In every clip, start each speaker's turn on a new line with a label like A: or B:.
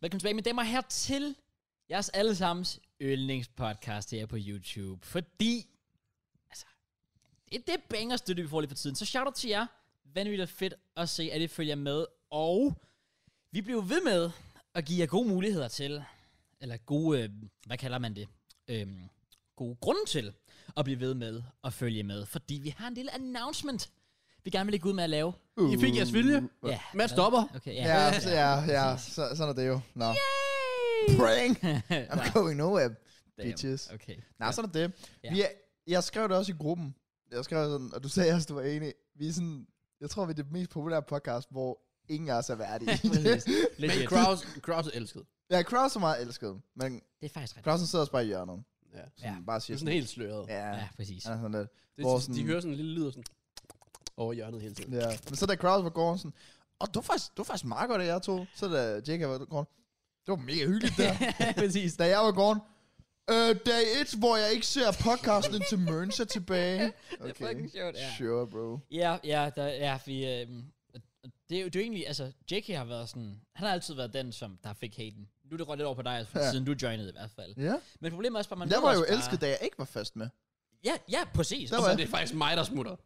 A: Velkommen tilbage, mine damer og herrer, til jeres allesammens yndlingspodcast her på YouTube. Fordi, altså, det, det er banger støtte, vi får lige for tiden. Så shout out til jer. Vanvittigt fedt at se, at I følger med. Og vi bliver ved med at give jer gode muligheder til, eller gode, øh, hvad kalder man det? Øhm, gode grunde til at blive ved med at følge med. Fordi vi har en lille announcement, vi gerne vil lægge ud med at lave.
B: I fik jeres vilje.
A: Ja.
B: Mads stopper.
A: Okay,
C: Ja, ja, ja, ja. Så, sådan er det jo. Nå. Prank! I'm going nowhere, bitches.
A: Damn. Okay.
C: Nej, sådan er det.
A: Ja.
C: Vi er, jeg skrev det også i gruppen. Jeg skrev sådan, og du sagde også, du var enig. Vi er sådan, jeg tror, vi er det mest populære podcast, hvor ingen af os er værdige.
A: Præcis. Lidt
B: Men
A: lidt.
B: Kraus, Kraus er elsket.
C: ja, Kraus er meget elsket, men
A: Det er faktisk rigtigt.
C: Krausen sidder også bare i hjørnet.
B: Ja.
C: Sådan,
A: Ja.
C: Bare
B: Det
C: siger
B: er sådan helt sløret. Ja.
C: Ja,
A: Ja,
C: ja.
A: præcis.
C: Han er sådan lidt.
B: Det,
C: Hvor
B: de, de
C: sådan-
B: hører sådan en lille lyd og sådan over hjørnet hele tiden. Ja.
C: Ja. Men så da Kraus var gården sådan, og du er faktisk, du er faktisk meget godt af jer to. Så da Jake var gården, det var mega hyggeligt der.
A: præcis.
C: da jeg var gården, øh, dag 1, hvor jeg ikke ser podcasten til Mørns er tilbage. Okay.
A: fucking sjovt, ja.
C: Sure, bro.
A: Ja, ja, der, ja vi, øh, det, er jo, det er jo egentlig, altså, JK har været sådan, han har altid været den, som der fik haten. Nu er det rødt lidt over på dig, altså, ja.
C: Ja.
A: siden du joinede i hvert fald.
C: Ja.
A: Men problemet er også bare, man
C: Men der
A: ved
C: var
A: også
C: jo
A: bare-
C: elsket, da jeg ikke var fast med.
A: Ja, ja, præcis.
C: Der
B: Og
A: Og
B: så
A: så-
B: er det faktisk mig, der smutter.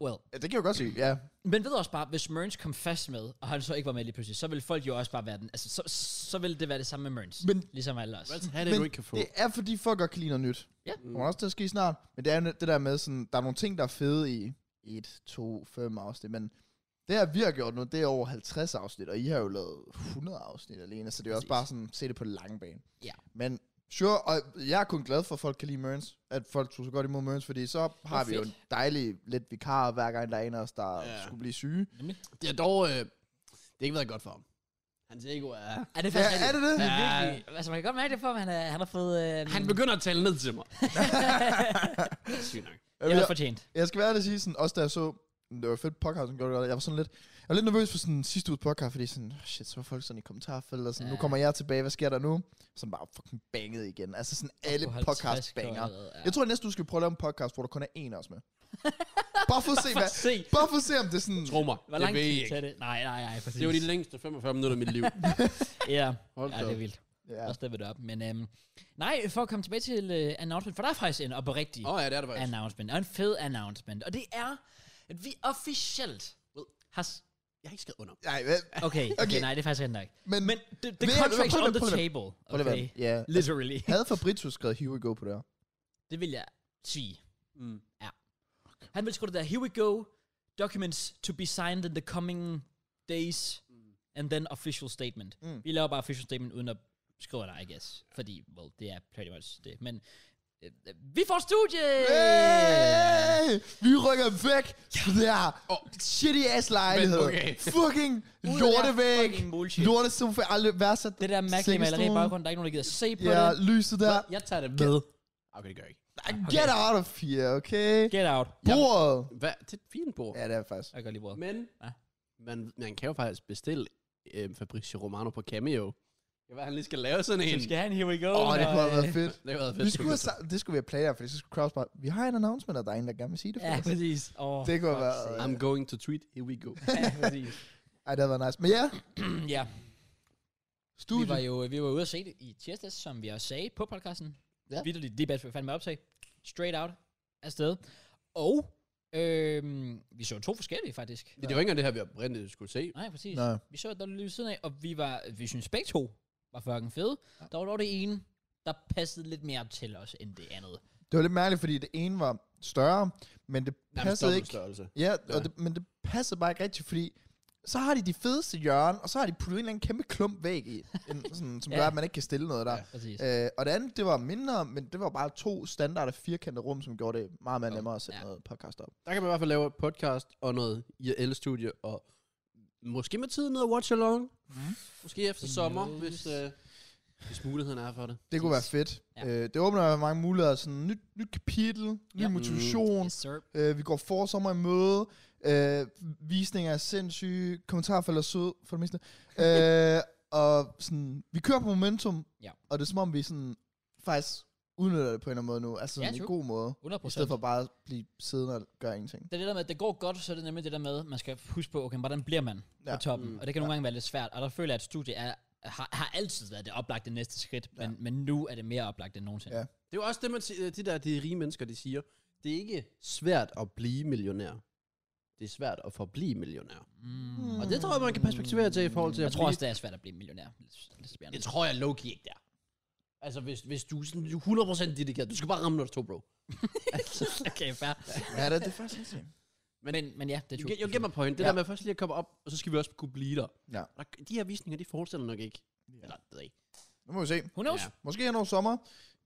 A: Well,
C: Ja, det kan jeg jo godt sige, ja.
A: men ved også bare, hvis Mørns kom fast med, og han så ikke var med lige pludselig, så ville folk jo også bare være den, altså, så, så ville det være det samme med Mørns.
C: Men-
A: ligesom alle os.
B: Hvad er det, du ikke kan få?
C: det er fordi folk godt kan lide noget nyt.
A: Ja.
C: Det kommer også til at ske snart. Men det er jo det der med, sådan, der er nogle ting, der er fede i 1, 2, 5 afsnit, men det her vi har gjort nu, det er over 50 afsnit, og I har jo lavet 100 afsnit alene, så det er jo
A: Præcis.
C: også bare sådan, se det på den lange bane.
A: Ja.
C: Men sure, og jeg er kun glad for, at folk kan lide Mørns, at folk tog så godt imod Mørns, fordi så har vi jo
A: fedt.
C: en dejlig lidt vikar, hver gang der er en af os, der
B: Ja.
C: ja. skulle blive syge.
A: Nemlig.
B: Det er dog... Øh, det har ikke været godt for ham. Hans ego er...
A: Er det
C: Ja,
A: faktisk
C: er det det?
A: Ja. Virkelig, altså, man kan godt mærke det for, at han, er, han har fået... Øh,
B: Han begynder at tale ned til mig. Sygt nok.
A: det er fortjent.
C: Jeg skal være ærlig at sige, sådan, også da jeg så, det var fedt podcast, gjorde det godt. jeg var sådan lidt, jeg var lidt nervøs for sådan sidste uges podcast, fordi sådan, "Åh, shit, så var folk sådan i kommentarfeltet, og sådan, ja.
A: Ja.
C: nu kommer jeg tilbage, hvad sker der nu? Sådan bare fucking banget igen. Altså sådan alle
A: På 50
C: podcast banger.
A: køreret, ja.
C: Jeg tror næste du skal prøve at lave en podcast, hvor der kun er en af os med. bare for at se, hvad,
A: Se,
C: bare for at se, om det er sådan,
B: Tro mig.
A: hvor
B: det
A: lang
B: ved
A: tid
B: I ikke.
A: tager det? Nej, nej, nej, præcis.
B: Det var de længste 45 minutter af mit liv.
A: Ja,
B: Hold
A: ja
B: da
A: det er
B: op.
A: vildt.
C: ja.
A: Og steppet op. Men øhm, nej, for at komme tilbage til øh, announcement, for der er faktisk en oprigtig
B: Åh ja, det er det faktisk.
A: announcement, og en fed announcement. Og det er, at vi officielt har... s-
B: Jeg har ikke skrevet under.
C: Nej, men,
A: Okay, okay, okay,
C: Okay.
A: nej, det er faktisk rigtig nok.
C: men,
A: Men the, the
C: Ved I-
A: contract's
C: prøv lige-
A: on the
C: prøv lige-
A: table,
C: prøv lige at
A: okay?
C: være- ja. Altså,
A: Literally.
C: Havde Fabrizio skrevet Here We Go på det her?
A: Det vil jeg sige.
B: Mm.
A: Ja. Han vil sgu det der, here we go, documents to be signed in the coming days, and then official statement. Mm.
C: Mm.
A: Vi laver bare official statement, uden at skrive der, I guess. Fordi, well, det er pretty much det. Men øh, øh, vi får et studie! Yeah!
C: Hey! Vi rykker væk fra det her shitty ass lejlighed.
B: okay.
C: Fucking lortevæg.
A: fucking bullshit.
C: Lortesofa, aldrig værdsat.
A: Det der mærkelige maleri i
C: Sengestuen.
A: baggrunden, der er ikke nogen, der gider se på
C: Ja,
A: yeah. det.
C: lyset der.
B: Jeg tager det med. Okay, det gør jeg ikke.
C: Get out of here, okay?
A: Get out.
C: Bordet.
B: Hvad? Det er et fint bord.
C: Ja, det er faktisk.
A: Jeg kan godt lide bordet.
B: Men
A: Ja.
B: man, man kan jo faktisk bestille øh, Fabricio Romano på Cameo. Jeg ved, han lige skal lave sådan en.
A: Så skal han, here we go.
C: Åh, det kunne have været fedt.
B: Det har været fedt.
C: Vi skulle have sagt, det skulle vi have planlagt, for så skulle Kraus bare, vi har en announcement, og der er en, der gerne vil sige det for
A: Ja,
C: os.
A: præcis. Oh,
C: Det kunne have været...
B: I'm going to tweet. Here we go.
A: ja, præcis.
C: Ej, det havde været nice. Men ja,
A: ja,
C: studie.
A: Vi var jo vi var ude at se det i tirsdags, som vi også sagde på podcasten. Ja.
C: Ja.
A: Vitterligt, det er bare fandme optag. Straight out afsted. Og øhm, vi så to forskellige, faktisk.
B: Men det var ikke engang det her, vi oprindeligt skulle se.
A: Nej, præcis.
C: Nej.
A: Vi så et dårligt lyd ved siden af, og vi, var, vi synes begge to var fucking fede. Der var dog det ene, der passede lidt mere til os end det andet.
C: Det var lidt mærkeligt, fordi det ene var større, men det passede
B: dobbelt
C: ikke.
B: Størrelse.
C: Ja,
B: Ja.
C: og det, men det passer bare ikke rigtigt, fordi så har de de fedeste hjørne, og så har de puttet en eller anden kæmpe klump væg i, en, sådan, som
A: Ja.
C: gør, at man ikke kan stille noget der.
A: Præcis.
C: Ja. Øh, og det andet, det var mindre, men det var bare to standarde firkantede rum, som gjorde det meget mere nemmere at sætte
A: Ja.
C: ja. noget podcast op.
B: Der kan man i hvert fald lave et podcast og noget IRL-studie, og måske med tiden noget watch-along.
C: Mm.
B: Måske efter sommer, hvis, øh, hvis muligheden er for det.
C: Det kunne være fedt.
A: Ja.
C: Ja. Øh, det åbner mange muligheder, sådan nyt, nyt kapitel, ny
A: Ja.
C: ja. motivation,
A: Yes, sir.
C: Øh, vi går forsommer i møde. Øh, visninger er sindssyge. Kommentarfeller er søde, for det meste. øh, og sådan, vi kører på momentum.
A: Ja.
C: Og det er som om, vi sådan, faktisk udnytter det på en eller anden måde nu. Altså sådan
A: Ja,
C: ja, en
A: true.
C: god måde.
A: 100
C: I stedet for bare at blive siddende og gøre ingenting.
A: Det er det der med, at det går godt, så er det nemlig det der med, at man skal huske på, okay, hvordan bliver man ja.
C: Ja.
A: på toppen? Mm,
B: Mm.
A: og det kan nogle gange være lidt svært, og der føler jeg, at studie er, har, har altid været det oplagte næste skridt, ja. men, men nu er det mere oplagt end nogensinde. Ja.
C: Ja.
B: Det er jo også det, man siger, de der de rige mennesker, de siger. Det er ikke svært at blive millionær. Det er svært at forblive millionær.
A: Mm.
B: Og det tror jeg, man kan perspektivere til i forhold til
A: Jeg
B: at
A: tror
B: blive-
A: også, det er svært at blive millionær. Lidt, lidt spændende.
B: Det tror jeg low ikke der. Altså, hvis, hvis du er sådan 100% dedikeret, du skal bare ramme noget to, bro. altså,
A: okay, fair.
C: Ja, det, det er faktisk ikke
A: Men, men, men ja, det er
B: you
A: true.
B: get, you get my point. Det
C: Ja.
B: der med først lige at komme op, og så skal vi også kunne blive der.
C: Ja.
B: Og der- De her visninger, de fortsætter nok ikke.
C: Ja.
B: Eller, det ved jeg ikke.
C: Nu må vi se.
A: Who knows? Ah,
B: Ja.
C: Måske her nogle sommer.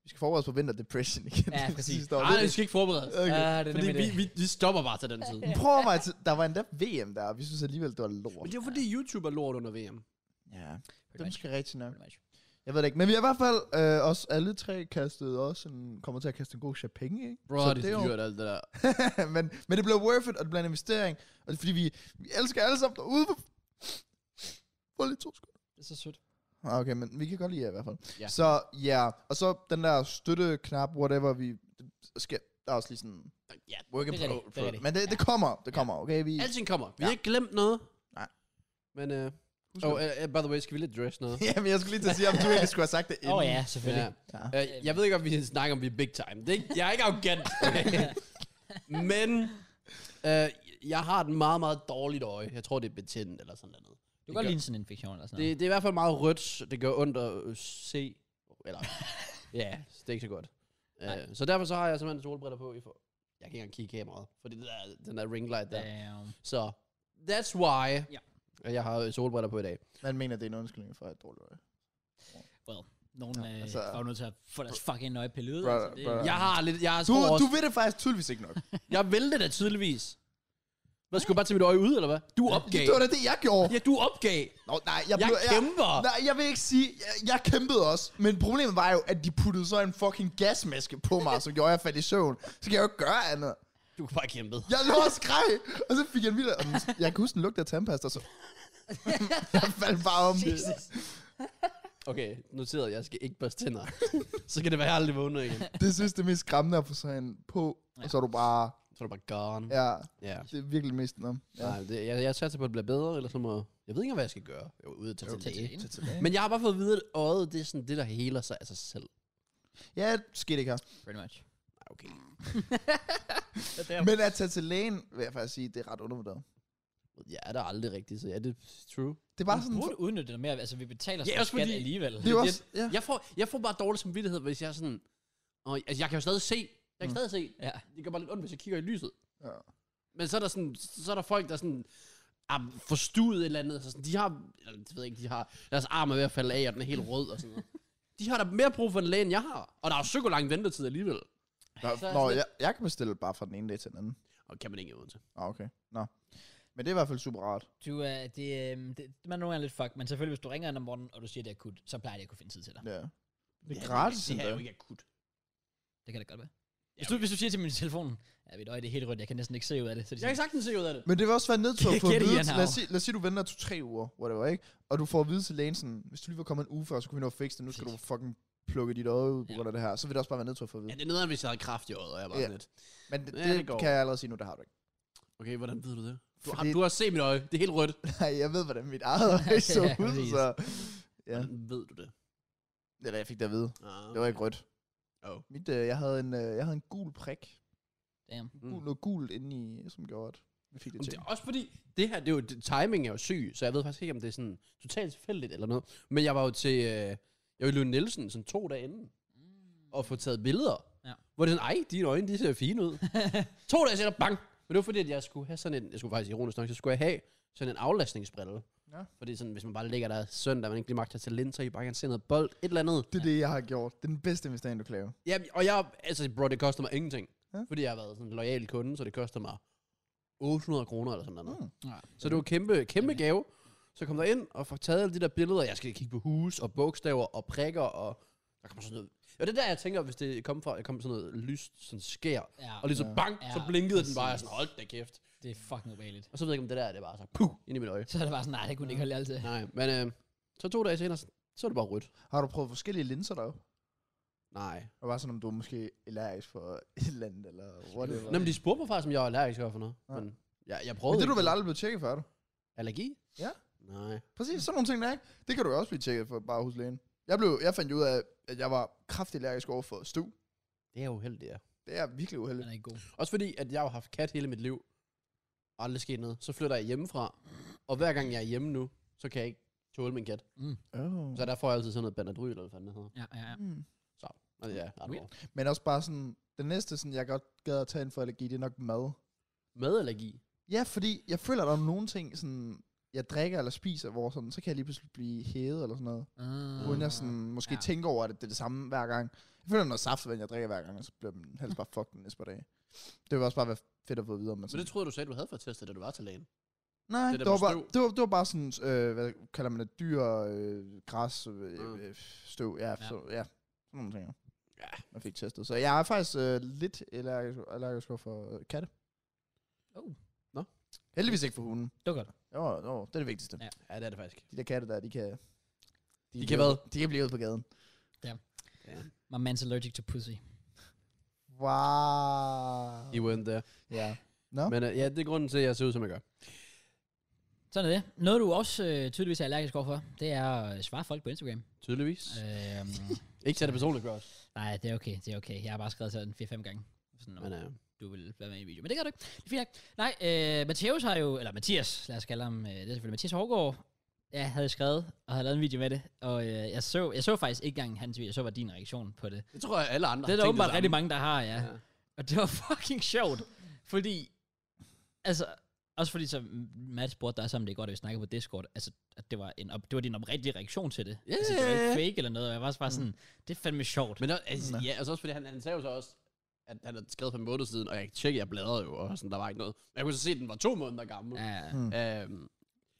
C: Vi skal forberede os på vinterdepression igen.
A: Ja,
C: Det
A: præcis.
C: sidste år.
B: Nej, vi skal ikke forberede os.
C: Okay.
A: Ah, det er
B: Øh, Fordi
A: nemlig
B: vi,
A: det.
B: vi, vi stopper bare til den tid.
C: Men Prøv at mig til, der var endda VM der, og vi synes alligevel, det var
B: Men
C: lort.
B: det er jo fordi, YouTube er lort under VM.
C: Ja, det
A: Pretty
C: er
A: much.
C: måske rigtigt nok.
A: Pretty much.
C: Jeg ved det ikke, men vi har i hvert fald øh, også alle tre kastet også en, kommer til at kaste en god chat penge, ikke?
B: Bro,
C: Så
B: det, det er
C: jo-
B: dyrt alt det der.
C: men, men det blev worth it, og det blev en investering, og det er fordi, vi, vi elsker alle sammen derude. Få lige to skud.
A: Det er så sødt.
C: Ah, Okay, men vi kan godt lide jer i hvert fald.
B: Ja.
C: Så ja, og så den der støtteknap, whatever, vi skal, der er også lige sådan,
B: Ja,
C: work in
A: Det er
C: pro-
A: rigtigt, det er
C: pro-
A: rigtigt.
C: Men det, det kommer, det kommer, okay? Vi,
B: alting kommer. Vi
C: Ja.
B: har ikke glemt noget.
C: Nej.
B: Men, øh,
C: Husk
B: oh,
C: det.
B: uh, by the way, skal vi lidt dress noget?
C: Jamen, jeg skulle lige til at sige, om du ikke skulle have sagt det
A: Åh
C: inden.
A: oh, ja, selvfølgelig.
C: Ja.
B: Øh, jeg ved ikke, om vi snakker om, vi er big time. Det er ikke, jeg er ikke arrogant. Okay? Men øh, jeg har et meget, meget dårligt øje. Jeg tror, det er betændt eller sådan noget.
A: Du kan godt ligne sådan en infektion eller sådan
B: Det,
A: noget.
B: det er i hvert fald meget rødt. Det gør ondt at øh, se. Eller, ja, det er ikke så godt.
A: Nej.
B: Øh, så derfor så har jeg simpelthen solbriller på. I for, jeg kan ikke engang kigge i kameraet, fordi det der, den der ring light der.
A: Damn.
B: Så that's why,
A: Ja.
B: at jeg har øh, solbriller på i dag.
C: Man mener, det er en undskyldning for et dårligt øje.
A: Nogen øh,
C: altså-
A: var jo nødt til at få deres fucking nøje pillet ud.
C: Brother,
A: altså, det-
C: brother.
B: Jeg har lidt, jeg har
C: Du,
B: tror
C: du
B: også,
C: ved det faktisk tydeligvis ikke nok.
B: jeg væltede da tydeligvis. Hvad, skulle jeg bare tage mit øje ud, eller hvad? Du opgav.
C: Det var da det, jeg gjorde.
B: Ja, du opgav.
C: Nå, nej, jeg,
B: Jeg
C: blev,
B: kæmper.
C: Jeg, nej, jeg vil ikke sige, jeg, jeg kæmpede også. Men problemet var jo, at de puttede så en fucking gasmaske på mig, som gjorde at jeg faldt i søvn. Så kan jeg jo ikke gøre andet.
B: Du kan bare kæmpe.
C: Jeg lå og skreg, og så fik jeg en vild... og den- Jeg kan huske den lugte af tandpasta, så... jeg faldt bare om det.
B: Okay, noteret, jeg skal ikke børste tænder. så kan det være, jeg aldrig vågner igen.
C: Det synes jeg, det er mest skræmmende at få sådan en på, og så er du bare...
B: Så er du bare gone.
C: Ja,
B: ja.
C: det er virkelig mest om.
B: Ja. Nej, det, jeg, jeg satser på, at det bliver bedre, eller så må... Jeg ved ikke, hvad jeg skal gøre. Jeg er ude og tage til
A: Tag til
B: læge.
A: lægen.
C: Men
B: Men jeg har bare fået at vide, at øjet, det er sådan det, der heler sig af sig selv.
C: ja, skidt ikke her.
A: Pretty much.
B: Nej, okay.
A: Mm.
C: Men at tage til lægen, vil jeg faktisk sige, det er ret undervurderet.
B: Jeg er der aldrig rigtigt, så ja, det er true.
C: Det er bare
A: Vi
C: sådan...
A: burde udnytte det mere. Altså, vi betaler
B: Ja,
A: ja,
B: også
A: skat
B: fordi-
A: alligevel.
C: Det er jo også... Ja.
B: Jeg får, jeg får bare dårlig samvittighed, hvis jeg er sådan... Og, altså, jeg kan jo stadig se. Jeg kan stadig se.
A: Ja.
B: Det gør bare lidt ondt, hvis jeg kigger i lyset.
C: ja.
B: Men så er der, sådan, så er der folk, der sådan er forstuet et eller andet. Så sådan, de har, eller, det ved jeg ikke, de har, deres arm er ved at falde af, og den er helt rød og sådan noget. De har da mere brug for en læge, end jeg har. Og der er jo så lang ventetid alligevel.
C: Nå,
B: Så er
C: nå
B: sådan
C: jeg, jeg kan bestille bare fra den ene dag til den anden.
B: Og kan man ikke i Odense.
C: Ah, okay. Nå. Men det er i hvert fald super rart.
A: Du er, det, øhm, det, man er nogle gange lidt fuck, men selvfølgelig, hvis du ringer ind om morgenen, og du siger, det er akut, så plejer de at kunne finde tid til dig.
C: Ja. Det er gratis
B: Det her er jo
C: endda.
B: ikke akut.
A: Det kan det godt være. Hvis du, hvis du siger til min telefon, ja, mit øje det er helt rødt, jeg kan næsten ikke se ud af det. Så er de
B: Jeg kan sagtens se ud af det.
C: Men det vil også være en nedtur
A: Det
C: for at
A: kan de
C: vide,
A: igen,
C: lad os,
A: Hav.
C: sige, lad os sige, du venter to-tre uger, whatever, ikke? Og du får at vide til lægen sådan, hvis du lige var kommet en uge før, så kunne vi nå at fikse det, nu skal du
A: Præcis.
C: fucking plukke dit øje ud på
A: Ja.
C: grund af det her, så vil det også bare være nedtur for at
B: Ja,
C: vide.
B: det er nederen, hvis jeg havde kraft i øjet, og jeg var
C: Mm. Ja.
B: yeah. lidt.
C: Men det,
B: Ja,
C: det,
B: det går.
C: kan jeg allerede sige nu, det har du ikke.
B: Okay, hvordan ved du det? Du, har,
C: Fordi-
B: du har set mit øje. Det er helt rødt.
C: Nej, jeg ved, hvordan mit eget øje så
A: Ja,
C: ud,
A: præcis.
C: så... Ja,
B: Hvordan ved du det?
C: eller jeg fik det at vide.
B: Ah,
C: Det var ikke rødt.
B: Oh.
C: Mit, øh, jeg, havde en, øh, jeg havde en gul prik.
A: Damn.
C: Mm. Gul, noget gult inde i, som gjorde, at vi fik det
B: Men
C: til.
B: det er også fordi, det her, det er jo, det, timing er jo syg, så jeg ved faktisk ikke, om det er sådan totalt tilfældigt eller noget. Men jeg var jo til, øh, jeg var i Løn Nielsen sådan to dage inden,
C: Mm.
B: og få taget billeder.
A: Ja.
B: Hvor det er sådan, ej, dine øjne, de ser fine ud. to dage senere, bang! Men det var fordi, at jeg skulle have sådan en, jeg skulle faktisk ironisk nok, så skulle jeg have sådan en aflastningsbrille.
C: Ja.
B: Fordi sådan, hvis man bare ligger der søndag, man ikke lige magter til linser, i bare kan se noget bold, et eller andet.
C: Det er det, jeg har gjort. Det er den bedste investering, du kan lave.
B: Ja, og jeg, altså bro, det koster mig ingenting.
C: Ja.
B: Fordi jeg har været sådan en lojal kunde, så det koster mig 800 kroner eller sådan noget.
C: Mm.
A: Ja.
B: Så det var en kæmpe, kæmpe gave. Så kom der ind og får taget alle de der billeder. Jeg skal kigge på hus og bogstaver og prikker og... Der kommer sådan noget... Ja, det er der, jeg tænker, hvis det kom fra, der kom sådan noget lyst, sådan skær.
A: ja.
B: Og lige så
C: Ja.
B: bang,
A: Ja,
B: så blinkede den bare. Jeg er
A: præcis.
B: sådan, hold da kæft.
A: Det er fucking ubehageligt.
B: Og så ved jeg ikke, om det der det er bare så puh, ind i mit øje.
A: Så er det bare sådan, nej, det kunne den ikke holde altid.
B: Nej, men øh, så to dage senere, så er det bare rødt.
C: Har du prøvet forskellige linser deroppe?
B: Nej.
C: Og bare sådan, om du er måske allergisk for et eller andet, eller whatever.
B: Jamen, de spurgte mig faktisk, om jeg var allergisk over for noget.
C: Ja.
B: Men jeg, jeg prøvede
C: Men det er
B: ikke.
C: du vel aldrig blevet tjekket for, er du?
B: Allergi?
C: Ja.
B: Nej.
C: Præcis, sådan nogle ting der, ikke? Det kan du jo også blive tjekket for, bare hos lægen. Jeg, blev, jeg fandt jo ud af, at jeg var kraftigt allergisk over for stu.
B: Det er uheldigt, ja.
C: Det er virkelig
A: Den
C: uheldigt.
A: er ikke god.
B: Også fordi, at jeg har haft kat hele mit liv. Aldrig sket noget. Så flytter jeg hjemmefra. Og hver gang jeg er hjemme nu, så kan jeg ikke tåle min kat.
A: Mm.
C: Oh.
B: Så der får jeg altid sådan noget Benadryl, eller hvad fanden det hedder.
A: Ja, ja, ja.
C: Mm.
B: Og det er ret
A: Weird.
B: hårdt.
C: Men også bare sådan, det næste, sådan, jeg godt gad at tage ind for allergi, det er nok mad.
B: Madallergi.
C: Ja, fordi jeg føler, der er nogle ting, sådan, jeg drikker eller spiser, hvor sådan, så kan jeg lige pludselig blive hævet eller sådan noget.
A: Uh,
C: Uden jeg
B: Mm,
C: sådan, måske
A: Ja.
C: ja. tænker over, at det er det samme hver gang. Jeg føler, når saftvand, jeg drikker hver gang, og så bliver min hals bare fucked den næste par dage. Det vil også bare være fedt at få videre. Men
B: Men det troede jeg, du sagde, du havde fået testet, da du var til lægen.
C: Nej,
B: Det
C: det,
B: der
C: det, var
B: med
C: bare, det,
B: støv.
C: var, det var bare sådan, øh, hvad kalder man det, dyr, øh, græs, øh,
B: Mm.
C: øh, støv, ja, ja. Så, ja, sådan nogle ting.
B: Ja.
C: Man fik testet. Så jeg er faktisk øh, lidt allergisk, allergisk over for øh, katte.
A: Oh.
B: Nå.
C: Heldigvis ikke for hunden.
A: Det var godt.
C: Jo, jo, det er det vigtigste.
A: Ja.
C: Ja.
B: Ja, det er det faktisk.
C: De der katte der, de kan...
B: kan
C: blive-
B: hvad?
C: De kan blive ude på gaden.
A: My man's allergic to pussy.
C: Wow.
B: You went there.
C: Ja. Nå?
B: Men øh, ja, det er grunden til, at jeg ser ud, som jeg gør.
A: Sådan er det. Noget, du også øh, tydeligvis er allergisk overfor, det er at øh, svare folk på Instagram.
B: Tydeligvis.
A: Øhm,
B: Ikke til det personligt, Gross.
A: nej, det er okay, det er okay. Jeg har bare skrevet til den 4-5 gange. Sådan,
B: Men
A: når
B: øh,
A: du vil være med i en video. Men det gør du ikke. Det er fint nok. Nej, øh, Mathias har jo, eller Mathias, lad os kalde ham, øh, det er selvfølgelig Mathias Hårgaard, jeg havde skrevet og havde lavet en video med det, og øh, jeg, så, jeg så faktisk ikke engang hans video, jeg så var din reaktion på det.
B: det tror jeg, alle andre
A: Det er
B: har
A: der
B: tænkt
A: åbenbart rigtig
B: samme.
A: mange, der har, ja. ja. Og det var fucking sjovt, fordi, altså, også fordi så Matt spurgte dig sammen, det er godt, at vi snakkede på Discord, altså, at det var, en op, det var din oprigtige reaktion til det.
B: Ja,
A: altså, det var
B: ja,
A: ikke
B: ja. Mm.
A: fake eller noget, og jeg var også bare sådan, det er fandme sjovt.
B: Men også, altså,
C: Nå.
B: ja, altså også fordi han, han sagde jo så også, at han havde skrevet for en måned siden, og jeg tjekkede, jeg bladrede jo, og sådan, der var ikke noget. Men jeg kunne så se, at den var to måneder gammel.
A: ja,
B: Ja. Øhm,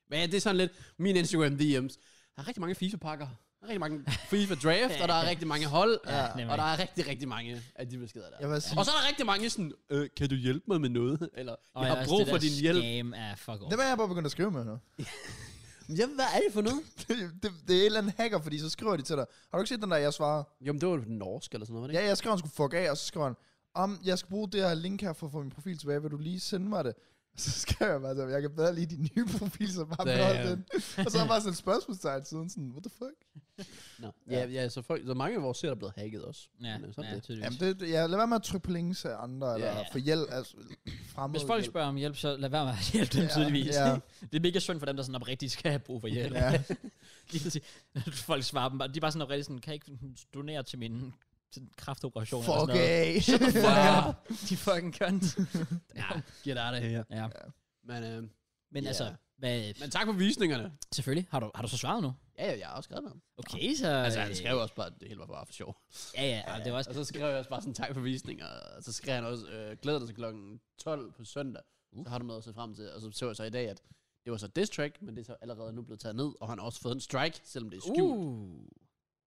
B: men ja, det er sådan lidt, min Instagram DM's har rigtig mange FIFA-pakker, der er rigtig mange FIFA-draft, og der er rigtig mange hold,
A: ja,
B: ja. og der er rigtig, rigtig mange af de beskeder der.
C: Jeg vil sige,
B: Og så er der rigtig mange sådan, øh, kan du hjælpe mig med noget? Eller, jeg har brug for din hjælp.
A: Game er fuck off.
C: dem er jeg bare begyndt at skrive med nu.
B: Jamen, hvad er det for noget?
C: det, det, det, er et eller andet hacker, fordi så skriver de til dig. Har du ikke set den der, jeg svarer?
B: Jamen, det var den norske eller sådan noget, var det ikke?
C: Ja, jeg skrev, han skulle fuck af, og så skrev han, om jeg skal bruge det her link her for at få min profil tilbage, vil du lige sende mig det? Så skrev jeg bare, så, jeg kan bedre lige din nye profil, så bare
B: Damn.
C: behold den. Og så har jeg bare sådan et spørgsmålstegn siden, sådan, what the fuck?
B: Nå. Ja, ja, så, folk, så mange af vores ser, der er blevet hacket også.
A: Ja,
B: Men, øh, sådan
A: ja,
B: det.
A: tydeligvis.
C: Jamen, det, det, ja, lad være med at trykke på links af andre, eller
B: Ja.
C: yeah. få hjælp, altså fremmed
A: Hvis folk
C: hjælp.
A: spørger om hjælp, så lad være med at hjælpe dem
C: Ja,
A: tydeligvis.
C: ja.
A: det er mega synd for dem, der sådan oprigtigt skal have brug for hjælp.
C: Ja.
A: De kan sige, folk svarer dem bare, de er bare sådan oprigtigt sådan, kan jeg ikke donere til min til en kraftoperation
C: Fuck
A: eller sådan
C: af.
A: noget. Fuck up, de fucking kønt.
B: Ja, get out of here.
A: Ja.
B: Men, øh,
A: Men
B: Ja.
A: altså, hvad,
B: men tak for visningerne.
A: selvfølgelig, har du, har du så svaret nu?
B: Ja, ja, jeg har også skrevet med ham.
A: Okay, så... øh,
B: Altså, han skrev også bare, at det hele var bare for sjov.
A: Ja, ja, og det var også...
B: Og så skrev jeg også bare sådan, tak for visninger. Og så skrev han også, øh, glæder dig til klokken 12 på søndag. Uh. Så har du noget at se frem til. Og så så jeg så i dag, at det var så diss track, men det er så allerede nu blevet taget ned. Og han har også fået en strike, selvom det er skjult. Uh.
A: Uh,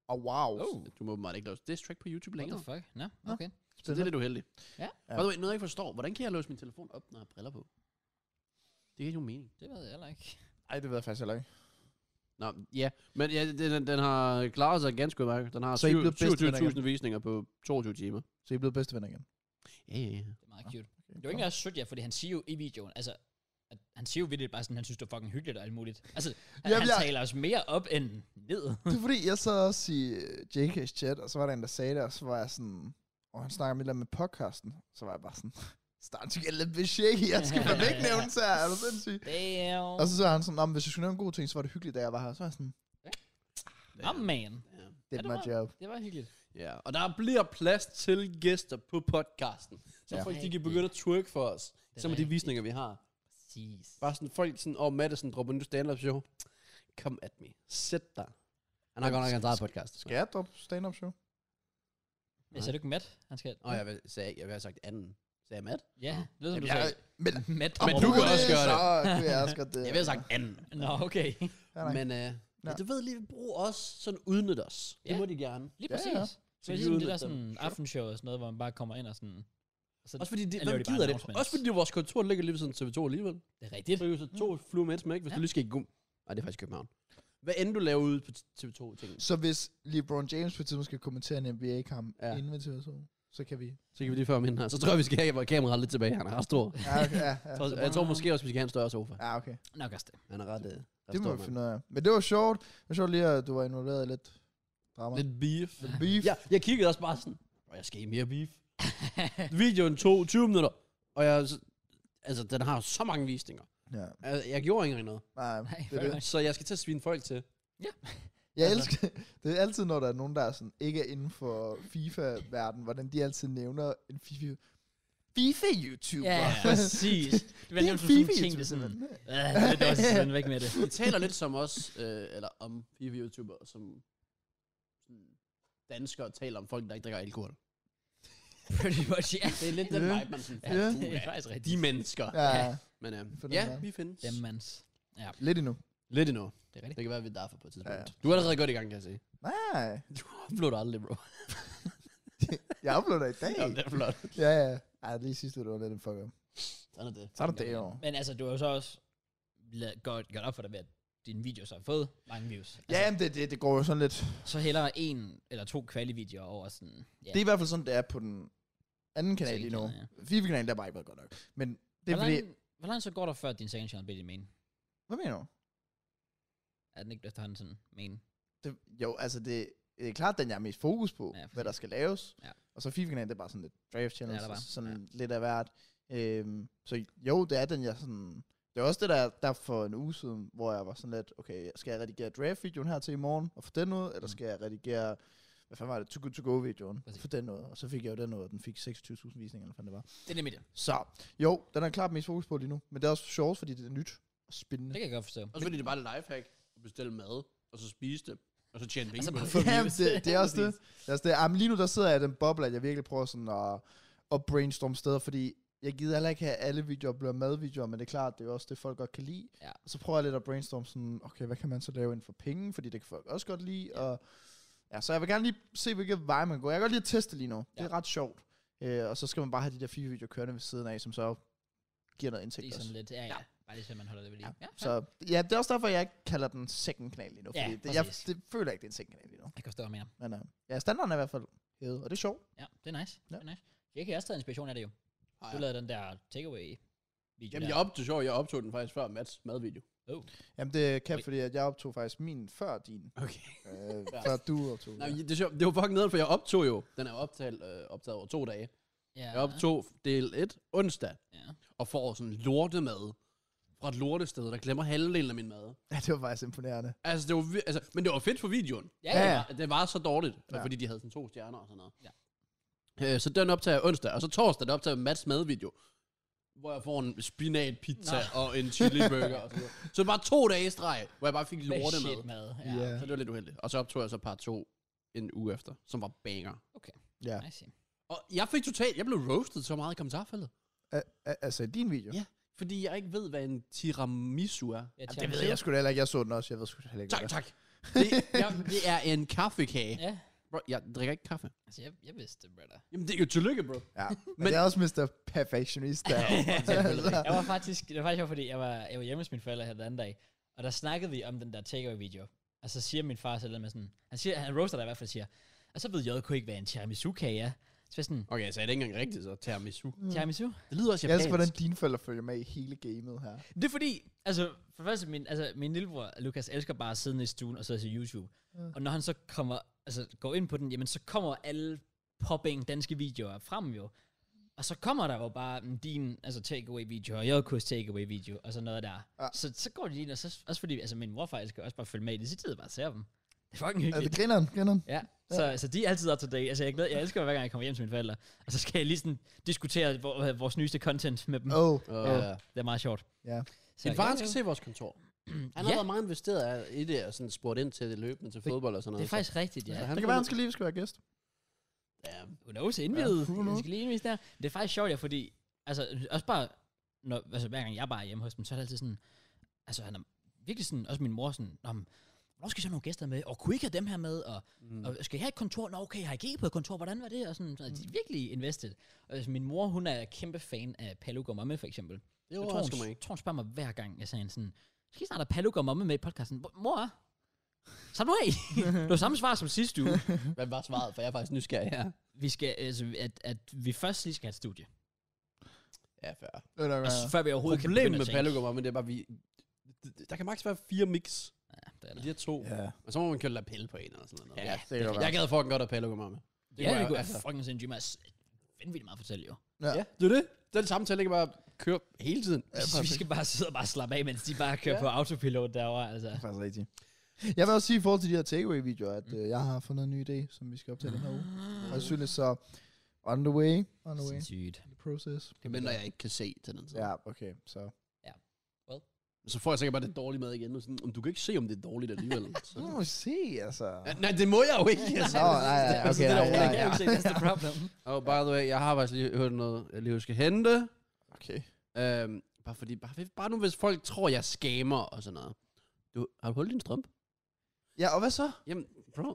C: Og wow.
A: Oh.
B: Du må åbenbart ikke låse diss track på YouTube
A: what
B: længere.
A: the fuck? Nå, no? okay.
B: Så det er lidt uheldigt.
A: Ja.
B: By the way, noget jeg ikke forstår. Hvordan kan jeg låse min telefon op, når jeg har briller på? Det giver ikke nogen mening.
A: Det ved jeg heller ikke.
C: Ej, det ved jeg faktisk heller ikke.
B: Nå, ja. Men ja, den, den- den har klaret sig ganske udmærket. Den har
C: Så I er blevet bedste venner
B: 27.000 visninger på 22 timer.
C: Så I er blevet bedste venner igen.
B: Ja, ja, ja.
A: Det er meget cute. Det var ikke engang sødt, ja, fordi han siger jo i videoen, altså, at han siger jo vildt bare sådan, han synes, det er fucking hyggeligt og alt muligt. Altså, han,
C: Jamen,
A: han
C: jeg-
A: taler os mere op end ned.
C: Det er fordi, jeg sad også i øh, JK's chat, og så var der en, der sagde det, og så var jeg sådan, og han snakker om et eller andet med podcasten, så var jeg bare sådan, starten skal lidt bit shaky, jeg skal fandme ikke nævne så er du sindssyg?
A: Damn.
C: Og så sagde han sådan, "Nå, men hvis jeg skulle nævne en god ting, så var det hyggeligt, da jeg var her. Så var jeg sådan,
A: Nå, man.
B: Ja.
C: det
A: Ja,
C: er
A: det
C: my
A: var-
C: job.
A: Det var hyggeligt.
B: Ja, og der bliver plads til gæster på podcasten. Så ja.
C: Ja.
B: folk de kan
A: Rigtigt.
B: begynde at twerk for os.
A: er
B: Som med de
A: rigtigt.
B: visninger, vi har.
A: Præcis.
B: Bare sådan folk sådan, åh, oh, Madison dropper en ny stand-up show. Come at me. Sæt dig. Han har godt nok en eget podcast.
C: Skal jeg droppe stand-up show?
A: Jeg sagde du ikke Matt? Han skal...
B: Og jeg vil- sagde, jeg vil have sagt anden. Sagde jeg Matt?
A: Ja, det ved som du
C: Jeg,
A: sagde.
C: men,
A: Matt.
B: Men
A: Dropper
B: du
A: ud.
B: kan også gøre det.
C: Så kunne jeg også godt det.
B: Jeg vil have sagt anden.
A: Nå, okay.
C: Ja, nej.
B: Men øh, ja. du ved lige, brug os, sådan udnyt os. Det
A: Ja.
B: må de gerne.
A: Lige
C: Ja,
A: præcis.
C: ja.
A: Så det er ligesom det der
B: Interviewet med
A: sådan
B: dem.
A: aftenshow og sådan noget, hvor man bare kommer ind og sådan... Og så,
B: Også fordi, de,
A: laver
B: hvem
A: de bare
B: gider det?
A: announcements.
B: Også fordi vores kontor ligger lige ved siden TV2 alligevel.
A: det er rigtigt.
B: Så er jo så to fluer med et smæk, hvis
A: Ja.
B: du lige skal i gum. Nej, det er faktisk København. Hvad end du laver ude på TV2-ting,
C: Så hvis LeBron James på et tidspunkt skal kommentere en NBA-kamp
B: Ja.
C: ja. inden ved TV2, så kan vi.
B: så kan vi lige føre ham ind her. Så tror jeg, vi skal have vores kameraet lidt tilbage. Han er ret stor.
C: Ja, okay, ja, ja.
B: Så, jeg tror måske også, vi skal have en større sofa.
C: Ja, okay.
A: Nok også det.
B: Han er ret... Øh, ret
C: Det
B: stor,
C: må vi
B: mand.
C: finde ud af. Men det var sjovt. Det var sjovt lige, at du var involveret i lidt drama. Lidt
B: Lidt beef.
C: beef.
B: Ja, jeg kiggede også bare sådan, og jeg skal i mere beef. Videoen tog 20 minutter, og jeg, altså, den har så mange visninger.
C: ja.
B: Altså, Jeg gjorde ikke engang noget.
C: Nej,
A: Nej,
C: det er det.
A: Nej.
B: Så jeg skal til at svine folk til.
C: Jeg
B: Altså.
C: elsker, det er altid, når der er nogen, der er sådan, ikke er inden for FIFA-verden, hvordan de altid nævner en FIFA. FIFA-YouTuber.
A: Ja, præcis. Det var
C: Det er
A: nemt
C: en
A: som sådan en ting,
C: FIFA-YouTuber.
A: det er sådan. Ja, det er dårligt, sådan væk med det.
B: De taler lidt som os, øh, eller om FIFA-youtuber, som sådan danskere taler om folk, der ikke drikker alkohol.
A: Pretty much, ja.
B: Det er lidt den
C: Ja.
B: vibe, man sådan
A: Ja,
B: ja.
A: det er faktisk rigtigt.
B: De mennesker. Ja.
C: Ja,
B: Men øh,
C: Fornem
B: ja,
C: verden.
B: vi findes.
A: Dem, mans. Ja,
C: lidt endnu.
B: Lidt endnu.
A: det er rigtigt.
B: Det kan være, vi er derfor på et tidspunkt.
C: Ja, ja.
B: Du er allerede godt i gang, kan jeg se.
C: Nej,
B: Du uploader aldrig, bro.
C: jeg uploader i dag.
B: Ja, det er flot.
C: Ja, ja. Ej, lige sidste uge, det var lidt en fuck up.
B: Sådan er det.
C: Så er det det år.
A: Men altså, du har jo så også la- godt, godt op for dig ved, at dine videoer så har fået mange views.
C: Ja,
A: Altså,
C: jamen, det, det, det går jo sådan lidt.
A: Så hellere en eller to kvalivideoer over sådan... Ja,
C: Det er i hvert fald sådan, det er på den anden kanal lige nu.
A: Second channel,
C: FIFA-kanalen, der har bare ikke været godt nok. Men det er
A: hvor,
C: fordi...
A: langt, hvor langt så går der, før din second channel bliver din main?
C: Hvad mener du?
A: Er den ikke efterhånden sådan main?
C: Det, jo, altså det, det er klart, den jeg er mest fokus på,
A: Ja,
C: ja,
A: præcis.
C: hvad der skal laves.
A: Ja.
C: Og så FIFA kanalen, det er bare sådan lidt draft
A: Det
C: challenge,
A: er der bare,
C: sådan lidt af hvert. Øhm, så jo, det er den, jeg sådan... Det er også det, der, der for en uge siden, hvor jeg var sådan lidt, okay, skal jeg redigere draft-videoen her til i morgen og få den ud, eller
A: Mm.
C: skal jeg redigere, hvad fanden var det, Too Good To Go-videoen
A: Præcis.
C: for den ud, og så fik jeg jo den ud, og den fik 26.000 visninger, eller hvad fanden det var.
A: Det er nemlig det.
C: Så jo, den er klart mest fokus på lige nu, men det er også sjovt, fordi det er nyt og spændende.
A: Det kan jeg godt forstå.
B: Også fordi det er bare et lifehack at bestille mad, og så spise det, og så tjene penge
A: så
B: på
A: bare
B: det.
A: få
C: Ja,
A: views.
C: det, det er også det. Det er også det. Jamen, lige nu der sidder jeg i den boble, at jeg virkelig prøver sådan at, at brainstorme steder, fordi jeg gider heller ikke have at alle videoer bliver madvideoer, men det er klart, det er jo også det, folk godt kan lide.
A: Ja.
C: Og så prøver jeg lidt at brainstorme sådan, okay, hvad kan man så lave inden for penge, fordi det kan folk også godt lide. Ja. Og, ja, så jeg vil gerne lige se, hvilke veje man går. Jeg kan godt lide at teste lige nu. Ja. Det er ret sjovt. Øh, og så skal man bare have de der fire videoer kørende ved siden af, som så giver noget
A: Det
C: indtægt
A: er
C: også.
A: sådan lidt, ja, ja.
B: Ja.
A: Bare lige så man holder det ved lige. Ja, så.
C: Så ja, det er også derfor, jeg ikke kalder den second kanal lige nu.
A: Ja,
C: Fordi det, jeg,
A: præcis.
C: det føler jeg ikke, det er en second kanal lige nu.
A: Jeg kan forstå, hvad jeg mener.
C: Men øh, ja, standarden er i hvert fald hævet, og det er sjovt.
A: Ja, det er nice.
C: Ja.
A: Det er nice. Jeg kan også tage inspiration af det jo.
B: Ej,
A: Du lavede den der takeaway-video
B: Jamen, jeg
A: der.
B: optog, sjov, jeg optog den faktisk før Mats madvideo.
C: Jamen det kan,
A: Wait.
C: fordi at jeg optog faktisk min før din,
B: Okay.
C: øh, før du optog.
B: Nej, men det, er sjovt. det var fucking nederen, for jeg optog jo. Den er jo optaget, øh, optaget over to dage.
A: Ja.
B: Jeg optog del 1 onsdag,
A: Ja.
B: og får sådan lortemad fra et lortested, der glemmer halvdelen af min mad.
C: ja, det var faktisk imponerende.
B: Altså, det var, vir- altså, men det var fedt for videoen.
A: Ja,
C: Ja,
A: ja.
C: ja.
A: ja.
B: Det var så dårligt, ja.
C: Ja.
B: fordi de havde sådan to stjerner og sådan noget. Ja. Øh, så den optager jeg onsdag, og så torsdag, der optager jeg Mats madvideo, hvor jeg får en spinatpizza
A: Nå.
B: og en chiliburger og sådan noget. Så det var bare to dage i streg, hvor jeg bare fik
A: Med
B: lortemad.
A: shit mad. Ja.
C: Ja.
A: Yeah.
B: Så det var lidt uheldigt. Og så optog jeg så part 2 en uge efter, som var banger.
C: Ja.
A: I see.
B: Og jeg fik totalt, jeg blev roasted så meget i kommentarfeltet.
C: A- a- altså i din video?
B: Ja, Fordi jeg ikke ved, hvad en tiramisu er. Altså,
A: Ja,
C: Det ved jeg sgu da heller ikke. Jeg så den også. Jeg ved sgu da heller ikke.
B: Tak,
C: hvad
B: tak. Det, jeg, det er en kaffekage.
A: Ja.
B: Bro, jeg drikker ikke kaffe.
A: Altså, jeg, jeg vidste det, brother.
B: Jamen, det er jo tillykke, bro.
C: det er. Ja. Men,
B: Men-
C: jeg er også Mr. Perfectionist der. altså,
A: Jeg var faktisk, det var faktisk sjovt, fordi jeg var, jeg var hjemme hos mine forældre her den anden dag, og der snakkede vi om den der takeaway-video. Og så siger min far selv med sådan, han, siger, han roaster dig i hvert fald siger, og så ved JK ikke, hvad en tiramisu-kage er. Så var jeg sådan,
B: Okay, så er det ikke engang rigtigt, så tiramisu.
A: tiramisu?
B: Det lyder også
C: jeg elsker, hvordan dine forældre følger med i hele gamet her.
A: Det er fordi, altså, for det første, min, altså, min lillebror, Lukas, elsker bare at sidde nede i stuen og så se YouTube. Mm. Og når han så kommer, altså, går ind på den, jamen, så kommer alle popping danske videoer frem jo. Og så kommer der jo bare mm, din altså, takeaway-video, og JK's takeaway-video, og sådan noget der.
C: Ja.
A: Ja. Så, så går de ind, og så, også fordi, altså, min morfar elsker også bare at følge med i det, så sidder jeg bare og ser dem. Det er fucking
C: Er det
A: hyggeligt.
C: Altså, grineren? grineren?
A: Ja, så, så de er altid up to date. Altså, jeg, glæder, jeg elsker hver gang, jeg kommer hjem til mine forældre. Og så skal jeg lige sådan diskutere vor, vores nyeste content med dem. Oh.
C: Oh,
B: Uh, ja.
A: Det er meget sjovt.
C: ja.
A: Så,
B: Din far han skal se vores kontor. Han har
A: Ja.
B: været meget investeret af- i det, og sådan spurgt ind til det løbende til fodbold og sådan noget.
A: Det er faktisk rigtigt, ja.
B: Så Altså,
C: Det kan være, han skal lige skal være gæst.
B: Ja,
A: Who knows, indvidet.
C: who
A: Ja,
C: knows?
A: skal lige indvise der. Men Det er faktisk sjovt, ja, fordi, altså, også bare, når, altså, hver gang jeg bare er hjemme hos dem, så er det altid sådan, altså, han er virkelig sådan, også min mor sådan, Nå, men, hvornår skal I så have nogle gæster med, og kunne I ikke have dem her med, og, mm. og skal I have et kontor? Nå, okay, har I ikke på et kontor? Hvordan var det? Og sådan, så de
B: Mm.
A: er virkelig invested. Og, altså, min mor, hun er kæmpe fan af Paluk og Mamme, for eksempel.
B: det
A: Jeg tror,
B: overrasker mig
A: hun,
B: ikke.
A: tror, hun spørger mig hver gang, jeg sagde hende sådan, skal I snart have Paluk og Mamme med i podcasten? Hvor- Mor, Slap nu af. det var samme svar som sidste uge.
B: Hvad var svaret? For jeg er faktisk nysgerrig her.
A: Vi skal, altså, at, at vi først lige skal have et studie.
B: Ja, fair.
C: Det er nok,
A: Og
C: ja.
A: før vi overhovedet kan
B: Problemet
A: begynde
B: med
A: at tænke.
B: Palugo var, men det er bare, vi... Der kan maks være fire mix.
A: Ja, det er
B: Og
A: det.
B: de her to.
C: ja.
B: Og så må man køre lapel på en eller sådan noget.
A: Ja,
B: Ja.
A: det
C: Det kan godt
B: Jeg
C: være.
B: gad fucking godt at Palugo var med.
A: Det ja, det
B: jeg-
A: kunne jeg
B: altså.
A: fucking sindssygt meget. Vanvittigt meget at fortælle, jo.
C: Ja.
B: Ja, det er det. Den samtale kan bare køre hele tiden.
C: Ja,
A: Ja, Altså, vi
C: perfekt.
A: skal bare sidde og bare slappe af, mens de bare kører
B: Ja.
A: ja. på autopilot derovre. Altså.
C: Det er faktisk rigtigt. Jeg vil også sige i forhold til de her takeaway-videoer, at øh, jeg har fundet en ny idé, som vi skal optage den her uge. Og jeg synes så, on the way, on the way,
A: Sindssygt.
C: in the process.
B: Det venter jeg ikke kan se til den tid.
C: Ja, okay, så.
B: Så får jeg sikkert bare det dårlige med igen. Og sådan, om du kan ikke se, om det er dårligt alligevel. Så.
C: Nu må vi se, altså.
B: Ja, nej, det må jeg jo ikke. Altså.
C: Nå, nej, nej,
B: Altså,
C: okay,
B: det der
C: nej,
A: Ja,
C: nej,
A: det kan jeg jo
C: nej.
A: ikke se, that's the problem.
B: Og by the way, jeg har faktisk lige hørt noget, jeg lige skal hente.
C: Okay.
B: Øhm, bare, fordi, bare, bare nu, hvis folk tror, jeg skammer og sådan noget. Du, har du holdt din strømpe?
C: Ja, og hvad så?
B: Jamen, bro.
C: Ja,
B: Har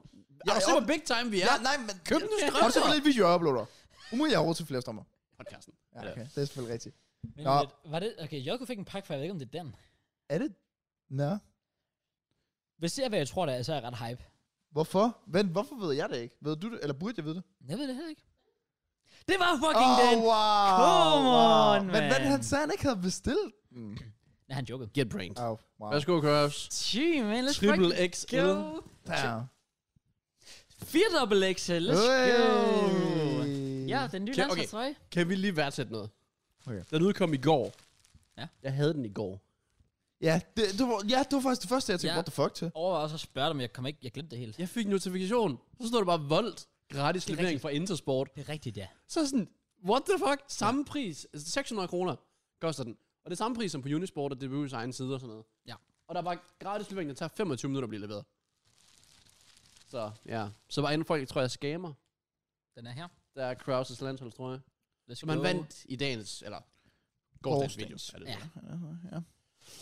B: du set,
C: jeg-
B: hvor big time vi er?
C: Ja, nej, men...
B: Køb den
C: Har du så
B: strømpe!
C: lidt video, jeg uploader? Umuligt, jeg har råd til flere stammer.
B: Podcasten.
C: Ja,
B: Ja.
C: okay. Det er selvfølgelig rigtigt.
A: Men
C: Nå.
A: lidt, var det, okay, Joko fik en pakke for, jeg ved ikke, om det er den.
C: Er det... Nå.
A: Hvis det er, hvad jeg tror, det er, så er jeg ret hype.
C: Hvorfor? Vent, hvorfor ved jeg det ikke? Ved du det? Eller burde jeg vide det?
A: Jeg ved det heller ikke. Det var fucking den!
C: wow.
A: Come on,
C: Men hvad
A: man.
C: han sagde, han ikke havde bestilt? Mm.
A: Nej, han jokede.
B: Get pranked.
C: Oh, wow.
B: Værsgo, Curves.
A: Gee, man, let's
B: Triple
A: fucking
B: XL.
A: go.
C: Damn.
A: 4 double XL, let's go.
C: Hey.
A: Ja, den nye
B: Okay.
A: landsholdstrøje.
B: Kan vi lige værdsætte noget?
C: Okay.
B: Den udkom i går.
A: Ja.
B: Jeg havde den i går.
C: Ja, det, det var, ja, det var faktisk det første, jeg tænkte,
A: Ja.
C: what the fuck til.
A: Overvej også at spørge dig, men jeg kom ikke, jeg glemte det helt.
B: Jeg fik en notifikation. Så stod der bare voldt. Gratis
A: Det er
B: levering
A: rigtigt.
B: fra Intersport.
A: Det er rigtigt, ja.
B: Så er jeg sådan, what the fuck? Samme pris. Altså, 600 kroner koster den. Og det er samme pris som på Unisport og DBU's egen side og sådan noget.
A: Ja.
B: Og der var gratis levering, der tager 25 minutter at blive leveret. Så ja. Så var inden folk, tror jeg, scammer.
A: Den er her.
B: Der er Kraus' landshold, tror jeg.
A: Let's
B: Så man
A: go.
B: vandt i dagens, eller gårsdagens video. Er det
A: Ja.
B: så.
C: Ja.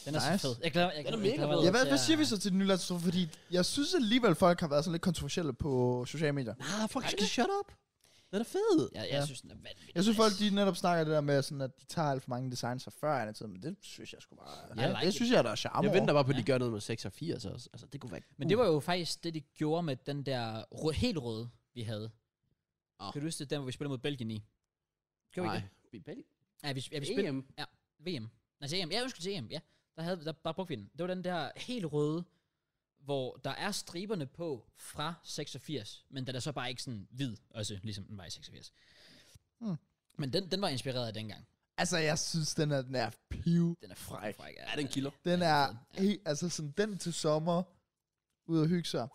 A: Den er
C: Nice.
A: så fed. Jeg glæder, jeg
B: Den er
A: glæder- jeg
B: mega
A: glæder
B: fed.
A: mig
C: ja hvad,
A: til
C: hvad
A: at-
C: siger vi så til den nye landshold? Fordi jeg synes alligevel, folk har været sådan lidt kontroversielle på sociale medier.
B: Nej, folk skal shut up. Den er fed.
A: Jeg, jeg
C: Ja.
A: synes, den er vanvittig.
C: Jeg synes,
A: nice.
C: folk de netop snakker det der med, sådan, at de tager alt for mange designs fra før i tiden, men det synes jeg sgu bare...
A: I like
C: det
A: it.
C: synes jeg, der er charme
B: Jeg
C: over.
B: venter bare på, at de gør noget med 86 også. Altså, det kunne være...
A: Men det var jo faktisk det, de gjorde med den der rød, helt røde, vi havde.
B: Åh.
A: Oh. Kan du huske det, den, hvor vi spillede mod Belgien i? Gjorde vi
B: Nej.
A: ikke det? Ja, vi, ja, vi spillede
B: EM.
A: VM. Nej, til EM. Ja, undskyld til EM, ja. Der, havde, der, der brugte vi den. Det var den der helt røde, hvor der er striberne på fra 86, men den er så bare ikke sådan hvid, også ligesom den var i 86.
C: Mm.
A: Mm. Men den, den var inspireret af dengang.
C: Altså, jeg synes, den er, den er piv.
A: Den er fræk. fræk
B: Ja, den kilder.
C: Den
A: Ja,
C: er
A: ja.
C: helt, altså sådan den til sommer, ud og hygge sig.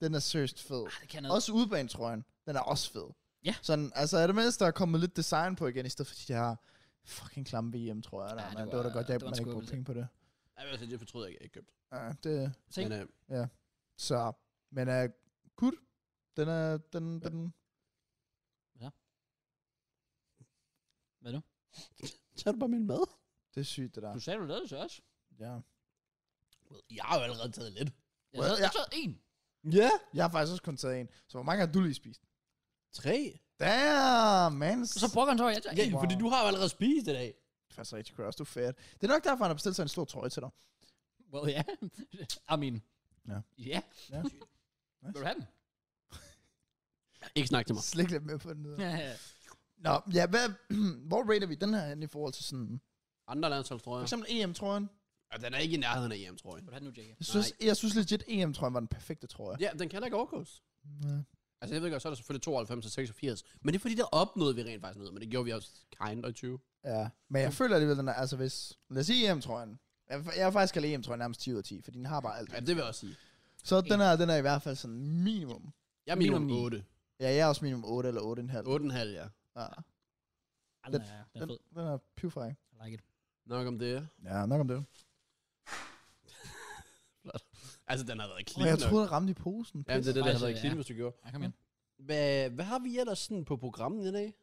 C: Den er seriøst fed.
A: Ah, det kan noget.
C: Også udbanetrøjen, den er også fed.
A: Ja.
C: Sådan, altså er det mindst, der er kommet lidt design på igen, i stedet for de der fucking klamme VM, tror jeg.
A: Ja,
C: Der, ja,
A: det
C: det, det var da
A: var-
C: godt,
A: det
C: jeg
A: var en
C: man ikke brugte
A: skuffelse.
C: penge på det.
B: Ej, altså, det fortryder jeg ikke, jeg ikke købte.
C: Ja, det,
A: Ting.
B: Men, øh,
C: så, men uh, gud, den er, den,
B: Ja.
C: den,
A: Hvad nu?
B: tager du bare min mad?
C: det er sygt, det der.
A: Du sagde, du lavede det så også.
C: Ja.
B: Jeg har jo allerede taget lidt.
A: Jeg
C: Well,
A: well,
C: ja.
A: ja. så en.
B: Ja.
C: Jeg har faktisk også kun taget en, så hvor mange har du lige spist?
B: Tre?
C: Damn, man.
A: Så brokker han så, jeg tager
B: Ja,
A: en.
C: Wow.
B: fordi du har jo allerede spist i dag.
C: Det er faktisk rigtig cross, du er fat. Det er nok derfor, han har bestilt sig en stor trøje til dig.
A: Well, ja. I mean.
C: Ja.
A: Ja.
C: Ja.
A: Vil du have den?
B: Ikke snak til mig.
C: Slik lidt mere på den. Ja.
A: Ja, ja.
C: Nå, ja, hvad, hvor rater vi den her hen i forhold til sådan...
B: Andre landsholdstrøjer.
C: For eksempel E EM-trøjen.
B: Ja, Altså, den er ikke i nærheden af EM, tror jeg.
A: Vil du have den nu, JK?
C: Jeg synes, jeg synes legit, EM-trøjen var den perfekte trøje.
B: Ja, den kan heller ikke overgås.
C: Ja.
B: Altså, jeg ved godt, så er der selvfølgelig 92 og 86. Men det er fordi, der opnåede vi rent faktisk noget. Men det gjorde vi også kind of i 20.
C: ja. Men
B: Mm.
C: jeg føler alligevel, den er, altså hvis... Lad os sige EM-trøjen. Jeg, jeg har faktisk kaldt EM-trøjen nærmest 10 ud af 10, fordi den har bare alt.
B: Ja, det vil jeg også sige.
C: Så den her, den er i hvert fald sådan minimum.
B: Jeg er minimum
A: Minimum
B: 8.
C: Ja, jeg er også minimum 8 eller 8,5.
B: 8,5, ja.
C: Ja.
A: Ej, Den er, den er
C: Den,
A: fed.
C: den er pivfræk.
A: I like it.
B: Nok om det.
C: Ja, nok om det.
B: Altså, den har været
C: Og
B: clean
C: jeg
B: nok.
C: troede, den ramte i posen.
B: Ja, det er det, der har
A: Faktisk,
B: været clean,
A: ja.
B: hvis du gjorde.
A: Ja, kom igen.
B: Hvad, hvad har vi ellers sådan på programmet i dag?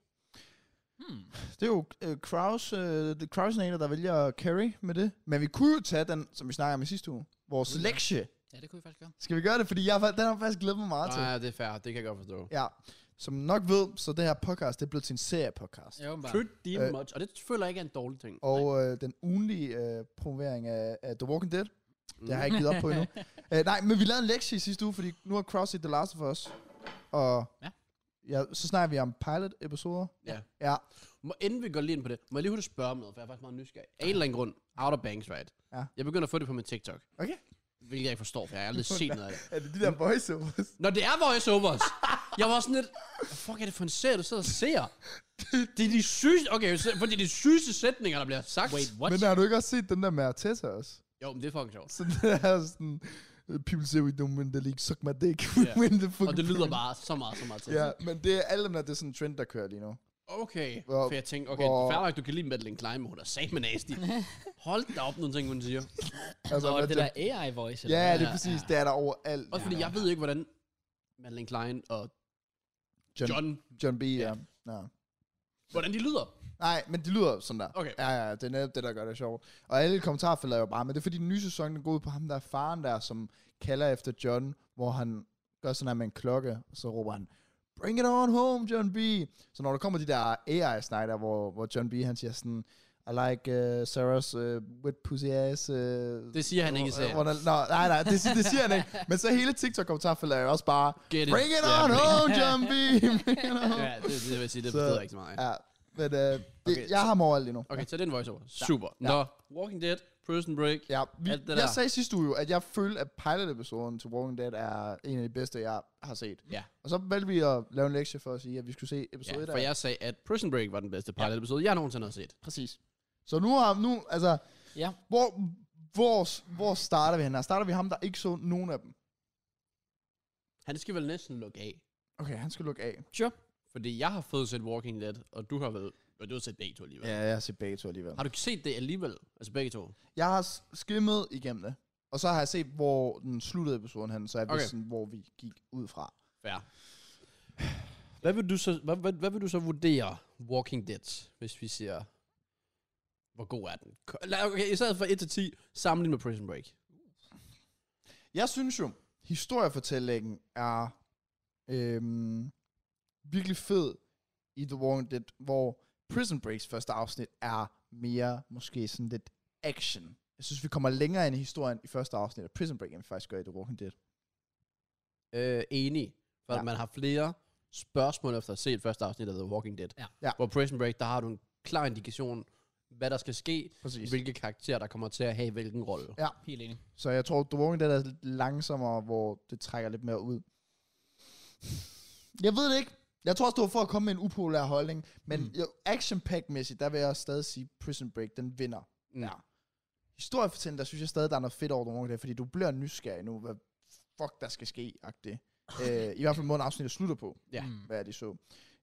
A: Hmm.
C: Det er jo øh, Kraus, øh, det Krausnader, der vælger Carry med det. Men vi kunne jo tage den, som vi snakkede om i sidste uge.
B: Mm.
C: Vores
A: Uha.
C: lektie.
A: Ja, det kunne vi faktisk gøre.
C: Skal vi gøre det? Fordi jeg, har fa- den har jeg faktisk glædet mig meget til.
B: Nej, det er fair. Det kan jeg godt forstå.
C: Ja. Som I nok ved, så det her podcast, det er blevet til en seriepodcast.
A: Ja, åbenbart.
B: Pretty
C: Øh.
B: much. Og det føler jeg ikke er en dårlig ting.
C: Og øh, den ugenlige øh, promovering af, af The Walking Dead
B: Mm.
C: Det har jeg ikke givet op på endnu. Øh, nej, men vi lavede en lektie i sidste uge, fordi nu har CrossFit The Last of Us. Og
A: Ja.
C: ja, så snakker vi om pilot-episoder.
B: Ja.
C: Ja,
B: Må, inden vi går lige ind på det, må jeg lige hurtigt spørge om noget, for jeg er faktisk meget nysgerrig. Af en eller anden grund, Outer Banks, right?
C: Ja.
B: Jeg begynder at få det på min TikTok,
C: okay.
B: hvilket jeg ikke forstår, for jeg har aldrig set noget af det.
C: Er det de der voiceovers?
B: Nå, det er voiceovers. jeg var sådan lidt, hvad fuck er det for en serie, du sidder og ser? Det er de sygeste, okay, så- for det er de sygeste sætninger, der bliver sagt.
A: Wait, what?
C: Men har du ikke også set den der med Arteta også?
B: Jo, men det er fucking sjovt.
C: Så det er sådan, people say we don't win the league, suck my dick, we
B: Ja.
C: win the fucking
B: Og det lyder
C: thing."
B: bare så meget, så meget til.
C: Ja, men det er alle dem der, det er sådan en trend, der kører lige nu.
B: Okay,
C: Hvor-
B: for jeg tænkte, okay,
C: hvor-
B: fair nok, du kan lide Madeline Klein, men hun er satme nasty. Hold da op, nogle ting, hun siger.
A: Altså,
C: hvad
A: og det
C: det-
A: der AI-voice?
C: Ja, det er
B: Ja,
C: præcis, det er der overalt.
B: Også fordi jeg ved ikke, hvordan Madeline Klein og
C: John, John.
B: John,
C: B, ja. ja.
B: hvordan de lyder.
C: Nej, men det lyder sådan der.
B: Okay.
C: Ja, ja, det er netop det, der gør det sjovt. Og alle kommentarfelter er jo bare, men det er fordi den nye sæson, den går ud på ham, der er faren der, som kalder efter John, hvor han gør sådan her med en klokke, og så råber han, Bring it on home, John B. Så når der kommer de der AI-snider, hvor, hvor John B. han siger sådan, I like uh, Sarah's uh, wet pussy ass. Uh,
B: Det siger han ikke i serien.
C: hvor, der, no, nej, nej, det, si- det siger han ikke. Men så hele TikTok-kommentarfeltet er jo også bare,
B: Get it.
C: Bring it
B: Ja,
C: on
B: bring-
C: home, John B. Bring it on.
B: Ja, det, det vil jeg sige, det
C: Så-
B: betyder ikke så meget.
C: Ja, men uh, det,
B: Okay,
C: okay, jeg
B: så-
C: har mig overalt lige nu.
B: Okay, så det er en voiceover. Super.
C: Ja.
B: Nå, Walking Dead, Prison Break.
C: Ja, vi,
B: Alt det
C: jeg
B: der.
C: sagde sidste uge jo, at jeg følte, at pilot-episoden til Walking Dead er en af de bedste, jeg har set.
B: Ja.
C: Og så valgte vi at lave en lektie for at sige, at vi skulle se episode
B: ja
C: 1
B: for jeg sagde, at Prison Break var den bedste pilot-episode, jeg nogensinde har set.
C: Præcis. Så nu har nu, altså,
A: Ja.
C: hvor, hvor, hvor starter vi hen her? Starter vi ham, der ikke så nogen af dem?
B: Han skal vel næsten lukke af.
C: Okay, han skal lukke af.
B: Sure. Fordi jeg har fået set Walking Dead, og du har vel... Og du har set begge to alligevel.
C: Ja, jeg har set begge to alligevel.
B: Har du set det alligevel? Altså begge to?
C: Jeg har s- skimmet igennem det. Og så har jeg set, hvor den sluttede episoden hen, så jeg okay.
B: Okay.
C: vidste, sådan, hvor vi gik ud fra.
B: Fair. Hvad vil, du så, hvad, hvad, hvad vil du så vurdere Walking Dead, hvis vi siger, hvor god er den? Ko- lad- Okay, i stedet for 1 til 10, sammenlignet med Prison Break.
C: Jeg synes jo, historiefortællingen er øhm, virkelig fed i The Walking Dead, hvor Prison Breaks første afsnit er mere måske sådan lidt action. Jeg synes, vi kommer længere ind i historien i første afsnit af Prison Break, end vi faktisk gør i The Walking Dead.
B: Øh, enig, for
C: Ja.
B: ja. man har flere spørgsmål efter at se et første afsnit af The Walking Dead.
A: Ja.
C: Ja.
B: Hvor Prison Break, der har du en klar indikation, hvad der skal ske,
C: Præcis.
B: hvilke karakterer, der kommer til at have hvilken rolle.
A: Helt enig.
C: Så jeg tror, The Walking Dead er lidt langsommere, hvor det trækker lidt mere ud. Jeg ved det ikke. Jeg tror også, det var for at komme med en upopulær holdning, men
B: Mm.
C: mm. action pack mæssigt der vil jeg stadig sige, Prison Break, den vinder.
B: Ja.
C: historiefortælling, der synes jeg stadig, der er noget fedt over nogle der, fordi du bliver nysgerrig nu, hvad fuck der skal ske, agtigt. øh, I hvert fald måden afsnittet slutter på,
B: Ja.
A: Mm.
C: hvad de så.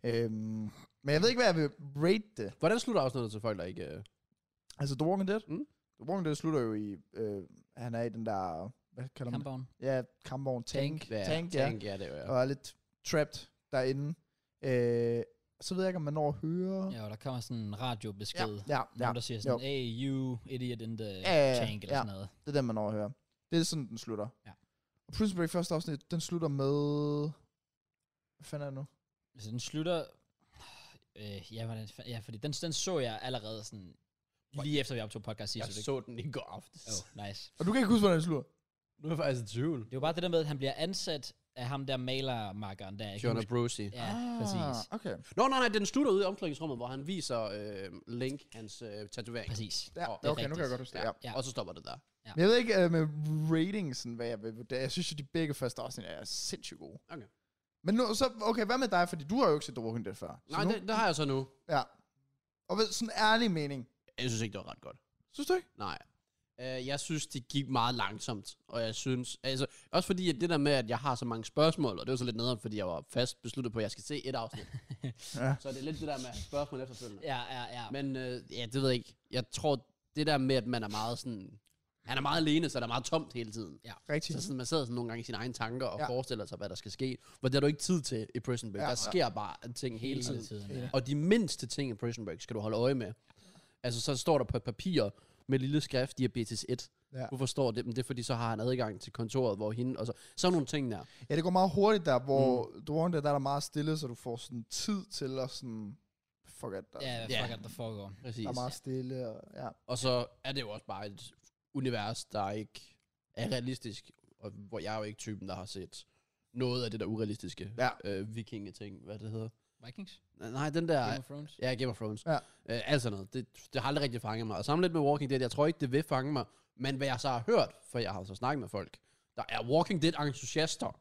C: Øhm, men jeg ved ikke, hvad jeg vil rate det.
B: Hvordan slutter afsnittet til folk, der ikke... Øh...
C: Altså, The Walking Dead?
B: Mm.
C: The Walking Dead slutter jo i, øh, han er i den der, hvad kalder man det?
A: Kampvogn.
C: Ja, kampvogn. Tank.
B: Ja,
C: tank, ja.
B: tank, ja. det er jo, ja.
C: Og er lidt trapped derinde. Øh, så ved jeg ikke, om man når at høre.
A: Ja, og der kommer sådan en radiobesked. Ja.
C: ja,
A: Nogen, der siger sådan, hey, you idiot in the
C: Ja, ja, ja,
A: tank, eller
C: ja.
A: sådan noget.
C: Det er den, man overhører. Det er sådan, den slutter.
A: Ja.
C: Og Prison Break første afsnit, den slutter med... Hvad fanden er det nu?
A: Så den slutter... Øh, ja, hvordan, fa- ja, fordi den, den så jeg allerede sådan... Lige efter vi optog podcast
B: Jeg
A: sidste uge.
B: så den i går aftes.
A: Oh, nice.
C: Og du kan ikke huske, hvordan den slutter.
B: Nu er jeg faktisk i tvivl.
A: Det var bare det der med, at han bliver ansat af ham der malermarkeren der. Jeg kan
B: John
A: huske-
B: Brucey.
A: Ja, præcis.
C: Ah, Okay.
B: Nå, nej, nej, den slutter ude i omklædningsrummet, hvor han viser øh, Link hans øh, tatovering.
A: Præcis.
C: Ja,
B: Åh,
C: oh,
B: det er
C: okay, nu kan
A: rigtigt.
C: jeg godt huske det. Ja.
A: Ja.
B: Og så stopper det der.
A: Ja.
C: Men jeg ved ikke øh, med ratings, sådan, hvad jeg vil vurdere. Jeg synes jo, de begge første afsnit er sindssygt gode.
B: Okay.
C: Men nu, så, okay, hvad med dig? Fordi du har jo ikke set The Walking Dead før. Så
B: Nej,
C: nu,
B: det, det, har jeg så nu.
C: Ja. Og ved, sådan ærlig mening.
B: Jeg synes ikke, det var ret godt.
C: Synes du ikke?
B: Nej. Øh, jeg synes, det gik meget langsomt, og jeg synes, altså, også fordi at det der med, at jeg har så mange spørgsmål, og det var så lidt nederen, fordi jeg var fast besluttet på, at jeg skal se et afsnit.
C: Ja.
B: Så det er lidt det der med spørgsmål efterfølgende.
A: Ja, ja, ja.
B: Men øh, ja, det ved jeg ikke. Jeg tror, det der med, at man er meget sådan, han er meget alene, så der er meget tomt hele tiden.
C: Rigtigt.
B: Så sådan, man sidder sådan nogle gange i sine egne tanker og
C: Ja.
B: ja. forestiller sig, hvad der skal ske. For det har du ikke tid til i Prison Break.
C: Ja.
B: Ja. Der sker bare ting hele tiden.
A: tiden.
C: Ja.
A: Ja.
B: Og de mindste ting i Prison Break skal du holde øje med. Altså, så står der på et papir med lille skrift, diabetes 1.
C: Ja.
B: Ja. Hvorfor står det? Men det er, fordi så har han adgang til kontoret, hvor hende... Og så, sådan nogle ting der.
C: Ja, det går meget hurtigt der, hvor mm. The Walking Dead der er der meget stille, så du får sådan tid til at sådan... Fuck at der,
A: Ja,
C: er
A: hvad fuck
C: sådan-
B: Ja.
A: er det, der foregår?
B: Præcis.
C: der er meget stille. Og, ja.
B: Og så er det jo også bare et univers, der ikke er realistisk, og hvor jeg er jo ikke typen, der har set noget af det der urealistiske
C: Ja.
B: øh, vikingeting, hvad det hedder.
A: Vikings?
B: Nej, Nej, den der...
A: Game of Thrones?
B: Ja, Game of Thrones.
C: Ja.
B: Øh, alt sådan noget. Det, det har aldrig rigtig fanget mig. Og sammen lidt med Walking Dead, jeg tror ikke, det vil fange mig. Men hvad jeg så har hørt, for jeg har så snakket med folk, der er Walking Dead-entusiaster,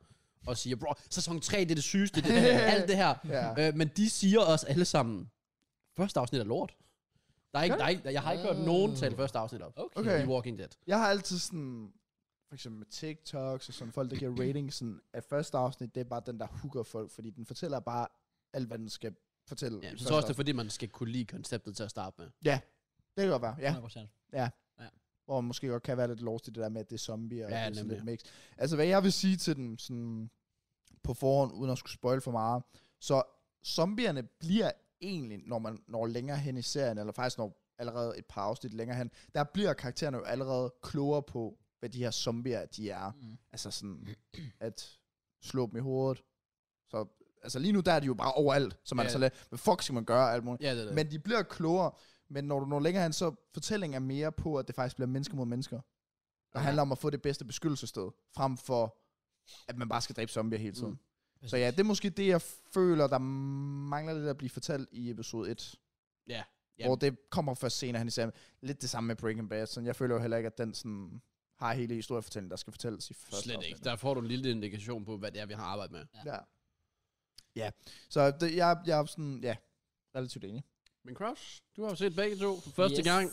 B: og siger, bro, sæson 3, det er det sygeste, det er alt det her.
C: Ja.
B: Øh, men de siger os alle sammen, første afsnit er lort. Der er ikke,
C: Gør
B: der er ikke, jeg har ikke hørt nogen tale første afsnit op
A: Okay.
C: Okay.
B: i Walking Dead.
C: Jeg har altid sådan, for eksempel med TikToks og sådan folk, der giver ratings, sådan, at første afsnit, det er bare den, der hooker folk, fordi den fortæller bare alt, hvad den skal fortælle.
B: Ja,
C: i
B: så
C: første
B: tror jeg også, det er
C: afsnit.
B: fordi, man skal kunne lide konceptet til at starte med.
C: det kan godt være, ja.
A: 100%.
C: Hvor man måske godt kan være lidt lost i det der med, at det er zombier og
B: Ja,
C: det er sådan
B: nemlig.
C: lidt mix. Altså, hvad jeg vil sige til den sådan, på forhånd, uden at skulle spoil for meget, så zombierne bliver egentlig, når man når længere hen i serien, eller faktisk når allerede et par afsnit længere hen, der bliver karaktererne jo allerede klogere på, hvad de her zombier, de er.
A: Mm.
C: Altså sådan, at slå dem i hovedet. Så, altså lige nu, der er de jo bare overalt, så man
B: Ja.
C: er så lidt, hvad fuck skal man gøre, og alt muligt.
B: Ja, det er det.
C: Men de bliver klogere, men når du når længere hen, så fortællingen er mere på, at det faktisk bliver mennesker mod mennesker. Der
B: Okay.
C: handler om at få det bedste beskyttelsessted, frem for, at man bare skal dræbe zombier hele tiden. Mm. Så ja, det er måske det, jeg føler, der mangler lidt at blive fortalt i episode 1.
B: Ja, ja.
C: Hvor det kommer først senere hen i serien. Lidt det samme med Breaking Bad. Sådan, jeg føler jo heller ikke, at den sådan, har hele historiefortællingen, der skal fortælles i første
B: Slet ikke.
C: afsnit.
B: Der får du en lille indikation på, hvad det er, vi har arbejdet med.
C: Ja. Ja, så det, jeg, jeg er sådan, ja, relativt enig.
B: Men Kraus, du har jo set begge to for første yes. gang.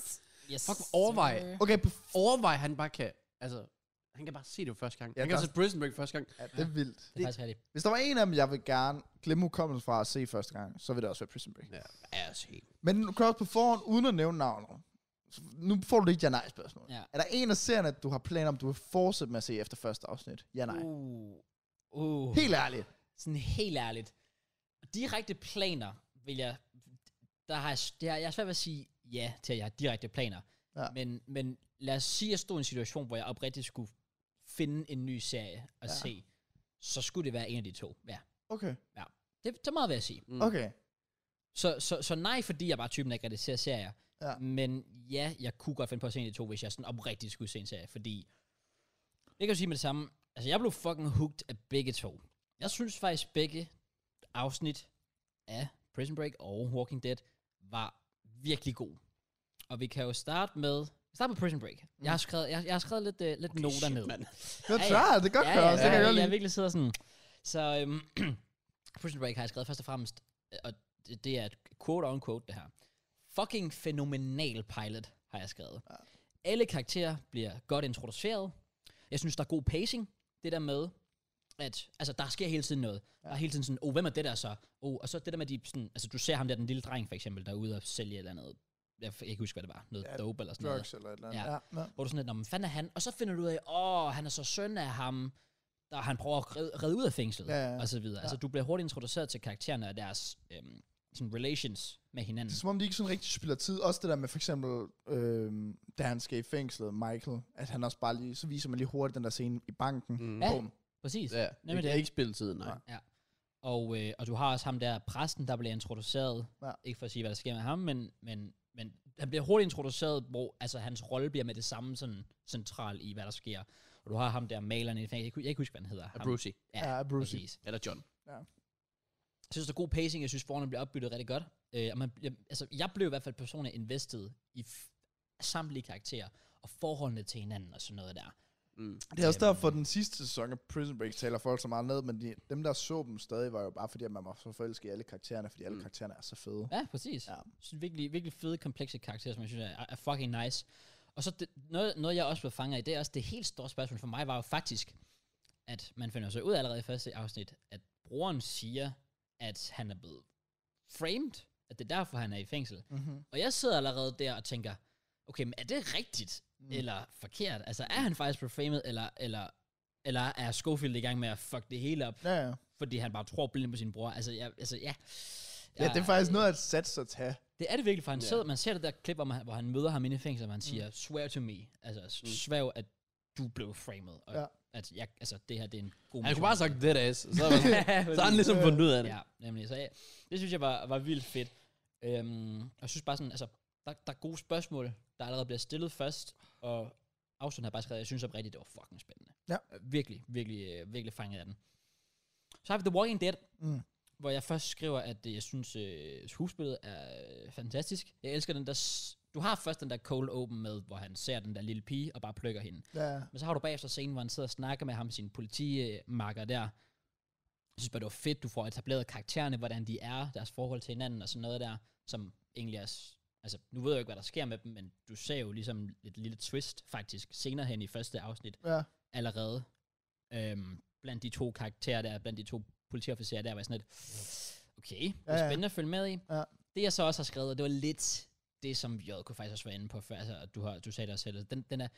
A: Yes.
B: Fuck, overvej.
A: sir.
C: Okay, på f-
B: Overvej, han bare kan... Altså, han kan bare se det jo første gang. Ja,
C: Ja,
B: han kan
C: der-
B: se Prison Break første gang.
C: ja, det er vildt.
A: Det er faktisk rigtigt.
C: Hvis der var en af dem, jeg vil gerne glemme hukommelsen fra at se første gang, så vil det også være Prison Break.
B: Ja, altså helt.
C: Men Cross på forhånd, uden at nævne navnet. Så Nu får du lidt ja-nej-spørgsmål.
A: Ja.
C: Er der en af serierne, du har planer om, du vil fortsætte med at se efter første afsnit? Ja-nej. Uh.
A: Uh, uh.
C: Helt ærligt.
A: Sådan helt ærligt. Direkte planer vil jeg... Der har jeg, det har, jeg har svært ved at sige ja til, at jeg har direkte planer.
C: Ja.
A: Men, men lad os sige, at jeg stod i en situation, hvor jeg oprigtigt skulle finde en ny serie at
C: Ja.
A: ja. se. Så skulle det være en af de to. Ja.
C: Okay.
A: Det, så meget vil jeg sige.
B: Mm.
C: Okay.
A: Så, så, så nej, fordi jeg bare er typen, der ikke rigtig ser serier.
C: Ja.
A: Men ja, jeg kunne godt finde på at se en af de to, hvis jeg sådan oprigtigt skulle se en serie, fordi... Jeg kan jo sige med det samme. Altså, jeg blev fucking hooked af begge to. Jeg synes faktisk, begge afsnit af Prison Break og Walking Dead var virkelig god. Og vi kan jo starte med... Start med Prison Break. Jeg har skrevet, jeg, jeg har skrevet lidt, øh, lidt okay, noter ned.
B: mand.
C: Det
A: Ja,
C: er
A: ja.
C: klart, det er godt,
A: Ja,
C: Kraus.
A: ja,
C: Det kan jeg
A: ja,
C: godt
A: ja, jeg
C: lide.
A: virkelig sidder sådan. Så øhm, Prison Break har jeg skrevet først og fremmest, øh, og det, det er et quote on quote det her. Fucking fænomenal pilot, har jeg skrevet. Ja. Alle karakterer bliver godt introduceret. Jeg synes, der er god pacing. Det der med, at altså, der sker hele tiden noget. Ja. Der er hele tiden sådan, oh, hvem er det der så? Oh, og så det der med, de, sådan, altså, du ser ham der, den lille dreng for eksempel, der er ude og sælge et eller andet. Jeg kan ikke huske, hvad det var. Noget
C: Ja,
A: dope eller sådan noget
C: Drugs eller et eller andet.
A: Ja.
C: Ja. ja.
A: hvor du sådan lidt, "Nå, men fanden er han? Og så finder du ud af, åh, han er så søn af ham, der han prøver at redde, redde ud af fængslet,
C: Ja, ja, ja.
A: og så videre. Ja. Altså, du bliver hurtigt introduceret til karaktererne og deres øhm, sådan relations med hinanden.
C: Det er som om, de ikke sådan rigtig spiller tid. Også det der med for eksempel, øhm, da han skal i fængslet, Michael, at han også bare lige, så viser man lige hurtigt den der scene i banken.
B: Mm.
A: Ja.
C: Bum.
A: Præcis.
B: Ja,
A: Nemlig
B: det er
A: det.
B: ikke spilletid, nej.
C: Nej.
A: Og, øh, og du har også ham der, præsten, der bliver introduceret.
C: Ja.
A: Ja. Ikke for at sige, hvad der sker med ham, men, men, men han bliver hurtigt introduceret, hvor altså, hans rolle bliver med det samme sådan, central i, hvad der sker. Og du har ham der, maleren i fængslet. Jeg kan jeg kan ikke huske, hvad han hedder.
B: Ja,
A: Ham.
B: Brucey.
A: Ja,
C: Ja, Brucey.
A: Præcis.
B: Eller John.
A: Jeg synes, der er god pacing. Jeg synes, forhånden bliver opbygget rigtig godt. Øh, og man, jeg, altså, jeg blev i hvert fald personligt investet i f- samtlige karakterer og forholdene til hinanden og sådan noget der.
B: Mm.
C: Det er også derfor, den sidste sæson af Prison Break taler folk så meget ned, men de, dem, der så dem stadig, var jo bare fordi, at man var så forelsket i alle karaktererne, fordi alle
B: Mm.
C: karaktererne er så fede.
A: Ja, præcis.
C: Ja.
A: Ja. Så virkelig, virkelig fede, komplekse karakterer, som jeg synes er, er fucking nice. Og så det, noget, noget, jeg også blev fanget i, det er også det helt store spørgsmål for mig, var jo faktisk, at man finder så ud allerede i første afsnit, at broren siger, at han er blevet framed, at det er derfor, han er i fængsel.
C: Mm-hmm.
A: Og jeg sidder allerede der og tænker, okay, men er det rigtigt mm. eller forkert? Altså, er han faktisk profamet, eller, eller, eller er Schofield i gang med at fuck det hele op, ja.
C: Ja, ja.
A: fordi han bare tror blindt på sin bror? Altså, jeg, altså ja.
C: ja, det er faktisk noget af et sats at tage.
A: Det er det virkelig, for han
B: Ja. Mm.
A: ja. sidder, man ser det der klip, hvor man, hvor han møder ham inde i fængslet, og han siger, swear to me, altså mm. svæv, at du blev framed, og
C: Ja.
A: ja. at jeg, altså, det her, det er en god
B: Han kunne
A: mission.
B: bare have sagt that ass. Så er man- så har han ligesom fundet ud af det.
A: Ja, nemlig. Så ja, det synes jeg var, var vildt fedt. Øhm, og jeg synes bare sådan, altså, der, der er gode spørgsmål, der allerede bliver stillet først, og Afsund har bare skrevet, jeg synes oprigtigt, det var fucking spændende.
C: Ja.
A: Øh, Virkelig, virkelig, øh, virkelig fanget af den. Så har vi The Walking Dead,
C: Mm.
A: hvor jeg først skriver, at øh, jeg synes, øh, skuespillet er øh, fantastisk. Jeg elsker den der... s- Du har først den der cold open med, hvor han ser den der lille pige og bare plukker hende.
C: Ja,
A: Men så har du bagefter scenen, hvor han sidder og snakker med ham, sin politimarker der. Jeg synes bare, det var fedt, du får etableret karaktererne, hvordan de er, deres forhold til hinanden og sådan noget der, som egentlig er... s- Altså, nu ved jeg jo ikke, hvad der sker med dem, men du ser jo ligesom et lille twist, faktisk, senere hen i første afsnit
C: ja.
A: allerede. Øhm, blandt de to karakterer der, blandt de to politiofficerer der, var jeg sådan lidt, okay, det
C: Ja,
A: er
C: ja.
A: spændende at følge med i.
C: Ja.
A: Det jeg så også har skrevet, og det var lidt det, som JK faktisk også var inde på før, altså, og du, har, du sagde det også selv, den, den, er,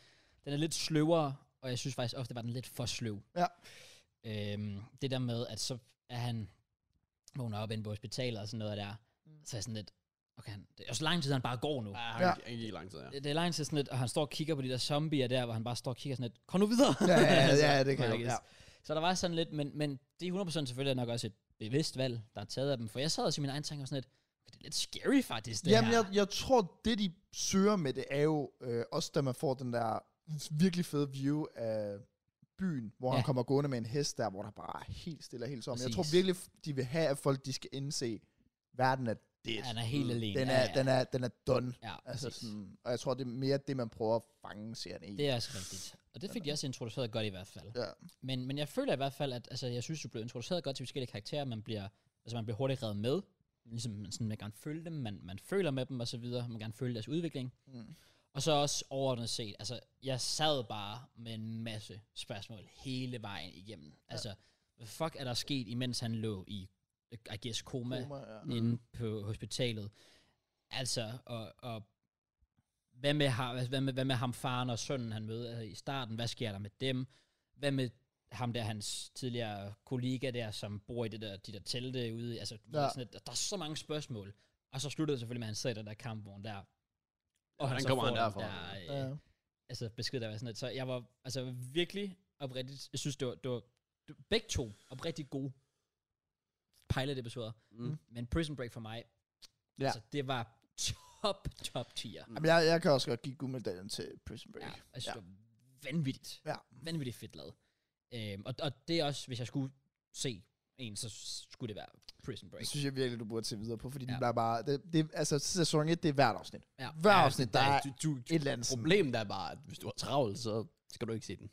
A: den er lidt sløvere, og jeg synes faktisk ofte, var den lidt for sløv.
C: Ja.
A: Øhm, det der med, at så er han vågner op inde på hospitalet og sådan noget der,
C: Mm.
A: så er jeg sådan lidt, okay, han, det er også lang tid, han bare går nu.
B: Ja, han
C: Ja.
B: gik- han gik lang tid, ja.
A: Det det er lang tid sådan lidt, og han står og kigger på de der zombier der, hvor han bare står og kigger sådan lidt, kom nu videre.
C: Ja, ja, ja,
A: Altså,
C: ja, det kan jeg
A: I
C: godt,
A: guess.
C: ja.
A: Så der var sådan lidt, men, men det er 100% selvfølgelig nok også et bevidst valg, der er taget af dem, for jeg sad også i min egen tanke og sådan lidt, "Okay, det er lidt scary faktisk, det
C: Jamen,
A: her.
C: jeg, jeg tror, det de søger med det er jo øh, også, da man får den der virkelig fede view af byen, hvor ja.
A: Ja.
C: han kommer gående med en hest der, hvor der bare er helt stille og helt som. Jeg tror
A: Præcis.
C: virkelig, de vil have, at folk de skal indse, verden er det.
A: Han er helt alene.
C: Den
A: Ja,
C: er,
A: ja.
C: den er, den er done.
A: Ja,
C: Altså
A: præcis.
C: sådan, og jeg tror, det er mere det, man prøver at fange serien i.
A: Det er også rigtigt. Og det fik de også introduceret godt i hvert fald.
C: Ja.
A: Men, men jeg føler i hvert fald, at altså, jeg synes, du blev introduceret godt til forskellige karakterer. Man bliver, altså, man bliver hurtigt reddet med. Ligesom, man, sådan, man gerne følge dem, man, man føler med dem og så videre. Man gerne følge deres udvikling.
C: Mm.
A: Og så også overordnet set, altså, jeg sad bare med en masse spørgsmål hele vejen igennem. Altså, hvad fuck er der sket, imens han lå i, I guess, koma,
C: Koma, ja.
A: mm. inde på hospitalet. Altså, og, og hvad, med, har- hvad, med, hvad med ham, faren og sønnen, han møder altså, i starten? Hvad sker der med dem? Hvad med ham der, hans tidligere kollega der, som bor i det der, de der telte ude? i- Altså, ja.
C: Ja.
A: sådan, at, der er så mange spørgsmål. Og så slutter det selvfølgelig med, at han sidder i den der kampvogn der. Og
B: Hvordan
A: så
B: kommer
A: får
B: han
A: den
B: derfra?
A: Der, øh,
C: Ja.
A: altså besked der var sådan lidt. Så jeg var altså virkelig oprigtigt, jeg synes, det var, det var det var begge to oprigtigt gode pilot-episoder.
B: Mm.
A: Men Prison Break for mig, ja.
C: Ja.
A: altså det var top, top tier.
B: Mm.
C: Jamen, jeg, jeg kan også godt give guldmedaljen til Prison Break.
A: Ja,
C: Ja.
A: altså det var vanvittigt.
C: Ja.
A: Vanvittigt fedt lavet. Øhm, og, og det er også, hvis jeg skulle se en, så skulle det være Prison Break.
C: Det synes jeg virkelig, du burde se videre på, fordi ja.
A: Ja.
C: det bliver bare... Det, det, altså, sæson 1, det er hvert afsnit.
A: Ja.
C: Hver afsnit, der er
B: du, du,
C: et eller andet sådan.
B: Problemet er bare, at hvis du har travlt, så skal du ikke se den.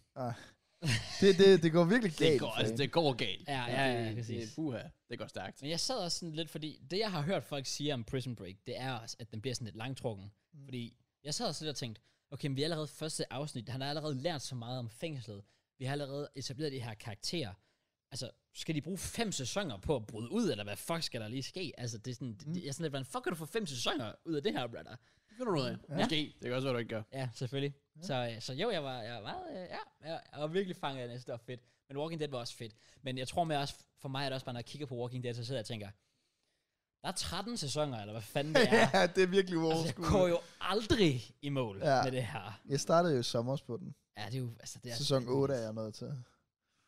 C: Det, det, det går virkelig galt.
B: Det går,
C: for
B: altså,
C: en.
B: det går galt.
A: Ja, ja, ja,
B: det,
A: præcis.
B: Det, puha, det går stærkt.
A: Men jeg sad også sådan lidt, fordi det jeg har hørt folk sige om Prison Break, det er også, at den bliver sådan lidt langtrukken. Mm. Fordi jeg sad også lidt og tænkte, okay, men vi er allerede første afsnit, han har allerede lært så meget om fængslet. Vi har allerede etableret de her karakterer. Altså, skal de bruge fem sæsoner på at bryde ud, eller hvad fuck skal der lige ske? Altså, det er sådan, mm. jeg er sådan lidt, hvordan fuck kan du få fem sæsoner ud af det her, brother?
B: Det finder du ud af. Måske. Det kan også være, du ikke gør.
A: Ja, selvfølgelig. Ja. Så, øh, så jo, jeg var, jeg var meget, øh, ja, jeg, jeg var virkelig fanget af det, jeg synes, det var fedt. Men Walking Dead var også fedt. Men jeg tror med også, for mig er det også bare, når jeg kigger på Walking Dead, så sidder jeg og tænker, der er 13 sæsoner, eller hvad fanden det er.
C: ja, det er virkelig
A: altså, jeg går
C: uoverskueligt.
A: jo aldrig i mål ja.
C: Ja.
A: med det her.
C: Jeg startede jo i sommer på den.
A: Ja, det er jo, altså det er...
C: Sæson 8 er jeg nået til.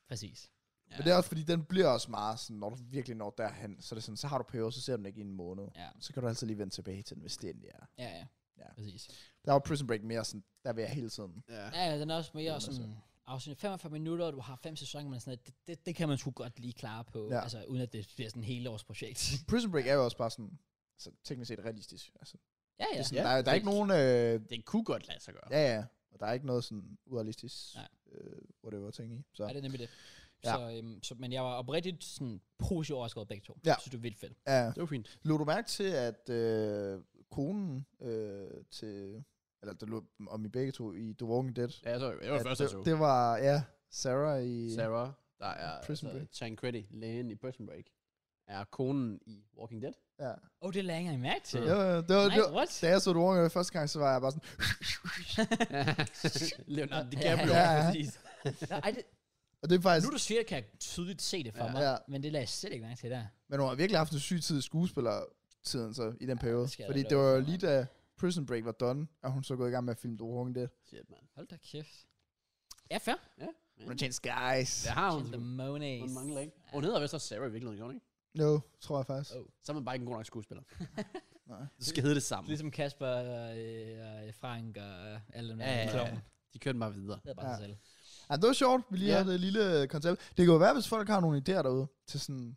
A: Præcis.
C: Men det er også, fordi den bliver også meget sådan, når du virkelig når derhen, så er det sådan, så har du perioder, så ser du den ikke i en måned.
A: Ja,
C: Så kan du altid lige vende tilbage til den, hvis det endelig er.
A: ja, ja. ja.
C: Ja.
A: Præcis.
C: Der var Prison Break mere sådan, der vil jeg hele tiden.
B: Ja.
A: Ja, ja, den er også mere
C: er
A: sådan... Afsnit 45 minutter, og du har fem sæsoner, men sådan noget, det, det, det kan man sgu godt lige klare på, ja.
C: Ja.
A: altså uden at det bliver sådan et hele års projekt.
C: Prison Break er jo også bare sådan, altså teknisk set realistisk. Altså,
A: ja, ja.
C: det er sådan,
B: Ja,
C: ja, der, er- der er ikke nogen, øh,
B: Det kunne godt lade sig gøre.
C: ja ja, og der er ikke noget sådan urealistisk,
A: Nej.
C: øh, whatever ting i. Så
A: Ja, det er nemlig det. Ja.
C: Ja.
A: Så, øhm, så, men jeg var oprigtigt sådan positivt overrasket over begge to.
C: Ja.
A: Jeg synes, det er vildt fedt.
C: ja,
B: Det var fint.
C: Lod du mærke til, at øh, konen øh, til, eller det lå om i begge to i The Walking Dead.
B: Ja, jeg så, det var
C: at
B: første, jeg så.
C: det, det var, ja, Sarah i...
B: Sarah, der er
C: Prison
B: altså,
C: Break.
B: Tancredi, lægen i Prison Break, er konen i Walking Dead.
C: Ja.
A: Åh, oh, det lagde jeg ikke mærke til.
B: Ja.
A: Ja.
C: Jo, jo, det var,
A: Nej,
C: det var,
A: what?
C: da jeg så The Walking Dead første gang, så var jeg bare sådan,
B: Leonardo DiCaprio.
A: Ja,
C: ja, ja.
B: præcis.
A: Nå, ej, det,
C: og det er faktisk,
A: nu du siger det, kan jeg tydeligt se det for ja.
B: Ja.
A: mig.
C: Ja.
A: Men det lagde jeg slet ikke mærke til der.
C: men hun har virkelig haft en syg tid i skuespillertiden så, i den periode.
A: det skal jeg
C: fordi
A: da
C: det
A: love
C: var jo
A: for,
C: lige da Prison Break var done, og hun så gået i gang med at filme The Walking
A: Mm.
C: Dead.
B: Shit, man.
A: Hold da kæft. Ja, fair.
C: Hun har tjent guys.
B: Det
C: Ja.
B: har hun.
A: Tjent The Monies.
B: Hun mangler ikke. Hun hedder vist også Sarah i virkeligheden, gjorde hun ikke?
C: No, tror jeg faktisk.
A: Oh.
B: Så er man bare ikke en god nok skuespiller.
C: Nej.
B: Det skal hedde det samme.
A: Ligesom Kasper og øh, og Frank og øh, alle dem der.
B: Ja, ja, ja.
A: Klovn.
B: De De kørte bare videre.
A: Det er bare ja.
C: Ja.
A: sig selv.
C: Ja, det var sjovt. Vi lige
B: Ja.
C: ja. havde det lille øh, koncept. Det kan jo være, hvis folk har nogle idéer derude til sådan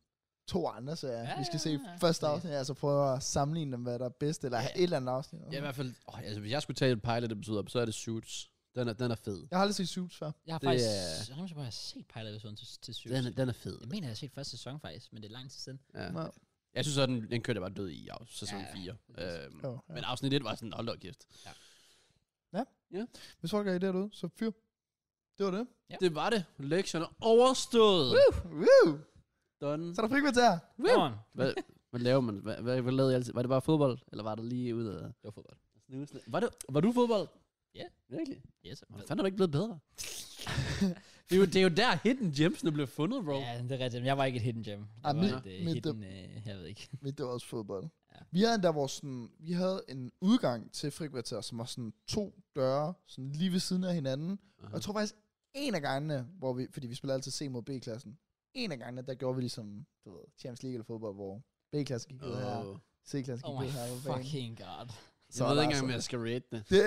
C: to andre serier,
A: Ja,
C: ja, vi skal
A: ja,
C: se i
A: ja.
C: første afsnit. Altså prøve at sammenligne dem, hvad der er bedst, eller
B: Ja.
C: have et eller andet afsnit.
B: Ja, i hvert fald, åh, altså, hvis jeg skulle tage et pilot episode, så er det Suits. Den er, den er fed.
C: Jeg har aldrig set Suits før.
A: Jeg har
B: Det
A: faktisk...
B: er-
A: Jeg har bare set pilot episoden til, til syv.
B: Den, er- den er fed.
A: Jeg mener, jeg har set første sæson faktisk, men det er lang tid siden.
B: Ja.
C: Nå.
B: Jeg synes, at den, den kørte jeg bare død i af sæson
A: Ja,
B: 4.
A: præcis.
B: Øhm,
C: Jo, ja.
B: Men afsnit 1 var sådan, hold da op, kæft.
C: Hvis folk har idéer derude, så fyr. Det var det.
A: Ja.
B: Det var det. Lektionen er overstået.
C: Woo!
B: Done.
C: Så er der frikvarter.
A: Woo! Come on.
B: Hvad, hvad laver man? Hvad, hvad, hvad lavede I altid? Var det bare fodbold? Eller var der lige ud af...
A: Det var fodbold.
B: Snusende. Var, det, var du fodbold?
A: Ja.
B: Virkelig?
A: Yes,
B: Hvordan fanden er du ikke blevet bedre? det, er jo, det er jo der hidden gemsene blev fundet, bro.
A: Ja, det er rigtigt. Men jeg var ikke et hidden gem. Jeg
C: Ah,
A: var
C: mit-
A: et uh,
C: mit-
A: hidden... Uh, jeg ved ikke.
C: Men det var også fodbold.
A: Ja.
C: Ja. Vi havde endda vores sådan, vi havde en udgang til frikvarter, som var sådan to døre, sådan lige ved siden af hinanden. Uh-huh. Og jeg tror faktisk, en af gangene, hvor vi, fordi vi spiller altid C mod B-klassen, en af gangene, der gjorde vi ligesom, du ved, Champions League eller fodbold, hvor B-klassen gik ud her,
B: Oh.
C: C-klassen
A: Oh my
C: gik ud her på banen.
A: fucking god.
B: Så
C: Så
B: jeg
C: er
B: ved
C: der
B: ikke engang,
C: altså-
B: om jeg skal rate det.
C: Det,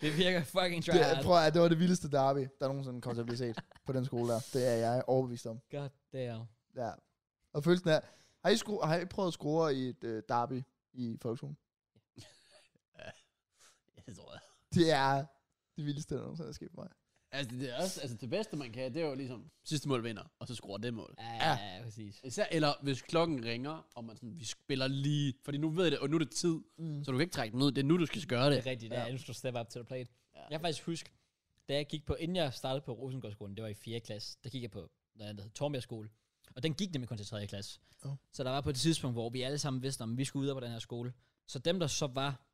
A: Det virker fucking try
C: det, prøv at, høre, det var det vildeste derby, der nogensinde kom til at blive set på den skole der. Det er jeg overbevist om.
A: God damn.
C: Ja. Og følelsen er, har I, skru, har I prøvet at score i et øh, derby i folkeskolen?
B: Jeg tror, jeg.
C: Det er det vildeste, der nogensinde er sket for mig.
B: Altså, det er også, altså, det bedste, man kan, det er jo ligesom, sidste mål vinder, og så scorer det mål.
A: Ja, ja, ja, præcis.
B: Især, eller hvis klokken ringer, og man sådan, vi spiller lige, fordi nu ved jeg det, og nu er det tid,
C: Mm.
B: så du kan ikke trække den ud, det er nu, du skal gøre
A: Det
B: det.
A: er rigtigt, det er,
C: Ja.
A: nu skal du step up to the plate.
B: Ja.
A: Jeg kan faktisk huske, da jeg gik på, inden jeg startede på Rosengårdsskolen, det var i 4. klasse, der gik jeg på noget andet, der hed Tormia skole. Og den gik nemlig kun til 3. klasse.
B: Oh.
C: Åh.
A: Så der var på et tidspunkt, hvor vi alle sammen vidste, om vi skulle ud på den her skole. Så dem, der så var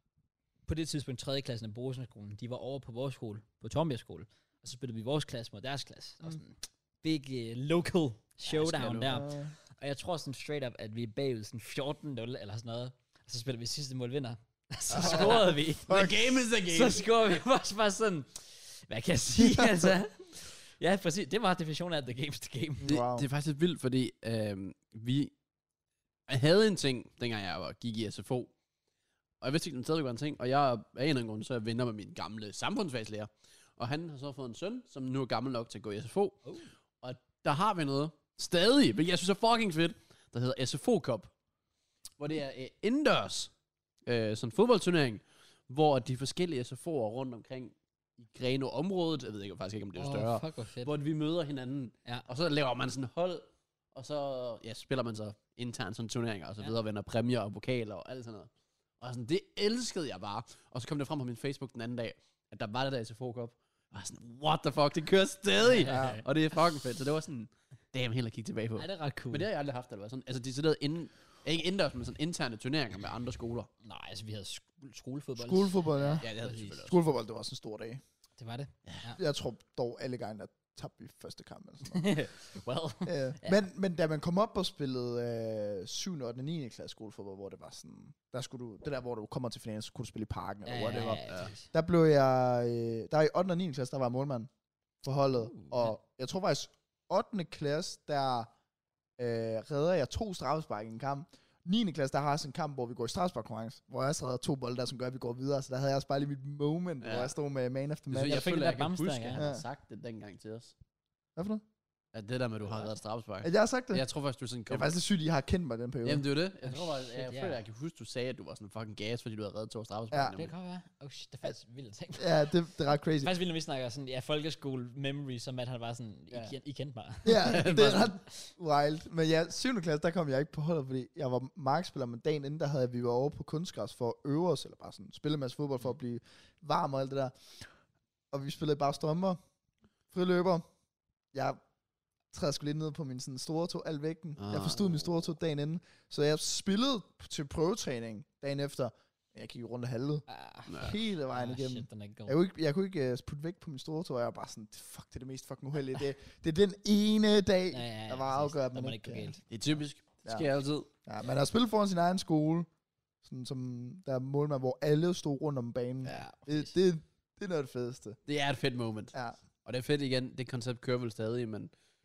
A: på det tidspunkt 3. klassen på Rosengårdsskolen, de var over på vores skole, på Tormia skole. Og så spillede vi vores klasse mod deres klasse. Det var
B: Mm.
A: sådan en big uh, local showdown
B: love.
A: ja, der.
C: Ja.
A: Og jeg tror sådan straight up, at vi er bagud sådan 14-0 eller sådan noget. Og så spiller vi sidste mål vinder. Så scorede vi.
B: Ah, The game is the game.
A: Så scorede vi også bare sådan, hvad kan jeg sige altså? Ja, præcis. Det var definitionen af The Game's The Game.
B: Det, wow.
C: Wow.
B: det er faktisk lidt vildt, fordi øh, vi jeg havde en ting, dengang jeg var, gik i SFO, og jeg vidste ikke, den stadig var en ting, og jeg er af en eller anden grund, så er jeg venner med min gamle samfundsfagslærer, og han har så fået en søn, som nu er gammel nok til at gå i SFO,
A: Oh.
B: og der har vi noget stadig, hvilket jeg synes er fucking fedt, der hedder SFO Cup, hvor det er øh, indendørs, øh, sådan en fodboldturnering, hvor de forskellige SFO'er rundt omkring i Greno-området, jeg ved ikke, faktisk ikke, om det er større,
A: fuck, hvor fedt.
B: hvor vi møder hinanden,
A: Ja.
B: og så laver man sådan et hold, og så ja, spiller man så internt sådan turneringer, og så
A: Ja.
B: videre, vender præmier og pokaler og alt sådan noget. Og sådan, det elskede jeg bare. Og så kom det frem på min Facebook den anden dag, at der var det der SFO Cup. Og jeg var sådan, what the fuck, det kører stadig.
A: Ja.
B: Og det er fucking fedt. Så det var sådan, damn, helt at kigge tilbage på.
A: Ej, det er ret cool.
B: Men det har jeg aldrig haft, eller hvad? Sådan, altså, de sidder inden, ikke indendørs, men sådan interne turneringer med andre skoler.
A: Nej, altså vi havde sko- skolefodbold.
C: Skolefodbold, ja.
B: Ja, det havde vi
A: Præcis.
B: selvfølgelig også.
C: Skolefodbold, det var også en stor dag.
A: Det var det.
C: Jeg tror dog alle gange, der tabte vi første kamp. Eller sådan
A: well.
C: noget. øh, men, men da man kom op og spillede øh, 7. 8. 9. klasse skolefodbold, hvor det var sådan, der skulle du, det der, hvor du kommer til finalen, så kunne du spille i parken, eller whatever.
A: ja, præcis.
C: Der blev jeg, øh, der i 8. og 9. klasse, der var jeg målmand for holdet.
A: Uh.
C: og jeg tror faktisk, 8. klasse, der øh, redder jeg to straffespark i en kamp. 9. klasse, der har jeg også en kamp, hvor vi går i straffesparkkonkurrence, hvor jeg også redder to bolde der, som gør, at vi går videre. Så der havde jeg også bare lige mit moment,
B: Ja.
C: ja. hvor jeg stod med man efter
B: Det,
C: man.
B: er fordi,
A: jeg
B: jeg,
A: fik
B: føler,
A: den
B: jeg
A: der
B: kan
A: Bamse
B: huske, at han
C: dengang.
B: har sagt det dengang til os.
C: Hvad for noget?
B: At det der med, at du har reddet straffespark.
C: At jeg har sagt det?
B: Jeg tror faktisk, du sådan
C: Det er
B: kom
C: faktisk lidt sygt, at I har kendt mig i den periode.
B: Jamen, det er jo det. Jeg,
A: Oh,
B: tror, bare,
A: shit,
B: jeg, jeg
A: ja.
B: føler, jeg kan huske, du sagde, at du var sådan fucking gas, fordi du havde reddet to
C: Ja.
B: straffespark.
A: Det
B: nemlig.
A: kan godt være. Oh shit, det er faktisk vildt ting. Det
C: Ja, det, det er ret crazy.
A: er faktisk vildt, når vi snakker sådan, ja, folkeskole memory, som at han var sådan, I,
B: Ja.
A: ken- I kendte mig.
C: Ja, det er ret wild. Men ja, 7. klasse, der kom jeg ikke på holdet, fordi jeg var markspiller, men dagen inden, der havde vi været over på kunstgræs for at øve os, eller bare sådan spille en masse fodbold for at blive varm og alt det der. Og vi spillede bare strømper, friløber. Jeg træder sgu lidt ned på min sådan, store tog, al vægten.
A: Ah.
C: Jeg forstod min store tog dagen inden, så jeg spillede til prøvetræning dagen efter. Men Jeg gik jo rundt og halvede
A: Ah,
C: hele vejen
A: ah,
C: igennem.
A: Shit, den er god.
C: Jeg kunne ikke, jeg kunne ikke uh, putte vægt på min store tog, og jeg var bare sådan, fuck, det er det mest fucking uheldige. Det, det er den ene dag,
A: Ja, ja, ja,
C: der var
A: præcis.
C: afgør, at
A: Der
C: man
A: må det ikke
C: ikke
A: gå
C: kan-
A: galt.
B: Det er typisk. Det
C: Ja.
B: sker altid.
C: ja, man har spillet foran sin egen skole, sådan som der er målmand, hvor alle stod rundt om banen. Ja, det, det, det er noget af det fedeste.
B: Det er et fedt moment.
C: Ja,
B: Og det er fedt igen. Det koncept kører vel stadig, men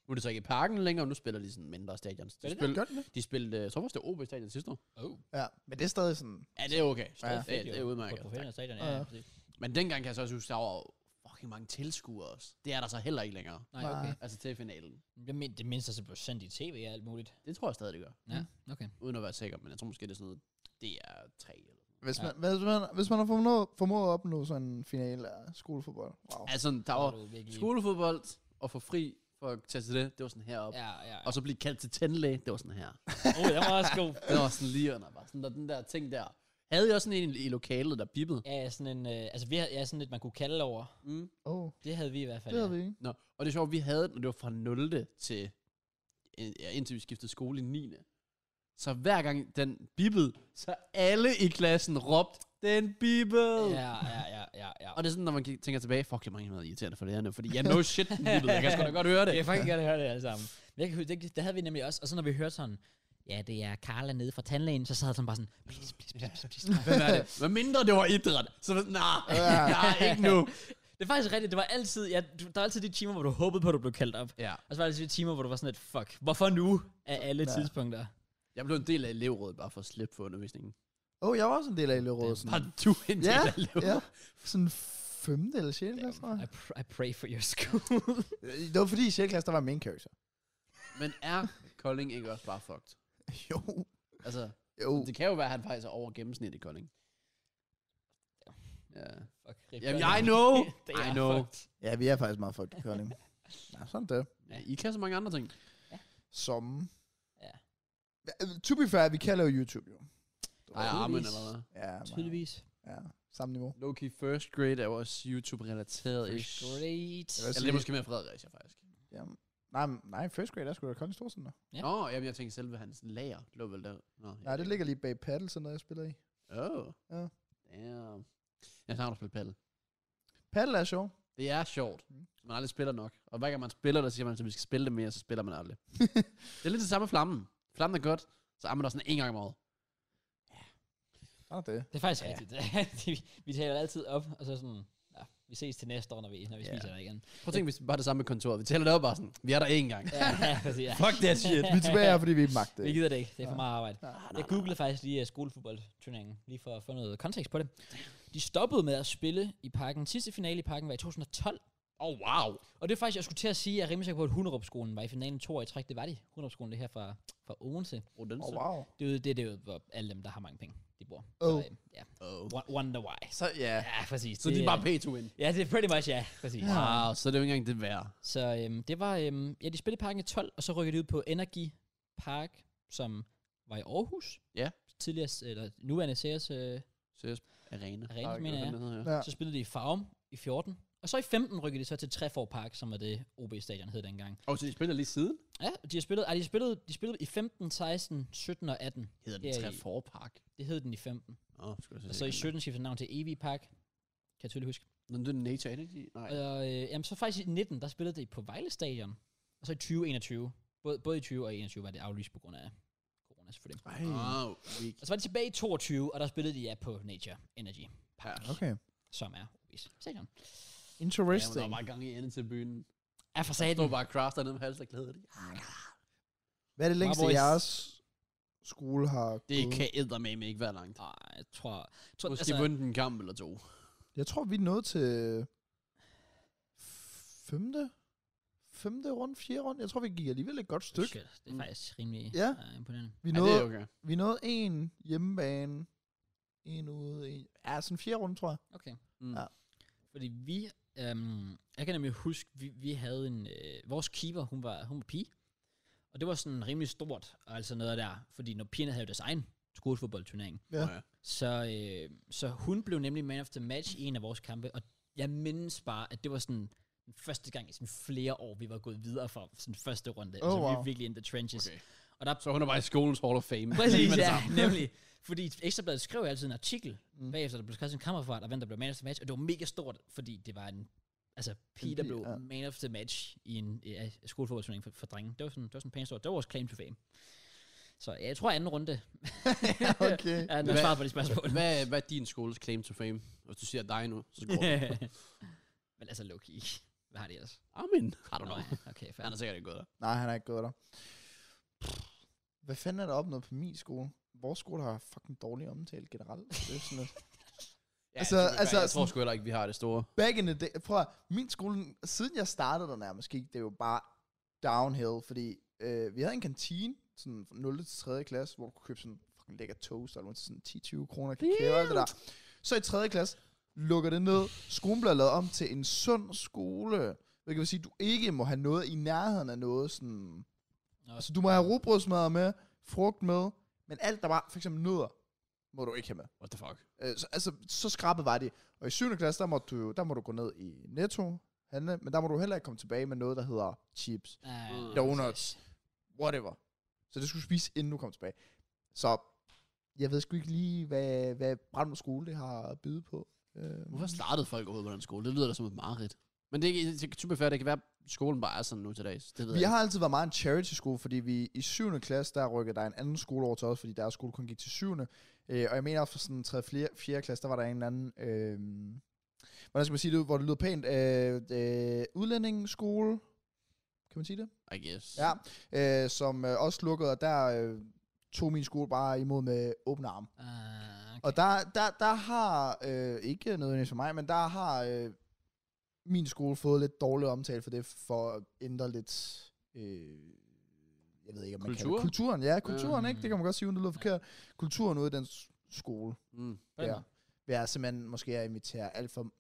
B: nu er det så ikke i parken længere, og nu spiller de sådan mindre stadion.
A: Gør de
B: De,
A: det?
B: spil,
C: gør det det?
B: de spillede, jeg tror faktisk, det var OB Stadion sidste år.
A: Oh,
C: Ja, men det er stadig sådan,
B: Ja, det er okay.
A: stadig
B: Ja,
A: fedt
B: det,
A: jo.
B: det er
A: På
B: udmærket.
A: professionel stadion, ja,
C: Ja,
A: ja,
C: ja.
A: præcis.
B: Men dengang kan jeg så også huske, der var fuck, fucking mange tilskuere også. Det er der så heller ikke længere.
A: Nej, okay.
B: Altså til finalen.
A: Det, men, det mindste er så blevet sendt i tv og alt muligt.
B: Det tror jeg stadig, det gør.
A: Ja,
C: Mm,
A: okay.
B: Uden at være sikker, men jeg tror måske, det er sådan noget DR3 eller
C: Hvis,
A: Ja.
C: man, hvis, man, hvis man har formået, formået at opnå sådan en finale af skolefodbold. Wow.
B: Altså, der
A: Så er
B: var
A: du virkelig-
B: skolefodbold og få fri for at tage til det, det var sådan heroppe. Ja.
A: Ja, ja. ja.
B: Og så blive kaldt til tandlæge, det var sådan her.
A: Oh, den var også god.
B: Det var sådan lige under, bare sådan der, den der ting der. Havde jeg også sådan en i lokalet, der bippede?
A: Ja, ja, sådan en, øh, altså vi har, ja, sådan lidt, man kunne kalde over.
B: Mm.
C: Oh,
A: Det havde vi i hvert fald.
C: det
A: ja.
C: havde vi ikke.
B: Nå, og det er sjovt, vi havde den, og det var fra 0. til, ja, indtil vi skiftede skole i 9. Så hver gang den bippede, så alle i klassen råbte, den bippede!
A: Ja, ja, ja, ja, ja.
B: Og det er sådan, når man kig- tænker tilbage, fuck, jeg må egentlig være irriterende for lærerne, fordi jeg no shit, den bippede, jeg kan sgu da godt høre det.
A: Jeg kan faktisk gerne høre det alle sammen. Men jeg kan huske, det, det havde vi nemlig også. Og så når vi hørte sådan, ja, det er Carla nede fra tandlægen, så sad han bare sådan, please, please, please, please. please.
B: Hvad er det? Hvad mindre det var idræt. Så nej, nah,
C: Ja.
B: nej, ikke nu.
A: det er faktisk rigtigt, det var altid, ja, du- der var altid de timer, hvor du håbede på, at du blev kaldt op.
B: Ja.
A: Og så var der altid de timer, hvor du var sådan et, fuck, hvorfor nu? Af alle
C: Ja.
A: tidspunkter.
B: Jeg blev en del af elevrådet, bare for at slippe for undervisningen.
C: Oh, jeg var også en del af elevrådet.
B: Var
C: Sådan.
B: du en del
C: Ja,
B: af elevrådet?
C: ja. Sådan femte eller sjette klasse, tror
A: I,
C: jeg.
A: pr- I pray for your school.
C: Det var fordi i sjette klasse, der var main character.
B: Men er Kolding ikke også bare fucked?
C: Jo,
B: Altså,
C: jo.
B: det kan jo være, at han faktisk er over gennemsnittet i Kolding. Ja.
A: Fuck,
B: Jamen,
A: Rip
B: I
A: Curling.
B: know.
A: Det er
B: I know.
A: fucked.
C: Ja, vi er faktisk meget fucked i Kolding. Ja, sådan det.
B: ja. I kan så mange andre ting.
C: Som.
A: Ja.
C: Ja, øh, To be fair, vi kan lave YouTube jo.
B: Ej, armen
A: tydeligvis.
B: eller hvad?
C: Ja, man.
A: Tydeligvis.
C: Ja, samme niveau.
B: Loki first grade er jo også YouTube-relateret. ish.
A: Great.
C: Jeg vil
B: Eller det er måske mere Fredericia, faktisk.
C: Jamen, nej, men- nej, first grade er sgu da Kolding Storcenter.
A: Ja.
B: Ja. Nå, jamen, jeg tænkte selve hans lager lå vel der. Nå, ja.
C: Nej, det ligger lige bag paddle, sådan noget, jeg spiller i.
B: Oh.
C: Ja.
B: Damn. Jeg savner at spille paddle.
C: Paddle er sjov.
B: Det er sjovt.
C: Mm.
B: Man aldrig spiller nok. Og hver gang man spiller, der siger man, at vi skal spille det mere, så spiller man aldrig. det er lidt det samme med flammen. Flammen er godt, så er man der sådan en gang om året.
C: Sådan er det.
A: Det er faktisk
C: Ja.
A: rigtigt. Vi- vi taler altid op, og så sådan, ja, vi ses til næste år, når vi, når vi
B: Ja.
A: spiser der igen.
B: Prøv at tænke, hvis det bare er det samme med kontoret. Vi tæller det op bare sådan, vi er der én gang.
A: Ja, ja, præcis, ja.
B: Fuck that shit.
C: Vi er tilbage her, fordi vi ikke magter
A: Vi
C: det.
A: gider Ah, det ikke. Det er for
C: Nej.
A: meget arbejde.
C: Nej,
B: Ah,
A: Jeg googlede faktisk lige uh, skolefodboldturneringen, lige for at få noget kontekst på det. De stoppede med at spille i parken. Sidste finale i parken var i 2012.
B: Åh, oh, wow.
A: Og det er faktisk, jeg skulle til at sige, at jeg er rimelig sikker på, at Hunderup-skolen var i finalen to år i træk. Det var de. Hunderup-skolen, det her fra, fra Odense.
B: Oh, den
C: Åh,
B: så.
C: wow.
A: Det er jo det, det er jo, hvor alle dem, der har mange penge, de bor.
C: Oh.
A: øh, ja.
B: Oh.
A: Wo- Wonder why.
C: Så, ja.
A: Ja, præcis.
B: Så det er bare pay to win.
A: Ja, det er pretty much, ja. Præcis.
B: Wow, så er det jo ikke engang det værd.
A: Så øhm, det var, øhm, ja, de spillede parken i 12, og så rykkede de ud på Energy Park, som var i Aarhus.
B: Ja.
A: Tidligere, s- eller nuværende Sears øh,
B: Seriøs arena.
A: Arena,
B: Park,
A: mener
B: hvad
A: jeg.
B: fanden det hedder,
C: Ja.
A: Så spillede de i Farum i 14. Og så i 15 rykkede de så til Trefor Park, som var det OB-stadion hed dengang.
B: Åh, oh, så de spiller lige siden?
A: Ja, de har spillet, ej, de har spillet, de spillede i 15, 16, 17 og 18.
B: Hedder
A: Ja,
B: den
A: i-
B: Trefor Park.
A: Det hed den i 15.
B: Åh, oh, skulle jeg så
A: Og
B: sige.
A: så i 17 skiftede navn til Evi Park. Kan jeg tydeligt huske.
B: Nå, det er Nature Energy. Nej.
A: Og øh, jamen, så faktisk i 19, der spillede de på Vejle Stadion. Og så i 2021. Både, både i 20 og 21 var det aflyst på grund af corona selvfølgelig.
C: Ej,
B: Åh, oh,
A: Og så var de tilbage i 22, og der spillede de ja på Nature Energy,
C: okay.
A: som er OB's stadion.
B: Ja,
C: Interesting.
B: der var bare gang i enden til byen.
A: Er for
B: Jeg stod
A: satan.
B: bare og crafter ned med halsen og glæder det.
C: Hvad er det længste,
A: boys.
C: jeres skole har
B: Det
C: gået?
B: kan eddermame ikke være langt.
A: Ej, jeg tror... Jeg tror
B: Måske altså, vundet en kamp eller to.
C: Jeg tror, vi nåede til femte, femte runde, fjerde runde. Jeg tror, vi gik alligevel et godt stykke.
A: Shit, det er
B: Mm.
A: faktisk rimelig
C: Ja.
A: øh, imponerende.
C: Vi
B: Ja, det
C: nåede,
B: er okay.
C: vi nåede en hjemmebane, en ude, en... Ja, sådan fjerde runde, tror jeg.
A: Okay.
B: Mm.
C: Ja.
A: Fordi vi... Øhm, jeg kan nemlig huske, vi, vi havde en... Øh, vores keeper, hun var, hun var pige. Og det var sådan rimelig stort, og altså noget der. Fordi når pigerne havde jo deres egen skolefodboldturnering,
C: Ja.
B: Nå ja.
A: så, øh, så hun blev nemlig man of the match i en af vores kampe. Og jeg mindes bare, at det var sådan den første gang i sådan flere år, vi var gået videre fra sådan første runde.
C: Oh,
A: altså, vi er
C: wow.
A: virkelig in the trenches.
B: Okay.
A: Og der
B: Så hun er bare i skolens Hall of Fame. Lige
A: Præcis,
B: med det
A: ja,
B: samme.
A: nemlig. Fordi Ekstrabladet skrev altid en artikel,
C: Mm.
A: mm. bagefter der blev skrevet sin kammerfart, og hvem der blev man of the match, og det var mega stort, fordi det var en, altså pige, der
C: pige,
A: blev
C: ja.
A: ja. man of the match i en ja, skolefodboldturnering for, for drenge. Det var sådan, det var sådan pænt stort. Det var vores claim to fame. Så ja, jeg tror anden runde
C: Okay.
A: er noget
B: Hvad-
A: svar på de spørgsmål.
B: Hvad, hvad er din skoles claim to fame? Hvis du siger dig nu, så går du.
A: Men altså, low key. Hvad har de ellers?
B: Amen. Har du
A: Nå,
B: noget?
A: ja, okay, fair.
B: Han er sikkert ikke gået der.
C: Nej, han har ikke gået der. Hvad fanden er der opnået på min skole? Vores skole har fucking dårlig omtale generelt. Det er sådan lidt.
B: Ja,
C: Altså-
B: altså, altså,
C: altså
B: jeg tror
C: sådan-
B: sgu heller ikke, vi har det store.
C: Back in the day. Prøv at, min skole, siden jeg startede der nærmest, gik det jo bare downhill, fordi øh, vi havde en kantine, sådan fra 0. til 3. klasse, hvor du kunne købe sådan fucking lækker toast, eller sådan 10-20 kroner kakao og alt det der. Så i 3. klasse lukker det ned. Skolen bliver lavet om til en sund skole. Hvilket vil sige, at du ikke må have noget i nærheden af noget sådan...
A: Nå.
C: Altså, du må have rugbrødsmad med, frugt med, men alt der var, for eksempel nødder, må du ikke have med.
B: What the fuck?
C: Øh, så, altså, så skrabet var de. Og i 7. klasse, der må du, jo- der må du gå ned i Netto, handle, men der må du heller ikke komme tilbage med noget, der hedder chips,
A: Uh,
C: donuts, whatever. Så det skulle du spise, inden du kom tilbage. Så jeg ved sgu ikke lige, hvad, hvad Brandmund Skole det har at byde på. Øh,
B: Hvorfor startede folk overhovedet på den skole? Det lyder da som et mareridt. Men det er ikke det er typisk færdigt. Det kan være, at skolen bare er sådan nu til dags. Det ved
C: Vi
B: jeg
C: har altid været meget en charity-skole, fordi vi i 7. klasse, der rykkede der en anden skole over til os, fordi deres skole kun gik til 7. Øh, og jeg mener også for sådan 3. 4. 4. klasse, der var der en eller anden, øh, hvordan skal man sige det, ud, hvor det lyder pænt, øh, øh, udlændingskole, kan man sige det?
B: ikke. I guess.
C: Ja, øh, som øh, også lukkede, og der øh, tog min skole bare imod med åbne arme.
A: Uh, okay.
C: Og der, der, der har, øh, ikke nødvendigvis for mig, men der har øh, min skole fået lidt dårlig omtale for det, for at ændre lidt, øh, jeg ved ikke, om man kalder
B: Kultur?
C: det. Kulturen, ja, kulturen,
A: Mm.
C: ikke? Det kan man godt sige, uden det lyder forkert. Kulturen ude i den s- skole,
B: Mm.
A: Hvad
C: der,
A: med?
C: vil jeg simpelthen måske at invitere alt for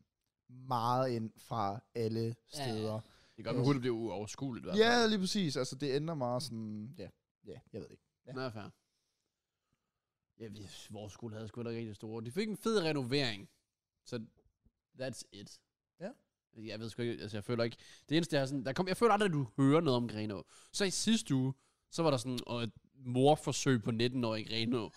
C: meget ind fra alle
A: Ja, ja.
C: steder.
B: Det gør, at hurtigt bliver uoverskueligt. i hvert
C: Ja,
B: fald.
C: ja lige præcis. Altså, det ændrer meget sådan, ja, ja jeg ved det ikke. Ja.
B: Ja. Nå, fair. Ja, vi, vores skole havde sgu da rigtig store. De fik en fed renovering. Så that's it.
C: Ja.
B: Jeg ved sgu ikke, altså jeg føler ikke, det eneste jeg har sådan, der kom, jeg føler aldrig, at du hører noget om Grenå. Så i sidste uge, så var der sådan og et morforsøg på 19-årig Grenå.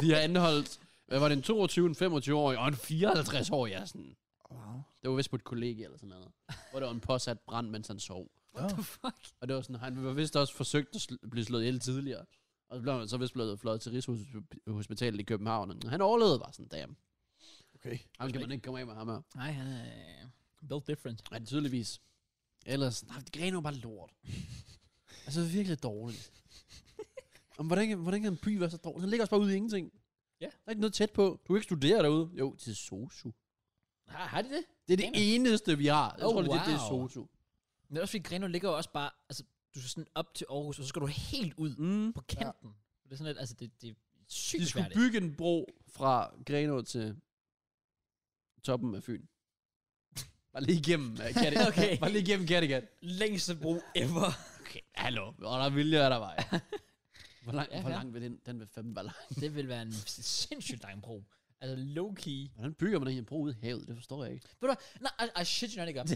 B: Vi har anholdt, hvad var det, en 22, en 25-årig og en 54-årig, jeg er sådan.
C: Wow.
B: Det var vist på et kollegie eller sådan noget. Hvor der var en påsat brand, mens han sov.
C: What the
A: Fuck.
B: Og det var sådan, han var vist også forsøgt at sl- blive slået ihjel tidligere. Og så blev han så vist blevet fløjet til Rigshospitalet i København. og Han overlevede bare sådan, damn.
C: Okay.
B: Ham kan man ikke komme af med ham her.
A: Nej, han er uh, built different.
B: Nej, tydeligvis. Ellers, nej, Grenaa er bare lort. altså, det er virkelig dårligt. Om, hvordan, kan- hvordan kan en by være så dårlig? Den ligger også bare ude i ingenting.
A: Ja.
B: Der er ikke noget tæt på. Du kan ikke studere derude. Jo, til SOSU.
A: Har, har de det?
B: Det er det eneste, vi har. Jeg
A: Oh,
B: tror, det, er- det er
A: wow.
B: SOSU.
A: Men også fordi Grenaa ligger jo også bare, altså, du skal sådan op til Aarhus, og så skal du helt ud
B: Mm.
A: på kanten. Det er sådan lidt, altså, det, det er sygt
B: De skulle
A: besværligt.
B: bygge en bro fra Grenaa til toppen af Fyn. Bare lige igennem uh, Kattegat.
A: Okay.
B: Bare lige igennem Kattegat.
A: Længste bro ever.
B: Okay, hallo. Og der er vilje, er der vej. Hvor, lang,
A: Ja,
B: ja, hvor
A: ja.
B: lang vil den? Den vil fandme være lang.
A: det vil være en sindssygt lang bro. Altså low-key.
B: Hvordan bygger man egentlig en bro ude i havet? Det forstår jeg ikke.
A: Ved du hvad? Nej, I, I shit you not ikke op.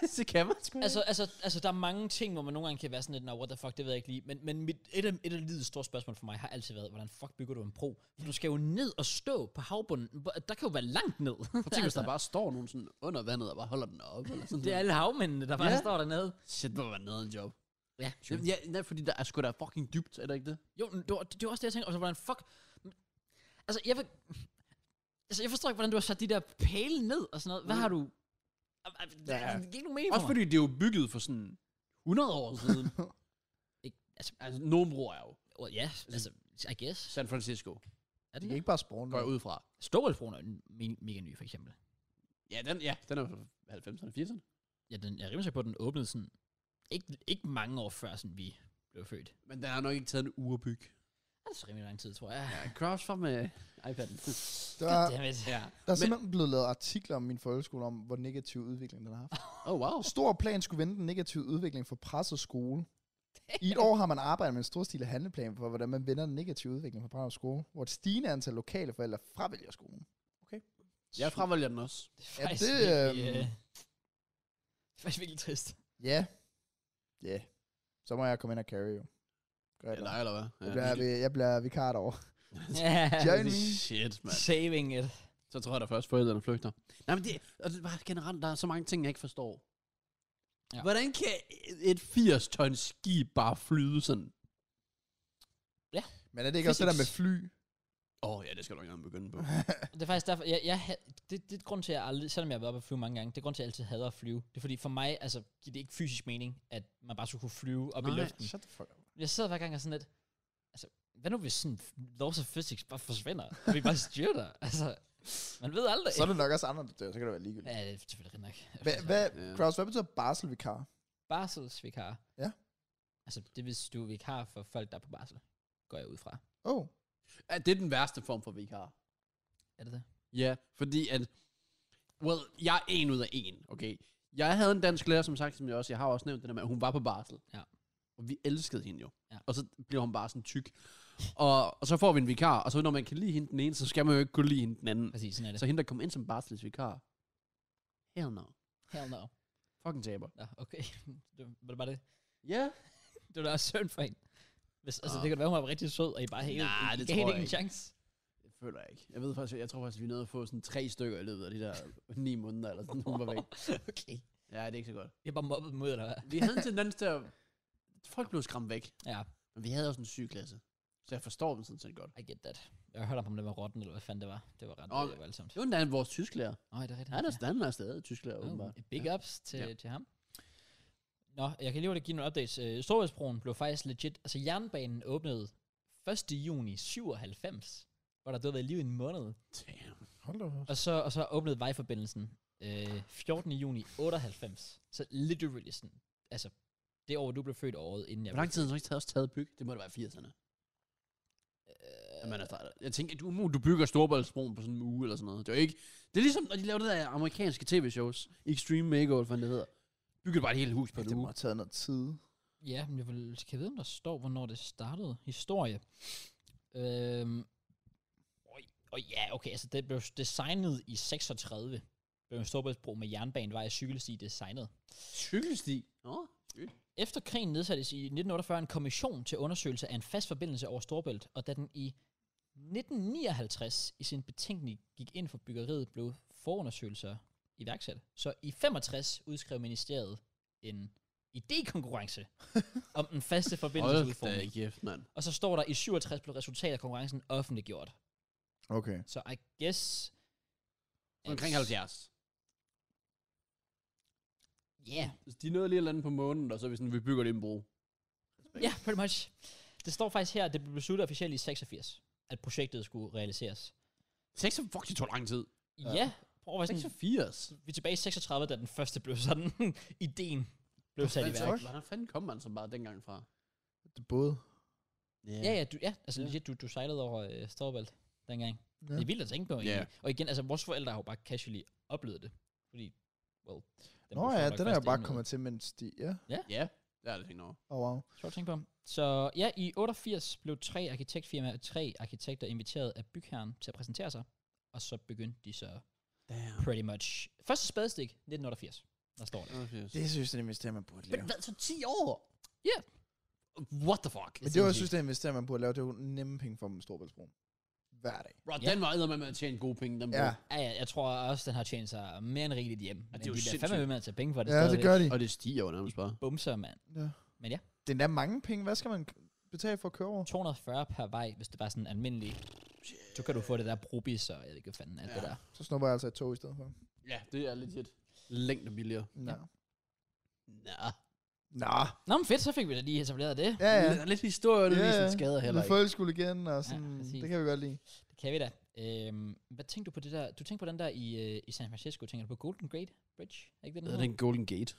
B: det kan man sgu
A: Altså, altså, altså, der er mange ting, hvor man nogle gange kan være sådan lidt, "Nå, what the fuck, det ved jeg ikke lige. Men, men mit, et, af, et af livets store spørgsmål for mig har altid været, hvordan fuck bygger du en bro? For du skal jo ned og stå på havbunden. Hvor- Der kan jo være langt ned.
B: Prøv at tænke, hvis der bare står nogen sådan under vandet og bare holder den op. Eller sådan
A: det er alle havmændene, der bare
B: Ja.
A: yeah. står dernede.
B: Shit, hvor var noget en job.
A: Ja,
B: Jamen, Ja, ja, fordi der er sgu da fucking dybt, er det ikke det?
A: Jo, men det var, det var også det, jeg tænkte. Og så hvordan fuck... Altså, jeg, vil- altså, jeg forstår ikke, hvordan du har sat de der pæle ned og sådan noget. Hvad
B: Mm.
A: har du... Ja. Det
C: Ja.
A: er ikke nogen mening
B: Også
A: for mig.
B: fordi det er jo bygget for sådan 100 år siden.
A: Ikke- altså-
B: altså, nogen broer er jo.
A: Well, ja, altså, I guess.
B: San Francisco.
A: Er
C: De
A: den
C: kan
A: der?
C: ikke bare spawne.
B: Går jeg
C: noget.
B: ud fra.
A: Storvældsbroen er jo me- mega ny, for eksempel.
B: Ja, den, ja, den er fra 90'erne, 80'erne.
A: Ja, den, jeg er rimelig sikker på, at den åbnede sådan, ikke, ikke mange år før, sådan vi blev født.
B: Men den har nok ikke taget en uge at bygge.
A: Det er så rimelig lang tid, tror jeg.
B: Ja, Cross fra med iPad'en.
C: Der,
A: Goddammit.
B: ja.
C: Der er
B: Men-
C: simpelthen blevet lavet artikler om min folkeskole, om hvor negativ udvikling den har haft.
B: Oh, wow.
C: Stor plan skulle vende den negative udvikling for presse og skole. I et år har man arbejdet med en storstilet handleplan for, hvordan man vender den negative udvikling for presse og skole, hvor et stigende antal lokale forældre fravælger skolen.
B: Jeg fravælger den også.
A: Det er
C: Ja,
A: faktisk
C: det,
A: virkelig,
C: øhm,
A: øh, det er faktisk virkelig trist.
C: Ja. Ja. Så må jeg komme ind og carry jo. Gør jeg
B: Eller,
C: da.
B: eller hvad?
C: Jeg bliver, vi- jeg bliver vikar derovre.
A: ja,
C: Join me.
B: Shit, mand.
A: saving it.
B: Så tror jeg da først, forældrene flygter. Nej, men det, og det er bare generelt, der er så mange ting, jeg ikke forstår.
A: Ja.
B: Ja. Hvordan kan et 80-ton skib bare flyde sådan?
C: Men er det ikke også det der med
A: Physics.
C: fly?
B: Åh, oh, ja, det skal du ikke engang begynde på.
A: Det er faktisk derfor, jeg, jeg, ha- det, det er grund til, at jeg aldrig, selvom jeg har været oppe at flyve mange gange, det er grund til, at jeg altid hader at flyve. Det er fordi for mig, altså, giver det ikke fysisk mening, at man bare skulle kunne flyve op Nej. i
B: Nej.
A: luften.
C: Shut the fuck up.
A: Jeg sidder hver gang og sådan lidt, altså, hvad nu hvis sådan laws of physics bare forsvinder, og vi bare styrter? Altså, Man ved aldrig.
C: Så er det nok også andre, der dør, så kan det være ligegyldigt.
A: Ja, det er selvfølgelig nok. Altså,
C: Hvad, hvad,
B: Ja.
C: Kraus, hvad betyder barselvikar?
A: Barselsvikar.
C: Ja.
A: Altså, det er, hvis du er vikar for folk, der er på barsel. Går jeg ud fra.
C: Oh,
B: Ja, det er den værste form for vikar.
A: Er det det?
B: Ja, fordi at... Well, jeg er en ud af en, okay? Jeg havde en dansk lærer, som sagt, som jeg også... Jeg har også nævnt det der med, at hun var på barsel.
A: Ja.
B: Og vi elskede hende jo.
A: Ja.
B: Og så blev hun bare sådan tyk. Og, og så får vi en vikar, og så når man kan lide hende den ene, så skal man jo ikke kunne lide hende den anden.
A: Præcis, sådan er det.
B: Så hende, der kom ind som barselsvikar, hell no.
A: Hell no.
B: Fucking taber.
A: Nå, okay. det var- var det bare det.
B: Ja. Yeah.
A: Det var da også synd for en. Hvis, altså,
B: Nå.
A: det kan da være, hun var rigtig sød, og I bare helt,
B: Nej,
A: I
B: det
A: gav
B: tror
A: hende
B: jeg
A: ikke en chance.
B: Det føler jeg ikke. Jeg ved faktisk, jeg tror faktisk, vi nåede at få sådan tre stykker i løbet af de der ni måneder, eller sådan, hun var væk.
A: okay.
B: Ja, det er ikke så godt.
A: Jeg er bare mobbet mod dig. hva'?
B: Vi havde en tendens til at... Folk blev skræmt væk.
A: Ja,
B: Men vi havde også en syg klasse. Så jeg forstår dem sådan set godt.
A: I get that. Jeg hørte om, det var rotten, eller hvad fanden det var. Det var ret
B: Nå,
A: okay. voldsomt.
B: Det var endda vores tysklærer.
A: Nej, det er rigtigt.
B: Han er, han er stadig tysklærer,
A: Oh,
B: åbenbart.
A: big
B: ja.
A: ups til, ja. til ham. Nå, jeg kan lige hurtigt give nogle updates. Øh, Storebæltsbroen blev faktisk legit... Altså, jernbanen åbnede 1. juni 97, hvor der døde været liv i en måned.
B: Damn.
C: hold da op.
A: Og så, og så åbnede vejforbindelsen øh, 14. juni 98. Så literally sådan... Altså, det år, hvor du blev født og året, inden jeg
B: Hvor lang
A: blev
B: tid har du ikke taget også taget byg? Det må da være 80'erne.
A: født.
B: At man er startet. Jeg tænker, du, umuligt, du bygger Storbæltsbroen på sådan en uge eller sådan noget. Det er jo ikke... Det er ligesom, når de laver det der amerikanske tv-shows. Extreme Makeover, hvad det hedder. Bygger bare et helt hus på en
C: Det må
B: uge.
C: have taget noget tid.
A: Øh, Ja, men jeg vil, kan jeg vide, om der står, hvornår det startede? Historie. Øhm, og, og ja, okay, altså det blev designet i 36. Blev en storbæltsbro med jernbanevej og cykelsti designet.
B: Cykelsti. Nå, sygt.
A: Efter krigen nedsattes i 1948 en kommission til undersøgelse af en fast forbindelse over Storbælt, og da den i 1959 i sin betænkning gik ind for byggeriet, blev forundersøgelser iværksat. Så i 65 udskrev ministeriet en idékonkurrence om den faste forbindelsesudformning.
B: Hold da kæft, mand.
A: Og så står der, i 67 blev resultatet af konkurrencen offentliggjort.
C: Okay.
A: Så I guess... at-
B: Omkring 70.
A: Ja,
B: De nåede lige at lande på månen, og så er vi sådan, vi bygger det en bro.
A: yeah, pretty much. Det står faktisk her, at det blev besluttet officielt i 86, at projektet skulle realiseres.
B: 6 fuck, det tog lang tid.
A: Ja,
C: Ja.
A: ja prøv at være sådan,
B: 86.
A: vi er tilbage i 36, da den første blev sådan, ideen blev sat i
B: Hvordan-
A: værk.
B: Hvordan fanden kom man så bare dengang fra?
C: Det er både.
A: Ja, ja, du, ja altså
B: Ja.
A: legit, du, du sejlede over øh, Storbælt dengang.
C: Ja.
A: Det er vildt at tænke på, egentlig.
B: Ja.
A: Og igen, altså, vores forældre har jo bare casually oplevet det. Fordi, well... den
C: Nå
A: blev sjovt
C: ja,
A: nok
C: den er jeg
A: først
C: bare
A: indviet.
C: kommet til, mens de... Ja.
B: Ja, det er det tænkt over.
C: Oh, wow.
A: Sjovt at tænke på. Så ja, i 88 blev tre arkitektfirmaer, tre arkitekter inviteret af bygherren til at præsentere sig. Og så begyndte de så
B: Damn.
A: pretty much... Første spadestik, 1988. Der står det.
B: Det,
C: synes jeg, det investerer man burde
B: men hvad, så 10 år?
A: Ja.
B: What the fuck?
C: Men det, var, jeg synes, det investerer man burde lave, det er jo nemme penge for dem, Storbæltsbroen. Hver dag.
B: Bro,
A: Ja.
B: den var eddermame med at tjene gode penge, den
C: Ja,
B: bro.
A: Ja, ja, jeg tror også, den har tjent sig mere end rigeligt hjem. Men
B: det er
A: det
B: jo
A: er de bliver
B: sindssygt.
A: fandme ved med at tage penge for det
C: ja det gør de.
B: Og det stiger jo nærmest bare.
A: Bumser, mand.
C: Ja.
A: Men ja.
C: Det er endda mange penge. Hvad skal man betale for at køre over?
A: 240 per vej, hvis det bare er sådan almindelig. Så kan du få det der brubis og jeg ved ikke, hvad fanden alt
B: Ja.
A: det der.
C: Så snupper jeg altså et tog i stedet for.
B: Ja, det er legit. Længden billigere.
C: Nå.
B: Nå.
C: Nå.
A: Nå, men fedt, så fik vi da lige etableret det.
C: Ja, ja.
B: Der er lidt historie, og det
C: Ja,
B: viser
C: ja.
B: skader heller
C: Med
B: ikke.
C: folkeskole igen, og sådan,
A: præcis.
C: det kan vi godt lide.
A: Det kan vi da. Øhm, hvad tænkte du på det der? Du tænkte på den der i, øh, i San Francisco. Tænker du på Golden Gate Bridge? Er ikke det, den
B: Det er
A: hedder?
B: den Golden Gate.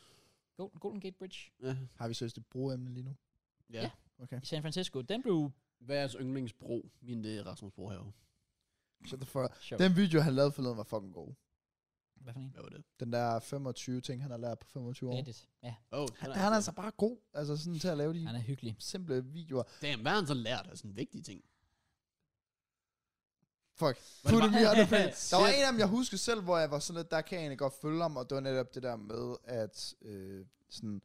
A: Golden, Golden Gate Bridge
B: Ja.
C: Har vi seriøst et brugemne lige nu?
A: Ja.
C: Okay.
A: i San Francisco. Den blev...
B: Hvad er jeres yndlingsbro? Min, det er Rasmus Bro herovre.
C: Shut the fuck up.
A: Sjov.
C: Den video, han lavede forleden, var fucking god.
A: Hvad for en?
B: Hvad var det?
C: Den der 25 ting, han har lært på 25 år. Han,
A: Bandit. Ja,
B: Oh,
C: han er altså bare god, altså sådan til at lave de
A: han er hyggelig.
C: simple videoer.
B: Damn, hvad har han så lært af sådan vigtige ting?
C: Fuck.
B: det
C: Put
B: bare-
C: me on the plane. Der var
B: Shit.
C: en af dem, jeg husker selv, hvor jeg var sådan lidt, der kan jeg egentlig godt følge ham, og det var netop det der med, at øh, sådan,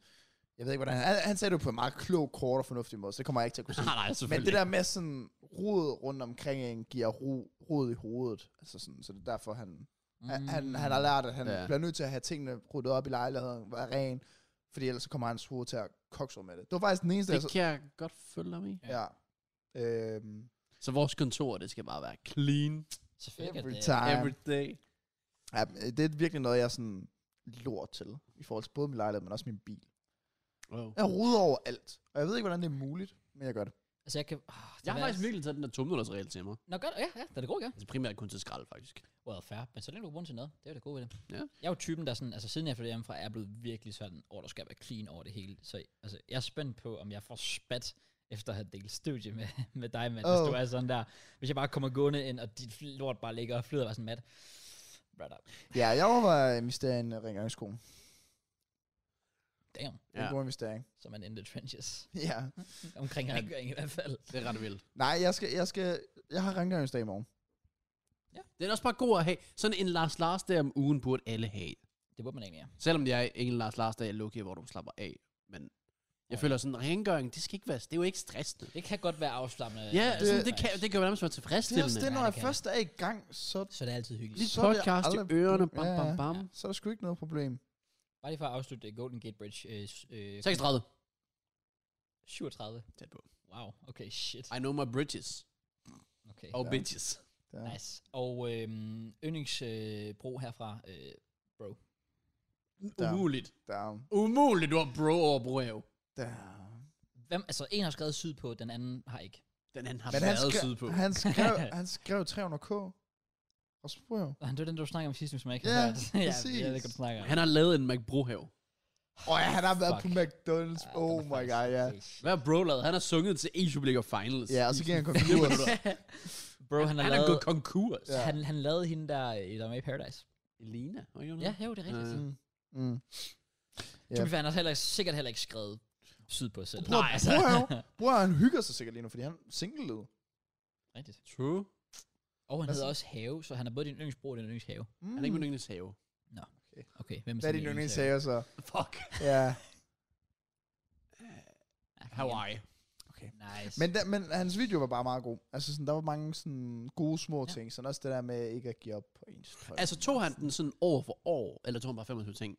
C: jeg ved ikke, hvordan han, han sagde det på en meget klog, kort og fornuftig måde, så det kommer jeg ikke til at kunne sige.
B: Nej, nej,
C: Men
B: selvfølgelig.
C: det der med sådan rod rundt omkring en, giver ro, rod i hovedet. Altså sådan, så det er derfor, han, mm. han, han har lært, at han
B: Ja.
C: ja. bliver nødt til at have tingene ryddet op i lejligheden, være ren, fordi ellers så kommer hans hoved til at kokse med det. Det var faktisk den eneste, jeg
B: Det kan jeg godt følge ham i.
C: Ja. Øhm,
B: Så vores kontor, det skal bare være clean
A: Selvfølgelig.
C: every
A: Every time.
C: time.
B: every day.
C: Ja, men øh, det er virkelig noget, jeg er sådan lort til, i forhold til både min lejlighed, men også min bil.
B: Wow.
C: Jeg roder over alt, og jeg ved ikke, hvordan det er muligt, men jeg gør det.
A: Altså, jeg kan... Oh,
B: Jeg har faktisk virkelig taget den der tomnullersregel til mig.
A: Nå, godt. Ja, ja, det er det god, ja.
B: Altså primært kun til skrald, faktisk.
A: Well, fair. Men så længe du bruger den til noget, det er jo det gode ved det.
B: Ja.
A: Jeg er jo typen, der sådan, altså siden jeg flyttede hjemmefra, er jeg blevet virkelig sådan, åh, der skal være clean over det hele. Så altså, jeg er spændt på, om jeg får spat efter at have delt studie med, med dig, Matt, oh.
C: Oh.
A: hvis du er sådan der. Hvis jeg bare kommer gående ind, og dit lort bare ligger og flyder, og er sådan, Matt, brother,
C: Ja, jeg overvejer at investere i en øh, rengøringsskole.
A: damn,
C: Det er
B: Ja.
C: en god investering.
A: så er man in the trenches.
C: Ja.
A: Omkring rengøring i hvert fald.
B: Det er ret vildt.
C: Nej, jeg skal, jeg skal, jeg har rengøringsdag i morgen.
B: Det er også bare god at have. Sådan en Lars Lars der om ugen burde alle have.
A: Det burde man egentlig, ja.
B: Selvom jeg er en Lars Lars dag er lucky, hvor du slapper af. Men
A: Ja.
B: jeg føler sådan, rengøring, det skal ikke være, det er jo ikke stressende.
A: Det kan godt være afslappende.
B: Ja,
A: øh,
B: sådan, det,
A: faktisk.
B: kan, det kan jo nærmest være
C: Det er også
B: tilfredsstillende.
C: det, når
A: Ja,
C: jeg
A: det kan
C: først er i gang, så,
A: Så det er altid hyggeligt.
B: Lidt
C: så er det
B: podcast i
C: aldrig-
B: ørerne, bam,
C: Ja, ja.
B: bam, bam.
C: så er der sgu ikke noget problem.
A: Bare lige for at afslutte øh, Golden Gate Bridge. Øh, s- øh,
B: 36.
A: 37.
B: Tæt på.
A: Wow, okay, shit.
B: I know my bridges.
A: Okay.
B: Og
C: Ja.
B: bitches.
C: Ja.
A: Nice. Og øhm, yndlingsbro øh, bro herfra, øh, bro.
C: Der.
B: Umuligt.
C: Down,
B: Umuligt, du har bro over bro have.
C: down.
A: Hvem, altså, en har skrevet syd på, den anden har ikke.
B: Den anden har
C: Men han,
B: været
C: skre,
B: sydpå.
C: han, skrev, han skrev 300k. Og så spørger jeg.
A: Og han, det var den, du snakker om sidst, hvis man ikke
C: Ja,
A: har hørt. ja,
C: præcis.
A: Jeg ved godt, du snakker om.
B: Han har lavet en McBrohave.
C: Åh, ja, han har været
A: Fuck.
C: på McDonald's.
B: Ah,
A: Ja,
C: oh
A: den er
C: my
A: faktisk
C: god, ja.
A: helt syg.
B: Hvad har bro lavet? Han har sunget til Asia League of Finals.
C: Ja, og så giver han
B: Det må
C: konkurs.
B: du da.
A: Bro, han, har
B: han er
A: lavet,
B: gået konkurs.
C: Ja.
A: han, han lavede hende der, øh, der er med i Paradise.
B: Elina, var ikke Øh, hun
A: Ja,
B: det?
A: jo, det er rigtigt.
B: Ja.
A: Uh,
C: Mm. Mm.
A: yeah.
C: ja.
A: To be fair, han har heller, sikkert heller ikke skrevet syd på selv. altså.
C: Bror, bror, han- bror, han hygger sig sikkert lige nu, fordi han er single led.
A: rigtigt.
B: True.
A: Og han
C: Hvad
A: hedder
C: så?
A: også Have, så han er både din yndlingsbro og din yndlingshave.
C: Mm.
B: Han er ikke min yndlingshave.
A: Okay, hvem er
C: Hvad er
A: så
C: din yndlingshave så?
B: Fuck.
C: Ja.
A: Ja, kom igen.
B: Hawaii.
A: Nice.
C: Men, da, men hans video var bare meget god. Altså, sådan, der var mange sådan, gode små
A: Ja.
C: ja. ting. Sådan også det der med ikke at give op på ens drøm.
B: Altså, tog han den sådan år for år, eller tog han bare 25 ting?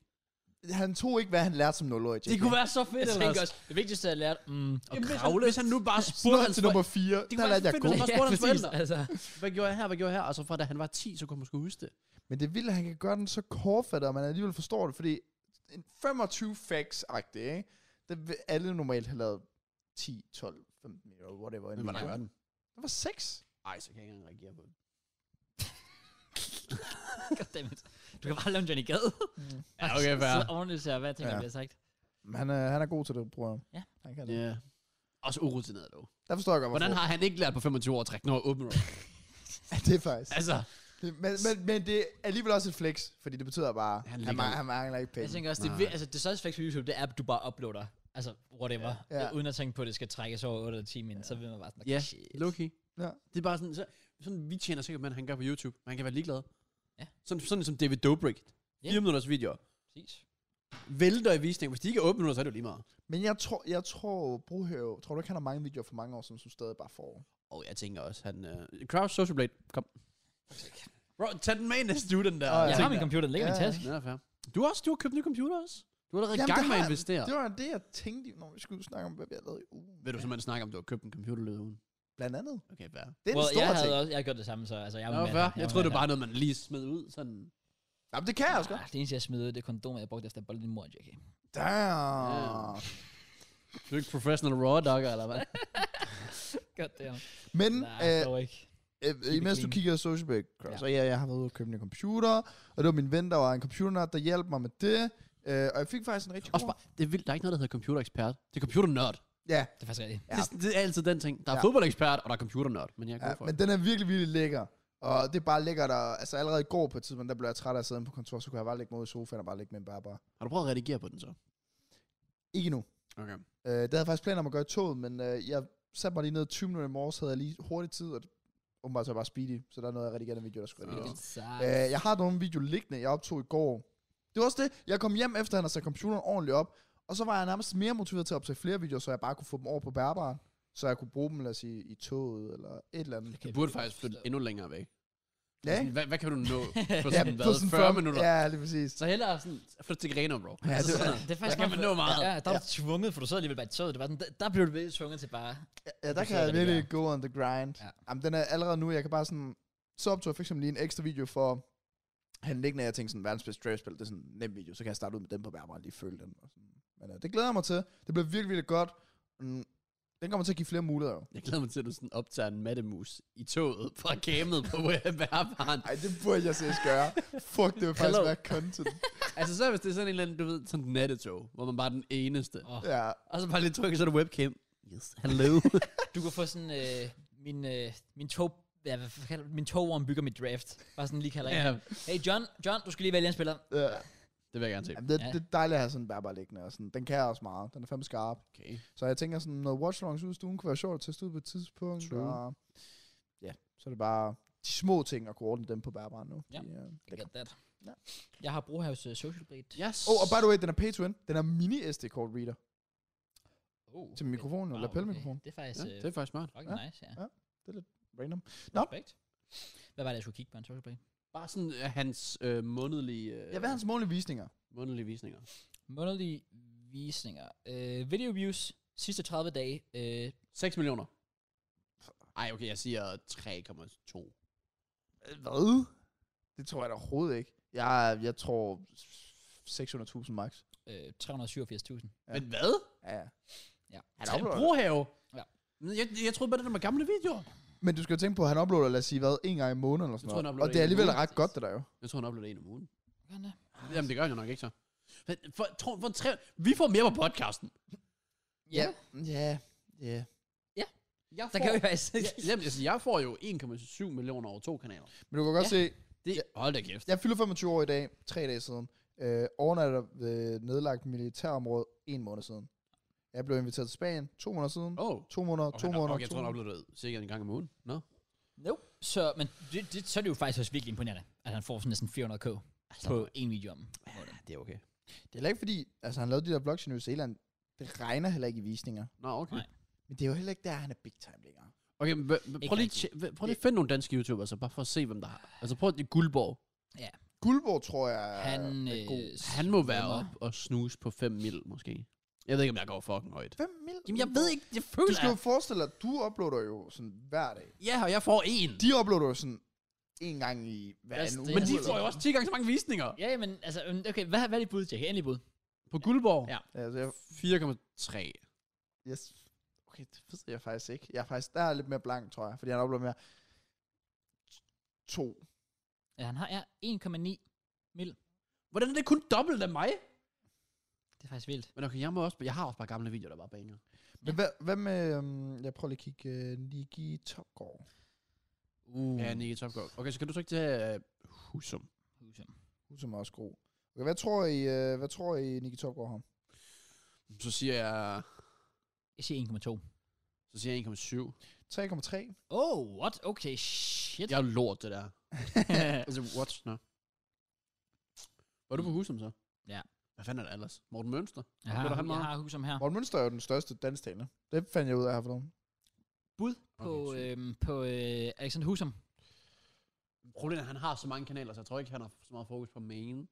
C: Han tog ikke, hvad han lærte som 0
B: Det kunne være så fedt,
A: jeg
B: ellers.
A: tænker også, det vigtigste, jeg lærte, mm,
B: Og kravle. Hvis han nu bare spurgte
C: Snart
B: hans
C: til nummer 4.
B: Det kunne
C: der
B: være
C: lærte jeg
B: fedt,
C: god.
B: hvis man- spurgte hans forældre.
A: altså.
B: forældre, hvad gjorde jeg her, hvad gjorde jeg her? Og så fra da han var 10, så kunne man sgu huske det.
C: Men det er vildt, at han kan gøre den så kortfattet, og man alligevel forstår det, fordi en 25 facts-agtig, ikke? Det vil alle normalt have lavet 10, 12, 15 eller whatever.
B: Men hvordan
A: Ja.
B: gør den?
C: Det var 6.
B: Ej, så kan jeg ikke engang reagere på det.
A: Goddammit. Du kan bare lave en Johnny Gade.
C: Mm.
B: Ja, okay, fair.
A: Så ordentligt ser jeg, hvad jeg tænker,
C: Ja.
A: ja. bliver sagt.
C: Men han er, han er god til det, bror.
A: Ja.
C: Han kan det.
B: Ja. Også urutineret dog.
C: Der forstår jeg godt,
B: Hvordan
C: hvorfor.
B: har han ikke lært på 25 år at trække noget open road?
C: Ja, det er faktisk.
B: Altså,
C: Det, men, men, men det er alligevel også et flex, fordi det betyder bare,
B: Han
C: han, han,
B: ligger
C: man,
B: ud.
C: han mangler ikke
A: Jeg
C: penge.
A: tænker også, det, er
B: Nej.
A: vir- altså, det største flex på YouTube, det er, at du bare uploader. Altså, whatever.
C: Ja.
A: Ja. Uden at tænke på, at det skal trækkes over 8 eller 10 min, så vil man bare sådan,
B: Ja.
A: shit.
B: Loki.
C: Ja.
B: Det er bare sådan, så, sådan vi tjener sikkert, men han gør på YouTube. Man kan være ligeglad.
A: Ja.
B: Sådan, sådan som David Dobrik.
A: Ja.
B: Yeah. 4 minutters videoer.
A: Præcis.
B: Vælter i visning. Hvis de ikke er 8 minutter, så er det jo lige meget.
C: Men jeg tror, jeg tror, Brohave, tror du ikke, han har mange videoer for mange år, som, som stadig bare får?
B: Og jeg tænker også, han... Uh, Crouch Social Blade, kom. Bro, tag den med i næste uge, den der.
C: Åh,
A: Jeg,
C: Jeg
A: jeg har
C: tænker-
A: min computer, den ligger i
C: Ja,
A: min taske.
B: Den er fair. Du har også, du har købt nye computer også. Du er allerede i
C: Jamen,
B: gang
C: det
B: med at
C: har jeg.
B: investere.
C: Det var det, jeg tænkte, når vi skulle snakke om, hvad vi har lavet i ugen.
B: Vil du simpelthen snakke om, du har købt en computer lød ugen?
C: Blandt andet.
B: Okay, fair.
C: Det er
A: Well,
C: en stor
A: jeg
C: ting.
A: havde også, jeg har gjort det samme, så altså, jeg
B: Jeg,
A: var
B: Nå,
A: med
B: fair.
A: der.
B: jeg
A: var med
B: troede, det var bare noget, man lige smed ud. Sådan.
C: Jamen, det kan jeg også godt.
A: der. Ah, Det eneste, jeg smed, ud, det er kondomer, jeg brugte efter at bolle din mor, Jackie.
C: Damn.
B: Du er ikke professional raw dogger, eller hvad?
A: Godt det er.
C: Men
A: Nej, dog ikke.
C: øh, øh,
A: it
C: imens du
A: clean.
C: kigger social media,
A: Ja.
C: ja. så ja, jeg har været ude og købe en computer, og det var min ven, der var en computer, der hjalp mig med det. Øh, og jeg fik faktisk en rigtig
B: Også
C: god...
B: bare, det er vildt, der er ikke noget, der hedder computerekspert. Det er computernørd.
C: Ja,
A: Det er faktisk rigtigt.
B: Ja. Det, er sådan- det er altid den ting. Der er
C: Ja.
B: fodboldekspert, og der er computernørd. Men jeg er god
C: ja,
B: for
C: men
B: det.
C: den er virkelig, virkelig lækker. Og det er bare lækkert, og altså allerede i går på et tidspunkt, der blev jeg træt af at sidde inde på kontor, så kunne jeg bare ligge mig ud i sofaen og bare ligge med en bærbar.
B: Har du prøvet at redigere på den så?
C: Ikke nu.
B: Okay.
C: Øh, det havde jeg faktisk planer om at gøre i toget, men øh, jeg satte mig lige ned 20 minutter i morges, havde jeg lige hurtig tid, og åbenbart så var jeg bare speedy, så der er noget, jeg rigtig gerne video, der skulle
B: Nå.
C: redigeres.
A: Det er sejt.
C: Øh, jeg har dog en video liggende, jeg optog i går. Det var også det. Jeg kom hjem efter, han havde sat computeren ordentligt op. Og så var jeg nærmest mere motiveret til at optage flere videoer, så jeg bare kunne få dem over på bærbaren. Så jeg kunne bruge dem, lad os sige, i toget eller et eller andet.
B: Du burde faktisk flytte endnu længere væk.
C: Ja,
B: Sådan,
C: ikke?
B: Hvad, hvad kan du nå på
C: Ja,
B: sådan, hvad,
C: på sådan
B: 40 minutter?
C: Ja, lige præcis.
B: Så hellere sådan, flytte til Greno, bro.
C: Ja,
B: Altså
C: det-
B: sådan,
A: Det er faktisk
B: Der kan
A: meget
B: man nå
A: fedt.
B: meget.
A: Ja, der var du tvunget, for du sad alligevel bare i toget. Det var sådan, der, der blev du virkelig tvunget til bare...
C: Ja, der
A: Det
C: kan
A: er
C: jeg
A: det,
C: virkelig go on the grind.
A: Ja.
C: Ja. Jamen, den er allerede nu, jeg kan bare sådan... Så optog jeg for eksempel lige en ekstra video for... Han liggende, og jeg tænkte sådan, verdens bedste draftspil, det er sådan en nem video, så kan jeg starte ud med den på bærbaren og lige følge den. Og sådan. Men øh, det glæder jeg mig til. Det bliver virkelig, virkelig godt. Mm, det Den kommer til at give flere muligheder. jo.
B: Jeg glæder mig til, at du sådan optager en mattemus i toget fra gamet på værfaren.
C: Ej, det burde jeg seriøst gøre. Fuck, det vil faktisk
B: Hello.
C: være content.
B: altså så hvis det er sådan en eller anden, du ved, sådan et nattetog, hvor man bare er den eneste.
A: Åh.
C: Ja.
B: Og så bare lige trykker, så er det webcam. Yes, hello.
A: Du kan få sådan, øh, min, øh, min tog, ja, hvad kalder, det? min togorm bygger mit draft. Bare sådan lige kalder jeg.
B: ja,
A: Hey John, John, du skal lige vælge en spiller.
C: ja.
B: det vil jeg gerne se.
C: Jamen, det,
A: Ja.
C: det, er dejligt at have sådan en bærbar liggende. Og sådan. Den kan også meget. Den er fandme skarp.
B: Okay.
C: Så jeg tænker sådan, noget Watch Alongs ud i stuen kunne være sjovt at teste ud på et tidspunkt.
B: True.
C: Og, ja, så er det bare de små ting at kunne ordne dem på bærbaren nu.
A: Ja.
C: De, øh,
A: I
C: lækre.
A: got that.
C: Ja.
A: Jeg har brug hos uh, Social Blade.
B: Yes.
C: Åh, oh, og by the way, den er pay to win. Den er mini SD-kort reader
A: Oh,
C: til mikrofonen, eller lapelmikrofon.
A: Det er faktisk
B: ja,
A: øh,
B: det er faktisk smart.
A: fucking
C: Ja.
A: nice, ja.
C: Random.
B: Øh.
C: Nå.
A: Respekt. Hvad var det, jeg skulle kigge på en Social Blade?
B: Bare sådan øh, hans øh, månedlige, øh,
C: Ja, hvad er hans månedlige visninger?
B: månedlige visninger.
A: Månedlige visninger. Uh, video views sidste 30 dage. Uh,
B: 6 millioner. Ej, okay, jeg siger 3,2. Øh,
C: Hvad? Det tror jeg da overhovedet ikke. Jeg, jeg tror 600.000 max.
A: uh, 387.000.
C: Ja.
B: Men hvad?
C: Ja, ja.
A: Ja.
C: Han
B: Han
C: uploader-
B: brohave.
A: Ja.
B: Jeg, jeg troede bare, det der med gamle videoer.
C: Men du skal jo tænke på, at han uploader, lad os sige, hvad, en gang i måneden eller
B: Jeg
C: sådan
B: tror, han
C: noget.
B: uploader
C: Og det er
B: en i
C: alligevel
A: måneden.
C: ret godt, det der jo.
B: Jeg tror, han uploader en om ugen.
A: Gør han det?
B: Jamen, det gør han jo nok ikke så. Men For, tro, for tre, vi får mere på podcasten.
A: Ja.
C: Ja, ja.
B: Jeg
A: Der kan vi faktisk
B: Ja, jamen, altså, jeg får jo 1,7 millioner over to kanaler.
C: Men du kan godt se,
B: Det, Hold da kæft.
C: jeg fylder 25 år i dag, tre dage siden. Øh, overnatter ved nedlagt militærområde, en måned siden. Jeg blev inviteret til Spanien, to måneder siden.
B: Åh. Oh.
C: To måneder,
B: Okay,
C: to
B: nå,
C: måneder,
B: okay, jeg
C: to
B: tror, han
C: måneder.
B: uploadede sikkert en gang om ugen. Nå. No.
A: Nope. Så, men det, det, så er det jo faktisk også virkelig imponerende, at han får sådan næsten 400k på en video om.
B: Ja, det er okay.
C: Det er heller ikke fordi, altså han lavede de der vlogs i New Zealand, det regner heller ikke i visninger.
B: Nå, okay.
A: Nej.
C: Men det er jo heller ikke der, han er big time længere.
B: Okay, men, hva- hva-
A: Ikke
B: prøv lige,
A: rigtigt.
B: tje- hva- prøv lige at finde nogle danske YouTubere, så bare for at se, hvem der har. Altså prøv at Guldborg.
C: Guldborg, tror jeg,
A: Han,
C: er god.
A: øh,
B: Han må være
A: svømmer.
B: op og snuse på 5 mil, måske. Jeg ved ikke, om jeg går fucking højt.
C: 5 mil?
B: Jamen, jeg ved ikke, jeg føler...
C: Du skal jo forestille dig, at du uploader jo sådan hver dag.
B: Ja, og jeg får en.
C: De uploader jo sådan en gang i hver
A: Yes,
C: anden
A: det
C: uge.
A: er
B: Men de
A: Ja.
B: får jo også 10 gange så mange visninger.
A: Ja, men altså, øhm, okay, hvad, hvad er dit bud, Jack? Endelig bud.
B: På Guldborg.
A: Ja.
C: Altså, jeg,
B: 4,3.
C: yes. Okay, det ved jeg faktisk ikke. Jeg er faktisk, der er lidt mere blank, tror jeg, fordi han uploader mere. To.
A: Ja, han har ja, 1,9 mil.
B: Hvordan er det kun dobbelt af mig?
A: Det er faktisk vildt.
B: Men okay, jeg, må også, jeg har også bare gamle videoer, der bare banger.
C: Men hvad, hvad med, øhm, jeg prøver lige at kigge, øh, Niki Topgaard.
A: Uh.
B: Ja, Nicky Topgaard. Okay, så kan du så ikke tage uh, Husum?
A: Husum.
C: Hun som er også god. Okay, hvad tror I, øh, hvad tror I Niki Topgaard har?
B: Så siger jeg,
A: Jeg siger 1,2.
B: så siger jeg 1,7.
C: 3,3.
A: Oh, what? Okay, shit.
B: Jeg er jo lort, det der. altså, what? No. Var du på Husum så?
A: Ja.
B: Hvad fanden er det ellers? Morten Mønster?
A: jeg,
B: Hvad
A: har,
B: er der, han
A: jeg
B: meget?
A: har Husum her.
C: Morten Mønster er jo den største dansktalende. Det fandt jeg ud af her for nogen.
A: Bud på,
B: Okay, sygt.
A: øhm, på øh, Alexander Husum.
B: Problemet er, at han har så mange kanaler, så jeg tror ikke, han har så meget fokus på main. Nu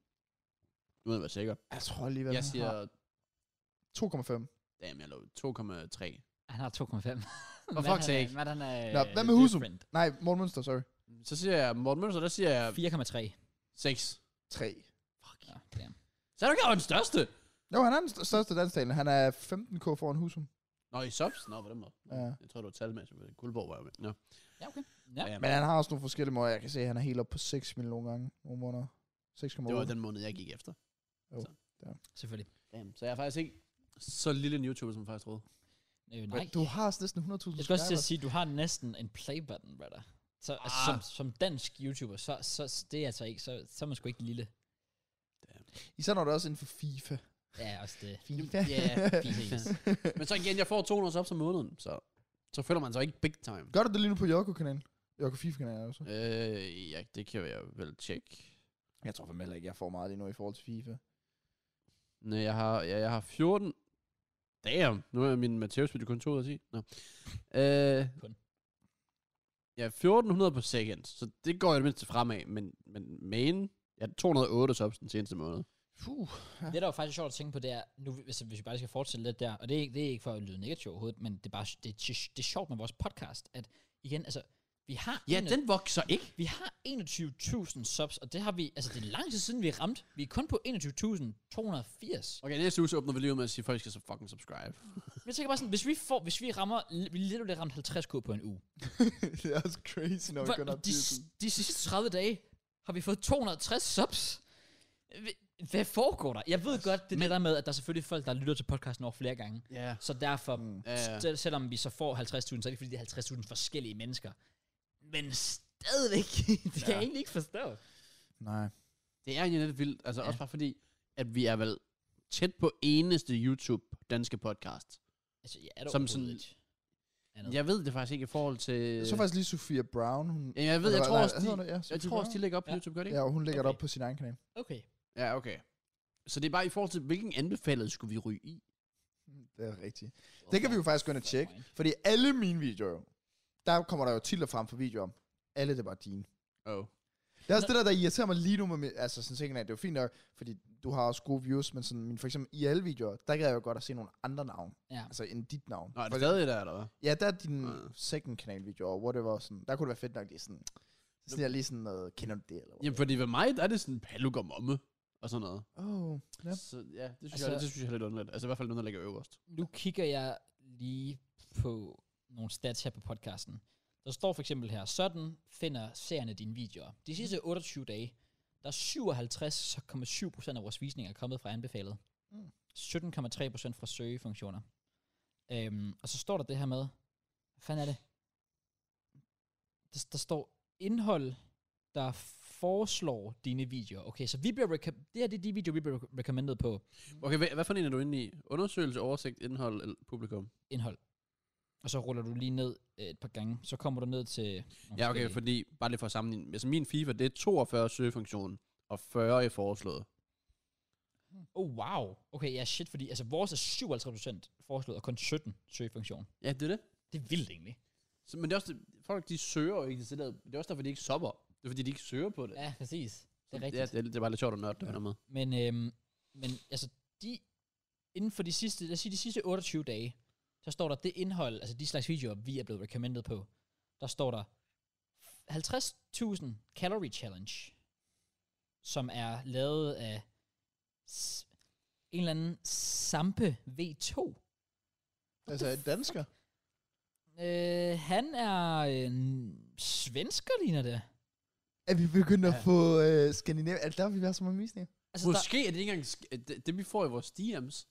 B: ved jeg være sikker.
C: Jeg tror alligevel,
B: Jeg
C: han
B: siger,
C: har 2,5.
B: damn, jeg lå 2,3.
A: Han har 2,5.
B: For
A: Hvad
B: fuck's
A: han er-
B: sake.
A: Hvad han er...
C: Nå,
A: øh,
C: hvad med Husum?
A: different.
C: Nej, Morten Mønster, sorry.
B: Så siger jeg, Morten Mønster, der siger jeg
A: 4,3.
B: 6.
C: 3.
A: Fuck. Ja, damn.
B: Så er du ikke den største?
C: Jo, han er den st- største dansktalende. Han er 15k foran Husum.
B: Nå, i subs? Nå, på den måde.
C: Ja.
B: Jeg tror, du var talmæssig med Guldborg, var jeg med. Nå.
A: Ja, okay. Ja.
B: Ja,
C: Men han har også nogle forskellige måder. Jeg kan se, at han er helt op på 6 mil nogle gange. Nogle måneder. 6,8.
B: Det var den måned, jeg gik efter.
A: Selvfølgelig.
B: Damn. Så jeg er faktisk ikke så lille en YouTuber, som jeg faktisk troede.
A: Øh,
C: Men
A: nej.
C: Du har altså næsten 100.000
A: Jeg skal også til at
C: subscribers.
A: sige, du har næsten en play-button, brother. Så altså, som,
B: Ah.
A: som dansk YouTuber, så, så det er altså ikke, så, så er man sgu ikke lille.
C: Især når det er også inden for FIFA.
A: Ja, også det.
C: FIFA.
A: Ja, præcis.
B: Men så igen, jeg får 200 subs om måneden, så, så føler man sig ikke big time.
C: Gør du det lige nu på Jokko-kanalen? Jokko FIFA-kanalen også.
B: Øh, ja, det kan jeg vel tjekke.
C: Jeg tror fandme heller ikke, jeg får meget lige nu i forhold til FIFA.
B: Nej, jeg har, ja, jeg har 14. Damn, nu er min Mateus video kun 2 ud af 10. Nå. Øh,
A: Kun.
B: Ja, 1400 på second, så det går jeg det mindste fremad, men, men main, jeg har 208 subs den seneste måned.
C: Puh.
A: Det, der er faktisk sjovt at tænke på, det er, nu, hvis, hvis vi bare skal fortsætte lidt der, og det er, ikke- det er ikke for at lyde negativt overhovedet, men det er bare det, er, det er sjovt med vores podcast, at igen, altså, Vi har,
B: Ja,
A: en-
B: den vokser ikke.
A: vi har 21.000 subs, og det har vi, altså det er lang tid siden, vi ramte. Vi er kun på 21.280.
B: Okay, næste uge så åbner vi lige ud med at sige, at folk skal så fucking subscribe.
A: Men jeg tænker bare sådan, hvis vi, får, hvis vi rammer, vi lige lidt ramt 50k på en uge.
C: det er også crazy, når vi
A: Hvor-
C: kun har
A: de,
C: 10.000.
A: de sidste 30 dage har vi fået 260 subs. Hv- Hvad foregår der? Jeg
B: Altså,
A: ved godt, det er det der med, at der er selvfølgelig folk, der lytter til podcasten over flere gange.
B: Ja.
A: Så derfor, mm.
C: Mm.
B: Ja, ja.
A: sel- selvom vi så får 50.000, så er det ikke fordi, det er 50.000 forskellige mennesker. Men stadigvæk, det kan
B: Ja.
A: jeg egentlig ikke forstå.
C: Nej.
B: Det er egentlig lidt vildt. Altså
A: Ja.
B: ja. også bare fordi, at vi er vel tæt på eneste YouTube danske podcast.
A: Altså, ja, er det
B: Som
A: Som sådan,
B: sådan-
A: ikke. Andet.
B: Jeg ved det faktisk ikke i forhold til...
C: Jeg så faktisk lige Sofia Brown. Hun,
B: Ja, Øh. jeg ved, jeg
C: Eller
B: tror
C: hvad-
B: også,
C: hvad hedder
B: de,
C: det? Ja,
B: jeg
C: Sofie
B: tror også, de
C: Brown.
B: lægger op på
A: Ja.
B: YouTube, gør det ikke?
C: Ja, og hun lægger okay. det
A: Okay.
C: op på sin egen kanal.
A: Okay.
B: Ja, okay. Så det er bare i forhold til, hvilken anbefalet skulle vi ryge i?
C: Det er rigtigt. Det kan vi jo faktisk gå ind og tjekke. Fordi alle mine videoer, der kommer der jo titler frem for videoer om. Alle, det var dine.
B: Oh.
C: Det er også det der, der irriterer mig lige nu med, mi- altså sådan tingene, at det er jo fint nok, fordi du har også gode views, men sådan, min, for eksempel i alle videoer, der kan jeg jo godt at se nogle andre navn,
A: Ja.
C: altså end dit navn.
B: Nå, er
C: For
B: det stadig der, eller hvad?
C: Ja, der er din
B: Ja.
C: second kanal video, og whatever, sådan, der kunne det være fedt nok lige sådan, sådan jeg lige sådan noget, kender du det, eller
B: Jamen, fordi ved mig, der er det sådan Paluk og Momme og sådan noget.
C: Oh, ja.
B: Så ja, det synes,
A: Altså-
B: altså, jeg, det synes jeg er lidt underligt. Altså i hvert fald noget, der ligger øverst.
A: Nu kigger jeg lige på nogle stats her på podcasten. Der står for eksempel her, sådan finder seerne dine videoer. De sidste 28 dage, der er 57,7% af vores visninger er kommet fra anbefalet.
C: Mm.
A: 17,3% fra søgefunktioner. Øhm, og så står der det her med, hvad fanden er det? Der, der står indhold, der foreslår dine videoer. Okay, så vi bliver reka- det her det er de videoer, vi bliver re- recommended på
B: Okay, hvad, hvad for en er du inde i? Undersøgelse, oversigt, indhold eller publikum?
A: indhold. Og så ruller du lige ned øh, et par gange, så kommer du ned til... nogle
B: Ja, okay,
A: forskellige-
B: fordi bare lige for at sammenligne. Altså min FIFA, det er 42 søgefunktion og 40 i foreslået.
A: Oh, wow. Okay, ja, shit, fordi altså, vores er 57% foreslået, og kun 17 søgefunktion.
B: Ja, det er det.
A: Det er vildt egentlig.
B: Så, men det er også, det- folk de søger jo ikke det der. Det er også derfor, de ikke sopper. Det er fordi, de ikke søger på det.
A: Ja, præcis. Det er
B: Så
A: rigtigt.
B: Ja, det, er, det er bare lidt sjovt at nørde det her med.
A: Men, øhm, men altså, de, inden for de sidste, lad os sige, de sidste 28 dage, så står der det indhold, altså de slags videoer, vi er blevet recommended på, der står der 50.000 calorie challenge, som er lavet af s- en eller anden Sampe V2.
C: Altså,
A: the
C: en dansker.
A: Øh, han er en svensker, ligner det.
C: Er vi begyndt at
B: Ja.
C: få øh, Skandinavien? Er det der, vi har så mange visninger?
A: Altså, der,
B: Måske er det ikke engang... sk- øh, Det, det, vi får i vores DM's,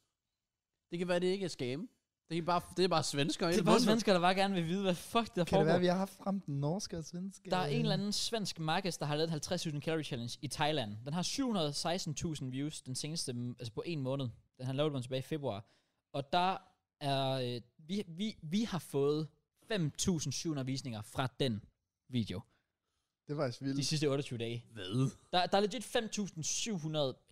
B: det kan være, det ikke er scam. Det, kan bare, det er bare svensker.
A: det er bare svensker, der bare gerne vil vide, hvad fuck der
C: Kan det
A: foregår.
C: være, vi har haft frem den norske og svenske?
A: Der er en eller anden svensk markeds, der har lavet en 50.000 calorie challenge i Thailand. Den har 716.000 views den seneste, m- altså på en måned. Den har lavet den tilbage i februar. Og der er, øh, vi, vi, vi har fået 5.700 visninger fra den video
C: Det var faktisk vildt.
A: de sidste 28 dage.
B: Hvad?
A: Der, der er legit 5.700,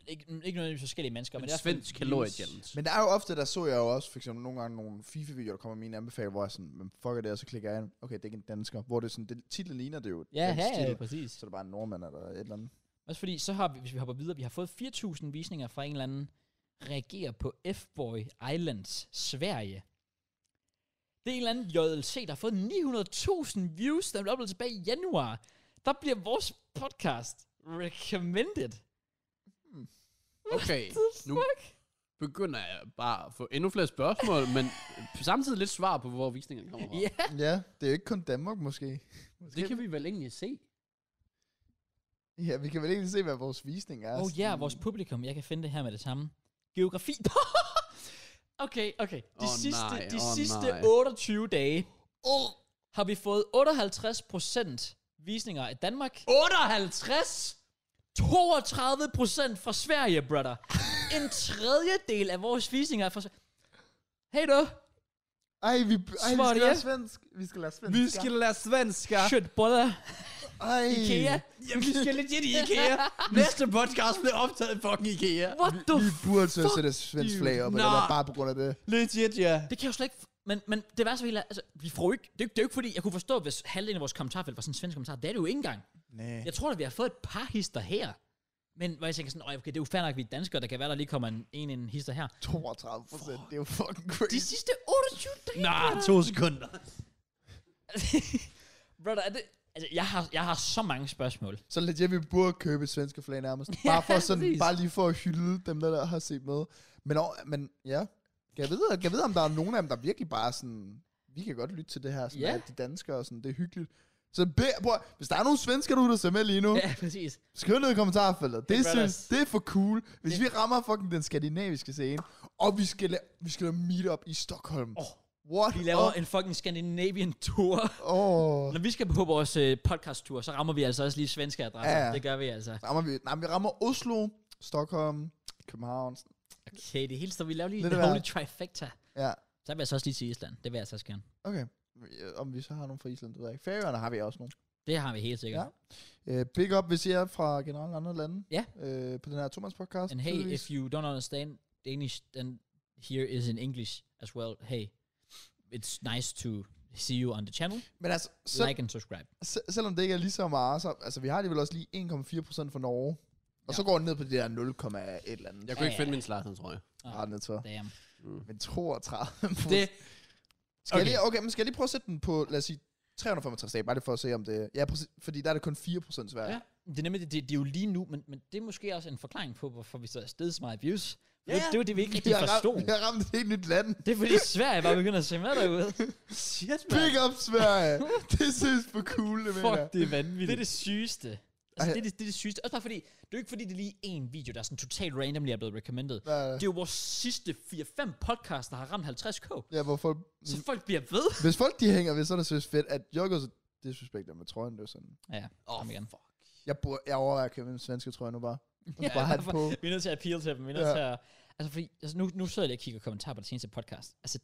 A: ikke, ikke nødvendigvis forskellige mennesker, men,
B: Men
A: det er
B: svensk kalorie challenge.
C: Men der er jo ofte, der så jeg jo også, for eksempel nogle gange nogle FIFA-videoer, der kommer med en anbefaling, hvor jeg sådan, men fuck er det, og så klikker jeg ind, okay, det er ikke en dansker, hvor det er sådan, det, titlen ligner det jo.
A: Ja,
C: dansk
A: ja, ja,
C: titel.
A: præcis.
C: Så er det bare en nordmand eller et eller andet.
A: Også fordi, så har vi, hvis vi hopper videre, vi har fået 4.000 visninger fra en eller anden, reagerer på F-Boy Islands, Sverige. Det er en eller anden JLC, der har fået 900.000 views, der blev uploadet tilbage i januar. Der bliver vores podcast recommended.
B: Okay, nu begynder jeg bare at få endnu flere spørgsmål, men samtidig lidt svar på, hvor visningerne kommer fra.
A: Ja.
C: ja, det er jo ikke kun Danmark måske.
B: Det kan vi vel egentlig se.
C: Ja, vi kan vel egentlig se, hvad vores visning er.
A: Åh oh, ja, yeah, vores publikum, jeg kan finde det her med det samme. Geografi. okay, okay. De
B: Åh,
A: sidste,
B: nej,
A: de
B: åh,
A: sidste
B: nej.
A: 28 dage har vi fået 58% visninger i Danmark.
B: 58?
A: 32 procent fra Sverige, brother. En tredjedel af vores visninger er fra Sverige. Hey du,
C: Ej, vi, ej, vi
A: Svar
C: skal
A: det,
C: lære
A: ja.
C: svensk. Vi skal lære svensk.
B: Vi skal lade svensker.
A: shit brother.
C: Ej.
A: IKEA.
B: Jamen, vi skal legit i IKEA. Næste podcast bliver optaget i fucking IKEA.
A: What the
C: Vi
A: f-
C: burde så sætte et svensk
B: dude.
C: flag op, eller
B: Nej.
C: hvad, bare på grund af det.
B: Legit, ja.
A: Det kan jeg jo slet ikke... f- Men, men det var så helt... Altså, vi får jo ikke... Det, er jo ikke- det er jo ikke fordi, jeg kunne forstå, hvis halvdelen af vores kommentarfelt var sådan en svensk kommentar. Det er det jo ikke engang.
C: Nej.
A: Jeg tror da, vi har fået et par hister her. Men hvor jeg tænker sådan, "Åh, okay, det er jo fair nok, vi er danskere, der kan være, der lige kommer en, en, en hister her.
C: 32 procent, det er jo fucking
A: De
C: crazy.
A: sidste 28 dage.
B: Nå, to sekunder.
A: Brother, er det... Altså, jeg har, jeg har så mange spørgsmål.
C: Så legit, vi burde købe et svenske flag nærmest. Bare, for sådan,
B: præcis.
C: bare lige for at hylde dem, der, der har set med. Men, og, men ja, kan jeg, vide, kan jeg vide, om der er nogen af dem, der virkelig bare er sådan, vi kan godt lytte til det her, sådan,
A: Ja.
C: yeah. de danskere, og sådan, det er hyggeligt. Så be, prøv, at- hvis der er nogle svensker, du der ser med lige nu,
A: Ja, præcis.
C: skriv ned i kommentarfeltet. Det,
A: Hey,
C: synes,
A: brothers.
C: det er for cool, hvis vi rammer fucking den skandinaviske scene, og vi skal, la- vi skal lave meetup i Stockholm.
A: Åh,
C: What?
A: Vi laver en fucking Scandinavian tour.
C: Åh. Oh.
A: Når vi skal på vores øh, podcast-tour, så rammer vi altså også lige svenske adresser.
C: Ja, ja.
A: Det gør vi altså.
C: Rammer vi, nej, vi rammer Oslo, Stockholm, København.
A: Okay, det hele står, vi laver lige
C: Lidt
A: the
C: af
A: holy
C: hvert.
A: trifecta.
C: Ja,
A: Så vil jeg så også lige til Island. Det vil jeg så også gerne.
C: okay. Om vi så har nogen fra Island, det ved jeg ikke. Færøerne har vi også nogle.
A: Det har vi helt sikkert.
C: Ja. Uh, big up, hvis I er fra generelt andre lande.
A: Ja.
C: Uh, på den her Thomas podcast.
A: And hey, if you don't understand Danish, then here is in English as well. Hey, it's nice to see you on the channel.
C: Men altså,
A: Så,
C: selv,
A: like and subscribe.
C: se- selvom det ikke er lige så meget, så, altså vi har det vel også lige 1,4% for Norge. Og
A: Ja.
C: så går den ned på det der 0,1 eller andet.
B: Jeg
C: Jeg
B: kunne ikke
A: Ja, ja.
B: finde min Zlatan, tror jeg.
A: Ah.
C: kunne ja. ned til.
A: Damn.
C: Men 32.
A: Det,
C: Skal okay.
A: Okay.
C: Jeg lige, okay, men skal jeg lige prøve at sætte den på, lad os sige, 365 dage, bare lige for at se, om det... Ja, præcis, fordi der er det kun 4% svært.
A: Ja. det er nemlig, det, det, det er jo lige nu, men, men det er måske også en forklaring på, hvorfor vi så er stedet så meget views. Ja, det, det var det, vi ikke
C: Vi
A: rigtig
C: har,
A: forstod.
C: ramt, vi har ramt et helt nyt land.
A: Det er fordi Sverige bare begynder at se med derude.
B: Shit,
C: Big up, Sverige! det synes for cool, det mener jeg.
A: Fuck, det er vanvittigt. Det er det sygeste. Altså,
C: Ej.
A: det, er det, det er det sygeste. Også bare fordi, det er jo ikke fordi, det er lige én video, der er sådan totalt randomly er blevet recommended.
C: Nej, nej.
A: Det er jo vores sidste 4-5 podcast, der har ramt 50k.
C: Ja, hvor folk,
A: Så folk bliver ved.
C: hvis folk de hænger ved, så er det synes fedt, at jeg også disrespekter med trøjen, det er sådan.
A: Ja,
B: Åh,
A: kom igen.
B: fuck.
C: Jeg, bor, jeg overvejer at købe en svenske trøje nu bare.
A: Ja,
C: Bare have den på.
A: Vi er nødt til at appeal til dem. Vi er nødt
C: Ja.
A: til at... Altså, fordi, altså nu, nu sidder jeg lige og kigger kommentarer på det seneste podcast. Altså,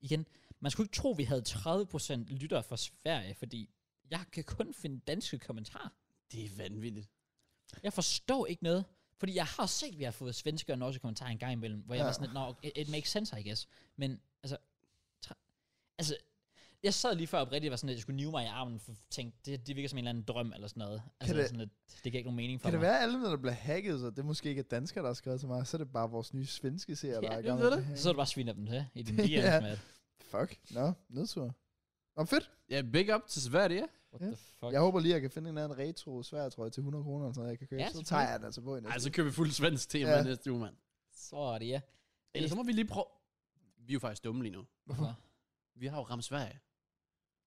A: igen, man skulle ikke tro, vi havde 30% lyttere fra Sverige, fordi jeg kan kun finde danske kommentarer.
B: Det er vanvittigt.
A: Jeg forstår ikke noget. Fordi jeg har set, at vi har fået svenske og norske kommentarer en gang imellem, hvor jeg
C: Ja.
A: ja. var sådan lidt, "Nå, okay, it, it makes sense, I guess. Men altså, tra- altså, jeg sad lige før oprigtigt og var sådan lidt, jeg skulle nive mig i armen, for tænkte, det, det virker som en eller anden drøm eller sådan noget. Altså,
C: det-
A: det, sådan lidt, det giver ikke nogen mening for
C: Kan det
A: mig.
C: være, at alle, der bliver hacket, så det er måske ikke er danskere, der har skrevet til mig, så er det bare vores nye svenske seer, der
A: Ja,
C: er i
A: det
C: gang
B: ved
C: med
B: det.
C: at
A: Så er du bare sviner dem til i din
C: Ja.
A: DM's, yeah. Matt.
C: Fuck. Nå, nedtur. Nå, fedt.
B: Ja, big up til Sverige.
A: What
C: Ja.
A: the fuck?
C: Jeg håber lige, at jeg kan finde en eller anden retro svær, tror jeg, til 100 kroner, eller sådan noget, jeg kan købe.
A: Ja,
C: så tager
A: selvfølgelig.
C: jeg den altså på i
B: Ej,
C: næste.
B: så kører vi fuld svensk tema
C: Ja.
B: ja. næste uge, mand.
A: Så er det, ja.
B: Eller så må vi lige prøve... Vi er jo faktisk dumme lige nu.
A: Hvorfor?
B: Vi har jo ramt Sverige.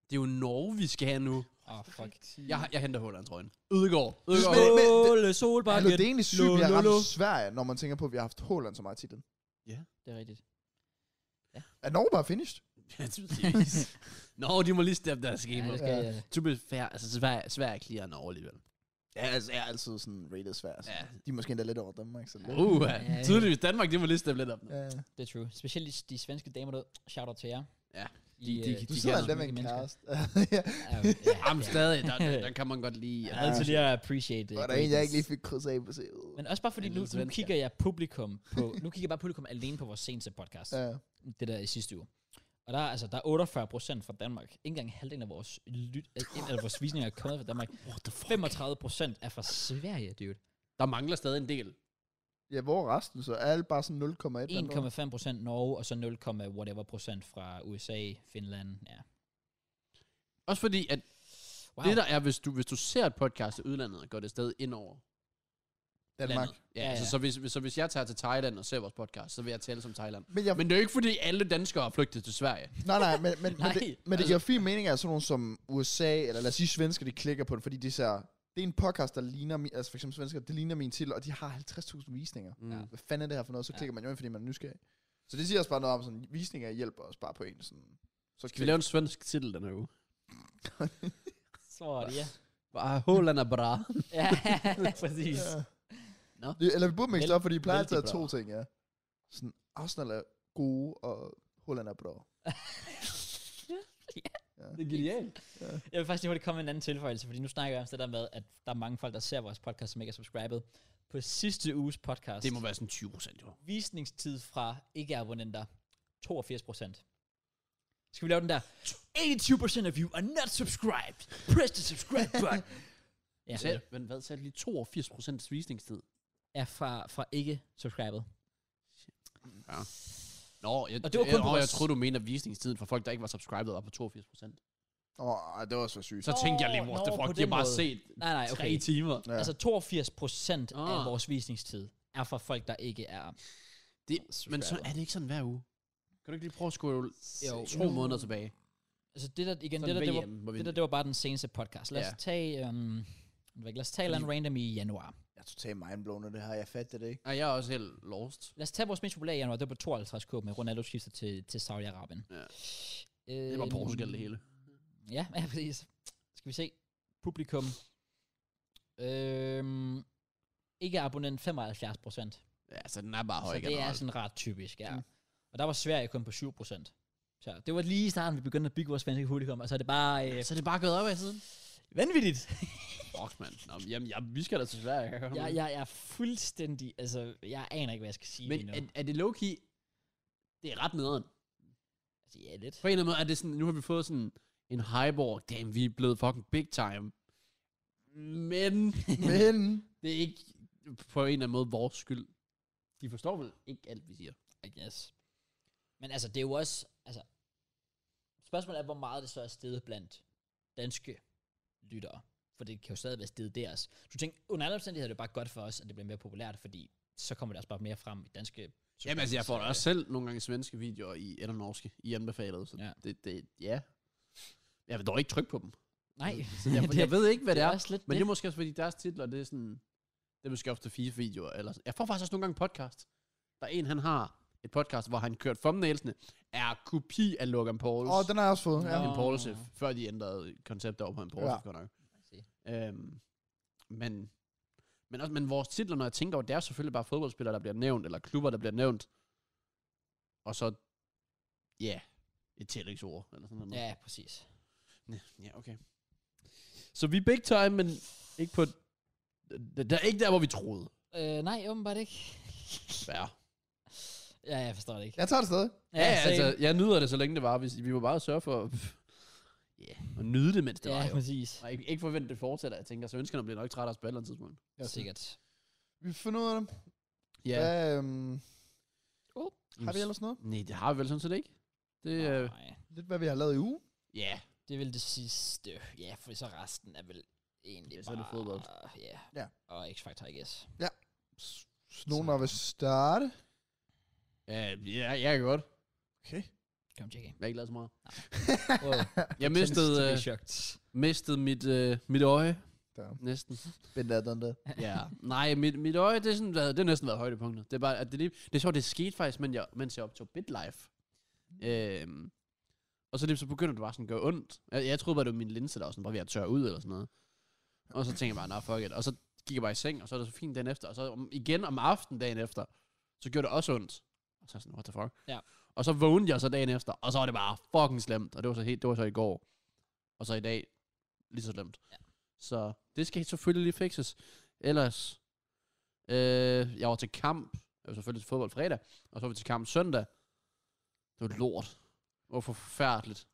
B: Det er jo Norge, vi skal have nu.
A: Åh, oh, fuck.
B: Jeg, jeg henter Holland, tror jeg. Ødegård.
C: Men-
B: Ødegård.
C: men-
A: Skåle,
C: men- Hallo,
A: solbakken.
C: det er egentlig sygt, vi har
A: Lololo.
C: ramt Sverige, når man tænker på, at vi har haft Holland så meget i titlen.
A: Det er rigtigt.
C: Er Norge bare finished?
B: Ja, tydeligvis. Nå, de må lige steppe deres
A: Ja,
B: schema.
A: det skal
C: Ja.
A: jeg.
B: To be fair, altså Sverige, Sverige er clear Norge alligevel. Altså,
C: Ja, altså, jeg er altid sådan rated Sverige.
B: Ja.
C: De er måske endda lidt over Danmark, så lidt.
B: Uh,
A: Ja, ja.
B: tydeligvis Danmark, det må lige steppe lidt op. nu.
C: Ja.
A: Det er true. Specielt de, de svenske damer, der shout out til jer.
B: Ja.
A: I,
B: De- de-
A: øh,
B: de-
C: Du
A: er
C: sidder
A: altså
C: endda med en
A: smukke mennesker.
C: kæreste. ja.
A: Ja, ja,
B: Jamen
A: ja.
B: stadig, der, der, der kan man godt lide. Altså,
A: Jeg
B: Ja.
A: er nødt til lige at appreciate det.
C: Og der er en, jeg ikke lige fik krydset af på CV'et.
A: Men også bare fordi,
B: En
A: nu,
B: lille
A: nu
B: svensker.
A: kigger jeg publikum på, nu kigger jeg bare publikum alene på vores seneste podcast.
C: Ja.
A: Det der i sidste uge. Og der er, altså, der er 48 procent fra Danmark. Ikke engang halvdelen af vores, lyt, øh, eller vores visninger er kommet fra Danmark.
B: What the fuck?
A: 35 procent er fra Sverige, dude.
B: Der mangler stadig en del.
C: ja, hvor er resten så? Er alle bare sådan 0,1? eller noget?
A: 1,5 procent Norge, og så 0, whatever procent fra USA, Finland. Ja.
B: Også fordi, at
A: Wow.
B: det der er, hvis du, hvis du ser et podcast i udlandet og går det stadig indover.
C: Danmark.
B: landet.
A: Ja,
B: Ja, ja,
A: ja.
B: ja. Altså, så, hvis, hvis- så hvis jeg tager til Thailand og ser vores podcast, så vil jeg tale som Thailand.
C: Men, jeg,
B: Men det er jo ikke, fordi alle danskere er flygtet til Sverige.
C: nej, nej, men, men, men,
A: Nej,
C: det, men det giver fin mening, at sådan nogle som USA, eller lad os sige svensker, de klikker på den, fordi de ser, det er en podcast, der ligner, min, altså for eksempel svensker, det ligner min titel, og de har 50.000 visninger.
A: Mm.
B: Ja.
C: Hvad fanden er det her for noget? Så
A: Ja.
C: klikker man jo ind, fordi man er nysgerrig. Så det siger også bare noget om, sådan, visninger hjælper os bare på en. Sådan, så
B: Skal vi lave en svensk titel den her uge?
A: Så er det, ja.
B: Bare Holland er bra.
A: ja, præcis.
C: Ja.
B: Nå.
C: Det- Eller vi burde mixe
A: Vel-
C: det op, fordi vi plejer altid at
B: vældig
C: have to ting, ja. Sådan, Arsenal er gode, og Holland er bra.
B: Det er genialt.
A: Jeg vil faktisk lige hurtigt komme med en anden tilføjelse, fordi nu snakker jeg om det der med, at der er mange folk, der ser vores podcast, som ikke er subscribet. På sidste uges podcast,
B: Det må være sådan 20 procent, jo.
A: visningstid fra ikke-abonnenter, 82 procent. Skal vi lave den der? 82% of you are not subscribed. Press the subscribe button. ja,
B: Sagde- Men hvad sagde du lige? 82 procent visningstid?
A: er fra, fra ikke subscribet.
B: Ja. Nå, jeg,
A: Og det var kun
B: jeg,
A: på
B: åh, jeg
A: vores-
B: troede, du mener, at visningstiden for folk, der ikke var subscribet, var på 82 procent.
C: Åh, oh, det var så sygt.
B: Så tænkte jeg lige,
A: Nå,
B: what
A: nå,
B: the
A: på
B: fuck, de har
A: den
B: bare
A: måde.
B: set
A: Nej, nej, okay.
B: tre timer.
C: Ja.
A: Ja. Altså 82 procent oh. af
B: Ah.
A: vores visningstid er for folk, der ikke er
B: Det, men så
A: subscriber.
B: er det ikke sådan hver uge. Kan du ikke lige prøve at skåle
A: Jo.
B: to måneder tilbage?
A: Altså det der, igen, det
B: Sådan
A: der, det var,
B: VM, hvor vi-
A: det der, det var bare den seneste podcast. Lad os
B: Ja.
A: tage, øhm, jeg ved ikke, lad os tage en random i januar.
C: Jeg er totalt mindblown af det her. Jeg fatter det ikke.
B: Ej, jeg er også helt lost.
A: Lad os tage vores mest populære i januar, det var på 52k med Ronaldo skifter til, til Saudi-Arabien.
B: Ja.
A: Øh,
B: Det var Portugal det hele.
A: Ja, ja, præcis. Skal vi se. Publikum. Øhm, ikke abonnent 75 procent.
B: Ja, altså den er bare høj
A: Så det er
B: generelt.
A: sådan ret typisk, ja.
C: Mm.
A: Mm. Og der var Sverige kun på 7 procent. Så det var lige i starten, vi begyndte at bygge vores spanske publikum, og så er det bare øh,
B: Så er det bare gået op ad siden?
A: vanvittigt.
B: Fuck, mand. Nå, men jamen, jeg, vi skal da til Sverige. kan jeg godt
A: Jeg,
B: mærke.
A: jeg, jeg er fuldstændig, altså, jeg aner ikke, hvad jeg skal sige
B: Men
A: lige nu.
B: er, er det low-key? Det er ret nederen.
A: altså, ja, lidt.
B: På en eller anden måde er det sådan, nu har vi fået sådan en hype over, damn, vi er blevet fucking big time. Men
C: Men,
B: det er ikke på en eller anden måde vores skyld. De forstår vel ikke alt, vi siger.
A: I guess. Men altså, det er jo også, altså, spørgsmålet er, hvor meget det så er steget blandt danske lyttere. For det kan jo stadig være steget deres. Du tænker, under alle omstændigheder er det bare godt for os, at det bliver mere populært, fordi så kommer det også bare mere frem i danske...
B: Jamen altså, jeg får da
A: Øh,
B: også selv nogle gange svenske videoer i, eller norske, i anbefalet. Så
A: Ja.
B: ja. Det, det, ja. Jeg vil dog ikke trykke på dem.
A: Nej,
B: Så jeg, jeg ved ikke, hvad det,
A: det er
B: er.
A: også lidt
B: men det.
A: det.
B: er måske også, fordi deres titler, det er sådan... Det er måske ofte FIFA-videoer. Eller, sådan. jeg får faktisk også nogle gange podcast. Der er en, han har et podcast, hvor han kørte thumbnailsene, er kopi af Logan Pauls.
C: åh, oh, den har jeg også fået. Ja.
B: ja. En
A: Nå.
B: Paulsif, før de ændrede konceptet over på en Paulsif,
C: Ja.
B: ja. godt nok. Øhm, men, men, også, men vores titler, når jeg tænker over, det er selvfølgelig bare fodboldspillere, der bliver nævnt, eller klubber, der bliver nævnt. Og så, ja, yeah, et tillægsord, eller sådan noget.
A: Ja, præcis.
B: Ja, ja, okay. Så vi er big time, men ikke på... Det, der, ikke der, hvor vi troede.
A: Øh, nej, åbenbart ikke.
B: Ja,
A: ja, jeg forstår det ikke.
C: Jeg tager det stadig.
B: ja altså, jeg nyder det, så længe det var. Vi, vi må bare sørge for yeah, at nyde det, mens det
A: det
B: var.
A: ja,
B: Jo.
A: præcis.
B: Og ikke, ikke forvente, det fortsætter. Jeg tænker, så ønskerne bliver nok trætte af os på et eller andet tidspunkt.
A: Ja, sikkert.
C: Vi finder ud af det. Ja.
B: Ja.
C: øhm, har vi ellers noget?
B: Nej, det har vi vel sådan set ikke. Det, øh,
A: Nej.
C: Lidt hvad vi har lavet i uge.
B: ja.
A: Det er vel det sidste. Ja, for så resten er vel egentlig
B: Ja,
A: ja,
B: så er
A: bare...
B: det fodbold.
A: Ja.
C: Ja.
A: Og X-Factor, I guess.
C: S- s- Nogen, der vil starte.
B: Ja, ja, jeg kan godt.
C: Okay.
A: Kom, tjekke.
B: Jeg har ikke lavet så meget.
A: Wow.
B: Jeg mistede, øh, mistede mit, øh, mit øje,
C: Der.
B: næsten.
C: Spændt af den der.
B: Ja, nej, mit, mit øje, det, er sådan, været- det har næsten været højdepunktet. Det er bare, at det, lige, det er sjovt, det skete faktisk, mens jeg, mens jeg optog BitLife.
A: Mm.
B: Øhm, og så, lige, så begynder det bare sådan at gøre ondt. Jeg, jeg troede bare, det var min linse, der var sådan bare ved at tørre ud eller sådan noget. Og så tænkte jeg bare, nej, fuck it. Og så gik jeg bare i seng, og så er det så fint dagen efter. Og så om, igen om aftenen dagen efter, så gjorde det også ondt. Og så er jeg sådan, what the fuck?
A: Ja.
B: Og så vågnede jeg så dagen efter, og så var det bare fucking slemt. Og det var så, helt, det var så i går. Og så i dag, lige så slemt.
A: Ja.
B: Så det skal selvfølgelig lige fikses. Ellers, øh, jeg var til kamp, jeg var selvfølgelig til fodbold fredag, og så var vi til kamp søndag. Det var lort. Det var forfærdeligt.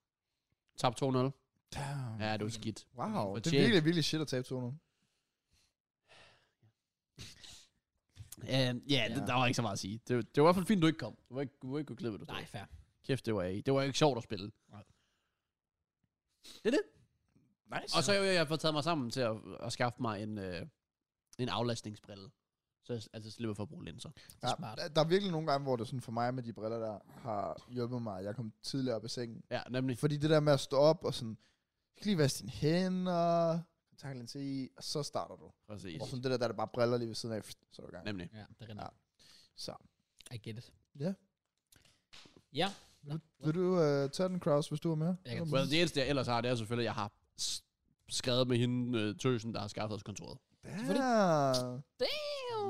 B: Tab 2-0.
C: Damn.
B: Ja, det var skidt.
C: Wow, det er
B: Fortjent.
C: virkelig, virkelig shit at tabe 200.
B: Øh, ja, ja.
A: Ja.
B: Det, der var ikke så meget at sige. Det, det var i hvert fald fint, du ikke kom. Du var ikke, du var ikke kunne klippe det.
A: Nej, fair.
B: Kæft, det var ikke. Det var ikke sjovt at spille.
A: Nej.
B: Det er det.
C: Nice.
B: Og så har jeg, jeg har fået taget mig sammen til at, at skaffe mig en, øh, en aflastningsbrille. Så jeg altså slipper for at bruge linser.
A: Det er smart.
C: Der, der er virkelig nogle gange, hvor det sådan for mig med de briller, der har hjulpet mig. Jeg kom tidligere op i sengen.
B: Ja, nemlig.
C: Fordi det der med at stå op og sådan, du skal lige vaske dine hænder, kontakte linse i, og så starter du.
B: Præcis.
C: Og sådan det der, der er bare briller lige ved siden af, så er du i gang.
B: Nemlig.
A: Ja, det rinder.
C: Så.
A: I get it.
C: Ja.
A: Ja.
C: Vil du øh, tage den, Kraus, hvis du er med?
A: Jeg kan-
B: Well, det eneste, jeg ellers har, det er selvfølgelig, at jeg har s- skrevet med hende, øh, tøsen, der har skaffet os kontoret.
C: Ja.
A: Damn!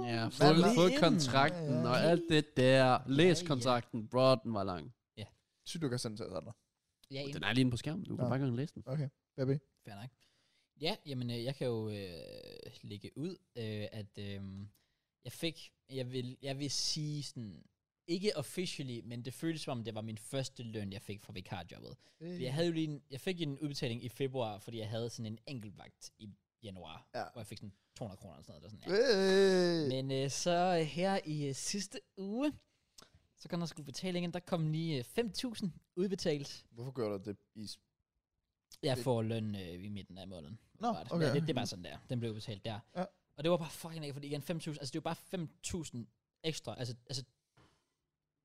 B: Ja,
C: Hvad
B: fået,
C: lige
B: fået
A: inden?
B: kontrakten
C: Ja, ja.
B: og alt det der. Læs
A: ja.
B: kontrakten. Bro, den var lang.
C: Sygt, du kan sende til os andre.
A: Ja, en.
B: Den er lige inde på skærmen. Du kan
C: Ja.
B: bare gå ind og læse den.
C: Okay, baby.
A: Fair nok. Ja, jamen, øh, jeg kan jo øh, lægge ud, øh, at øh, jeg fik, jeg vil, jeg vil sige sådan, ikke officially, men det føltes som om, det var min første løn, jeg fik fra vikarjobbet. Fordi Jeg, havde jo lige en, jeg fik en udbetaling i februar, fordi jeg havde sådan en enkeltvagt i januar,
C: Ja.
A: hvor jeg fik sådan 200 kroner eller sådan noget. Det var Sådan,
C: Øh.
A: ja. Men øh, så øh, her i øh, sidste uge, så kom der sgu betalingen, der kom lige øh, 5.000 udbetalt.
C: Hvorfor gør du det i
A: Jeg får løn øh, i midten af måneden.
C: Nå,
A: åbenbart.
C: okay.
A: Ja, det, det er bare sådan der. Den blev betalt der.
C: Ja.
A: Og det var bare fucking ikke, fordi igen, 5.000, altså det var bare 5.000 ekstra. Altså, altså,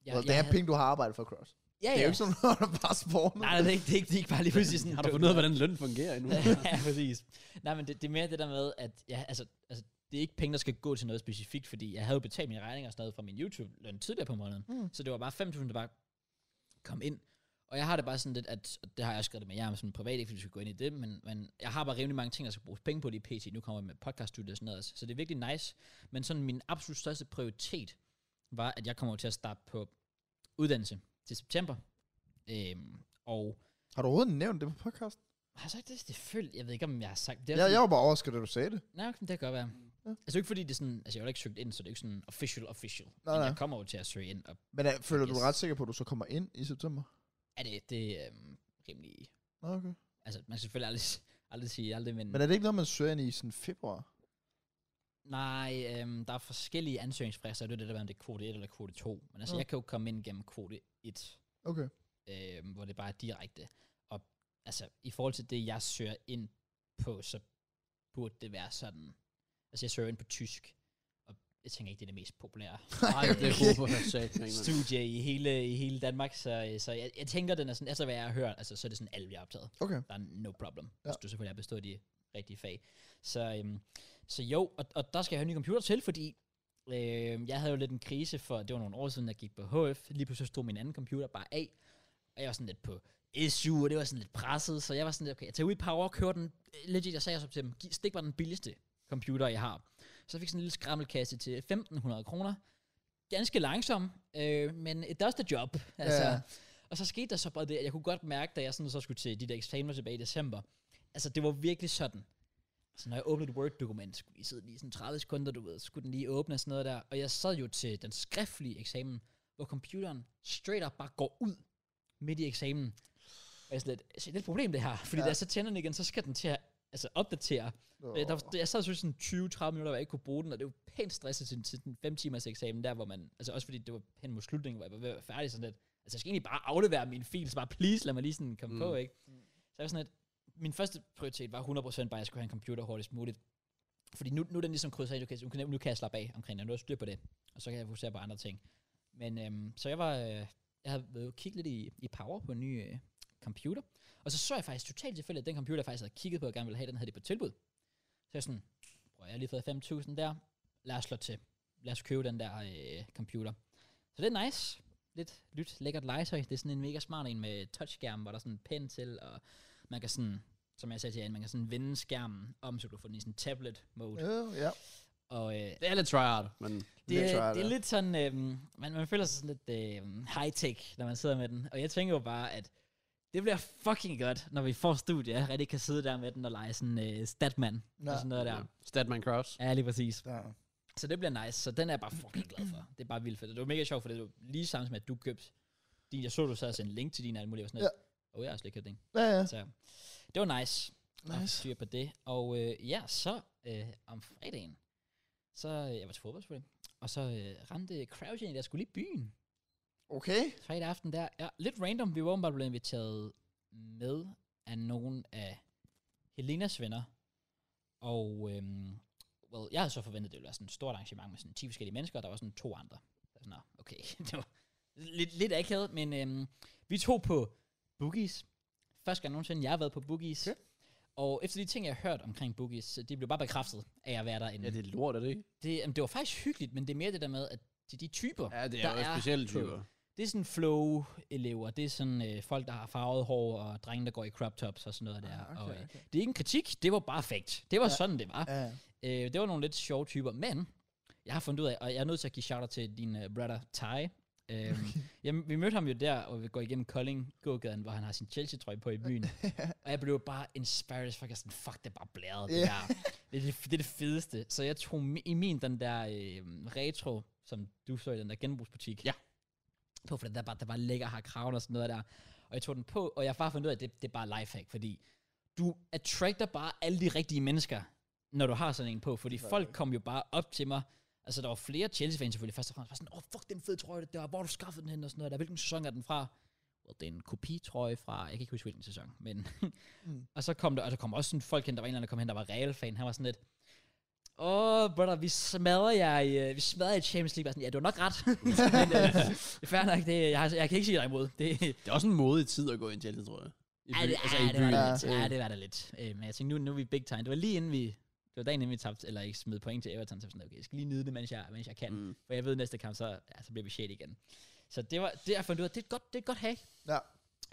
C: Ja, well, det er
A: havde-
C: penge, du har arbejdet for, Cross. Ja,
A: Ja,
C: Det er
A: ja.
C: jo ikke sådan, når du bare spawner.
A: Nej, nej, det er ikke, det er ikke, det er ikke bare lige præcis sådan.
B: Har du fundet ud af, hvordan løn fungerer endnu?
A: ja, præcis. Nej, men det, det er mere det der med, at ja, altså, altså, det er ikke penge, der skal gå til noget specifikt, fordi jeg havde jo betalt mine regninger og sådan noget fra min YouTube-løn tidligere på måneden.
C: Mm.
A: Mm. Så det var bare 5.000, der bare kom ind. Og jeg har det bare sådan lidt, at og det har jeg også skrevet det med jer, om sådan privat, ikke fordi vi skal gå ind i det, men, men jeg har bare rimelig mange ting, der skal bruges penge på lige pt. Nu kommer jeg med podcaststudiet og sådan noget, også. så det er virkelig nice. Men sådan min absolut største prioritet var, at jeg kommer til at starte på uddannelse til september. Øhm, og
C: Har du overhovedet nævnt det på podcasten?
A: har jeg sagt det? Selvfølgelig. Jeg ved ikke, om jeg har sagt det.
C: Ja, jeg var bare overrasket, da du sagde det.
A: Nej, okay, det kan godt være. Ja.
C: Ja.
A: Altså ikke fordi det er sådan, altså jeg har ikke søgt ind, så det er ikke sådan official, official.
C: Nej,
A: Nej, men
C: nej.
A: jeg kommer jo til at søge ind, og
C: Men uh, føler yes. du
A: Yes.
C: dig ret sikker på, at du så kommer ind i september?
A: er det, det er øhm, rimelig,
C: Nå, Okay.
A: altså man skal selvfølgelig aldrig, s- aldrig sige aldrig, men,
C: Men
A: men
C: er det ikke noget, man søger ind i sådan februar?
A: nej, øhm, der er forskellige ansøgningsfrister, det er det der med, om det er kvote 1 eller kvote 2. Men altså
C: Nå.
A: ja. jeg kan jo komme ind gennem kvote 1,
C: Okay.
A: øhm, hvor det bare er direkte. Og altså i forhold til det, jeg søger ind på, så burde det være sådan, altså jeg søger ind på tysk, og jeg tænker ikke, det er det mest populære
B: Nej, det er god for at sige.
A: studie i hele, i hele Danmark, så, øh, så jeg, jeg tænker, den er sådan, altså hvad jeg har hørt, altså så er det sådan alle, vi har optaget.
C: Okay.
A: Der er no problem,
C: Ja.
A: ja. hvis du selvfølgelig har bestået de rigtige fag. Så, øhm, så jo, og, og der skal jeg have en ny computer til, fordi øhm, jeg havde jo lidt en krise for, det var nogle år siden, jeg gik på HF, lige pludselig stod min anden computer bare af, og jeg var sådan lidt på SU, og det var sådan lidt presset, så jeg var sådan lidt, okay, jeg tager ud i et par år, kører den, øh, legit, jeg sagde også til dem, "Giv- stik mig den billigste computer, jeg har. Så jeg fik sådan en lille skrammelkasse til 1.500 kroner, ganske langsom, øh, men it does the job. Altså,
C: Ja.
A: ja. Og så skete der så bare det, at jeg kunne godt mærke, da jeg sådan så skulle til de der eksamener tilbage i december, altså det var virkelig sådan. Så når jeg åbnede et Word-dokument, skulle lige sidde lige sådan 30 sekunder, du ved, så skulle den lige åbne og sådan noget der. Og jeg sad jo til den skriftlige eksamen, hvor computeren straight up bare går ud midt i eksamen. Og jeg er sådan lidt, "Se, det er et problem det her, fordi
C: Ja.
A: ja. da jeg så tænder den igen, så skal den til at altså, opdatere. Oh. Der, var- jeg sad så sådan 20-30 minutter, hvor jeg ikke kunne bruge den, og det var pænt stresset til, til den 5 timers eksamen der, hvor man, altså også fordi det var hen mod slutningen, hvor jeg var ved at være færdig sådan lidt, altså jeg skal egentlig bare aflevere min fil, så bare please lad mig lige sådan komme
B: Mm.
A: mm. på, ikke? Så jeg var sådan lidt, min første prioritet var 100% bare, at jeg skulle have en computer hurtigst muligt. Fordi nu, nu er den ligesom krydset af, okay, så nu kan jeg- nu kan jeg slappe af omkring det, nu har jeg styr på det, og så kan jeg fokusere på andre ting. Men øhm, så jeg var, øh, jeg havde været ude at kigge lidt i, i Power på en ny øh, computer, og så så jeg faktisk totalt tilfældigt, at den computer, jeg faktisk havde kigget på og gerne ville have, den havde det på tilbud. Så jeg sådan, bror, jeg har lige fået 5.000 der, lad os slå til. Lad os købe den der øh, computer. Så det er nice. Lidt lyt, lækkert legetøj. Det er sådan en mega smart en med touchskærm, hvor der er sådan en pen til, og man kan sådan, som jeg sagde til jer, man kan sådan vende skærmen om, så du får den i sådan tablet-mode.
C: Ja, Øh, ja.
A: Og øh,
B: Det er lidt tryhard, men...
A: det,
C: Lidt
A: det,
C: tryhard,
A: det
C: ja.
A: er lidt sådan, øh, man, man føler sig sådan lidt øh, high-tech, når man sidder med den. Og jeg tænker jo bare, at det bliver fucking godt, når vi får studie, jeg rigtig kan sidde der med den og lege sådan øh, statman
C: Ja.
A: og sådan noget
B: Ja.
A: der.
B: Statman Cross.
A: Ja, lige præcis.
C: Der.
A: Så det bliver nice, så den er jeg bare fucking glad for. Det er bare vildt fedt. Det var mega sjovt, for det var lige samtidig med, at du købte din. Jeg så, du så sendte en link til din og alt muligt. Og sådan
C: Ja.
A: ja. Og jeg har slet ikke købt den.
C: Ja, ja.
A: Så det var nice.
C: Nice.
A: Nice. Styr på det. Og øh, ja, så øh, om fredagen, så øh, jeg var til fodbold selvfølgelig. Og så øh, ramte Crouch ind, jeg skulle lige i byen.
C: Okay.
A: Fredag aften der. Ja, lidt random. Vi var åbenbart blevet inviteret med af nogle af Helenas venner. Og øhm, well, jeg havde så forventet, at det ville være sådan et stort arrangement med sådan 10 forskellige mennesker, og der var sådan to andre. Jeg var Sådan, "Nå, okay, det var lidt, lidt akavet, men øhm, vi tog på Boogies. Første gang nogensinde, jeg har været på Boogies.
C: Okay.
A: Okay. Og efter de ting, jeg har hørt omkring Boogies, så de blev bare bekræftet af at være derinde.
B: Ja, det er lort, er det ikke?
A: Det, jamen, det var faktisk hyggeligt, men det er mere det der med, at de, de typer,
B: Ja, det er
A: Der
B: jo
A: er
B: specielle
A: på-
B: typer.
A: det er sådan flow-elever. Det er sådan øh, folk, der har farvet hår, og drenge, der går i crop tops og sådan noget der.
C: Ah, okay,
A: og, øh,
C: okay.
A: Det er ikke en kritik, det var bare fakt. Det var
C: Ja.
A: ja. sådan, det var.
C: Ja.
A: Øh, det var nogle lidt sjove typer, men jeg har fundet ud af, og jeg er nødt til at give shout til din uh, brother Ty. Øhm, jamen, vi mødte ham jo der, og vi går igennem Kolding gågaden, hvor han har sin Chelsea-trøje på i byen. og jeg blev bare inspired, for jeg er sådan, fuck, det er bare blæret, det
C: Ja.
A: der. Det er det, det er det fedeste. Så jeg tog mi- i min den der øh, retro, som du så i den der genbrugsbutik.
B: Ja.
A: På, for den der bare, der bare lækker har kraven og sådan noget der. Og jeg tog den på, og jeg har bare fundet ud af, at det, det er bare lifehack, fordi du attracter bare alle de rigtige mennesker, når du har sådan en på. Fordi folk kom jo bare op til mig. Altså, der var flere Chelsea-fans selvfølgelig først og fremmest. Bare sådan, åh, oh, fuck, den fede trøje, der, hvor har du skaffet den hen og sådan noget der. Hvilken sæson er den fra? well, det er en kopitrøje fra, jeg kan ikke huske hvilken sæson, men,
C: Mm.
A: mm. og så kom der, og der kom også sådan folk hen, der var en eller anden, der kom hen, der var Real-fan, han var sådan lidt, åh, oh, brother, vi smadrer jer i, øh, vi smadrer jer i Champions League, Jeg var sådan, ja, du har nok ret, men øh, det er fair nok, det, jeg, har- jeg kan ikke sige dig imod, det,
B: Det er også en modig tid at gå ind til, det tror jeg. I
A: Ja,
B: by-
A: det,
B: altså,
A: ja,
B: i
A: det var
B: byen.
A: der lidt.
C: Ja,
A: Ja,
C: øh.
A: det var der lidt. Øh, men jeg tænkte, nu, nu er vi big time. Det var lige inden vi... Det var dagen inden vi tabte, eller ikke smed point til Everton, så jeg var sådan, okay, jeg skal lige nyde det, mens jeg, mens jeg kan. Mm.
B: Mm.
A: For jeg ved, at næste kamp, så, ja, så bliver vi shit igen. Så det var, det jeg fandt ud af, det er et godt, det er et godt hack.
C: Ja.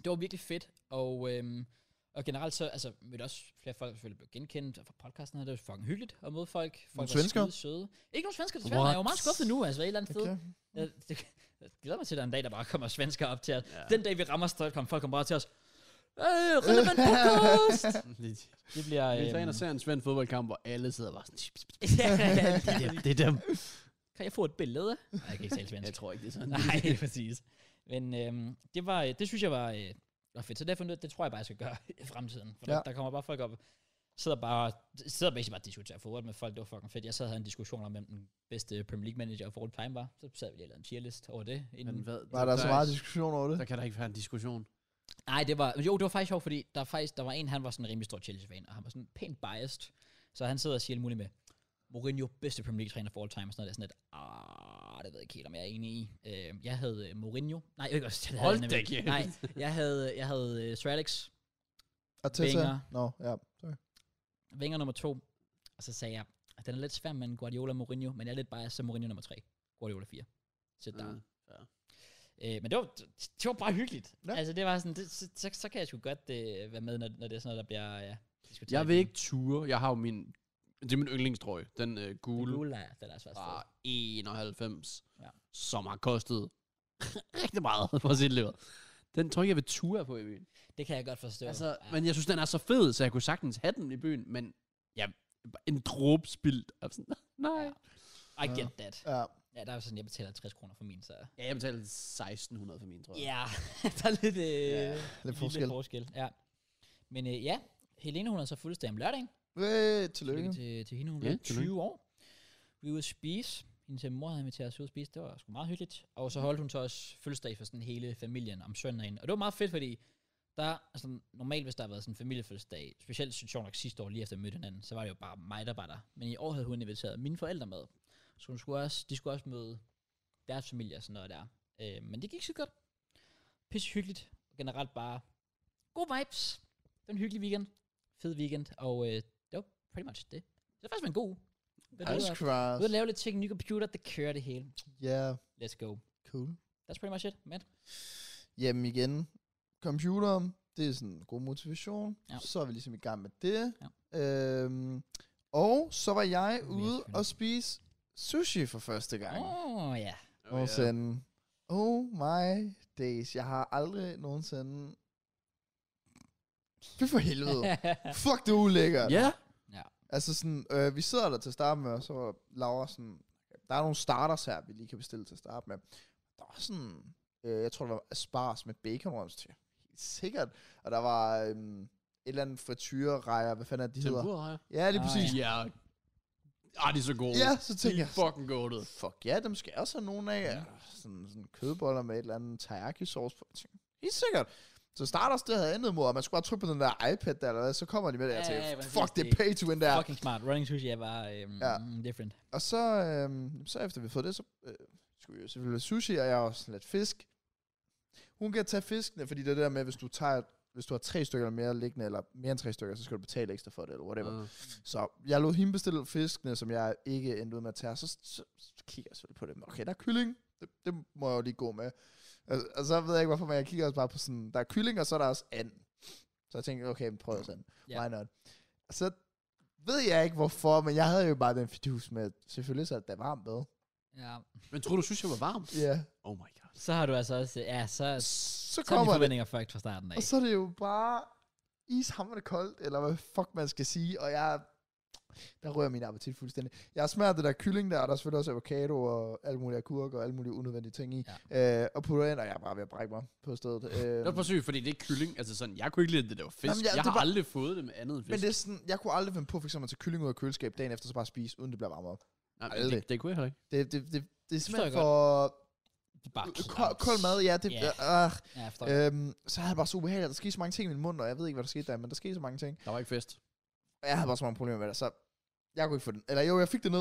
A: Det var virkelig fedt, og, øhm, og generelt så, altså, mødte også flere folk, der selvfølgelig blev genkendt fra podcasten her, det var fucking hyggeligt at møde folk. Folk
C: Nogle
A: var
C: svenskere?
A: skide søde. Ikke nogen svensker, desværre,
B: What?
A: jeg er jo meget skuffet nu, altså, et eller andet sted.
C: Okay.
A: Jeg, det, jeg glæder mig til, at der er en dag, der bare kommer svensker op til os.
B: Ja.
A: Den dag, vi rammer Stockholm, folk kommer bare til os. Øh, relevant podcast! det bliver... øhm,
B: Vi tager ind og ser en svensk fodboldkamp, hvor alle sidder bare sådan... "Pip, pip, pip."
A: ja, det er det.
B: Det er dem.
A: Kan jeg få et billede? Nej, jeg kan ikke tale svensk.
B: Jeg tror ikke, det er sådan.
A: Nej, præcis. Men øhm, det, var, øh, det synes jeg var, øh, var fedt. Så derfor, det tror jeg bare, jeg skal gøre i fremtiden. For ja.
C: Ja.
A: der, der, kommer bare folk op, sidder bare, sidder basically bare og diskuterer fodbold med folk. Det var fucking fedt. Jeg sad og havde en diskussion om, hvem den bedste Premier League manager of all time var. Så sad vi lige og lavede en cheerlist over det. Inden.
B: Men hvad,
C: Var der så meget diskussion over det?
B: Der kan der ikke være en diskussion.
A: Nej, det var, jo, det var faktisk sjovt, fordi der, faktisk, der var en, han var sådan en rimelig stor Chelsea-fan, og han var sådan pænt biased. Så han sidder og siger alt muligt med, Mourinho bedste Premier League-træner for all time, og sådan noget, der sådan lidt, ah, det ved jeg ikke helt, om jeg er enig i. Øh, jeg havde øh, Mourinho, nej, jeg, det havde
B: Hold
A: jeg nemlig
B: da
A: ikke.
B: kæft.
A: Nej, jeg havde, jeg havde uh, Sir Alex,
C: Og Tessa?
A: Wenger.
C: Nå, ja. Sorry.
A: Wenger nummer to, og så sagde jeg, at den er lidt svær med Guardiola og Mourinho, men jeg er lidt biased, så Mourinho nummer tre, Guardiola fire. Sæt der.
B: Ja.
A: Mm. Øh, men det var, det var bare hyggeligt. Ja.
C: Ja.
A: Altså, det var sådan, det, så, så, så kan jeg sgu godt øh, være med, når, når det er sådan noget, der bliver ja, diskuteret.
B: Jeg vil ikke ture. Jeg har jo min... Det er min yndlingsdrøg. Den øh,
A: Den
B: gule
A: gule lejr, den er altså også
B: fra
A: fed.
B: 91,
A: Ja.
B: ja. som har kostet rigtig meget for sit liv. Den tror jeg ikke, jeg vil ture på i byen.
A: Det kan jeg godt forstå.
B: Altså,
A: ja.
B: Men jeg synes, den er så fed, så jeg kunne sagtens have den i byen, men ja, en dråbe spildt. Jeg er sådan, Nej.
A: Ja. I get that.
C: Ja.
A: Ja, der er jo sådan, jeg betaler 60 kroner for min, så... Ja,
B: Ja, jeg betalte 1600 for min, tror jeg.
A: yeah. der er lidt, øh,
B: Ja,
A: yeah,
B: lidt
A: lidt
C: forskel.
A: forskel. Ja. Men øh, ja, Helene, hun er så fødselsdag om lørdagen.
C: Øh, tillykke.
A: Tillykke til, til hende, hun
B: Ja,
A: blev
B: tillykke.
A: 20 år. Vi var ude at spise. Hendes øh, mor havde inviteret os ud at spise. Det var sgu meget hyggeligt. Og så holdt hun så også fødselsdag for sådan hele familien om søndagen. Og det var meget fedt, fordi der, altså, normalt hvis der har været sådan en familiefødselsdag, specielt synes jeg nok sidste år lige efter vi mødte hinanden, så var det jo bare mig, der var der. Men i år havde hun inviteret mine forældre med. Så hun skulle også, de skulle også møde deres familie og sådan noget der. Øh, men det gik så godt. Pisse hyggeligt. Generelt bare gode vibes. Det var en hyggelig weekend. Fed weekend. Og øh, det var pretty much det. Så det var faktisk en god uge. Det var
C: Ice
A: ude at-
C: Crush.
A: ude at lave lidt ting, ny computer, det kører det hele.
C: Ja,
A: Let's go.
C: cool.
A: That's pretty much it, Matt.
C: Jamen igen, computeren, det er sådan en god motivation.
A: Ja.
C: Ja. Så er vi ligesom i gang med det.
A: Ja.
C: Øhm, og så var jeg
A: Mere
C: ude
A: spændende.
C: og spise sushi for første gang. Oh,
A: Åh, oh, ja.
C: yeah. Og sådan, oh my days, jeg har aldrig nogensinde... Det for helvede. Fuck, det er ulækkert.
B: Ja,
C: Altså sådan, øh, vi sidder der til at starte med, og så var Laura sådan, der er nogle starters her, vi lige kan bestille til at starte med. Der var sådan, øh, jeg tror, der var asparges med baconrums til. Helt sikkert. Og der var øh, et eller andet frityrerejer, hvad fanden er det, de hedder?
B: tempura, ja.
C: Ja, lige
A: Ah,
C: præcis.
B: Ja. Ah, de er så gode.
C: ja. så
B: de
C: tænkte
B: er
C: jeg,
B: fucking gode.
C: fuck ja, dem skal jeg også have nogen af. Ja. Sådan, sådan kødboller med et eller andet teriyaki sauce på. Jeg tænkte, Helt sikkert. Så starters, det havde jeg andet mod, og man skulle bare trykke på den der iPad der, eller hvad, så kommer de med det, og jeg
A: Ja,
C: tænkte,
A: ja, præcis,
C: fuck, det
A: det-
C: er pay to win der.
A: Fucking smart. Running sushi er bare øhm,
C: Ja.
A: mm, different.
C: Og så, øhm, så efter vi havde fået det, så øh, skulle vi jo selvfølgelig have sushi, og jeg har også lidt fisk. Hun kan tage fiskene, fordi det er det der med, hvis du tager hvis du har tre stykker eller mere liggende, eller mere end tre stykker, så skal du betale ekstra for det, eller whatever. Mm.
B: Uh,
C: Så jeg lod hende bestille fiskene, som jeg ikke endte ud med at tage, og så, så, så kigger jeg selvfølgelig på det. Men Okay, der er kylling, det, det må jeg jo lige gå med. Og, og så ved jeg ikke, hvorfor, men jeg kigger også bare på sådan, der er kylling, og så er der også and. Så jeg tænkte, okay, men prøv også and.
A: Ja.
C: Yeah. Why not? Og så ved jeg ikke, hvorfor, men jeg havde jo bare den fidus med, selvfølgelig så er det da varmt med.
A: Ja.
B: men tror du, synes jeg var varm?
C: Ja. Yeah.
B: Oh my god.
A: Så har du altså også... Ja, så,
C: Så
A: så er de
C: kommer det,
A: forventninger fucked fra starten af.
C: og så er det jo bare ishammerende koldt, eller hvad fuck man skal sige, og jeg, der rører min appetit fuldstændig. Jeg smager det der kylling der, og der er selvfølgelig også avocado og alle mulige agurker og alle mulige unødvendige ting i, ja. øh, og putter ind, og jeg er bare ved at brække mig på stedet. Øh,
B: Det var bare sygt, fordi det er kylling. Altså sådan, jeg kunne ikke lide, at det der var fisk.
C: Jamen, ja,
B: Jamen, jeg
C: det
B: har
C: var-
B: aldrig fået det med andet end fisk.
C: Øh, men det er sådan, jeg kunne aldrig finde på for eksempel at tage kylling ud af køleskab dagen efter, så bare spise, uden det bliver varmere.
B: Nej, men
C: aldrig.
B: det, det kunne jeg heller ikke.
C: Det, det, det, det er
A: forstår jeg
C: simpelthen for...
A: Det er bare
C: Kold, kold øh, mad, ja. Det,
A: Ja.
C: yeah. øh,
A: Ja, efter.
C: øhm, så havde jeg bare så ubehageligt. Der skete så mange ting i min mund, og jeg ved ikke, hvad der skete der, men der skete så mange ting.
B: Der var ikke fest.
C: Og jeg havde bare så mange problemer med det, så jeg kunne ikke få den. Eller jo, jeg fik det ned.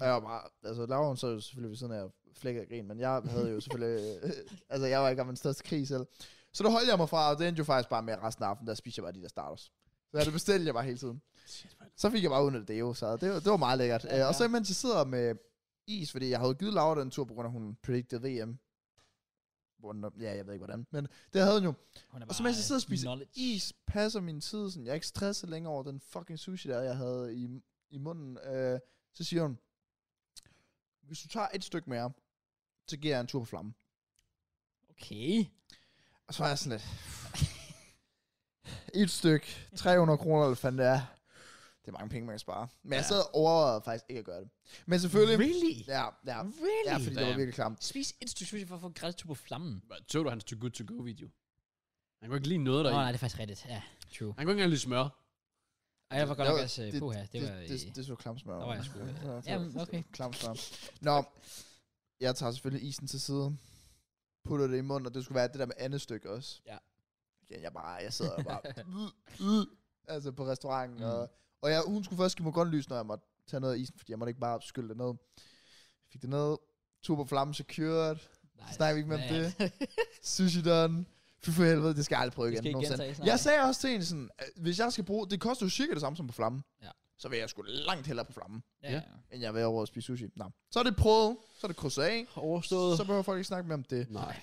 C: Og jeg var bare, altså Laura, hun sad jo selvfølgelig ved siden af og flækkede og grin, men jeg havde jo selvfølgelig, øh, altså jeg var ikke om den største krig selv. Så der holdt jeg mig fra, og det endte jo faktisk bare med at resten af aftenen, der spiste jeg bare de der starters. Så det bestilte jeg bare hele tiden. Så fik jeg bare udnyttet det jo, så det, var- det var meget lækkert.
A: Ja,
C: Ja,
A: ja.
C: ja. Og så imens jeg sidder med is, fordi jeg havde givet Laura den tur, på grund af, at hun predicted VM. Hvor- Ja, jeg ved ikke hvordan, men det havde hun jo.
A: Hun er bare,
C: Og så mens jeg sidder og
A: øh,
C: spiser
A: knowledge.
C: is, passer min tid, sådan, jeg er ikke stresset længere over den fucking sushi, der jeg havde i, i munden. Øh, så siger hun, hvis du tager et stykke mere, så giver jeg en tur på flammen.
A: Okay.
C: Og så er jeg sådan lidt, et stykke, 300 kroner, eller hvad fanden det er. Det er mange penge, man kan spare. Men jeg
A: Ja.
C: sad og overvejede faktisk ikke at gøre det. Men selvfølgelig,
A: Really?
C: ja, ja,
A: Really?
C: ja, fordi det var
B: Damn.
C: virkelig klamt.
A: Spis et stykke sushi for at få en gratis tur på flammen.
B: Så du hans Too Good To Go video? Han kunne ikke lige noget
A: Åh,
B: deri.
A: oh, nej, det er faktisk rigtigt. Ja, true.
B: Han kunne ikke engang lige smøre.
A: Ej, jeg var godt
C: Det
A: nok
C: var-
A: også øh, puha. Det var...
C: det,
A: øh,
C: det, det, det så klamt smør.
A: der var jeg sgu, øh,
C: Ja, det
A: jamen,
C: var-
A: okay.
C: Klamt smør. Nå, jeg tager selvfølgelig isen til side, putter det i munden, og det skulle være det der med andet stykke også.
A: Ja.
C: ja jeg, bare, jeg sidder bare, øh, øh, altså på restauranten, mm. og, og jeg, hun skulle først give mig grønt lys, når jeg måtte tage noget af isen, fordi jeg måtte ikke bare skylle det ned. Jeg fik det ned, tur på flammen secured,
A: nej,
C: snakker vi ikke mere om
A: ja,
C: det. sushi done, fy for helvede, det skal jeg aldrig prøve
A: Det
C: igen.
A: skal ikke
C: nogensinde.
A: gentages, nej.
C: jeg sagde også til hende sådan, øh, hvis jeg skal bruge, det koster jo cirka det samme som på flammen,
A: Ja.
C: så vil jeg sgu langt hellere på flammen
A: Ja,
B: Ja.
A: ja.
C: end jeg vil over at spise sushi. Nå. Så er det prøvet, så er det krydset af,
B: Overstået.
C: så behøver folk ikke snakke mere om det.
B: Nej,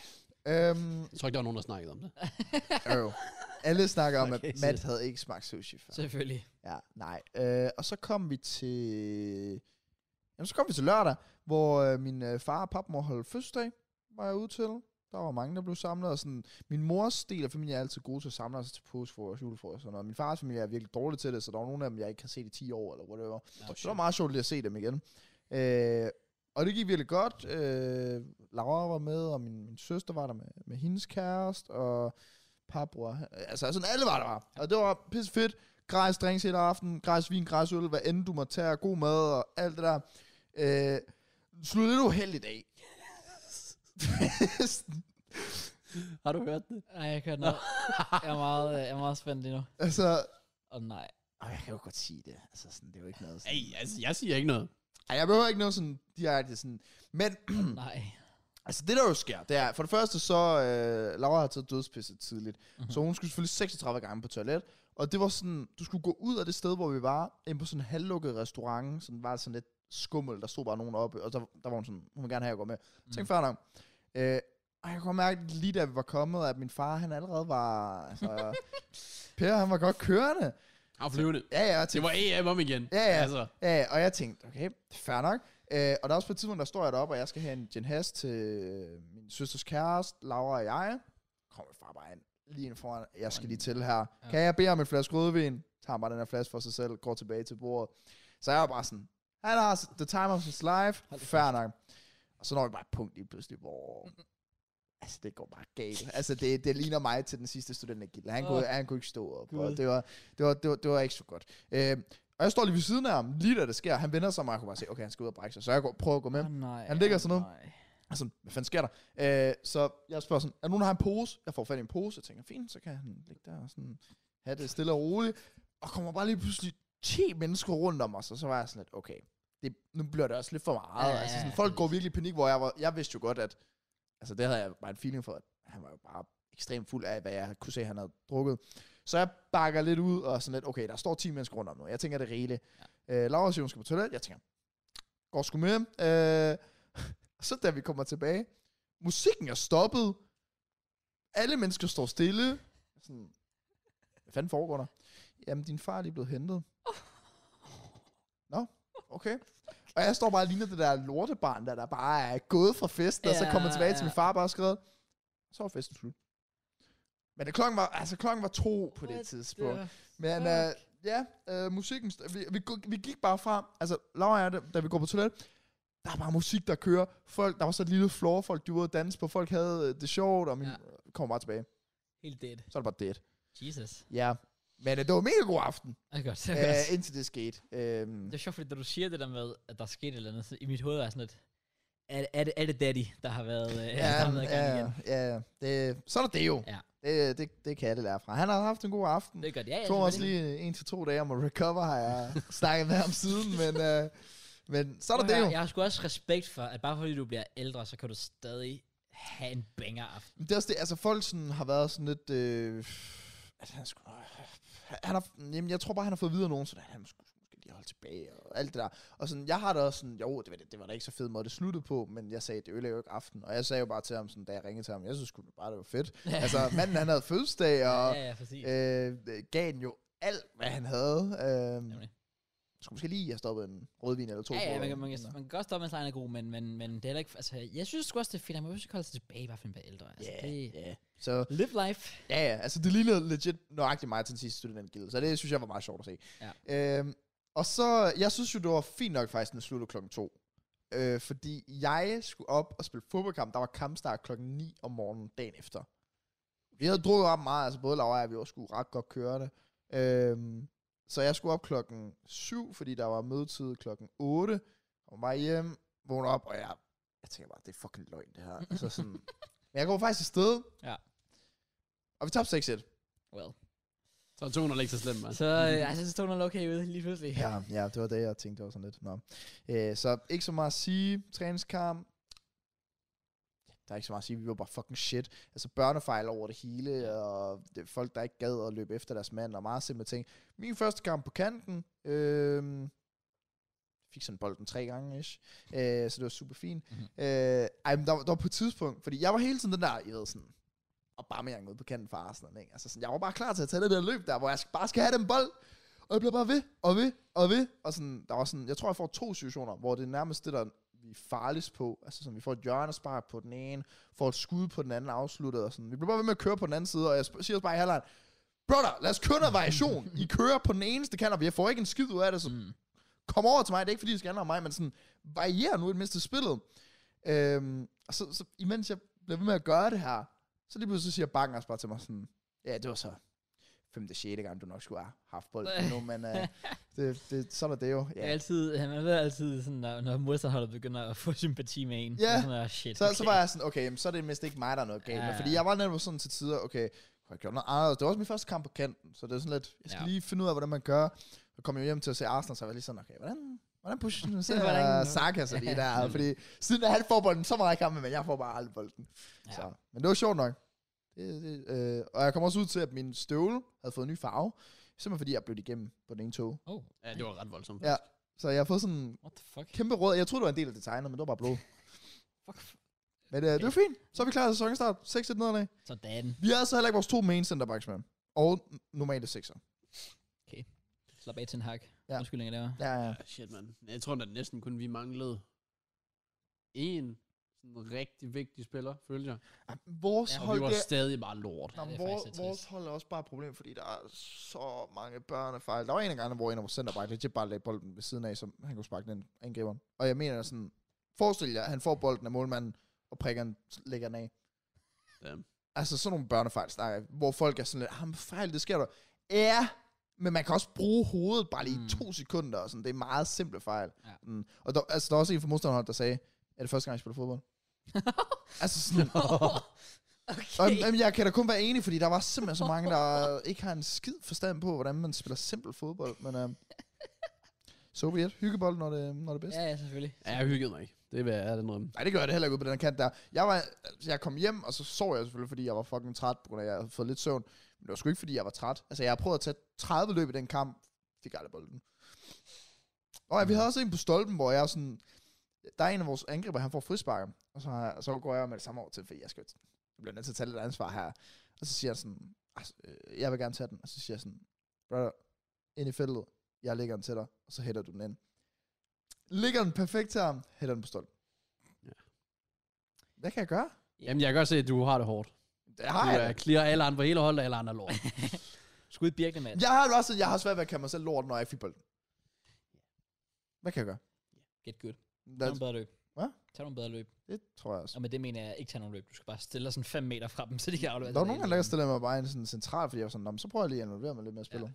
C: Øhm,
B: jeg tror ikke, der var nogen, der snakkede om det.
C: øh, alle snakker om, at
A: Okay, shit.
C: Matt havde ikke smagt sushi før.
A: Selvfølgelig.
C: Ja, nej. Øh, og så kom vi til... Jamen, så kom vi til lørdag, hvor øh, min øh, far og papmor holdt fødselsdag, var jeg ude til. Der var mange, der blev samlet, og sådan, min mors del af familien er altid gode til at samle sig til påskefrokost, julefrokost og sådan noget. Min fars familie er virkelig dårlig til det, så der var nogle af dem, jeg ikke har set i 10 år, eller whatever.
B: Oh,
C: Så det var meget sjovt lige at se dem igen. Øh, og det gik virkelig godt. Øh, Laura var med, og min, min søster var der med, med hendes kæreste, og parbror. Altså sådan alle var der bare. Og det var pisse fedt. Græs drinks hele aften, græs vin, græs øl, hvad end du må tage, god mad og alt det der. Øh, sluttede lidt uheldigt af.
B: Har du hørt det?
A: Ej, jeg kørte noget. jeg, er meget, øh, jeg er meget spændt lige nu.
C: altså,
A: Åh, oh, nej.
C: og jeg kan jo godt sige det. Altså, sådan, det er jo ikke noget.
B: Ej, altså, jeg siger ikke noget.
C: Ej, jeg behøver ikke noget sådan direkte sådan. Men
A: Nej.
C: Altså det der jo sker, det er, for det første så, øh, Laura har taget dødspisse tidligt, mm-hmm. så hun skulle selvfølgelig 36 gange på toilet, og det var sådan, du skulle gå ud af det sted, hvor vi var, ind på sådan en halvlukket restaurant, sådan var det sådan lidt skummel, der stod bare nogen oppe, og der, der var hun sådan, hun vil gerne have, at jeg går med. Mm. Tænk før nok. Øh, og jeg kunne mærke lige da vi var kommet, at min far han allerede var, altså, Per han var godt kørende.
B: Han flyvende.
C: Ja, ja, og jeg
B: Det
C: tænkte,
B: var AM om igen.
C: Ja, ja.
B: Altså,
C: Ja, ja, og jeg tænkte, okay, fair nok. Øh, og der er også på et tidspunkt, der står jeg deroppe, og jeg skal have en gin has til øh, min søsters kæreste, Laura og jeg. Kommer far bare ind, lige ind foran, jeg skal lige til her.
A: Ja.
C: Kan jeg bede om en flaske rødvin? Tager bare den her flaske for sig selv, går tilbage til bordet. Så jeg var bare sådan, han har s- the time of his life,
A: Hold da
C: fair nok. Og så når vi bare et punkt lige pludselig, hvor... Altså, det går bare galt. Altså, det, det ligner mig til den sidste studentergilde. Han, kunne, han kunne ikke stå op,
A: Gud.
C: og det var, det var, det var, det var ikke så godt. Øh, og jeg står lige ved siden af ham, lige da det sker. Han vender sig om, og jeg kunne bare se, okay, han skal ud og brække sig. Så jeg går, prøver at gå med.
A: Åh, nej.
C: Han ligger sådan noget.
A: Nej.
C: Altså, hvad fanden sker der? Øh, så jeg spørger sådan, er der nogen, der har en pose? Jeg får fat i en pose, jeg tænker, fint, så kan han ligge der og sådan have det stille og roligt. Og kommer bare lige pludselig 10 mennesker rundt om os, og så var jeg sådan lidt, okay, det, nu bliver det også lidt for meget.
A: Ja,
C: Ja, altså, sådan,
A: ja,
C: folk
A: det-
C: går virkelig i panik, hvor jeg, var, jeg vidste jo godt, at altså, det havde jeg bare en feeling for, at han var jo bare ekstremt fuld af, hvad jeg kunne se, han havde drukket. Så jeg bakker lidt ud og sådan lidt, okay, der står 10 mennesker rundt om nu. Jeg tænker, det er rigeligt. Ja. Øh, Laura siger, hun skal på toilet. Jeg tænker, går sgu med. Øh, så da vi kommer tilbage, musikken er stoppet. Alle mennesker står stille. Sådan, hvad fanden foregår der? Jamen, din far er lige blevet hentet. Nå, okay. Og jeg står bare og ligner det der lortebarn, der, der bare er gået fra festen, ja, og så
A: Ja,
C: kommer tilbage til
A: ja.
C: min far bare og skrevet, så var festen slut. Men det klokken var, altså klokken var to på det
A: What
C: tidspunkt.
A: the
C: Men
A: fuck?
C: øh, ja, øh, musikken, st- vi, vi, gå- vi gik bare frem, altså Laura og jeg, da, da vi går på toilet, der er bare musik, der kører. Folk, der var så et lille floor, folk de var ude at danse på, folk havde øh, det sjovt, og min
A: Ja.
C: ja. kommer bare tilbage.
A: Helt dead.
C: Så er det bare det.
A: Jesus.
C: Ja, men øh, det var en mega god aften,
A: Det er godt. Det er godt.
C: øh, indtil det skete. Øh,
A: Det er sjovt, fordi da du siger det der med, at der skete et eller andet, så i mit hoved er jeg sådan lidt, er, det- er, det, er det daddy, der har været, øh,
C: Ja,
A: der har været i gang
C: ja,
A: igen?
C: ja, ja. Det, sådan er det jo.
A: Ja.
C: Det, det, det kan alle lære fra. Han har haft en god aften.
A: Det er godt. Ja, ja,
C: Jeg tog også
A: selvfølgelig.
C: lige øh, en til to dage om at recover, har jeg snakket med ham siden, men, øh, men så er
A: Prøv
C: der
A: at
C: det jo.
A: høre, Jeg har sgu også respekt for, at bare fordi du bliver ældre, så kan du stadig have en banger aften.
C: Men Det er også det, altså folk sådan har været sådan lidt, øh, at han skulle, han har, jamen, jeg tror bare, han har fået videre nogen, sådan, at han skulle måske lige holde tilbage, og alt det der. Og sådan, jeg har da også sådan, jo, det var, det, det var da ikke så fed måde, det sluttede på, men jeg sagde, det ødelægger jo ikke aften. Og jeg sagde jo bare til ham, sådan, da jeg ringede til ham, jeg synes sgu bare, det var fedt. altså, manden, han havde fødselsdag, og
A: ja, ja, præcis.
C: øh, gav den jo alt, hvad han havde. Øh,
A: Nemlig.
C: skulle måske lige have stoppet en rødvin eller to.
A: Ja, ja, man,
C: på,
A: kan,
C: øh,
A: man, kan, man kan godt stoppe, mens lejen er god, men, men, men det er heller ikke... Altså, jeg synes sgu også, det er fedt. Han må jo ikke holde sig tilbage, bare for at blive ældre. Altså,
C: Ja,
A: det,
C: ja. Så
A: Live life.
C: ja, ja, altså det lignede legit nøjagtigt mig til den sidste studentgilde, så det synes jeg var meget sjovt at se. Ja. Øhm, og så, jeg synes jo, det var fint nok faktisk, den sluttede klokken to. Øh, fordi jeg skulle op og spille fodboldkamp, der var kampstart klokken 9 om morgenen dagen efter. Vi havde drukket op meget, altså både Laura og jeg, vi var sgu ret godt kørende. Øhm, så jeg skulle op klokken 7, fordi der var mødetid klokken 8. Og var hjem, vågnede op, og jeg, jeg tænker bare, det er fucking løgn det her. altså sådan, men jeg går faktisk afsted.
A: Ja.
C: Og vi tabte 6-1.
A: Well.
B: Så er 200 ikke så slemt, mand.
A: Så øh, altså, så stod noget okay ud lige pludselig.
C: Ja, ja, det var det, jeg tænkte også sådan lidt. Nå. Øh, så ikke så meget at sige. Træningskamp. Der er ikke så meget at sige. Vi var bare fucking shit. Altså børnefejl over det hele, og det, folk, der ikke gad at løbe efter deres mand, og meget simple ting. Min første kamp på kanten. Øh, fik sådan bolden tre gange, ish. Øh, så det var super fint.
A: Mhm.
C: Mm-hmm. Øh, ej, men der, var- der var på et tidspunkt, fordi jeg var hele tiden den der, I ved sådan, og bare med ude på kanten for Arsenal, ikke? Altså sådan, jeg var bare klar til at tage det der løb der, hvor jeg sk- bare skal have den bold. Og jeg blev bare ved, og ved, og ved. Og sådan, der var sådan, jeg tror, jeg får to situationer, hvor det er nærmest det, der vi er farligst på. Altså sådan, vi får et hjørnespark på den ene, får et skud på den anden afsluttet, og sådan. Vi bliver bare ved med at køre på den anden side, og jeg sp- siger også bare i halvlejen, Brother, lad os køre noget variation. I kører på den eneste kant, og jeg får ikke en skid ud af det, så
A: Mm.
C: kom over til mig, det er ikke fordi, det skal handle om mig, men sådan, varier nu et mindste spillet. Øhm, og så, så, imens jeg bliver ved med at gøre det her, så lige pludselig siger Bang også bare til mig sådan, ja, det var så femte, sjette gang, du nok skulle have haft bolden nu, men øh, det, det, sådan er det jo.
A: Det er
C: Ja.
A: altid, han ved altid, sådan, når, når modstanderholdet begynder at få sympati med en.
C: Ja.
A: så er Sådan, oh, shit,
C: Så, så var jeg sådan, okay, jamen, så er det mindst ikke mig, der er noget galt
A: Ja,
C: med,
A: ja.
C: fordi jeg var netop sådan til tider, okay, kunne jeg gjort noget andet? Det var også min første kamp på kanten, så det er sådan lidt, jeg skal
A: Ja.
C: lige finde ud af, hvordan man gør. Så kom jeg hjem til at se Arsenal, så var jeg lige sådan, okay, hvordan, hvordan pusher
A: Hvordan-
C: ser Saka så lige der? Fordi siden han får bolden, så meget kampe, men jeg får bare aldrig bolden.
A: Ja.
C: Ja. Så, men det var sjovt nok. Det, det, øh, og jeg kom også ud til, at min støvle havde fået en ny farve, simpelthen fordi jeg blev igennem på den ene tog.
A: Oh,
B: Ja, det var ret voldsomt.
C: Ja. Så jeg har fået sådan en
A: what the fuck?
C: kæmpe rød. Jeg troede, det var en del af designet, men det var bare blå.
A: Fuck.
C: Men øh, det var fint. Så er vi klar til sæsonstart. 6-1 nedad.
A: Sådan.
C: Vi havde så heller ikke vores to main centerbacks med. Og n- normale sekser.
A: Slap af til en hak. Ja.
C: Ja.
A: Undskyld, jeg laver.
C: Ja, ja.
B: Ja, shit, mand. Jeg tror da næsten kun, vi manglede en sådan rigtig vigtig spiller, følger jeg.
C: Ej, Vores
A: Ja,
C: ja,
A: og
B: Og
C: hold,
B: vi var
C: det,
B: stadig bare lort.
A: Ja,
C: Nå,
A: det er
C: ja,
A: faktisk lidt
C: vores, vores
A: trist.
C: hold er også bare et problem, fordi der er så mange børnefejl. Der var en af gangene, hvor en af vores centerback legit bare lagde bolden ved siden af, som han kunne sparke den angriberen. Og jeg mener sådan, forestil jer, at han får bolden af målmanden, og prikker den, lægger den af.
B: Damn.
C: Altså sådan nogle børnefejl, snakker jeg, hvor folk er sådan lidt, ham fejl, det sker der. Ja, men man kan også bruge hovedet bare lige
A: Mm.
C: mm. to sekunder, og sådan. det er meget simple fejl.
A: Ja.
C: Mm. Og der, altså, der er også en fra modstanderholdet, der sagde, er det første gang, jeg spiller fodbold? altså sådan, og,
A: okay.
C: jamen, jeg kan da kun være enig, fordi der var simpelthen så mange, der ikke har en skid forstand på, hvordan man spiller simpel fodbold. Men um, so be it. Hyggebold, når det, når det er bedst.
A: Ja, ja, selvfølgelig.
B: Ja, jeg hyggede mig ikke. Det vil jeg er den rømme.
C: Nej, det gør jeg det heller ikke ude på den her kant der. Jeg, var, altså, jeg kom hjem, og så sov jeg selvfølgelig, fordi jeg var fucking træt, på grund af, at jeg havde fået lidt søvn. Men det var sgu ikke, fordi jeg var træt. Altså, jeg har prøvet at tage 30 løb i den kamp. Fik aldrig bolden. Og ja, vi havde også en på stolpen, hvor jeg sådan... Der er en af vores angriber, han får frisparker. Og så, har jeg- så går jeg med det samme over til, fordi jeg skal jeg bliver nødt til at tage lidt ansvar her. Og så siger jeg sådan, "Altså, øh, jeg vil gerne tage den. Og så siger jeg sådan, brother, ind i feltet. Jeg lægger den til dig, og så hætter du den ind. Ligger den perfekt til ham, hætter den på stolpen.
B: Ja.
C: Hvad kan jeg gøre?
B: Jamen, jeg kan godt se, at du har det hårdt.
C: Det har jeg.
B: Du er clear alle andre, hele holdet, alle andre er lort.
A: Skud Birkene, mand.
C: Jeg har det også, jeg har svært ved at kalde mig selv lort, når jeg fik bolden. Hvad kan jeg gøre?
A: Get good. Tag
C: That's,
A: nogle bedre løb.
C: Hvad?
A: Tag nogle bedre løb.
C: det tror jeg også.
A: Og med det mener jeg ikke tage nogle løb. Du skal bare stille dig sådan 5 meter fra dem, så de kan aflevere.
C: Der var
A: den
C: nogen,
A: ene.
C: gange, der stillede mig bare ind sådan central, fordi jeg var sådan, "Nå, men så prøver jeg lige at involvere mig lidt mere i spillet.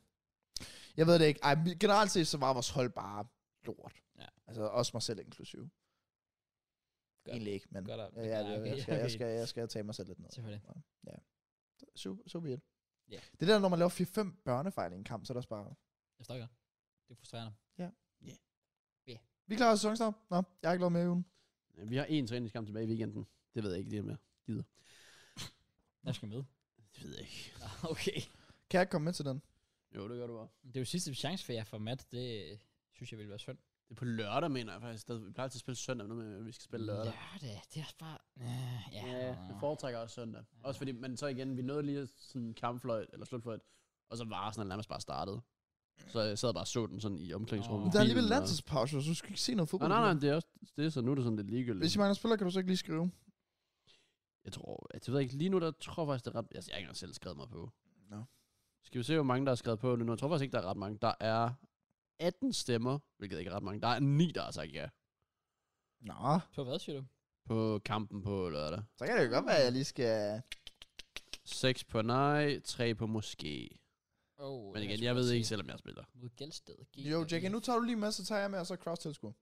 C: Jeg ved det ikke. Ej, men generelt set, så var vores hold bare lort.
A: Ja.
C: Altså også mig selv inklusiv. Godt. Egentlig ikke, men
D: Godt op.
C: ja, ja,
A: Nej,
C: det,
A: okay,
C: jeg, skal, jeg,
A: okay.
C: skal, jeg skal tage mig selv lidt ned.
A: Selvfølgelig.
C: Super, super hjælp.
A: Ja.
C: Det der, når man laver 4-5 børnefejl i en kamp, så er det også bare...
A: Jeg forstår godt. Det er frustrerende.
C: Vi klarer os sæsonstart. Nå, jeg har ikke lavet med i ugen.
B: Vi har én træningskamp tilbage i weekenden. Det ved jeg ikke lige mere.
A: Jeg skal med.
B: Det ved jeg ikke.
A: Nå, okay.
C: Kan jeg ikke komme med til den?
B: Jo, det gør du bare.
A: Det er jo sidste chance for jer for Matt. Det øh, synes jeg ville være synd.
B: Det er på lørdag, mener jeg faktisk. Der- Vi plejer altid at spille søndag, men nu mener jeg, at vi skal spille lørdag.
A: Lørdag, det er også bare... Øh, ja.
B: Jeg foretrækker også søndag. Også fordi, men så igen, vi nåede lige sådan kampfløjt, eller slutfløjt, og så var Arsenal nærmest bare startet. Så jeg sad bare og så den sådan i omklædningsrummet.
C: Men der er alligevel
B: Bilen og-
C: landsholdspause, så du skal ikke se noget
B: Nej,
C: fodbold.
B: nej, nej, det er også det, er så nu er det sådan lidt ligegyldigt.
C: Hvis I mangler spillere, kan du så ikke lige skrive.
B: Jeg tror, at det ved jeg ikke, lige nu, der tror jeg faktisk, det er ret... Altså, jeg har ikke engang selv skrevet mig på.
C: Nå.
B: Skal vi se, hvor mange der er skrevet på nu? Jeg tror faktisk ikke, der er ret mange. Der er 18 stemmer, hvilket ikke er ret mange. Der er 9, der har sagt ja
C: Nå,
A: På hvad, siger du?
B: på kampen på lørdag.
C: så kan det jo godt være, at jeg lige skal...
B: 6 på nej, 3 på måske.
A: Oh,
B: Men igen, jeg ved ikke selvom jeg spiller.
A: Mod Gældsted.
C: Jo, Jackie, nu tager du lige med, så tager jeg med, og så cross tilskuer.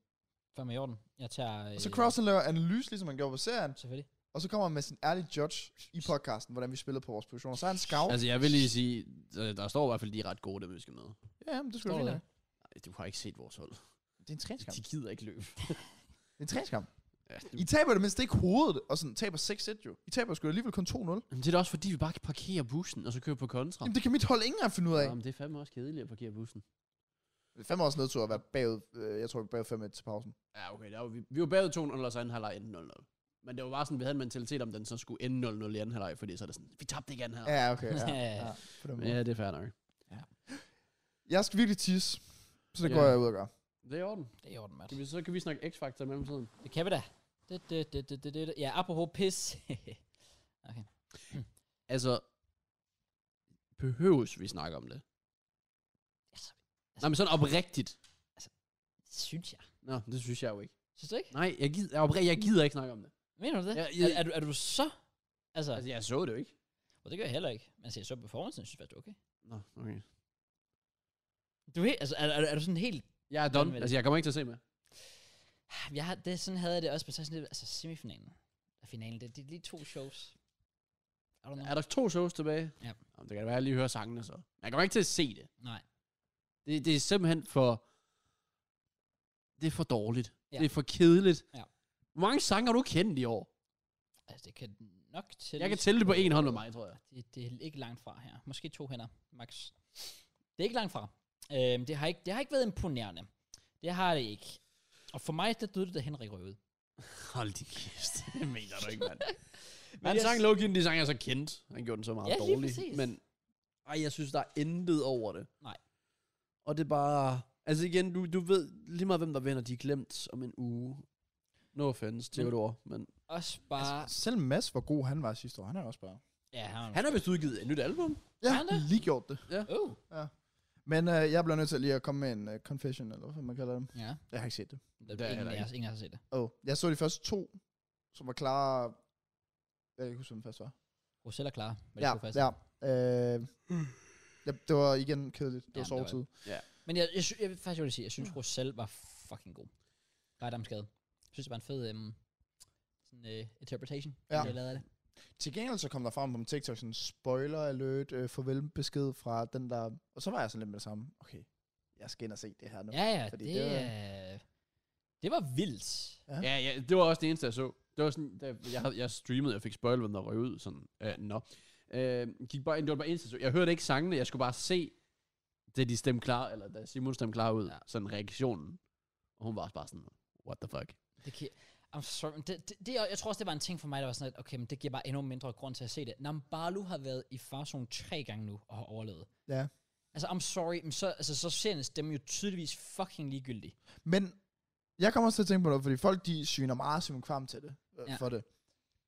A: Fem i orden. Jeg tager... Øh,
C: Og så cross han laver analyse, ligesom han gjorde på serien,
A: Selvfølgelig.
C: og så kommer han med sin ærlige judge i podcasten, hvordan vi spillede på vores positioner. Så er han scout.
B: Altså, jeg vil lige sige, øh, der står i hvert fald, de er ret gode, dem vi skal med.
C: Ja, men det skulle
A: Står
C: jeg
A: der.
C: fint. nok.
B: Ej, Du har ikke set vores hold.
C: Det er en træningskamp.
B: De gider ikke løbe.
C: Det er en træningskamp.
B: Ja,
C: I taber det mindst ikke hovedet, og sådan taber 6-1 jo. I taber sgu alligevel kun 2-0.
B: Jamen, det er da også fordi, vi bare kan parkere bussen, og så køre på kontra.
C: Jamen, det kan mit hold ikke engang finde ud af.
B: Jamen, det er fandme også kedeligt at parkere bussen.
C: Det er fem års nedtur at være bagud, øh, jeg tror, vi er bagud 5-1 til pausen.
B: Ja, okay. Der var, vi, vi var bagud 2-0, og så anden halvleg endte 0-0. Men det var bare sådan, vi havde en mentalitet om, den så skulle ende 0-0 i anden halvleg, fordi så er det sådan, vi tabte ikke anden halvleg.
C: Ja, okay. Ja, ja, på den måde.
B: Ja, det er fair nok.
C: Jeg skal virkelig tisse, så det
B: Ja.
C: går jeg ud og gør.
B: Det er i orden.
A: Det er i orden, Matt.
B: Kan vi, så kan vi snakke X-Factor i mellemtiden.
A: Det kan vi da. Det, det, det, det, det, det. Ja, apropos pis.
B: Altså, behøves vi snakke om det?
A: Altså,
B: Nej, men sådan oprigtigt.
A: synes jeg.
B: Nå, det synes jeg jo ikke.
A: Synes du ikke?
B: Nej, jeg gider, jeg, er opri- jeg gider ikke snakke om det.
A: Mener du det?
B: Ja,
A: Ja,
B: jeg-
A: ja. Er, er, du, er du så... Altså,
B: Altså, jeg så det jo ikke.
A: og det gør jeg heller ikke. Men altså, jeg så performancen, jeg synes faktisk, det er okay.
B: Nå, okay.
A: Du er, helt, altså, er, er, er du sådan helt...
B: Jeg er
A: med
B: done.
A: det.
B: Altså, jeg kommer ikke til at se mere.
A: Jeg har, det, sådan havde jeg det også, men så sådan lidt, altså semifinalen og finalen, det, det er lige to shows. Er du
B: Er der to shows tilbage?
A: Ja.
B: Jamen, det kan da være, at jeg lige hører sangene så. Men Jeg kommer ikke til at se det.
A: Nej.
B: Det, det er simpelthen for... Det er for dårligt.
A: Ja.
B: Ja. Det er for kedeligt.
A: Ja.
B: Hvor mange sange har du kendt i år?
A: Altså, det kan nok til...
B: Jeg kan tælle det på en hånd med mig, tror jeg.
A: Det, det er ikke langt fra her. Måske to hænder, max. Det er ikke langt fra. Øhm, det, har ikke, det har ikke været imponerende. Det har det ikke. Og for mig, der døde det, da Henrik røvede.
B: Hold din kæft. Det mener du ikke, mand.
A: Men
B: Han
A: jeg-
B: sang Loki, de sang jeg så kendt. Han gjorde den så meget
A: Ja, lige
B: dårlig.
A: præcis.
B: Men ej, jeg synes, der er intet over det.
A: Nej.
B: Og det er bare... Altså igen, du, du ved lige meget, hvem der vinder. De er glemt om en uge. No offense,
A: Men-
B: Theodor. Men
A: Også bare...
C: Altså, selv Mads, hvor god han var sidste år, han er også bare...
A: ja, han,
B: han har vist udgivet et nyt album.
C: Ja,
A: Er han det?
C: lige gjort det.
A: Oh.
C: Men øh, jeg bliver nødt til lige at komme med en uh, confession, eller hvad man kalder det.
A: Ja.
C: Jeg har ikke set det.
A: Der,
B: Det er
A: der ingen,
B: heller
A: af os, ingen af os har set det.
C: Oh, jeg så de første to, som var klare... Jeg kan ikke huske, hvem den første var.
A: Rosell er klar. Men
C: Ja,
A: det er
C: ja. Øh, ja, det var igen kedeligt. Det
A: Ja,
C: var
A: men det var-
C: sovetid.
A: Men jeg, jeg, sy- jeg, vil faktisk, jeg vil sige, jeg synes, Rosell var fucking god. Ret om skade. Jeg synes, det var en fed øhm, sådan, øh, interpretation,
C: Ja.
A: jeg lavede af det.
C: Til gengæld så kom der frem på min TikTok sådan spoiler alert, øh, farvelbesked fra den der... Og så var jeg sådan lidt med det samme. Okay, jeg skal ind og se det her nu.
A: Ja, ja,
C: Fordi
A: det,
C: det var-
A: øh, det var vildt.
C: Ja.
B: Ja, ja, det var også det eneste, jeg så. Det var sådan, da jeg, havde, jeg streamede, jeg fik spoilet, hvem der røg ud, sådan, øh, nå. Øh, gik bare ind, det var bare eneste, jeg så. Jeg hørte ikke sangene, jeg skulle bare se, da de stemte klar, eller da Simon stemte klar ud,
A: Ja.
B: ja. sådan reaktionen. Og hun var også bare sådan, what the fuck.
A: Det kan, I'm sorry, men det, det, det, er- jeg tror også, det var en ting for mig, der var sådan, at okay, men det giver bare endnu mindre grund til at se det. Nambalu har været i farzone tre gange nu og har overlevet.
C: Ja.
A: Altså, I'm sorry, men så, altså, så ser en stemme jo tydeligvis fucking ligegyldig.
C: Men jeg kommer også til at tænke på noget, fordi folk de syner meget Simon Kvam til det, øh,
A: Ja.
C: ja. for det.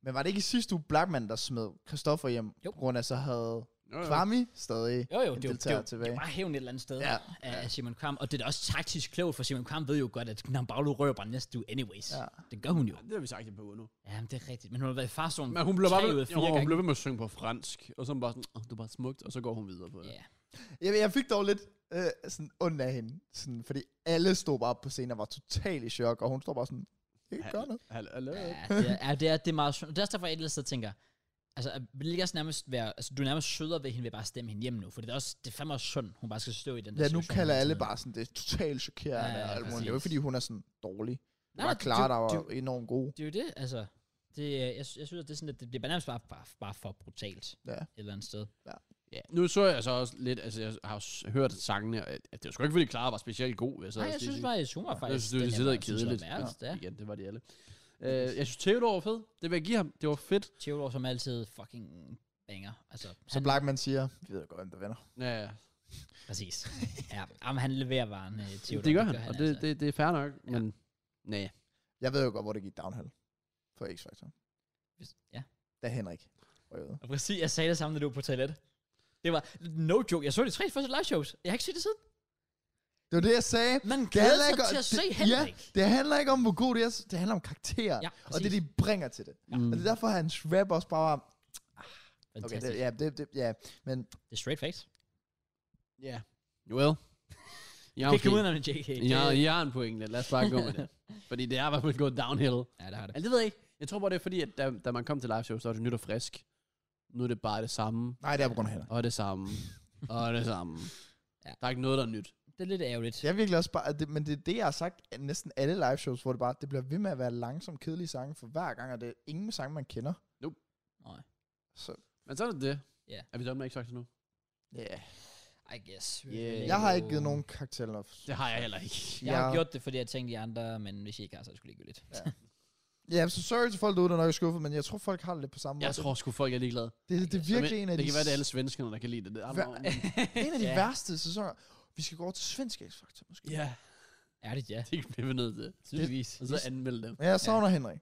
C: Men var det ikke i sidste uge Blackman, der smed Christoffer hjem,
A: Jo.
C: jo. på grund af så havde
B: Jo,
C: Kvami stadig
A: Jo, jo,
C: en
A: det er jo- det er
C: deltager
A: jo
C: tilbage?
A: bare hævn et eller andet sted ja.
C: Ja.
A: af af Simon Kram. Og det er da også taktisk klogt, for Simon Kram ved jo godt, at Nambaglu rører bare næste uge anyways. Ja.
C: Ja.
A: Det gør hun jo.
B: Ja, det har vi sagt i på nu.
A: Jamen, det er rigtigt. Men hun har været i farzonen
B: Men hun blev bare
A: tre ud af
B: ved,
A: fire
B: jo, hun
A: gange.
B: blev ved med at synge på fransk, og så bare sådan, oh, det er bare smukt, og så går hun videre på det.
A: Ja.
C: Jeg, jeg fik dog lidt øh, sådan ondt af hende, sådan, fordi alle stod bare op på scenen og var totalt i chok, og hun står bare sådan, Jeg kan gøre noget.
B: Hallo?
A: Ja, det er, ja, det er, det er meget synd. Det er også derfor, jeg ellers sidder og tænker, altså, at vil det ikke også nærmest være, altså, du er nærmest sødere ved hende ved bare at stemme hende hjem nu, for det er også, det er fandme også synd, hun bare skal stå i den der
C: Ja, nu
A: situation
C: kalder
A: hele
C: alle
A: tiden.
C: bare sådan, det er totalt chokerende.
A: Ja,
C: Ja,
A: ja,
C: ja, og alt muligt. Det er
A: præcis.
C: jo ikke, fordi hun er sådan dårlig. Det
A: Nej,
C: var
A: men
C: klart,
A: det-
C: der var
A: det-
C: enormt god.
A: Det er jo det, altså. Det, er- jeg, jeg synes, at det er sådan, at det bliver nærmest bare, bare, bare for brutalt
C: Ja.
A: et eller andet sted.
B: Ja. Nu så jeg så også lidt, altså jeg har jo s- hørt sangene, og at det var sgu ikke, fordi Clara var specielt god. Jeg sad
A: Nej,
B: også
A: jeg
B: lige
A: synes
B: sige.
A: faktisk, hun var
B: Jeg
A: faktisk...
B: synes, det, det, det, det,
A: jeg synes,
B: kedeligt.
A: var værst, ja.
B: Igen, det var de alle. Øh, jeg synes, Theodor var fed. Det vil jeg give ham. Det var fedt.
A: Theodor, som altid fucking banger. Altså,
C: Som Blackman siger, vi ved godt, hvem der vinder.
B: Ja, ja.
A: Præcis. ja, jamen, han leverer varen, øh, Theodor.
B: det gør han, og det,
A: altså.
B: det, det er fair nok,
A: Ja.
B: men nej.
C: Jeg ved jo godt, hvor det gik downhill for X-Factor.
A: Hvis- Ja.
C: Da Henrik røvede.
A: Og præcis, jeg sagde det samme, da du var på toilet. Det var no joke. Jeg så de tre første live shows. Jeg har ikke set det siden.
C: Det var det, jeg sagde.
A: Man
C: Det
A: glæder
C: handler
A: sig
C: ikke om-
A: til at
C: det-
A: se
C: ja.
A: Henrik.
C: Det handler ikke om, hvor god det er. Det handler om karakterer.
A: Ja,
C: og det, de bringer til det. Mm. Og det er derfor, at hans rap også bare var... Okay,
A: Fantastisk.
C: det, ja, det, det, ja, men...
A: Det er straight face.
B: Ja. Well. Ja,
A: Okay. Det kan
B: okay.
A: uden om en JK.
B: Ja, jeg har en pointe. Lad os bare gå med det. Fordi det er i hvert fald gået downhill.
A: ja, det har det.
B: Altså, det ved jeg ikke. Jeg tror bare, det er fordi, at da, da man kom til live show, så var det nyt og frisk. Nu er det bare det samme,
C: Nej, det er på grund af Henrik.
B: og det samme, og det samme.
A: Ja.
B: Ja. Der er ikke noget, der er nyt.
A: Det er lidt ærgerligt.
C: Det er virkelig også bare, at det, men det er det, jeg har sagt at næsten alle live shows, hvor det bare, det bliver ved med at være langsom, kedelige sange for hver gang, og det er ingen sange, man kender.
A: Nej.
C: Så,
B: Men så er det det.
A: Ja.
B: Er vi dømme med X Factor nu?
C: yeah.
A: I guess. øh,
B: Yeah.
C: Jeg har ikke givet nogen karakter eller...
B: Det har jeg heller ikke.
A: Jeg har
C: Ja.
A: gjort det, fordi jeg tænkte de andre, men hvis I ikke har, så er det sgu ligegyldigt. Ja.
C: Ja, så sorry til folk derude, der nok er skuffet, men jeg tror, folk har det lidt på samme
B: Jeg
C: måde.
B: tror sgu, folk er ligeglade.
C: Det, det, det er virkelig
B: Men
C: en af
B: det
C: de,
B: kan være, det er alle svenskerne, der kan lide det. det er
C: Hver-
B: andre-
C: en af de
A: Ja.
C: værste sæsoner. Vi skal gå over til svensk X-Factor, måske.
B: Ja,
A: Ærligt, ja.
B: det bliver vi nødt til.
A: Tydeligvis.
C: altså-
B: Og så anmelde dem.
C: Men jeg savner Henrik.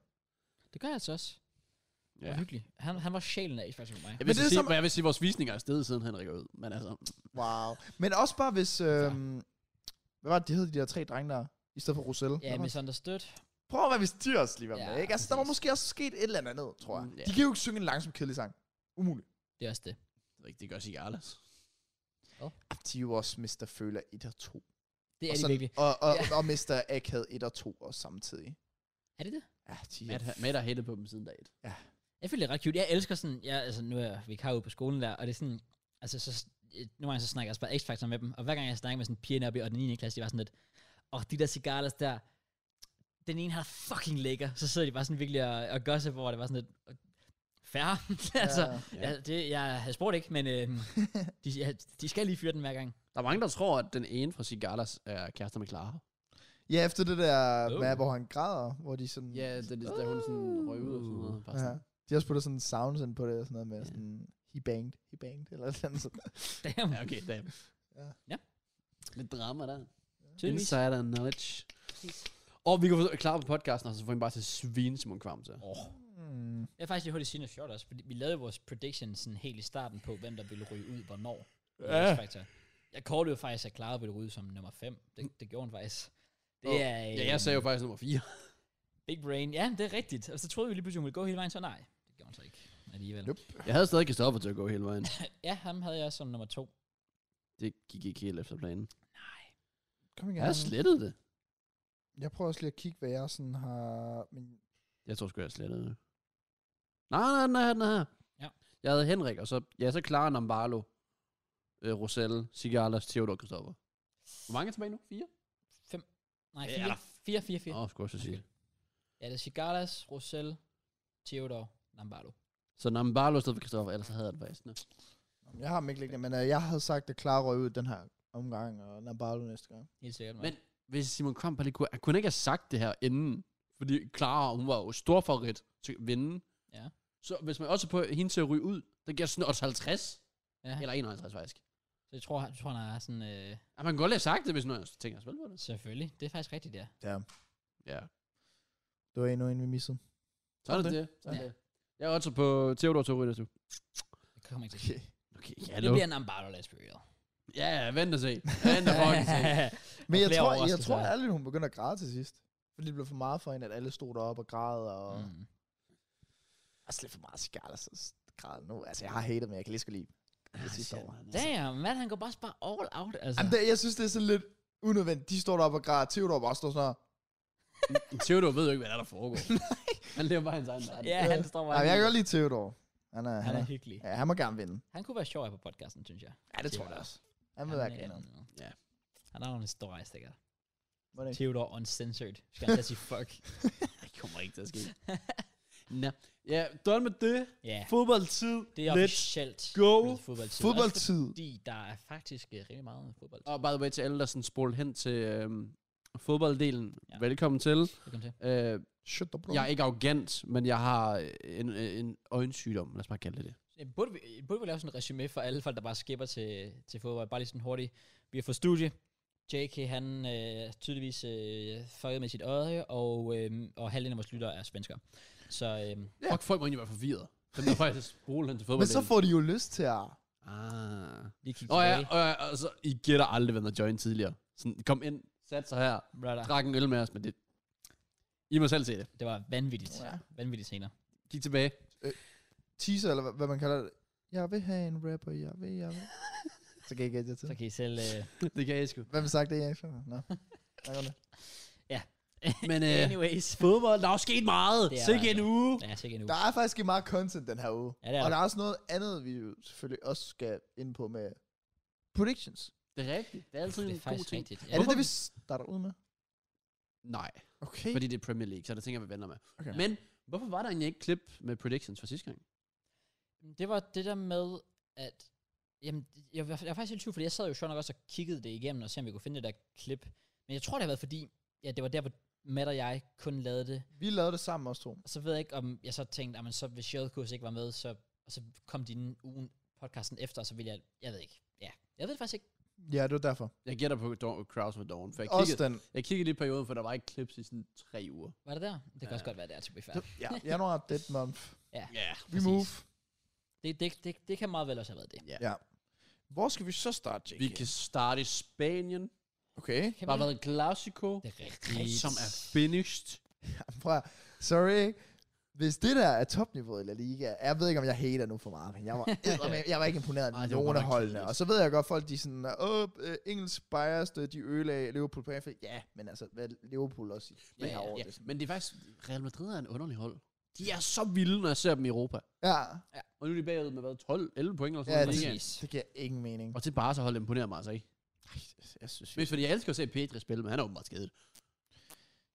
A: Det gør jeg altså også. Ja. Det
B: Ja.
A: var hyggeligt. Han, han var sjælen af, faktisk for mig.
C: Men
B: Jeg vil, så
C: det er
B: sige,
C: som-
B: jeg vil sige, at vores visninger er stedet, siden Henrik er ud. Men altså,
C: Wow. Men også bare hvis... Øhm, hvad var det, de hed, de der tre drenge der? I stedet for Roselle.
A: Ja,
C: Hvad var det?
A: misunderstood.
C: Prøv at være, hvis de også lige var
A: Ja,
C: med, ikke? Altså, der var
A: præcis.
C: måske også sket et eller andet, tror jeg.
B: Mm, ja.
C: De kan jo ikke synge en langsom, kedelig sang. Umuligt.
A: Det er også det.
B: det er ikke- det gør sig Arles.
C: De er jo også Mr. Føler 1 og 2.
A: Det er
C: og,
A: det
C: sådan-
A: virkelig.
C: og, og,
A: Ja.
C: og Mr. Akad 1 og 2 også samtidig.
A: Er det det?
C: Ja, de er...
B: Matt, Matt har hættet på dem siden dag et.
A: Jeg føler det er ret cute. Jeg elsker sådan, jeg, altså nu er jeg vikar ude på skolen der, og det er sådan, altså så, øh, nogle gange så snakker jeg også bare X-Factor med dem, og hver gang jeg snakker med sådan pigerne oppe i og den 9. klasse, de var sådan lidt, og de der cigarettes der, den ene har fucking lækker, så sidder de bare sådan virkelig og, og gør sig, hvor det var sådan lidt, og- færre, altså,
C: Ja.
A: ja. Ja, det, jeg havde spurgt ikke, men øh, de, ja, de skal lige fyre den hver gang.
B: Der er mange, der tror, at den ene fra Sigalas er kærester med Clara.
C: ja, efter det der
A: Oh.
C: oh. map, hvor han græder, hvor de sådan...
B: Ja, det er da hun sådan røg ud og sådan noget. Bare
C: ja.
B: sådan.
C: De har også puttet sådan sounds ind på det, og sådan noget med
B: Ja.
C: sådan... He banged, he banged, eller et eller andet sådan.
A: Damn,
B: Ja, okay, damn.
C: Ja.
A: Ja.
B: Lidt drama der.
A: tydeligvis.
B: Insider knowledge. Og vi kan få Clara på podcasten, og så får vi bare til svin, som hun kvam til.
A: Oh.
C: Mm.
A: Jeg er faktisk lige hurtigt sige noget sjovt også, fordi vi lavede vores prediction sådan helt i starten på, hvem der ville ryge ud, hvornår. Ja. Factor. Jeg kaldte jo faktisk, at Clara ville ryge ud som nummer 5. Det, det gjorde hun faktisk. Det
B: Åh,
A: er
B: Ja,
A: øh,
B: jeg sagde jo faktisk nummer 4.
A: Big Brain. Ja, det er rigtigt. Og så troede vi lige pludselig, hun ville gå hele vejen, så nej. Det gjorde hun så ikke alligevel.
C: Nope.
B: Jeg havde stadig Kristoffer til at gå hele vejen.
A: Ja, ham havde jeg som nummer 2.
B: Det gik ikke helt efter planen.
A: Nej.
C: Kom igen.
B: Jeg har slettet det.
C: Jeg prøver også lige at kigge, hvad jeg sådan har... Men
B: Jeg tror sgu, jeg slettede det. Nej, nej, den er her, den er her.
A: Ja.
B: Jeg havde Henrik, og så, ja, så Clara Nambalo, øh, Roselle, Sigalas, Theodor Kristoffer. Hvor mange er tilbage nu? Fire?
A: Nej,
B: Ja.
A: 4. 4, 4, 4.
B: Åh, oh, skulle jeg også sige.
A: Ja, det er Cigalas, Rosel, Theodor, Lombardo.
B: Så Nambalo i stedet for Kristoffer, ellers havde jeg det faktisk. Nå.
C: jeg har dem ikke liggende, men øh, jeg havde sagt, at Clara røg ud den her omgang, og Nambalo næste gang.
A: Helt sikkert. mand.
B: Men hvis Simon Kvam bare lige kunne, han kunne ikke have sagt det her inden, fordi Clara, hun var jo stor favorit til at vinde.
A: Ja.
B: Så hvis man også er på hende til at ryge ud, der giver sådan 50,
A: Ja.
B: eller 51 faktisk.
A: Så jeg tror, han, jeg tror, han er sådan... Øh,
B: Ja, man kan godt lige have sagt det, hvis nu jeg tænker, spil på det.
A: selvfølgelig. Det er faktisk rigtigt, ja.
C: Ja,
B: Ja.
C: det var endnu en, vi missede.
B: Så er det det. Så er det. Jeg er også på Theodor til at ryge, det
A: Det kommer ikke til.
C: Okay.
B: Okay,
A: Det bliver en Lombardo, let's be real.
B: Ja, ja, vent og se. Vent og fucking se.
C: Men
A: Og flere
C: jeg tror, jeg
A: overraskelser.
C: tror ærligt, hun begynder at græde til sidst. Fordi det blev for meget for hende, at alle stod deroppe og græd, og mm.
A: Mm.
C: også lidt for meget cigaret, og så græd nu. Altså, jeg har hatet, men jeg kan lige så lide det sidste år.
A: Damn, man, han går bare, bare all out, altså.
C: Jamen, det, jeg synes, det er sådan lidt unødvendigt. De står deroppe og græder, Theodor bare står sådan her.
B: Theodor ved jo ikke, hvad der, er, der foregår. han lever bare hans egen verden.
A: ja, han står bare...
C: Nej, jeg kan godt lide Theodor. Han er,
A: han
C: han
A: er
C: er,
A: hyggelig.
C: ja, han må gerne vinde.
A: Han kunne være sjov her på podcasten, synes jeg.
C: Ja, det tror jeg også. Han vil være grineren.
A: Ja.
B: Ja.
A: Han har nogle historier, stikker.
C: Hvordan?
A: Theodor uncensored. Skal han da sige fuck?
B: Det kommer ikke til at ske. Nå. Ja, done med det.
A: Ja.
B: Fodboldtid.
A: Det er
B: Let's
A: officielt.
B: go.
A: med Fodboldtid. Også
C: Fodboldtid.
A: fordi der er faktisk øh, rigtig meget fodbold.
B: Og by the way, til alle, der sådan spurgte hen til øhm, fodbolddelen.
A: Ja.
B: Ja. Velkommen til.
A: Velkommen til.
B: Øh,
C: Shut up, bro.
B: jeg er ikke arrogant, men jeg har øh, en, en øjensygdom. Lad os bare kalde det det.
A: Øh, Burde vi, øh, burde vi lave sådan en resume for alle folk, der bare skipper til, til fodbold? Bare lige sådan hurtigt. Vi har fået studie. JK, han øh, tydeligvis øh, fucket med sit øje, og, øh, og halvdelen af vores lyttere er svenskere. Så øh,
B: Ja. Fuck, folk må egentlig være forvirret. Den der faktisk spole hen til
C: Men
B: fodbolddelen.
C: så får de jo lyst til at...
B: Ah.
A: lige kigge
B: Og ja,
A: tilbage.
B: og ja, altså, I gætter aldrig, hvem der joined tidligere. Sådan, kom ind, sat sig her,
A: Brother,
B: drak en øl med os, men det... I må selv se det.
A: det var vanvittigt. Ja.
C: Ja.
A: Vanvittigt senere.
B: Gik tilbage.
C: Teaser, eller hvad- hvad man kalder det. Jeg vil have en rapper, jeg vil, jeg vil. så kan jeg gætte det til.
A: Så kan I selv... Øh,
B: det kan jeg sgu.
C: Hvem har sagt det, jeg ikke fatter? Nå. Jeg gør det.
B: Men øh,
A: anyways.
B: fødebold, der er jo sket meget.
A: Det er
B: Sikke
A: der
B: en
A: altså.
B: uge.
A: Ja, sikkert nu.
C: Der er faktisk ikke meget content den her uge.
A: Ja, det er
C: og
A: der.
C: der er også noget andet, vi jo selvfølgelig også skal ind på med predictions.
B: Det er rigtigt. Det er altid
A: Det er
B: en god
A: faktisk
B: ting.
A: rigtigt.
C: Er
A: Ja,
C: det
B: Hvorfor-
C: det, vi starter ud med?
B: Nej,
C: Okay.
B: fordi det er Premier League, så det tænker jeg, vi venter med.
C: Okay.
B: Men hvorfor var der egentlig ikke klip med predictions fra sidste gang?
A: Det var det der med, at... Jamen, jeg, var, jeg var faktisk lidt i tvivl, fordi jeg sad jo sjovt nok også og kiggede det igennem, og se om vi kunne finde det der klip. Men jeg tror, det har været fordi, ja, det var der, hvor Matt og jeg kun lavede det.
C: Vi lavede det sammen også to.
A: Og så ved jeg ikke, om jeg så tænkte, at så hvis Shellkurs ikke var med, så, og så kom din ugen podcasten efter, og så ville jeg... Jeg ved ikke. Ja, jeg ved det faktisk ikke.
C: Ja, det var derfor.
B: Jeg gætter på Dawn, Kraus med Dawn, for jeg
C: Også
B: kiggede,
C: den.
B: jeg kiggede lige i perioden, for der var ikke klips i sådan tre uger.
A: Var det der? Det kan ja.
B: Ja.
A: også godt være, det er, to be fair.
C: Ja, januar er dead month.
B: Ja.
C: We
A: Præcis.
C: move.
A: Det, det, det, det, kan meget vel også have været det.
B: Ja.
C: Ja. Hvor skal vi så starte, JK?
B: Vi kan starte i Spanien.
C: Okay.
A: Kan
B: Der
A: vi
B: har været en Clasico,
A: det er rigtigt.
B: som er finished.
C: Jamen, Prøv at, sorry, ikke? Hvis det der er topniveauet i La Liga, jeg ved ikke, om jeg hater nu for meget, men jeg var, eddermame- jeg var ikke imponeret
B: Ej,
C: af
B: det var
C: nogen af
B: godt nok
C: holdene.
B: kedeligt.
C: Og så ved jeg godt, folk de er sådan, åh, øh, engelsk biased, øh, de ødelag Liverpool på FA. Ja, men altså, hvad Liverpool også i
B: Men,
C: det her år.
B: ja,
C: det er sådan-
B: men det er faktisk, Real Madrid er en underlig hold. De er så vilde, når jeg ser dem i Europa.
C: Ja,
B: Og nu er de bagud med, hvad, 12, 11 point eller
C: Ja,
B: sådan noget. i ligaen.
A: Præcis.
C: det giver ingen mening.
B: Og til Barca hold imponerer mig altså ikke.
C: Ej, jeg synes,
B: Mest fordi jeg elsker at se Pedri spille, men han er åbenbart skadet.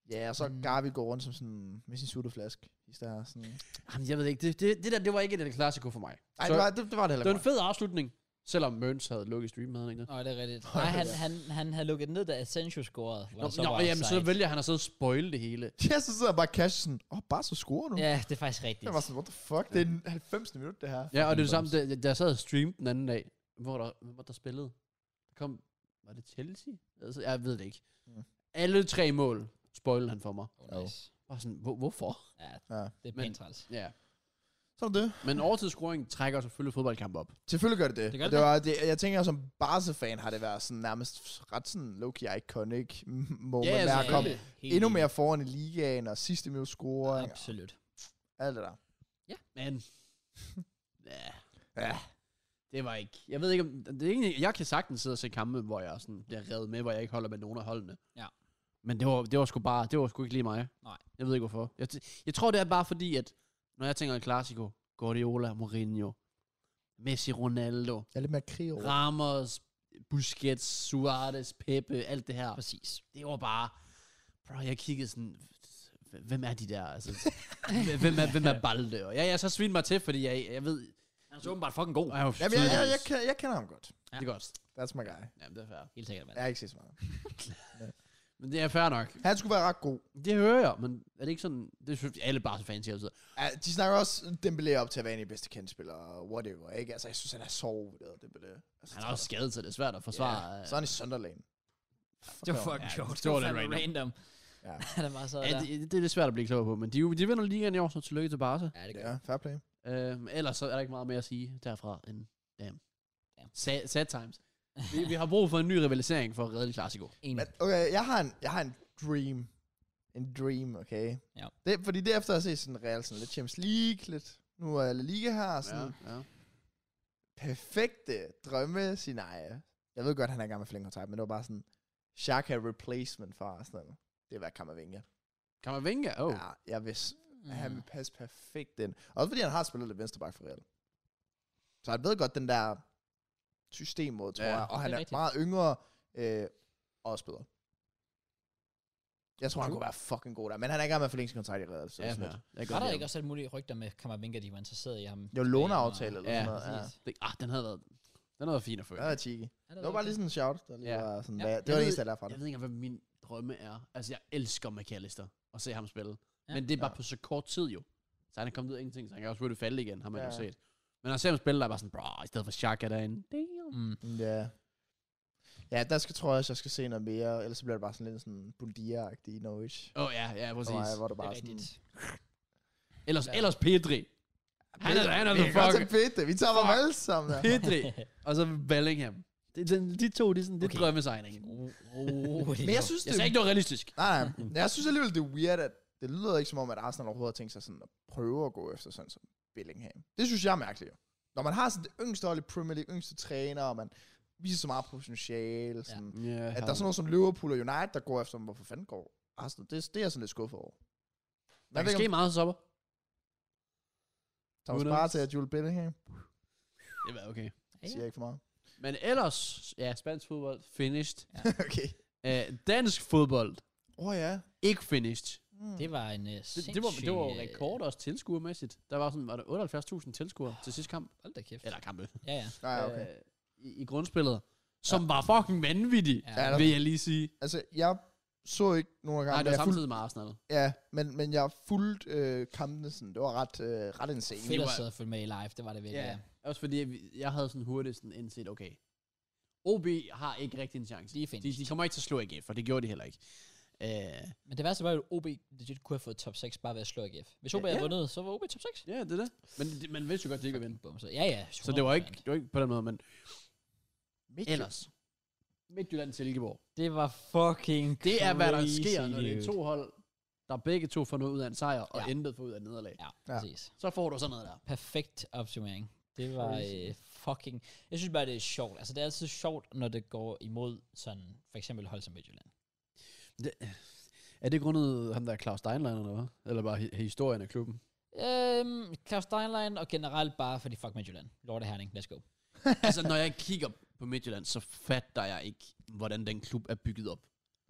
C: Ja, og så
A: Mm.
C: Garbi går rundt som sådan, med sin sutteflaske. I stedet sådan.
B: Jamen, jeg ved ikke, det, det, det der, det var ikke et klassiko for mig.
C: Ej,
B: Så-
C: det var det, det, var det
B: Det
C: heller
B: var
C: ikke.
B: en fed afslutning, selvom Møns havde lukket streamen, havde han ikke det?
A: Nå, det er rigtigt. Nej, han, han, han havde lukket ned, da Asensio scorede. hvor
B: Nå,
A: der så
B: nå
A: var
B: jamen, så
A: offside.
B: vælger han at sidde og spoil det hele.
C: meget. Ja, så sidder jeg bare og casher sådan, åh, oh, bare så scorer nu.
A: Ja, det er faktisk rigtigt.
C: Jeg var sådan, what the fuck, det er den 90. minut, det her.
B: Ja, og det er det samme, da, da jeg sad og streamede den anden dag, hvor der, hvem var der spillede? Der kom, var det Chelsea? Altså, jeg ved det ikke.
C: Ja.
B: Alle tre mål spoilede han for mig.
A: Oh, nice.
B: Bare sådan, hvor, hvorfor?
A: Ja,
C: Ja.
A: det er
B: Men-
A: pænt
C: altså,
A: træls.
B: Ja.
C: Sådan det.
B: Men overtidsscoring trækker selvfølgelig fodboldkamp op.
C: Selvfølgelig gør det det.
A: Det gør
C: Og
A: det
C: det, var, det jeg tænker, som Barca-fan har det været sådan nærmest ret sådan low-key iconic moment,
B: Ja,
C: yeah, der
B: altså,
C: er kommet
B: helt-
C: endnu mere foran i ligaen, og sidste minut scoring, og
A: Absolut.
C: alt det der.
B: Men, ja,
C: Ja,
B: det var ikke. Jeg ved ikke, om, det er egentlig, jeg kan sagtens sidde og se kampe, hvor jeg sådan bliver revet med, hvor jeg ikke holder med nogen af holdene.
A: Ja.
B: Men det var, det var sgu bare, det var sgu ikke lige mig.
A: Nej.
B: Jeg ved ikke hvorfor. Jeg, t- jeg tror, det er bare fordi, at når jeg tænker en klassiko, Guardiola, Mourinho, Messi, Ronaldo,
C: jeg er lidt mere krig over.
B: Ramos, Busquets, Suarez, Pepe, alt det her.
A: Præcis.
B: Det var bare, bro, jeg kiggede sådan, hvem er de der? Altså, hvem, er, hvem er Balde? Og jeg, jeg så svinede mig til, fordi jeg, jeg ved,
A: Han er åbenbart fucking god.
B: og jeg, var
C: Jamen, jeg, jeg,
B: tydeligvis-
C: jeg, kender, jeg kender ham godt.
B: Det er godt.
C: That's my guy.
B: Jamen, det er fair.
A: Helt sikkert, mand.
C: Jeg har ikke set så meget.
B: Men det er fair nok.
C: Han skulle være ret god.
B: Det hører jeg, men er det ikke sådan... Det synes alle bare fans siger altid.
C: Ja, de snakker også Dembélé op til at være en af de bedste kendspillere, og whatever, ikke? Altså, jeg synes, han er så overvurderet, Dembélé. Altså,
B: Han er også skadet, så det er svært at forsvare. øh,
C: Så
B: Så
C: er han i Sunderland. Fuck
A: Det var
C: ham.
A: fucking
B: Ja,
A: sjovt.
B: det var lidt
A: fandme
B: random.
A: random.
C: Ja.
A: Han er bare så
B: ja,
A: der.
B: det, det, er lidt svært at blive klog på, men de, er jo- de vinder ligaen i år, så tillykke til Barca.
A: Ja, det gør
C: Ja, fair play.
B: Øhm, ellers så er der ikke meget mere at sige derfra end... Damn.
A: Damn.
B: Sad, sad times. Vi, vi, har brug for en ny rivalisering for at redde Clasico.
A: en.
C: Men okay, jeg har en, jeg har en dream. En dream, okay?
A: Ja.
C: Det, fordi derefter har jeg set sådan Real, sådan lidt Champions League, lidt nu er La Liga her, og sådan ja.
B: ja.
C: perfekte drømmescenarie. Jeg ved godt, han er i gang med forlænget kontrakt, men det var bare sådan, Shaka replacement for Arsenal. Det var Kammervinga.
B: Kamavinga? Oh.
C: Ja, jeg vidste,
A: Mm.
C: at
A: Mhm.
C: han vil passe perfekt ind. Også fordi han har spillet lidt venstreback for Real. Så han ved godt den der system mod, tror
B: Ja,
C: ja, jeg. Og
A: det
C: han
A: er
C: er
A: rigtigt.
C: meget yngre øh, og også bedre. Jeg tror, han
B: True.
C: kunne være fucking god der. Men han er i gang med forlængelseskontrakt i Real. Så
B: ja,
C: ja,
B: fair. Jeg
A: Var der ikke også alt muligt rygter med Kammervinga, de var interesseret i ham?
C: jo, låneaftale eller sådan
B: Ja,
C: noget. Ja.
A: præcis.
B: det, ah, den havde været, den havde været fin at følge.
C: Det var cheeky.
A: Ja,
C: Det var bare lige sådan en shout. Der lige
B: Ja.
C: var sådan,
A: Ja.
C: ja. hvad,
B: Jeg
C: det var
B: ved-
C: det eneste, jeg lærte fra
B: Jeg
C: det.
B: ved ikke, hvad min drømme er. Altså, jeg elsker McAllister og se ham spille.
A: Ja.
B: Ja. Men det er bare
C: Ja.
B: ja. på så kort tid jo. Så han er kommet ud af ingenting, så han kan også selvfølgelig falde igen, har man ja. jo
C: Ja.
B: set. Men når jeg ser ham spille, der er jeg bare sådan, bro, i stedet for Shaka derinde. Damn.
A: Mm.
C: Ja. Ja, der skal, tror jeg også, jeg skal se noget mere. Ellers så bliver det bare sådan lidt sådan Buldia-agtig i Norwich.
B: Åh oh, ja, ja, præcis.
C: Hvor, hvor du
A: Det er
C: bare sådan...
A: rigtigt.
B: Ellers,
A: Ja.
B: ellers Pedri. Han er, han er the
C: Vi kan godt tage
B: fuck.
C: fedt, vi tager dem
B: Fuck.
C: alle sammen. der.
B: Pedri. Og så Bellingham. Det, er sådan, de to, det er sådan, det
A: Okay.
B: okay. drømmesegningen.
A: Oh, Rolig
C: Men jeg
A: nu.
C: synes,
B: Jeg
C: det,
B: sagde ikke, det var realistisk.
C: nej, Mm. nej, Men jeg synes alligevel, det er weird, at det lyder ikke som om, at Arsenal overhovedet har tænkt sig sådan at prøve at gå efter sådan som Bellingham. Det synes jeg er mærkeligt jo. Når man har sådan det yngste hold i Premier League, yngste træner, og man viser så meget potentiale, sådan, ja.
B: Ja,
C: at der er sådan noget som Liverpool og United, der går efter dem, hvorfor fanden går Arsenal? Det, det er jeg sådan lidt skuffet over.
B: der
C: Jeg
B: kan
C: ved
B: ske
C: ikke, om
B: meget, Sopper.
C: Thomas
B: Who
C: Partey
B: knows?
C: og Jules Bellingham
B: Det var okay.
A: Ja,
C: siger jeg ikke for meget.
B: Men ellers, ja, spansk fodbold, finished.
C: okay.
B: Uh, dansk fodbold,
C: Åh oh, ja.
B: ikke finished.
C: Mm.
A: Det var en uh,
B: Det, det, var, det var jo
A: sindssyg, øh,
B: rekord også tilskuermæssigt. Der var sådan, var det 78.000 tilskuere til sidste kamp?
A: øh, Hold da kæft.
B: Eller kampe.
A: Ja, ja.
C: Mm. Nej, okay.
B: Øh, i, I grundspillet. Som ja. var fucking vanvittig,
A: Ja,
B: ja,
C: der-
B: vil jeg lige sige.
C: Altså, jeg så ikke nogen af
B: Øh. Nej,
C: kampene.
B: det var
C: jeg fulgte-
B: samtidig med Arsenal.
C: Ja, men, men jeg fulgte øh, kampene sådan. Det var ret, øh, ret insane.
A: Fedt at
B: var-
A: sidde og følge med i live, det var det virkelig. Ja.
B: Også fordi vi- jeg havde sådan hurtigt sådan indset, okay, OB har ikke rigtig en chance.
A: De er
B: De,
A: finished.
B: de kommer ikke til at slå AGF, for det gjorde de heller ikke. Øh,
A: Men det værste var jo, at OB legit kunne have fået top 6 bare ved at slå AGF. Hvis OB
B: Ja.
A: havde vundet, så var OB top 6.
B: ja, det er det. Men det, man vidste jo godt, de ikke ville vinde.
A: Bum, så, ja, ja.
B: Så det var, ikke, det var ikke på den måde, men
C: Midtjylland.
B: ellers. Midtjylland til Silkeborg.
A: Det var fucking
B: Det er, hvad der
A: crazy,
B: sker, når det er
A: dude.
B: to hold, der begge to får noget ud af en sejr, og
A: Ja.
B: ja. intet får ud af et nederlag.
A: Ja,
C: Ja.
A: præcis.
B: Så får du sådan noget der.
A: Perfekt opsummering. Det var
B: Crazy.
A: øh, fucking... Jeg synes bare, det er sjovt. Altså, det er altid sjovt, når det går imod sådan, for eksempel hold som Midtjylland.
B: Er det grundet ham der Claus Steinlein eller hvad? Eller bare hi- historien af klubben?
A: Øhm, Klaus Steinlein og generelt bare fordi fuck Midtjylland. Lorte Herning, let's go.
B: altså, når jeg kigger på Midtjylland, så fatter jeg ikke, hvordan den klub er bygget op.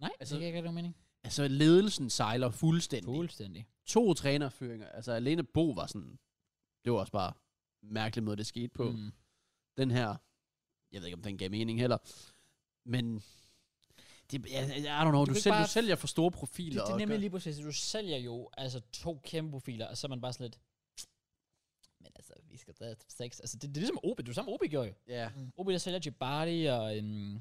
A: Nej, altså,
B: Altså-
A: det kan ikke rigtig nogen mening.
B: Altså, ledelsen sejler fuldstændig.
A: Fuldstændig.
B: To trænerføringer. Altså, alene Bo var sådan... Det var også bare mærkelig måde, det skete på. Mm.
A: Mm.
B: Den her... Jeg ved ikke, om den gav mening heller. Men... Det, jeg, jeg, I don't know,
A: Du
B: du,
A: kan
B: du,
A: ikke
B: sælger,
A: bare-
B: du sælger for store
A: Det,
B: profiler.
A: det, er
B: og
A: nemlig
B: gør-
A: lige præcis, du sælger jo altså to kæmpe profiler, og så er man bare sådan lidt, men altså, vi skal da top 6. Altså, det, det er ligesom OB, du samme OB gjorde jo.
B: Ja,
A: OB, der sælger Djibati og, øhm,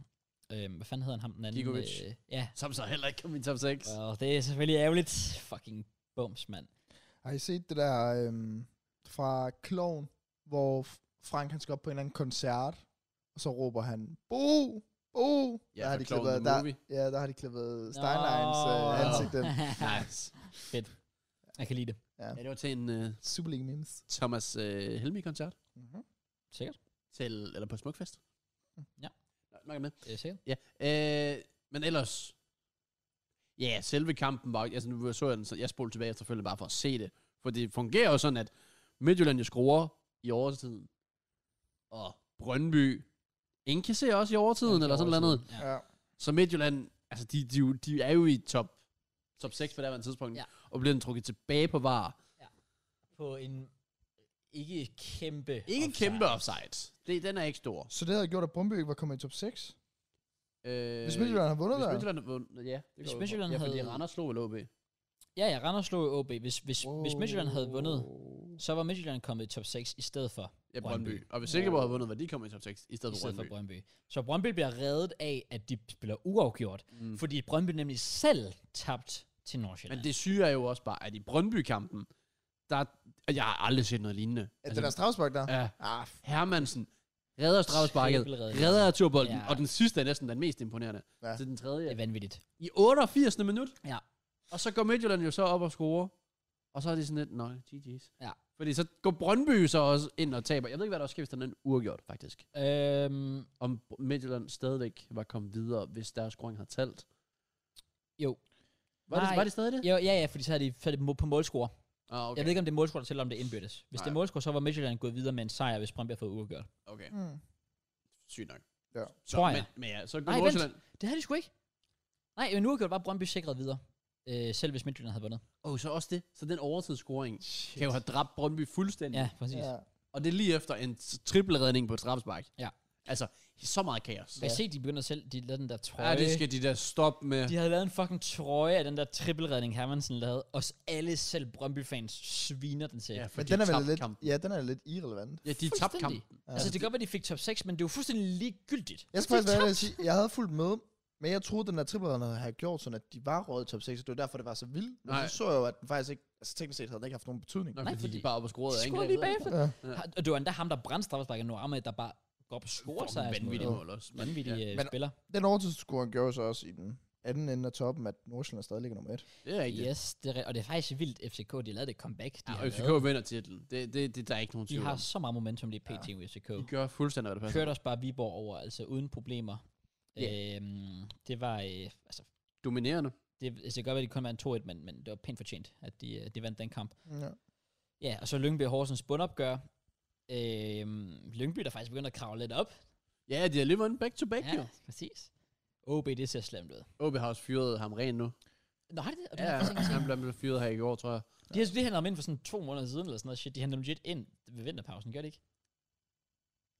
A: øhm, hvad fanden hedder han ham den anden?
B: Djigovic.
A: Øh, ja,
B: som så heller ikke kom i top 6. Ja.
A: og det er selvfølgelig ærgerligt. Fucking bums, mand.
C: Har I set det der øhm, fra Kloven, hvor F- Frank han skal op på en eller anden koncert, og så råber han, Bo! Bo!
B: Ja,
C: der
B: fra
C: har de
B: Klovn
C: klippet,
B: the
C: der,
B: Movie.
C: ja, der har de klippet Steinleins øh, ansigt ind.
A: nice. Fedt. Jeg kan lide det.
B: ja, det var til en uh,
C: Super League memes.
B: Thomas uh, Helmi-koncert.
C: Mm-hmm.
A: Sikkert.
B: Til, eller på Smukfest.
A: Ja.
B: Nå, Nok med.
A: Det er sikkert.
B: Ja, øh, men ellers... Ja, yeah, selve kampen var... Altså, nu så jeg den, så jeg spolede tilbage efterfølgende bare for at se det. For det fungerer jo sådan, at Midtjylland jo skruer i overtiden. Og Brøndby indkasserer også i overtiden, eller sådan noget. andet.
A: Ja.
C: Ja.
B: Så Midtjylland, altså, de, de, er jo- de er jo i top, top 6 på det her tidspunkt.
A: Ja.
B: Og bliver den trukket tilbage på var.
A: På en ikke kæmpe
B: Ikke en
A: offside.
B: kæmpe offside. Det, den er ikke stor.
C: Så det havde gjort, at Brøndby ikke var kommet i top 6?
B: Øh,
C: Hvis Midtjylland har vundet
B: Hvis
C: der?
B: Midtjylland havde vundet, ja. Det
A: Hvis
B: går jeg ud fra.
A: Midtjylland
B: ja, fordi
A: havde-
B: Randers slog vel OB.
A: Ja, ja, Randers slog jo OB. Hvis, hvis, wow. hvis Midtjylland havde vundet, så var Midtjylland kommet i top 6 i stedet for,
B: Ja,
A: Brøndby.
B: Brøndby. Og hvis Silkeborg havde vundet, var de kommet i top 6, i stedet
A: i
B: for
A: stedet
B: Brøndby.
A: for Brøndby. Så Brøndby bliver reddet af, at de spiller uafgjort. Mm. Fordi Brøndby nemlig selv tabt til Nordsjælland.
B: Men det syge er jo også bare, at i Brøndby-kampen, der, og jeg har aldrig set noget lignende. Altså,
C: Er det der strafspark der?
B: ja,
C: Ah, f-
B: Hermansen redder strafsparket,
A: Trippelredning.
B: redder turbolden,
A: Ja.
B: ja. og den sidste er næsten den mest imponerende.
C: Ja.
B: Ja. Til den
A: det er
B: tredje.
A: vanvittigt.
B: I 88. minut.
A: Ja.
B: Og så går Midtjylland jo så op og scorer. Og så er det sådan lidt, nej, GG's.
A: Ja.
B: Fordi så går Brøndby så også ind og taber. Jeg ved ikke, hvad der sker, hvis den er uafgjort, faktisk.
A: Øhm,
B: Om Midtjylland stadigvæk var kommet videre, hvis deres scoring havde talt.
A: jo,
B: Var, det,
A: Nej.
B: var det stadig det?
A: Jo, ja, ja, fordi så er de, så er det må- på målscore. Okay.
B: Ah, okay.
A: Jeg ved ikke, om det er målscore, der tæller, om det er indbyrdes. Hvis
B: Nej.
A: det er målscore, så var Midtjylland gået videre med en sejr, hvis Brøndby har fået uafgjort.
B: Okay,
C: Mm.
B: sygt nok.
C: Ja.
B: Så,
A: Tror
B: men,
A: jeg.
B: men ja, så går
A: Nej, vent.
B: Nordsjælland.
A: Det har de sgu ikke. Nej, en uafgjort var Brøndby sikret videre. Øh, selv hvis Midtjylland havde vundet.
B: Åh, oh, så også det. Så den overtidsscoring Shit. kan jo have dræbt Brøndby fuldstændig.
A: Ja, præcis. Ja.
C: Ja.
B: Og det er lige efter en s- trippelredning på et strafspark.
A: Ja.
B: Altså, så meget kaos.
A: Jeg har set, de begynder selv, de lavede den der trøje.
B: Ja, det skal de der stoppe med.
A: De havde lavet en fucking trøje af den der trippelredning, Hermansen lavede. Og s- alle selv Brøndby-fans sviner den til.
B: Ja,
A: Ja,
B: for
C: Men
B: de
C: den er vel
B: tabte
C: lidt,
B: kampen.
C: ja, den er lidt irrelevant.
B: Ja, de tabte
A: Fuldstændig.
B: kampen.
C: Ja.
A: altså, det kan godt være, de fik top 6, men det er jo fuldstændig ligegyldigt.
C: Jeg skal
A: Det er
C: faktisk være ærlig at
A: tabt.
C: sige, jeg havde fulgt med, men jeg troede, den der trippelredder havde gjort sådan, at de var røget i top 6, og det var derfor, det var så vildt. Men
B: Nej.
C: så så jeg jo, at den faktisk ikke, altså teknisk set havde den ikke haft nogen betydning.
B: Nok
A: Nej,
B: fordi,
A: fordi-
B: de bare op og scorede
A: De
B: af
A: scorede
B: angrebet.
A: lige bagefter.
C: Ja.
A: Har- Og det var endda ham, der brændte straffesparket nu, Ahmed, der bare går op og scorer sig. altså.
B: Fucking vanvittigt
C: måde.
B: mål også. Men,
A: Vanvittig
B: ja,
A: ja.
C: Men-
A: spiller.
C: Den overtidsscoring gjorde jo så også i den anden ende af toppen, at Nordsjælland stadig ligger nummer 1.
B: det er rigtigt.
A: Yes, det er, ri- og det er faktisk vildt, FCK, de lavede det comeback. De,
B: Ja,
A: har,
B: og FCK
A: lavet.
B: vinder titlen. Det, det, det, der er ikke nogen
A: de
B: tvivl
A: har
B: om.
A: så meget momentum lige pt. i FCK.
B: De gør fuldstændig, hvad det passer.
A: Kørte os bare Viborg over, altså uden problemer. Yeah. Øhm, det var, øh, altså,
B: Dominerende.
A: det, altså, det kan godt være, at de kun vandt 2-1, men, men det var pænt fortjent, at de, øh, de vandt den kamp.
C: Ja.
A: Ja, og så Lyngby og Horsens bundopgør. Øhm, Lyngby, der faktisk begynder at kravle lidt op.
B: Ja, de har lige vundet back to back, jo.
A: Ja, præcis. OB, det ser slemt ud.
B: OB har også fyret ham ren nu.
A: Nå, har de det? Og det
B: Ja,
A: har jeg faktisk ikke set.
B: han blev fyret her i går, tror jeg.
A: De har lige handlet ham ind for sådan to måneder siden, eller sådan noget shit. De handlede legit ind ved vinterpausen, gør det ikke?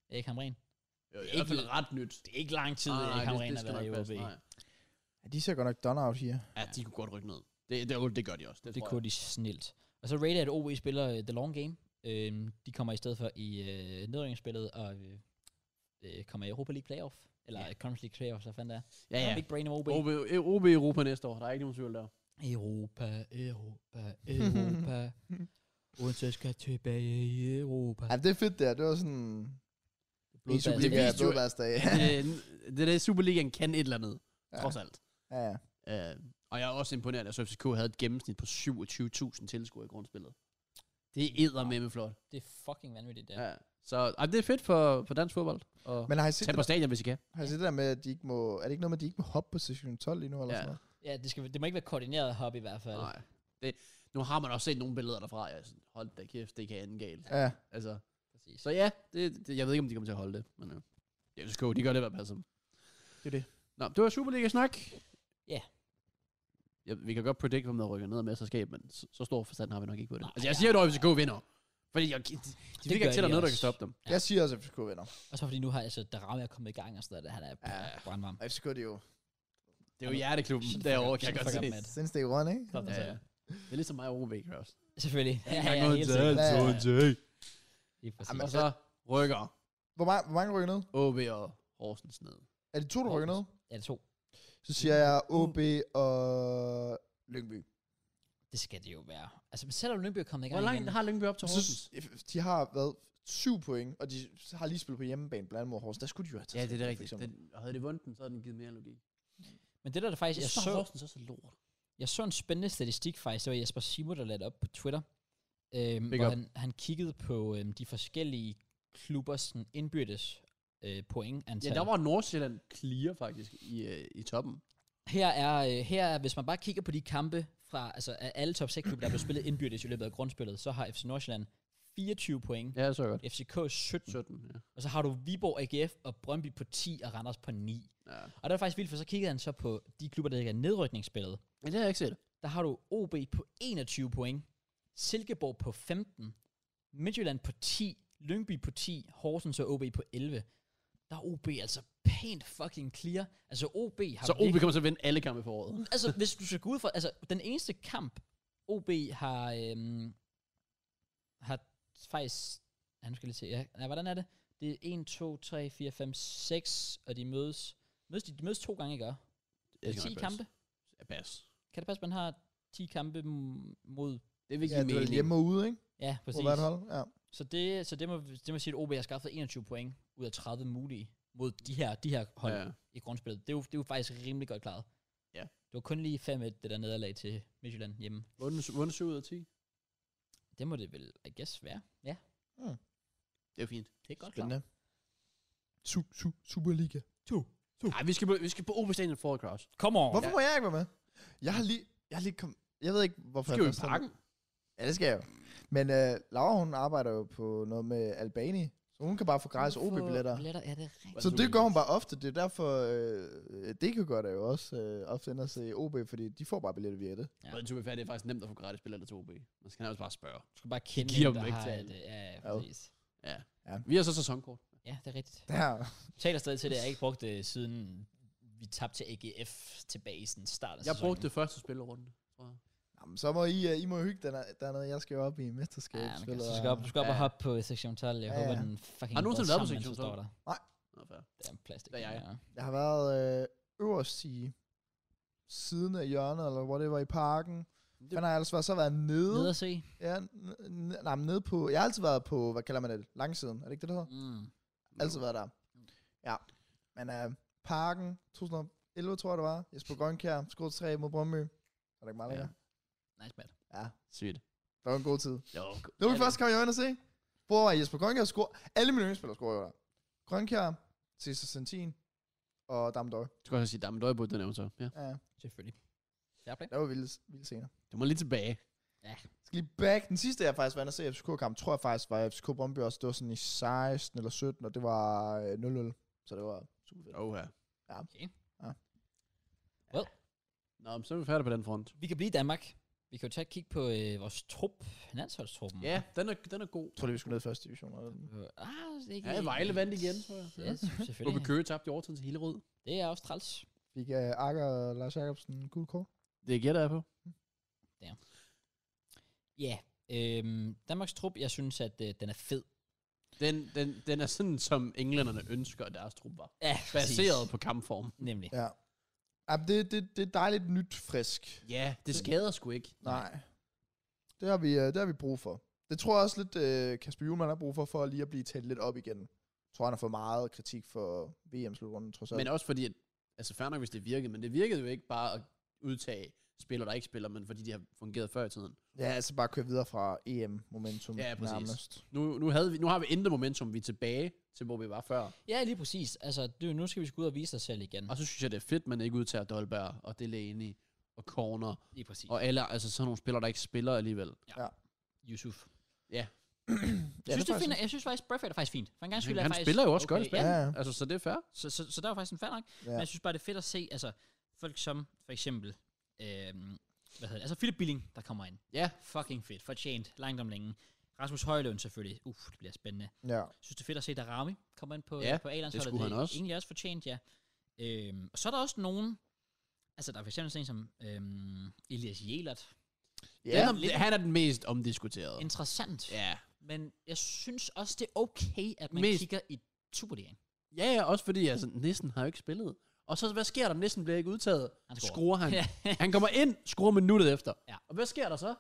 A: Erik Hamren.
B: Jo, i
A: Ikke-
B: hvert fald ret nyt.
A: Det er ikke lang tid, ah, Erik
B: det-
A: Hamren har
B: det skal
A: været i
B: nok passe.
A: OB.
B: Nej.
C: ja. de ser godt nok done out her.
B: Ja, de kunne godt rykke ned. Det, det, det gør de også. Det,
A: Det
B: tror
A: kunne de snilt. Og så Raider, at OB spiller uh, The Long Game. Uh, de kommer i stedet for i uh, nedrykningsspillet og uh, uh, kommer i Europa League Playoff. Eller
B: Ja.
A: yeah. Conference League Playoff, så fandt det er.
B: jeg. Ja, ja.
A: Big brain of OB.
B: OB, OB i Europa næste år. Der er ikke nogen tvivl der.
A: Europa, Europa, Europa. Odense skal tilbage i Europa. altså-
C: Ja, det er fedt der. Det var sådan... I
A: Blodbad.
C: Superliga
B: Det
C: er
B: viste jo-
C: blodbadsdag.
B: det, det er det, Superligaen kan et eller andet, ja.
C: Ja.
B: trods alt.
C: ja, ja.
B: Uh, og jeg er også imponeret, at FCK havde et gennemsnit på 27.000 tilskuere i grundspillet. Det er eddermame flot.
A: Det er fucking vanvittigt, det
B: Ja.
A: der.
B: Ja. Så ej, det er fedt for, for dansk fodbold. Og
C: Men har I, set
B: tag
C: det,
B: på stadion, hvis I kan.
C: har I set det der med, at de ikke må... Er det ikke noget med, at de ikke må hoppe på session 12 lige nu? Eller
B: Ja.
C: ja. sådan noget?
A: Ja, det, skal, det må ikke være koordineret hop i hvert fald.
B: Nej. Det, nu har man også set nogle billeder derfra. Jeg er sådan, hold da kæft, det kan ende galt.
C: Ja.
B: Altså,
A: Præcis.
B: så ja, det, det, jeg ved ikke, om de kommer til at holde det. Men ja. det er FCK, de gør det i hvert fald. som-
C: Det er det.
B: Nå, det var Superliga-snak.
A: Ja.
B: ja. Vi kan godt predict, hvem der rykker ned af mesterskab, men så, så stor forstand har vi nok ikke på det.
A: Nej,
B: altså, jeg
A: ja.
B: siger, at FCK vinder. Fordi jeg, de, de
A: gør
B: ligger ikke til, at der er
A: de
B: noget, der
A: også.
B: kan stoppe dem.
A: Ja.
C: Jeg siger også, at FCK vinder.
A: Og så fordi nu har altså Darami er kommet i gang og sådan noget, han er
C: Ja.
A: brandvarm.
C: Og FCK, det er jo...
B: Det er jo hjerteklubben
A: Shut the fuck
B: derovre,
A: up,
B: kan jeg
A: shut
B: godt
A: the
B: se.
A: fuck up,
B: Ja,
A: mand.
C: Since day one, ikke?
A: Stop dig
B: ja.
A: selv.
B: Det er ligesom mig og OB, Kraus.
A: Selvfølgelig. Ja, ja,
B: Gang ud
A: helt
B: til
A: sikkert.
C: alt,
A: Ja,
C: så
A: ja, ja.
B: Jake.
A: Lige præcis.
C: Jamen,
B: Og så rykker
C: Hvor, mange, hvor mange rykker ned?
B: OB og Horsens ned.
C: Er det to, der rykker ned?
A: Er det to?
C: Så siger jeg
B: Mm.
C: OB og Lyngby.
A: Det skal det jo være. Altså, men selvom Lyngby er kommet i gang
B: Hvor langt
A: igen,
B: har Lyngby op til
C: Så,
B: Horsens?
C: de har været syv point, og de har lige spillet på hjemmebane blandt andet mod Horsens. Der skulle de jo have taget
B: Ja, det er
C: tre,
B: det
C: for
B: rigtigt.
C: eksempel.
B: Den, og havde det vundet den, så havde den givet mere logik.
A: men det der, der faktisk, jeg
B: synes bare,
A: så,
B: Horsens er så lort.
A: jeg så en spændende statistik faktisk, det var Jesper Simo, der lagde det op på Twitter, øhm,
B: Big
A: hvor
B: up.
A: han, han kiggede på øhm, de forskellige klubbers sådan, indbyrdes øh, point
B: Ja, der var Nordsjælland clear faktisk i, øh, i toppen.
A: Her er, øh, her er, hvis man bare kigger på de kampe fra, altså af alle top 6 klubber, der blev spillet indbyrdes i løbet af grundspillet, så har FC Nordsjælland 24 point,
B: Ja, så godt.
A: ja. FCK 17,
B: 17, ja.
A: og så har du Viborg AGF og Brøndby på 10 og Randers på 9.
B: ja.
A: Og der er faktisk vildt, for så kiggede han så på de klubber, der ligger i nedrykningsspillet.
B: Men det har jeg ikke set.
A: Der har du OB på 21 point, Silkeborg på 15, Midtjylland på 10, Lyngby på 10, Horsens og OB på 11. Der er OB altså pænt fucking clear. Altså OB har
B: Så OB
A: virkelig-
B: kommer til at vinde alle kampe i foråret.
A: altså, hvis du skal gå ud fra... Altså, den eneste kamp, OB har... Øhm, har faktisk... Ja, nu skal jeg lige se. Ja, nej, hvordan er det? Det er 1, 2, 3, 4, 5, 6, og de mødes... mødes de, de mødes to gange, ikke? også?
B: Det skal
A: 10
B: nok passe.
A: kampe?
B: Ja, pas.
A: Kan det passe, man har 10 kampe m- mod...
B: Det er
C: Ja,
B: virkelig
C: det er
B: mening.
C: hjemme og ude, ikke?
A: Ja,
C: På
A: præcis.
C: hvert hold. Ja.
A: Så, det, så det, må, det må sige, at OB har skaffet 21 point ud af 30 mulige mod de her, de her hold ja.
B: Ja.
A: i grundspillet. Det er, jo, det er jo faktisk rimelig godt klaret.
B: Ja.
A: Det var kun lige 5-1, det der nederlag til Midtjylland hjemme.
B: Vundet, vundet 7 ud af 10.
A: Det må det vel, I guess, være. Ja,
B: Det er fint.
A: det er godt klaret.
C: Spændende. Su, su, Superliga.
B: Nej, vi skal på, vi skal på OB Stadion for Kraus.
A: Come on.
C: Hvorfor må jeg ikke være med? Jeg har lige... Jeg, er lige kom, jeg ved ikke, hvorfor
B: Skal jo
C: jeg
B: i parken.
C: Ja, det skal jeg jo. Men øh, Laura, hun arbejder jo på noget med Albani, så hun kan bare få gratis OB-billetter.
A: Billetter, ja, det er rigtigt.
C: Så det gør hun bare ofte. Det er derfor, øh, det kan gøre det jo også øh, ofte ind og se OB, fordi de får bare billetter via det.
A: Ja.
B: Ja. Og det er faktisk nemt at få gratis billetter til OB. Man skal nærmest bare spørge.
A: Du skal bare kende
B: giver
A: en,
B: dem
A: der
B: ikke
A: har
B: til
A: et,
B: alle.
A: øh, ja, ja,
C: Jo.
A: præcis.
B: Ja.
C: Ja.
B: ja. Vi har så sæsonkort.
A: Ja, det er rigtigt.
C: Der.
A: Jeg taler stadig til det, jeg har ikke brugt det siden vi tabte til AGF tilbage i sådan start af
B: Jeg
A: sæsonen.
B: brugte det første spillerunde. tror jeg.
C: Jamen, så må I, øh, I må hygge der, dernede. Jeg skal jo op i mesterskabet.
A: Ja, men du skal op, du skal op og
B: Ja.
A: hoppe på sektion 12. Jeg
C: Ja,
A: håber,
C: ja.
A: den fucking
B: Har du nogensinde
A: går
B: været på
A: sammen,
B: sektion
A: mens du står
B: 12?
A: der.
B: Nå, fair.
A: Det er en plastik.
B: Det er jeg.
A: Ja.
C: Jeg har været øh, øverst i siden af hjørnet, eller hvor det var i parken. Det... Man har altså så været nede.
A: Nede
C: nede.
A: at se.
C: Ja, n- n- nej, men nede på, jeg har altid været på, hvad kalder man det, langsiden, er det ikke det, der hedder?
A: Mm.
C: Mm. Altid været der. Ja. Men øh, parken, 2011 tror jeg det var, Jesper Grønkjær, skruede 3 mod Brøndby. Var det ikke meget
B: Ja.
C: lækkert?
A: Nice man.
C: Ja. ja.
B: Sygt.
C: Det var en god tid.
B: Jo,
C: Det var vi først kom jeg ind og se. Bror, Jesper Grønkjær scorer. Alle mine yndlingsspillere scorer jo der. Grønkjær, Cesar Santin og Damdøj.
B: Du kan også sige, at døje på den nævnt så. Ja.
C: Ja,
A: Selvfølgelig. Fair play.
C: det var vildt, vildt senere.
B: Det må lige tilbage.
C: skal lige back. Den sidste, jeg faktisk var inde og se FCK-kamp, tror jeg faktisk var FCK Brøndby også. Det var sådan i 16 eller 17, og det var øh, 0-0. Så det var super fedt.
B: Oh, ja. Nå, men så er vi færdige på den front.
A: Vi kan blive i Danmark. Vi kan jo tage et kig på øh, vores trup, landsholdstruppen.
B: Ja, den er, den er god.
C: Jeg tror lige, vi skulle ned i første division. Eller?
A: Øh, Ah, det er ikke
B: Ja, Vejle vandt igen, tror jeg.
A: Ja,
B: Åbe
A: selvfølgelig.
B: Køge tabte i overtiden til Hillerød.
A: Det er også træls.
C: Fik øh, Akker og Lars Jacobsen gul kort.
B: Det gætter jeg på.
A: Ja, øhm, Danmarks trup, jeg synes, at øh, den er fed.
B: Den, den, den er sådan, som englænderne ønsker, at deres trup var.
A: Ja,
B: Baseret på kampform.
A: Nemlig.
C: Ja. ja det, det, det er dejligt nyt, frisk.
B: Ja, det skader sgu ikke.
C: Nej. Det har, vi, øh, det har vi brug for. Det tror jeg også lidt, øh, Kasper Juhlmann har brug for, for lige at blive talt lidt op igen. Jeg tror, han har fået meget kritik for VM-slutrunden, trods alt.
B: Men også fordi, at, altså fair nok, hvis det virkede, men det virkede jo ikke bare at udtage spillere, der ikke spiller, men fordi de har fungeret før i tiden.
C: Ja, altså bare køre videre fra EM-momentum
B: Ja, præcis.
C: nærmest.
B: Nu, nu, havde vi, nu har vi intet momentum, vi er tilbage til, hvor vi var før.
A: Ja, lige præcis. Altså, det, nu skal vi sgu ud og vise os selv igen.
B: Og så synes jeg, det er fedt, man ikke udtager Dolberg og Delaney og Corner
A: Lige præcis.
B: og alle, altså sådan nogle spillere, der ikke spiller alligevel.
A: Yusuf.
C: Ja,
A: Jeg synes,
C: er
A: det
C: faktisk-
A: finder, jeg synes faktisk, Bradford er faktisk fint. For en gang skyld er
B: han
A: faktisk,
B: spiller jo også godt i Spanien.
A: Ja.
C: Ja, ja.
B: Altså, så det er fair.
A: Så, så, så der er faktisk en fair nok. Ja. Men
C: Ja.
A: jeg synes bare, det er fedt at se, altså, folk som for eksempel, øhm, hvad hedder det, altså Philip Billing, der kommer ind.
B: Ja.
A: Fucking fedt. Fortjent. Langt om længe. Rasmus Højlund selvfølgelig. Uff, det bliver spændende.
C: ja.
A: Jeg synes, det er fedt at se, der Rami kommer ind på,
B: Ja,
A: ja, på A-landsholdet.
B: det skulle han også.
A: Egentlig også fortjent, ja. Øhm, og så er der også nogen, altså der er for eksempel sådan en som øhm, Elias Jelert.
B: Ja.
C: Ja,
B: Han, er, han er den mest omdiskuterede.
A: Interessant. Ja.
B: Ja.
A: Men jeg synes også, det er okay, at man
B: Mest-
A: kigger i Superligaen.
B: ja, ja, også fordi altså, Nissen har jo ikke spillet. Og så, hvad sker der? Nissen bliver ikke udtaget.
A: Han
B: Han
A: scorer.
B: scorer. scorer han.
A: Ja.
B: han kommer ind, scorer minuttet efter.
A: Ja.
B: Og hvad sker der så?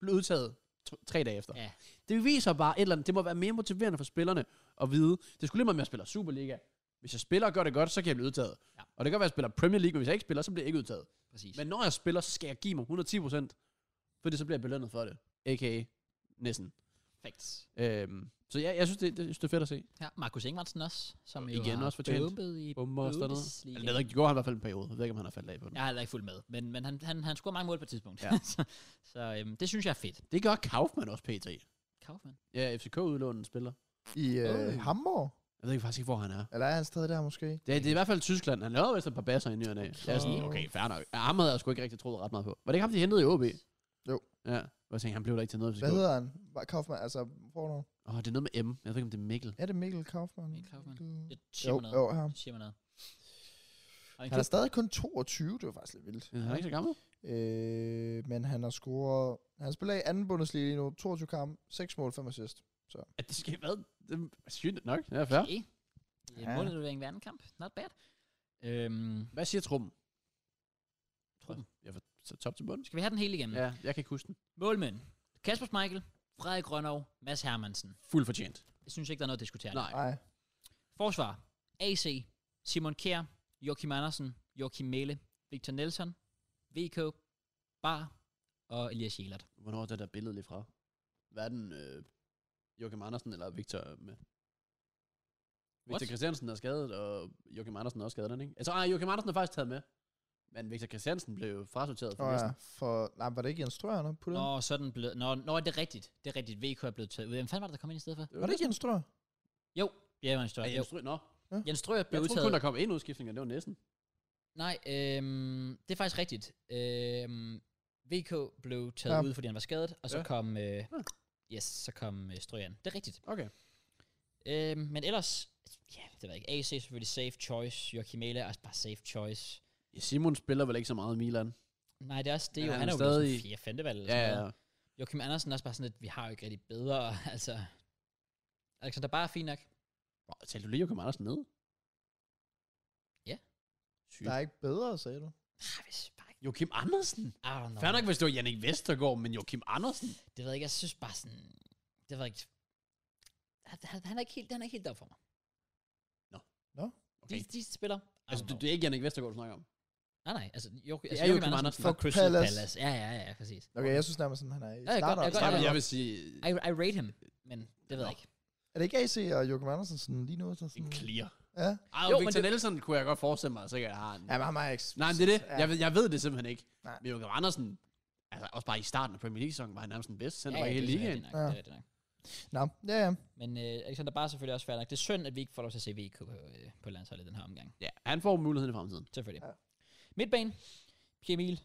B: Bliver udtaget to- tre dage efter.
A: Ja.
B: Det viser bare et eller andet. Det må være mere motiverende for spillerne at vide. Det skulle lige meget, om jeg spiller Superliga. Hvis jeg spiller og gør det godt, så kan jeg blive udtaget.
A: Ja.
B: Og det kan være, at jeg spiller Premier League, men hvis jeg ikke spiller, så bliver jeg ikke udtaget.
A: Præcis.
B: Men når jeg spiller, så skal jeg give mig 110 procent. Fordi så bliver jeg belønnet for det. A.k.a. næsten.
A: Facts.
B: Øhm, så ja, jeg synes, det, det, synes, det er fedt at se.
A: Ja, Markus Ingvartsen også, som
B: Og
A: jo
B: igen
A: har
B: også fortjent.
A: bombet i
B: Bomber og sådan noget.
A: Bundesliga.
B: Eller, jeg ved ikke, det går han i hvert fald en periode. Jeg ved ikke, om han har faldet af på den. Ja.
A: Jeg har heller ikke fulgt med, men, men han, han, han scorede mange mål på et tidspunkt. Ja.
B: Ja.
A: så så øhm, det synes jeg er fedt.
B: Det gør Kaufmann også pt.
A: Kaufmann.
B: Ja, FCK udlåner en spiller.
C: I øh,
B: Åh.
C: Hamburg?
B: Jeg ved ikke faktisk ikke, hvor han er.
C: Eller er han stadig der måske?
B: Det, det er i hvert fald Tyskland. Han lavede vist et par basser i ny og næ. Jeg er sådan,
C: Okay.
B: okay, fair nok. Ja, ham havde jeg sgu ikke rigtig troet ret meget på. Var det ikke ham, de hentede i OB?
C: Jo.
B: Ja, jeg tænkte, han blev der ikke til noget.
C: Hvad
B: Åh,
C: hedder han? Var Kaufmann, altså fornavn.
B: oh, det er noget med M. Jeg ved ikke, om det er Mikkel.
C: Er det Mikkel Kaufmann?
A: Mikkel Kaufmann.
C: Mikkel-
A: Det siger
C: Jo,
A: mig noget.
C: jo, ham.
A: Det siger mig noget. Og en
C: Han er
A: klub,
C: stadig kun 22, det var faktisk lidt vildt.
B: Ja, Han er ikke så gammel.
C: Øh, men han har scoret... Han spiller i anden bundesliga lige nu, 22 kampe, 6 mål, 5 assist.
B: At det skal hvad? Det er sygt nok. Ja, fair.
A: okay.
C: Ja.
A: Ja. Målet ved anden kamp. Not bad. Øhm,
B: Hvad siger Trummen?
A: Trummen.
B: Jeg får så top til bunden.
A: skal vi have den hele igennem?
B: Ja, jeg kan ikke huske den.
A: Målmænd. Kasper Schmeichel, Frederik Grønov, Mads Hermansen.
B: Fuld fortjent.
A: Jeg synes ikke, der er noget at diskutere.
B: Nej.
C: Nej.
A: Forsvar. AC. Simon Kjær. Joachim Andersen. Joachim Mæle. Victor Nelson. VK. Bar. Og Elias Jelert.
B: Hvornår er det der billede lige fra? Hvad er den, øh, Joachim Andersen eller Victor med? Victor
A: What?
B: ah, Christiansen er skadet, og Joachim Andersen er også skadet, er den, ikke? Altså, ej, Joachim Andersen er faktisk taget med. Men Victor Christiansen blev jo frasorteret
C: Nå
B: for oh,
C: ja, for, nej, var det ikke Jens Strøer, der
B: Mm.
C: puttede ind?
A: Nå, sådan blev... Nå, nå, det er rigtigt. Det er rigtigt. VK er blevet taget ud. Hvem fanden var det, der kom ind i stedet for?
C: Var det ikke Jens Strøer?
A: Jo, det var en
B: Ja,
A: større. Jo.
B: Jens Stry- Nå,
A: Jens Strøer
B: jeg
A: blev
B: troede kun,
A: udtaget.
B: der kom en udskiftning, og det var næsten.
A: Nej, øhm, det er faktisk rigtigt. Øhm, VK blev taget
C: Ja.
A: ud, fordi han var skadet, og så
B: Ja.
A: kom... Øh, yes, så kom øh, Strøer. Det er rigtigt.
B: Okay.
A: Øhm, men ellers... Ja, det ved jeg ikke. AC er selvfølgelig safe choice. Joachim Mæhle er også bare safe choice.
B: Ja, Simon spiller vel ikke så meget i Milan.
A: Nej, det er også det.
B: Men
A: Jo,
B: han
A: han er
B: er
A: jo blevet
B: stadig-
A: sådan fjerde femte valg. Eller
B: Ja,
A: sådan
B: ja,
A: noget.
B: ja.
A: Joachim Andersen er også bare sådan lidt, vi har jo ikke rigtig bedre, altså. Alexander bare er fint nok.
B: Nå, talte du lige Joachim Andersen ned?
A: Ja.
B: Sygt.
C: Der er ikke bedre, sagde du.
A: Ah, hvis bare ikke.
B: Joachim Andersen?
A: I don't know.
B: Fair nok, hvis det var Jannik Vestergaard, men Joachim Andersen?
A: Det ved jeg ikke, jeg synes bare sådan, det ved jeg ikke. Han, han, han er ikke helt, han er ikke helt deroppe for mig. Okay.
B: Okay.
A: De, de spiller. I
B: Altså,
A: don't
B: det,
A: know.
B: det er ikke Jannik Vestergaard, du snakker om.
A: Nej, nej, altså, jo, altså
B: er Joachim Andersen
A: fra
C: fra
A: Crystal Palace.
C: Palace.
A: Palace. Ja, ja, ja, præcis.
C: Okay, jeg synes nærmest, sådan, han er i
A: Ja, jeg godt- jeg
C: starter.
A: godt-
B: Jeg,
A: ja.
B: jeg vil sige,
A: I, I rate him, men det ved jeg ikke.
C: Er det ikke AC og Joachim Andersen sådan lige nu? Sådan,
B: en clear.
C: Ja.
B: Ej,
A: Jo,
B: jo,
A: men
B: Victor
A: det-
B: Nielsen kunne jeg godt forestille mig, sikkert har en.
C: Ja, men han er ikke...
B: Nej, men det er det. Jeg ved, jeg ved det simpelthen ikke.
C: Nej.
B: Men Joachim Andersen, altså også bare i starten af Premier League-sæsonen, var han nærmest den bedste center
A: ja,
B: ja, i hele
A: det er
B: ligaen.
A: rigtigt nok, det er
C: Ja.
A: rigtigt nok.
C: Nå, ja, ja.
A: Men øh, Alexander Barr er selvfølgelig også fair nok. Det er synd, at vi ikke får lov til at se VK på, øh, på landsholdet den her omgang.
B: Ja, han får muligheden i fremtiden.
A: Selvfølgelig. Ja.
C: Ja.
A: Midtbane. Pierre Emil.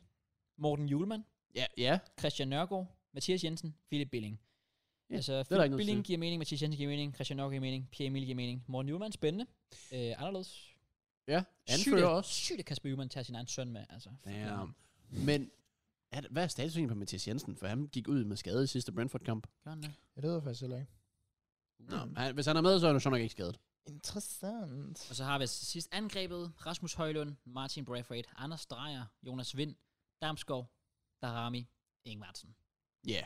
A: Morten Julemand.
B: Ja, ja.
A: Christian Nørgaard, Mathias Jensen, Philip Billing. Ja,
B: Ja,
A: altså,
B: der ikke
A: Philip
B: noget
A: Billing
B: til.
A: giver mening, Mathias Jensen giver mening, Christian Nørgaard giver mening, Pierre Emil giver mening. Morten Juhlmann, spændende. Øh, anderledes.
B: Ja,
A: Sygt,
B: anfører
A: at-
B: også.
A: Sygt, at Kasper Juhlmann tager sin egen søn med, altså. Fuck,
B: Damn.
A: man.
B: Men er, det- hvad er status egentlig på Mathias Jensen? For han gik ud med skade i sidste Brentford-kamp.
A: Gør han det?
C: Jeg ved jeg faktisk heller ikke.
B: Nå, men han, hvis han er med, så er han jo så nok ikke skadet.
C: Interessant.
A: Og så har vi altså sidst angrebet Rasmus Højlund, Martin Braithwaite, Anders Dreyer, Jonas Vind, Damskov, Darami, Ingvartsen.
B: Ja. Yeah.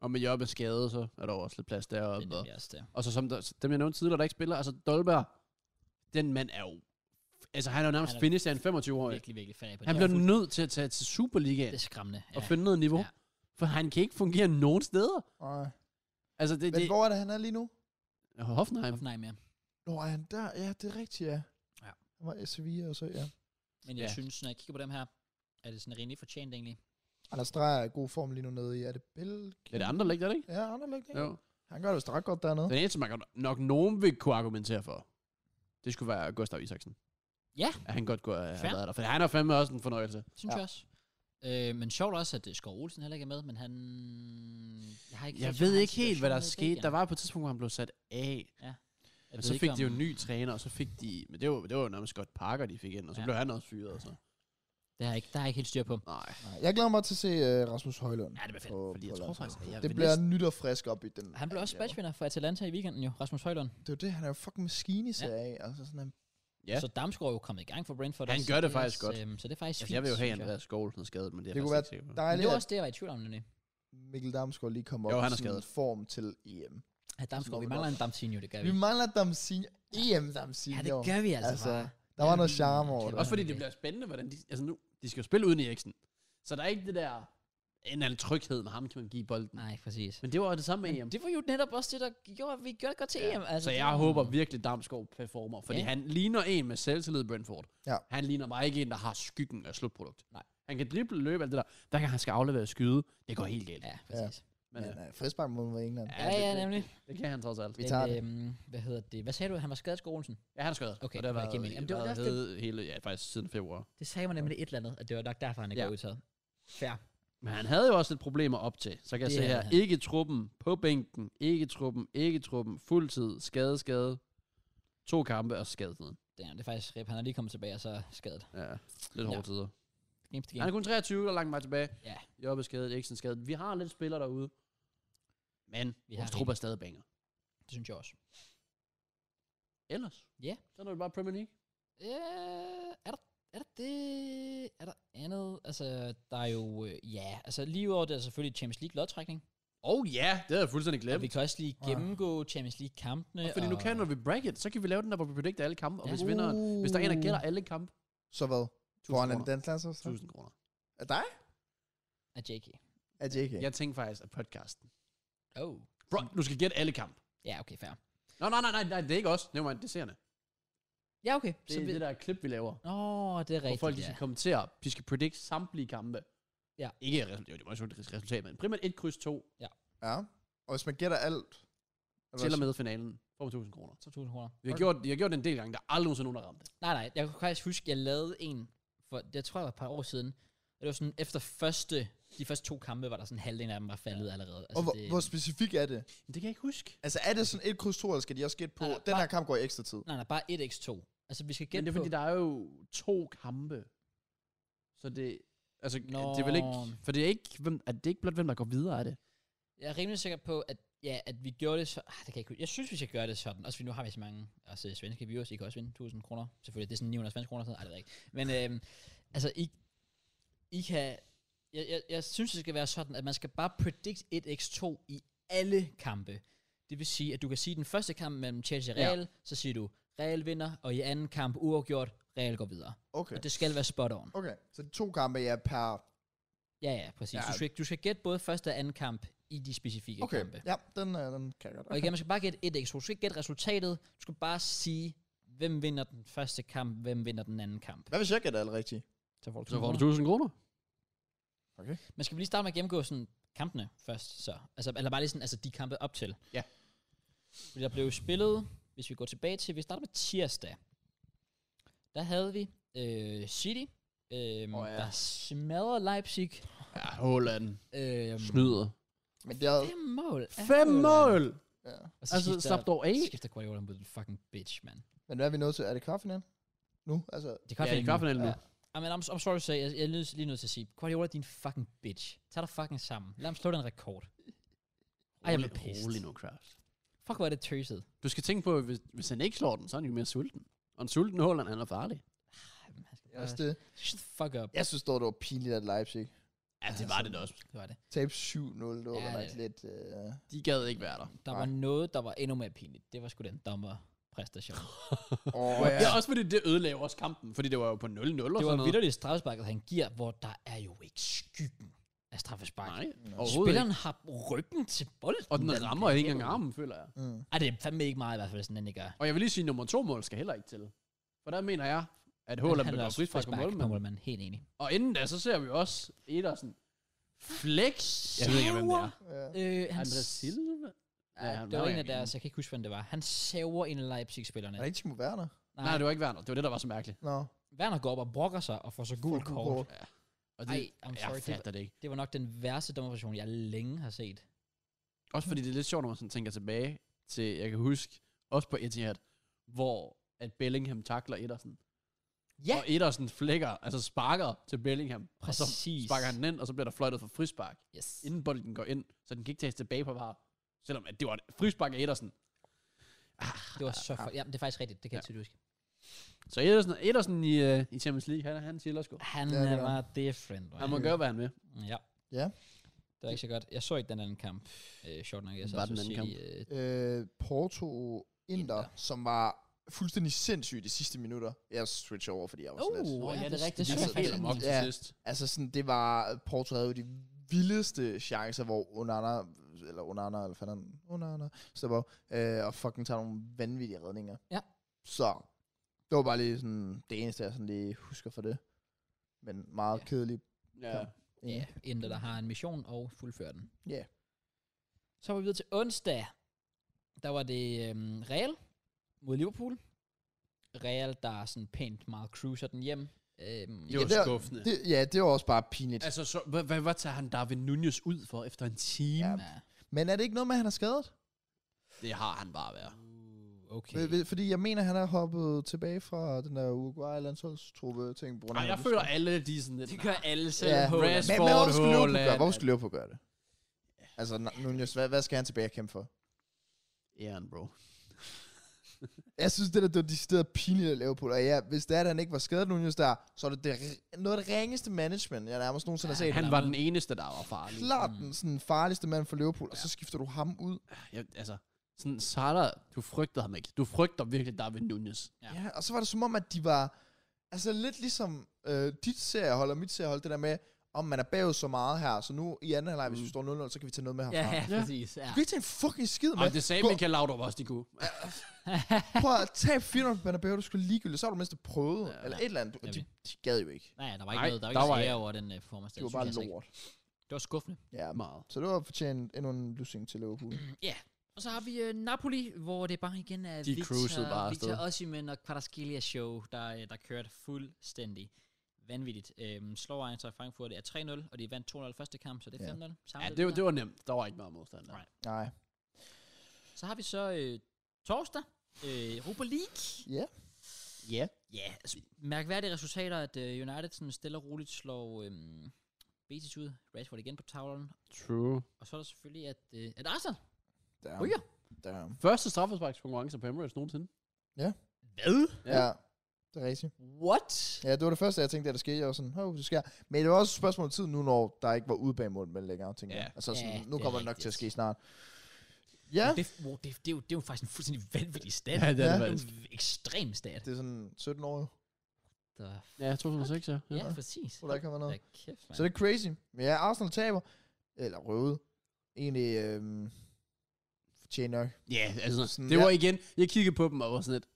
B: Og med Jobbe skadet, så er der jo også lidt plads
A: Det er
B: deroppe. Og,
A: nemlig også det.
B: og så som der, dem, jeg nævnte tidligere, der ikke spiller, altså Dolberg, den mand er jo... Altså, han er jo nærmest
A: Han er
B: finished af en 25-årig.
A: Virkelig, virkelig fan af på
B: Han
A: det. Og
B: bliver
A: fuld-
B: nødt til at tage til Superligaen
A: Det er skræmmende.
B: og finde noget niveau.
A: Ja.
B: For han kan ikke fungere nogen steder.
C: Nej.
B: Altså, det,
C: Men
B: det
C: hvor er det, han er lige nu?
B: er Hoffenheim.
A: Nej, mere.
C: Nå, er han der? Ja, det er rigtigt, ja.
A: Ja.
C: Han var i Sevilla og så, ja.
A: Men jeg
B: Ja.
A: synes, når jeg kigger på dem her, er det sådan rimelig fortjent egentlig.
C: Anders Dreyer er i god form lige nu nede i, er det Belgien?
B: Er det andre læg, er det ikke?
C: Ja, Anderlecht, ikke?
B: Jo.
C: Han gør det vist ret godt dernede.
B: Den eneste, man kan- nok nogen vil kunne argumentere for, det skulle være Gustav Isaksen.
A: Ja.
B: At han godt kunne have
A: Fair.
B: været der. For han er fandme også en fornøjelse.
A: Synes ja.
C: Ja.
A: jeg også. Øh, men sjovt også, at øh, Skov Olsen heller ikke er med, men han... Jeg, har ikke
B: Jeg
A: set så
B: ved
A: meget
B: ikke helt, hvad der
A: situation med
B: skete. Der
A: Belgien.
B: var på et tidspunkt, hvor han blev sat af.
A: Jeg
B: Og
A: ved
B: så
A: ikke,
B: fik de jo
A: om-
B: en ny træner, og så fik de... Men det var, det var jo nærmest Scott Parker, de fik ind, og så
A: Ja.
B: ja. blev han også fyret. Og så.
A: Det har jeg ikke, der har jeg ikke helt styr på.
B: Nej.
C: Nej, jeg glæder mig til at se uh, Rasmus Højlund.
A: Ja, det bliver fedt,
C: på-
B: Fordi
C: på
B: jeg tror
C: landsholdet.
B: faktisk, at jeg
C: Det
B: vil
C: bliver
B: næsten-
C: nyt og frisk op i den.
A: Han blev også matchvinder for Atalanta i weekenden jo, Rasmus Højlund.
C: Det er jo det, han er jo fucking maskine i serie A. Altså sådan, han,
A: Ja.
B: Ja.
A: Så Damsgaard er jo kommet i gang for Brentford.
B: Han
A: også,
B: gør
A: så
B: det faktisk
A: også,
B: godt.
A: Øhm, så det er faktisk
B: Altså, jeg vil jo have
A: synes jeg.
B: Andreas Skålsen skadet, men det er
C: det
B: jeg
C: kunne
B: faktisk
C: være
B: ikke sikker på.
A: Men det
C: dejligt,
A: var
C: at
A: også det, jeg var i tvivl om, nemlig.
C: Mikkel Damsgaard lige kom op
B: Jo,
C: i
B: han er
C: sådan
B: skadet.
C: form til EM.
A: At Damsgaard, vi
C: Sådan
A: mangler
C: noget
A: en Damsinho, det gør vi.
C: Vi mangler Damsinho. EM Damsinho.
A: Ja, det gør vi altså,
C: Altså,
A: bare.
C: Der var noget charme over det.
B: Også fordi det bliver spændende, hvordan de... Altså nu, de skal jo spille uden Eriksen. Så der er ikke det der... En eller anden tryghed med ham, kan man give bolden.
A: Nej, præcis.
B: Men det var det samme med EM.
A: Det var jo netop også det, der gjorde, at vi gjorde det godt til
B: Ja.
A: EM. Altså,
B: Så
A: det
B: jeg
A: var-
B: håber virkelig, Damsgaard performer, fordi
A: Ja.
B: ja. han ligner en med selvtillid i Brentford.
C: Ja.
B: Han ligner bare ikke en, der har skyggen af slutprodukt.
A: Nej.
B: Han kan drible, løbe, alt det der. Hver gang han skal aflevere og skyde, det går helt galt.
A: Ja, præcis.
B: Men,
C: Men
B: øh,
C: øh, frispark mod England.
A: Ja, ja,
B: det,
A: nemlig.
B: det, det, kan han trods alt.
C: Vi tager det.
A: Øhm, hvad hedder det? Hvad sagde du? Han var skadet Skålsen?
B: Ja, han er skadet.
A: Okay,
B: og det
A: det
B: har
A: giver mening.
B: været,
A: Jamen,
B: Jamen,
A: det
B: det
A: var
B: været
A: også
B: hede hele, ja, faktisk siden februar.
A: Det sagde man nemlig et eller andet, at det var nok derfor, han ikke
B: Ja.
A: var udtaget. Fair.
B: Men han havde jo også lidt problemer op til. Så kan jeg
A: Det
B: se
A: havde
B: her,
A: han.
B: ikke truppen, på bænken, ikke truppen, ikke truppen, fuldtid, skade, skade. To kampe og skadetiden.
A: Ja, det er faktisk rip. Han er lige kommet tilbage, og så er skadet.
B: Ja, lidt
A: Ja.
B: hårde tider.
A: Games to
B: Han er
A: game.
B: kun 23 og langt vej tilbage.
A: Ja.
B: Jobbe er skadet, Eriksen er skadet. Vi har lidt spillere derude. Men
A: Vi
B: vi
A: har
B: vores trup er stadig banger.
A: Det synes jeg også.
B: Ellers?
A: Ja.
B: Så er det bare Premier League.
A: Øh, er, der, er der det? Er der andet? Altså, der er jo... Øh, ja, altså lige over det er selvfølgelig Champions League lodtrækning.
B: Åh oh, ja, det havde jeg fuldstændig
A: Og
B: glemt.
A: vi kan også lige
C: Ja.
A: gennemgå Champions League-kampene.
B: Ah. Og fordi nu kan, når vi bracket, så kan vi lave den der, hvor vi predikter alle kampe. Og hvis, vinderen, hvis der er en, der gælder alle kampe,
C: Uh, Så hvad? Får
B: 1000
C: han en
B: kroner.
C: den klasse også?
B: 1000 kroner.
C: Af dig?
A: Af JK.
C: Af JK.
B: Jeg tænkte faktisk, at podcasten.
A: Oh.
B: Bro, du skal gætte alle kampe.
A: Ja, okay, fair.
B: Nå, nej, nej, nej, nej, det er ikke os. Nej, det er seerne.
A: Ja, okay.
B: Det
A: Så
B: er
A: vi...
B: det der klip, vi laver.
A: Åh, det er
B: Hvor
A: rigtigt,
B: folk de
A: ja.
B: skal kommentere. De skal predict samtlige kampe.
A: Ja.
B: Ikke resultat, jo, det var jo et resultat, men primært 1 kryds 2
C: Ja. Og hvis man gætter alt... er
B: til og
C: det
B: med finalen. Får man 1000 kroner.
A: 2.000 kroner.
B: Vi har, gjort, vi har gjort det en del gange. Der er aldrig nogensinde nogen, der ramte.
A: Nej, nej, jeg kan faktisk huske, jeg lavede en, for jeg tror, jeg var et par år siden, og det var sådan, efter første, de første to kampe, var der sådan halvdelen af dem var faldet allerede. Altså,
C: også- Og hvor,
B: Altså,
A: det,
C: hvor specifik er det?
B: Men det kan jeg ikke huske.
C: Altså er det sådan et kryds to, eller skal de også gætte på,
A: Nej, nej,
C: den her
A: bare-
C: kamp går i ekstra tid?
A: Nej, nej, bare 1x2. Altså, vi skal
B: Men
A: gætte
B: det er
A: på...
B: fordi, der er jo to kampe. Så det... Altså,
A: Nå.
B: det er vel ikke... For det er ikke, hvem, er det ikke blot, hvem der går videre af det.
A: Jeg er rimelig sikker på, at, ja, at vi gjorde det så... Ah, det kan jeg, ikke... huske. jeg synes, vi skal gøre det sådan. Også fordi nu har vi så mange også øh, svenske viewers. I kan også vinde 1000 kroner. Selvfølgelig, det er sådan 900 svenske kroner. Sådan. Ej, det er rigtigt. Men øhm, altså, I, I kan... Jeg, jeg, jeg synes, det skal være sådan, at man skal bare predict 1x2 i alle kampe. Det vil sige, at du kan sige den første kamp mellem Chelsea og
B: Ja.
A: Real, ja. så siger du, Real vinder, og i anden kamp uafgjort, Real går videre.
C: Okay.
A: Og det skal være spot on.
C: Okay, så de to kampe er per...
A: Ja, ja, præcis.
C: Ja.
A: Ja. Du, skal, du skal gætte både første og anden kamp i de specifikke
C: Okay,
A: kampe.
C: ja, den, øh, den kan jeg godt.
A: Og igen, man skal bare gætte et x Du skal ikke gætte resultatet. Du skal bare sige, hvem vinder den første kamp, hvem vinder den anden kamp.
C: Hvad hvis jeg gætter alt rigtigt?
A: Så får du,
B: Så får du 1000 kroner.
A: Man skal vi lige starte med at gennemgå sådan kampene først, så. Altså, eller bare lige sådan, altså de kampe op til.
B: Ja.
A: Fordi der blev spillet, hvis vi går tilbage til, vi starter med tirsdag. Der havde vi øh, City, øh,
B: Åh,
A: oh,
B: ja.
A: ja. der smadrer Leipzig.
B: Ja, Holland.
A: Øh,
B: Snyder.
C: Men det er...
A: fem mål. af
B: Fem
A: Haaland.
B: mål!
C: Ja.
A: Og så
B: Altså,
A: skifter,
B: slap dog af.
A: så skifter Guardiola med en fucking bitch, mand.
C: Men hvad er vi nået til? Er det kvartfinalen? Nu? Altså,
A: Det
B: Ja,
A: kan
B: det er kvartfinalen nu.
C: Ja.
A: I mean, I'm, I'm sorry to say, jeg, jeg er nødt- lige nødt til at sige, Guardiola, din fucking bitch. Tag dig fucking sammen. Lad ham slå den rekord. Ej, jeg blev
B: Rolig-
A: pissed.
B: Rolig nu, Kraus.
A: Fuck, hvor er det tøset.
B: Du skal tænke på, at hvis, hvis han ikke slår den, så er han jo mere sulten. Og en sulten Holland, han er farlig.
A: Ej, men han skal
C: Ja.
A: bare-
C: Også det.
A: Shut the fuck up.
C: Jeg synes dog, det var pinligt, at Leipzig
B: Ja, det var det da også.
A: Det var det.
C: tabte 7-0. Det var
A: Ja,
C: ja,
A: det-
C: nok lidt... Øh...
B: De gad ikke være der.
A: Der
C: Nej.
A: var noget, der var endnu mere pinligt. Det var sgu den dommer præstation.
C: Oh,
B: Ja. ja, også fordi det ødelagde også kampen, fordi det var jo på 0-0 og
A: det var
B: sådan noget.
A: vitterligt straffesparket, han giver, hvor der er jo ikke skyggen af straffesparket.
B: Nej, overhovedet ikke.
A: Spilleren har ryggen til bolden.
B: Og den
A: da
B: rammer ikke
A: bliver
B: engang
A: hævet.
B: armen, føler jeg.
C: Mm.
A: Ej, det er fandme ikke meget i hvert fald, hvis den endelig gør.
B: Og jeg vil lige sige, at nummer to mål skal heller ikke til. For der mener jeg,
A: Han
B: at Håland
A: handler
B: bliver
A: også
B: frispark på
A: frispark
B: målmanden.
A: målmanden. Helt enig.
B: Og inden da, så ser vi også Edersen. Flex. Jeg ved ikke, hvem det er.
C: Ja.
A: Øh, han
B: Andres Silva? Ja,
A: Ja,
B: han
A: det
B: var
A: var
B: jo
A: en af
B: en.
A: deres, jeg kan ikke huske, hvem det var. Han saver en af Leipzig-spillerne.
C: Er det ikke Timo Werner?
B: Nej, det var ikke Werner. Det var det, der var så mærkeligt.
C: Nå.
A: Werner går op og brokker sig og får så gul
C: Fuck,
A: kort.
B: Og det,
A: Ej, I'm sorry. Det,
B: jeg
A: var-
B: fatter det ikke.
A: det var nok den værste dommerfunktion, jeg længe har set.
B: Også fordi det er lidt sjovt, når man sådan tænker tilbage til, jeg kan huske, også på Etihad, hvor at Bellingham takler Edersen.
A: Ja.
B: Og Edersen flækker, altså sparker til Bellingham. Og så
A: Præcis.
B: sparker han den ind, og så bliver der fløjtet for frispark,
A: Yes.
B: inden bolden går ind, så den kan ikke tages tilbage på var. Selvom at det var et frispark af Edersen.
A: Det var så for... Ja, det er faktisk rigtigt. Det kan jeg tydeligt huske.
B: Så Edersen, Edersen i, øh, i Champions League, han, han chiller sgu.
A: Han
C: Ja, det
A: ja,
C: var-
A: var different. Man.
B: Han må gøre, hvad han vil.
A: Ja.
C: Ja.
A: Det var ikke så godt. Jeg så ikke den anden kamp. Øh, short nok. Jeg så
B: Var
A: også
B: den anden
A: City, Øh,
C: Øh, Porto Inter,
A: Inter.
C: som var fuldstændig sindssygt de sidste minutter. Jeg switcher over, fordi jeg var
A: Oh.
C: så lidt.
A: Nå, ja, det er rigtigt.
B: Det
A: Det
B: er
A: så jeg
B: helt
A: faktisk
B: om op til
C: Ja.
B: sidst.
C: Altså sådan, det var, Porto havde jo de vildeste chancer, hvor Onana, eller Onana, eller fanden, Onana, stopper op, øh, og fucking tager nogle vanvittige redninger.
A: Ja.
C: Så, det var bare lige sådan, det eneste, jeg sådan lige husker for det. Men meget
A: Ja.
C: ja. kedeligt.
B: Ja.
A: øh, Ja, Inter, der har en mission og fuldfører den.
C: Ja.
A: Så var vi videre til onsdag. Der var det øhm, Real mod Liverpool. Real, der sådan pænt meget cruiser den hjem. Øhm,
B: Det
A: jo.
B: var
C: det er-
B: skuffende.
C: Det, ja, det var også bare pinligt. Altså,
B: Altså, så, hvad, hvad, hvad tager han Darwin Nunez ud for efter en time?
C: Ja.
A: Ja.
C: Men er det ikke noget med, at han er skadet?
B: Det har han bare været.
A: Uh, okay.
C: Okay. Fordi jeg mener, han er hoppet tilbage fra den der Uruguay-landsholdstruppe-ting. på grund af,
B: Ej,
C: at
B: jeg
C: han blev
B: føler alle, de er sådan lidt...
A: Det gør alle selv.
C: Ja.
A: Haaland.
B: Rashford.
C: Men, men hvorfor skulle Liverpool
B: Sport,
C: gøre,
B: Haaland.
C: hvorfor skulle Liverpool gøre det? Altså, n- Nunez, hvad, hvad skal han tilbage og kæmpe for?
B: Æren, bro.
C: Jeg synes, det der, det var decideret pinligt at Liverpool. Og ja, hvis det er, at han ikke var skadet Nunez der, så er det, det r- noget af det ringeste management, jeg nærmest nogensinde har
A: Ja,
C: set.
B: Han var den eneste, der var farlig.
C: Klart
A: Mm.
C: den sådan, farligste mand for Liverpool, og så skifter du ham ud.
B: Jeg, altså, sådan Salah, du frygter ham ikke. Du frygter virkelig Darwin Nunez.
A: Ja.
C: Ja. ja. og så var det som om, at de var... Altså lidt ligesom øh, dit seriehold og mit seriehold, det der med, om man er bagud så meget her, så nu i anden halvleg, hvis vi står 0-0, så kan vi tage noget med herfra.
A: Ja,
C: Yeah.
A: ja,
B: Ja.
A: præcis. Ja.
C: Vi kan ikke tage en fucking skid med.
B: Og det sagde
C: Gå-
B: Michael Laudrup også, de kunne.
C: Prøv at tabe 400 på Bernabeu, du skulle ligegyldigt. Så har du mindst prøvet, ja. eller et eller andet. Du,
A: Nemlig.
C: de, de gad jo ikke.
A: Nej, der var ikke
B: Nej,
A: noget, der var ikke
B: der var
A: noget
B: ikke-
A: over den uh, performance. der.
C: Det var
A: Det
C: bare
A: synes jeg altså ikke.
C: lort.
A: Det var skuffende.
C: Ja,
B: Meget.
C: så det var fortjent endnu en losing til Liverpool.
A: Ja. Og så har vi uh, Napoli, hvor det bare igen er
B: De cruisede bare
A: Victor
B: afsted.
A: Osimhen og Kvaratskhelia show, der, uh, der kørte fuldstændig vanvittigt. Øhm, slår Eintracht Frankfurt er 3-0, og de vandt 2-0 første kamp, så det er
C: Ja.
A: 5-0. Samme
B: Ja,
A: lidt
B: det, var,
A: der.
B: det var nemt. Der var ikke meget modstand. Der.
A: Nej.
C: Nej.
A: Så har vi så øh, torsdag, øh, Europa League.
C: Ja. Ja.
A: Ja, altså, mærkværdige resultater, at øh, United sådan stille og roligt slår øh, Betis ud. Rashford igen på tavlen.
B: True.
A: Og så er der selvfølgelig, at, øh, at Arsenal
C: Der.
A: ryger.
C: Der.
B: Første straffesparkskonkurrence på Emirates nogensinde.
A: Hvad?
B: Ja.
C: Ja. Det er rigtigt.
A: What?
C: Ja, det var det første, jeg tænkte, at der skete. Jeg var sådan, hov, det sker. Men det var også et spørgsmål om tid nu, når der ikke var udebanemål med længere, tænker
B: Ja.
C: jeg. Altså, sådan,
A: Ja,
C: nu
A: det er
C: kommer det nok
A: rigtigt.
C: til at ske snart. Ja,
A: Det, wow, det, det, er jo, det er jo faktisk en fuldstændig vanvittig stat.
B: Ja, det er det
A: det er
B: faktisk.
A: en ekstrem stat.
C: det er sådan 17 år,
A: The
B: Ja, 2006, ja.
A: ja,
B: ja.
A: præcis.
C: hvor der ikke har været
A: Da
C: noget.
A: kæft, man.
C: Så det er crazy. Men ja, Arsenal taber. Eller røvet. Egentlig, øhm, fortjent nok.
B: Ja, altså,
C: Sådan,
B: sådan, det var
C: ja.
B: igen, jeg kiggede på dem og var sådan lidt,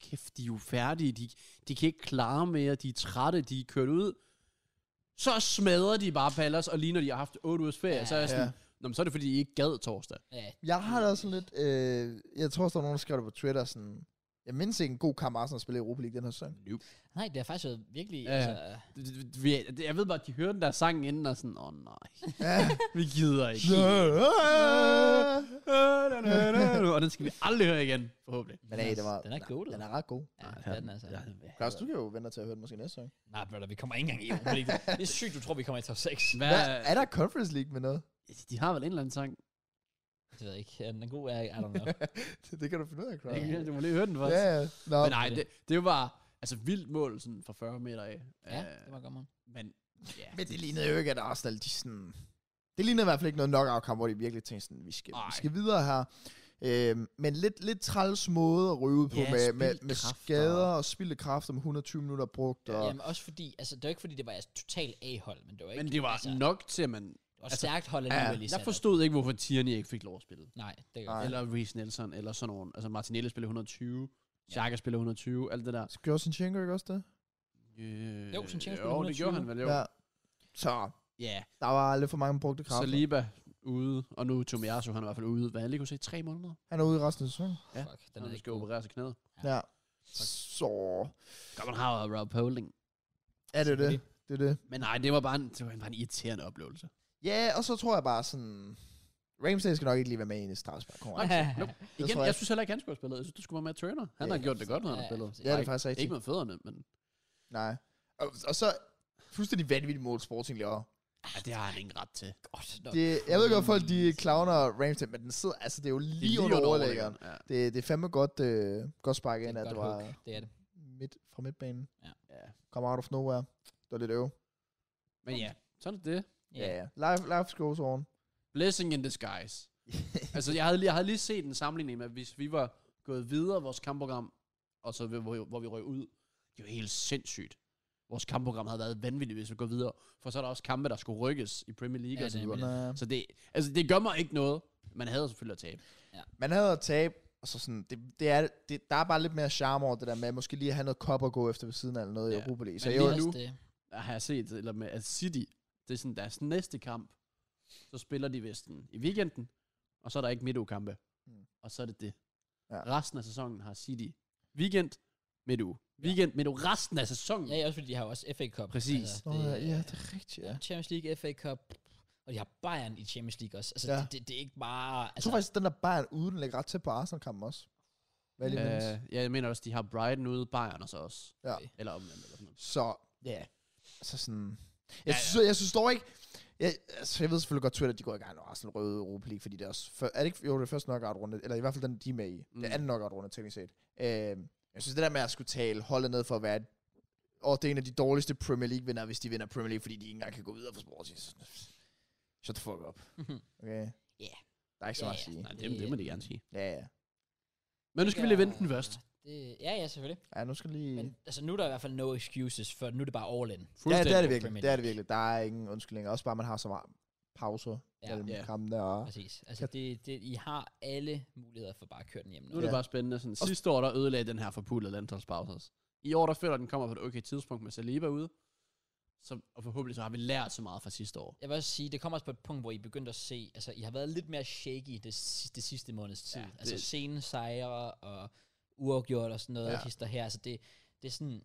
B: kæft, de er jo færdige, de, de kan ikke klare mere, de er trætte, de er kørt ud. Så smadrer de bare Pallas, og lige når de har haft 8 ugers ferie,
A: Ja.
B: ja, så er jeg sådan,
C: Ja.
B: ja. Nå, men så er det fordi, de ikke gad torsdag.
A: Ja,
C: Jeg har da også sådan lidt, øh, jeg tror også, der var nogen, der skrev det på Twitter, sådan, jeg mindes ikke en god kamp, Arsenal spillede i Europa League den her sæson.
B: Nope.
A: nej, det har faktisk været virkelig...
B: Ja.
A: Altså,
B: Det- det- det- vi- det- Jeg ved bare, at de hørte den der sang inden, og sådan, åh oh, nej,
C: Ja.
B: vi gider ikke. og den skal vi aldrig høre igen, forhåbentlig.
C: Men hey, det var,
A: Den er god,
C: den er ret god.
A: ja, det er den altså.
B: Ja,
C: Klaus, du kan jo vente til at høre den måske næste sæson.
A: Nej, brother, vi kommer ikke engang i Europa League. Det er sygt, du tror, vi kommer i top 6.
B: Hvad,
C: Hvad, er der Conference League med noget?
B: de har vel en eller anden sang?
A: Det ved jeg ikke. Er den god? Er, I don't know.
C: det, det kan du finde ud af, Klaus.
B: Ja. Du må lige høre den først.
C: Ja, ja. Nå,
B: Men nej, det, det var altså vildt mål sådan fra 40 meter af.
A: ja,
B: Øh,
A: det var godt, man.
B: Men ja,
C: men det lignede jo ikke, at Arsenal, de sådan... Det lignede i hvert fald ikke noget knockout-kamp, hvor de virkelig tænkte sådan, vi skal,
B: Ej.
C: vi skal videre her. Øhm, men lidt, lidt træls måde at ryge ud på
B: Ja,
C: med, med,
B: spildte
C: med
B: kræfter.
C: skader og spildte kræfter med 120 minutter brugt. Og,
A: Jamen også fordi, altså det var ikke fordi, det var altså, totalt A-hold, men det var ikke...
B: men det var
A: altså,
B: altså, nok til, at man...
A: Og
B: altså,
A: stærkt hold alligevel i
B: Jeg forstod ikke, hvorfor Tierney ikke fik lov at spille.
A: Nej, det gør
C: Nej.
A: jeg.
B: Eller Reece Nelson, eller sådan nogen. Altså Martinelli spiller 120, Xhaka spiller 120, alt det der.
C: Gjorde Sinchenko ikke også det?
B: Øh,
A: Jo, Sanchez spiller
B: jo, det
A: 120.
B: gjorde han vel, jo.
C: Ja.
B: Ja.
C: Så
B: ja.
C: der var lidt for mange brugte kræfter.
B: Saliba ude, og nu Tomiasu, han er i hvert fald ude. Hvad han lige kunne se, tre måneder?
C: Han er ude i resten af sæsonen.
B: Ja.
A: Fuck, den
B: Den
A: er
B: han
A: ikke
B: skal
A: god.
B: operere sig knæet.
A: Ja.
C: Ja. Så
B: Godt, man har jo Rob Holding.
C: er det det. Det er det.
B: Men nej, det var bare en, det var bare en irriterende oplevelse.
C: Ja, og så tror jeg bare sådan... Ramsey skal nok ikke lige være med i en straffespark.
B: Nope. Igen,
C: tror jeg
B: jeg,
C: ikke.
B: synes heller ikke, han skulle have spillet. Jeg synes, du skulle være med Turner. Han
C: Ja,
B: har gjort det godt, når han
A: ja,
B: har spillet.
A: præcis.
C: Ja, det er
B: Ikke-
C: faktisk rigtigt.
B: Ikke med fødderne, men...
C: Nej. Og, og så fuldstændig vanvittigt mål, Sporting laver.
B: Ja, det har han ingen ret til.
A: Godt nok.
C: Det, jeg ved godt, folk de clowner Ramsey, men den sidder, altså det er jo lige, lige under overlæggeren.
B: Ja.
C: Det, det er fandme godt, øh, godt sparket
A: Det
C: ind,
A: er
C: at
A: et
C: det
A: godt
C: var
A: hook. Det er det.
C: midt, fra midtbanen.
B: ja.
C: Kom out of nowhere. Det var lidt øv.
B: Men ja, sådan er det.
C: Ja, ja. Life, life goes on.
B: Blessing in disguise. altså, jeg havde, lige, jeg havde lige set en sammenligning med, hvis vi var gået videre vores kampprogram, og så vi- hvor, hvor vi røg ud. Det var helt sindssygt. Vores kampprogram havde været vanvittigt, hvis vi går videre. For så er der også kampe, der skulle rykkes i Premier League.
A: Ja,
B: og så
A: det er
B: videre.
C: Men, øh,
B: så det, altså, det gør mig ikke noget. Man havde selvfølgelig at tabe.
C: man havde at tabe, og så sådan, det, det er, det, der er bare lidt mere charme over det der med, at måske lige at have noget kop at gå efter ved siden af, eller noget ja. i
B: Ja.
C: Europa League. Så
B: Men
C: jeg
B: lige
C: var
A: Ellers
B: nu-
A: det.
B: der har jeg set, eller med at City, det er sådan deres næste kamp, så spiller de Vesten i weekenden, og så er der ikke midtugekampe.
C: Mm.
B: Mm. Og så er det det.
C: Ja.
B: Ja. Resten af sæsonen har City weekend, midtuge. Weekend, midtuge. Resten af sæsonen.
A: Ja, ja, også fordi de har jo også FA Cup.
B: Præcis.
C: Nå, ja, ja, det er rigtigt, ja.
A: ja. Champions League, FA Cup, og de har Bayern i Champions League også. Altså,
C: Ja.
A: ja. det, det, det, er ikke bare...
C: Jeg
A: Altså,
C: tror faktisk, den der Bayern uden lægger ret tæt på Arsenal-kampen også. Hvad er det, øh.
B: Øh, ja, jeg mener også, de har Brighton ude, Bayern og så også.
C: Ja.
B: Eller omvendt. Eller sådan noget.
C: Så, ja. Yeah. Så sådan... Jeg,
B: Ja,
C: synes, jeg synes dog ikke... Jeg, altså, jeg ved selvfølgelig godt, Twitter, de går i gang, når Arsenal røde Europa League, fordi det er også... For, er det ikke, jo, det er første knockout-runde, eller i hvert fald den, de er med i. Mm.
B: Mm.
C: Det er anden knockout-runde, teknisk set. Øh, jeg synes, det der med at skulle tale holdet ned for at være... Og det er en af de dårligste Premier League-vinder, hvis de vinder Premier League, fordi de ikke engang kan gå videre for Sporting. Shut the fuck up. Okay?
A: Ja.
C: Der er ikke
A: Ja,
C: så meget at
A: ja.
C: sige.
B: Nej, det, det må de gerne sige.
C: Ja, ja.
B: Men nu skal vi lige vente den først.
A: Det Det, ja, ja, selvfølgelig.
C: Ja, nu skal lige...
A: Men altså, nu er der i hvert fald no excuses, for nu er det bare all in.
C: ja, det er
B: Fuldstændig.
C: det virkelig. Det er det virkelig. Der er ingen undskyldninger. Også bare, man har så meget pauser
A: Ja.
C: ja. mellem
B: Ja.
C: yeah. kampene. Og...
A: Præcis. Altså, det, det, I har alle muligheder for bare at køre den hjem
B: Nu
A: nu.
B: er
A: Ja.
B: det bare spændende. Sådan, sidste år, der ødelagde den her forpulede landsholdspause. I år, der føler jeg, den kommer på et okay tidspunkt med Saliba ude. Så, og forhåbentlig så har vi lært så meget fra sidste år.
A: Jeg vil også sige, det kommer også på et punkt, hvor I begyndte at se, altså, I har været lidt mere shaky det, si- det sidste måneds tid. Ja,
B: Ja,
A: altså,
B: det-
A: sene sejre og uafgjort og sådan noget, ja.
C: Ja.
A: hister her. Altså, det, det er sådan...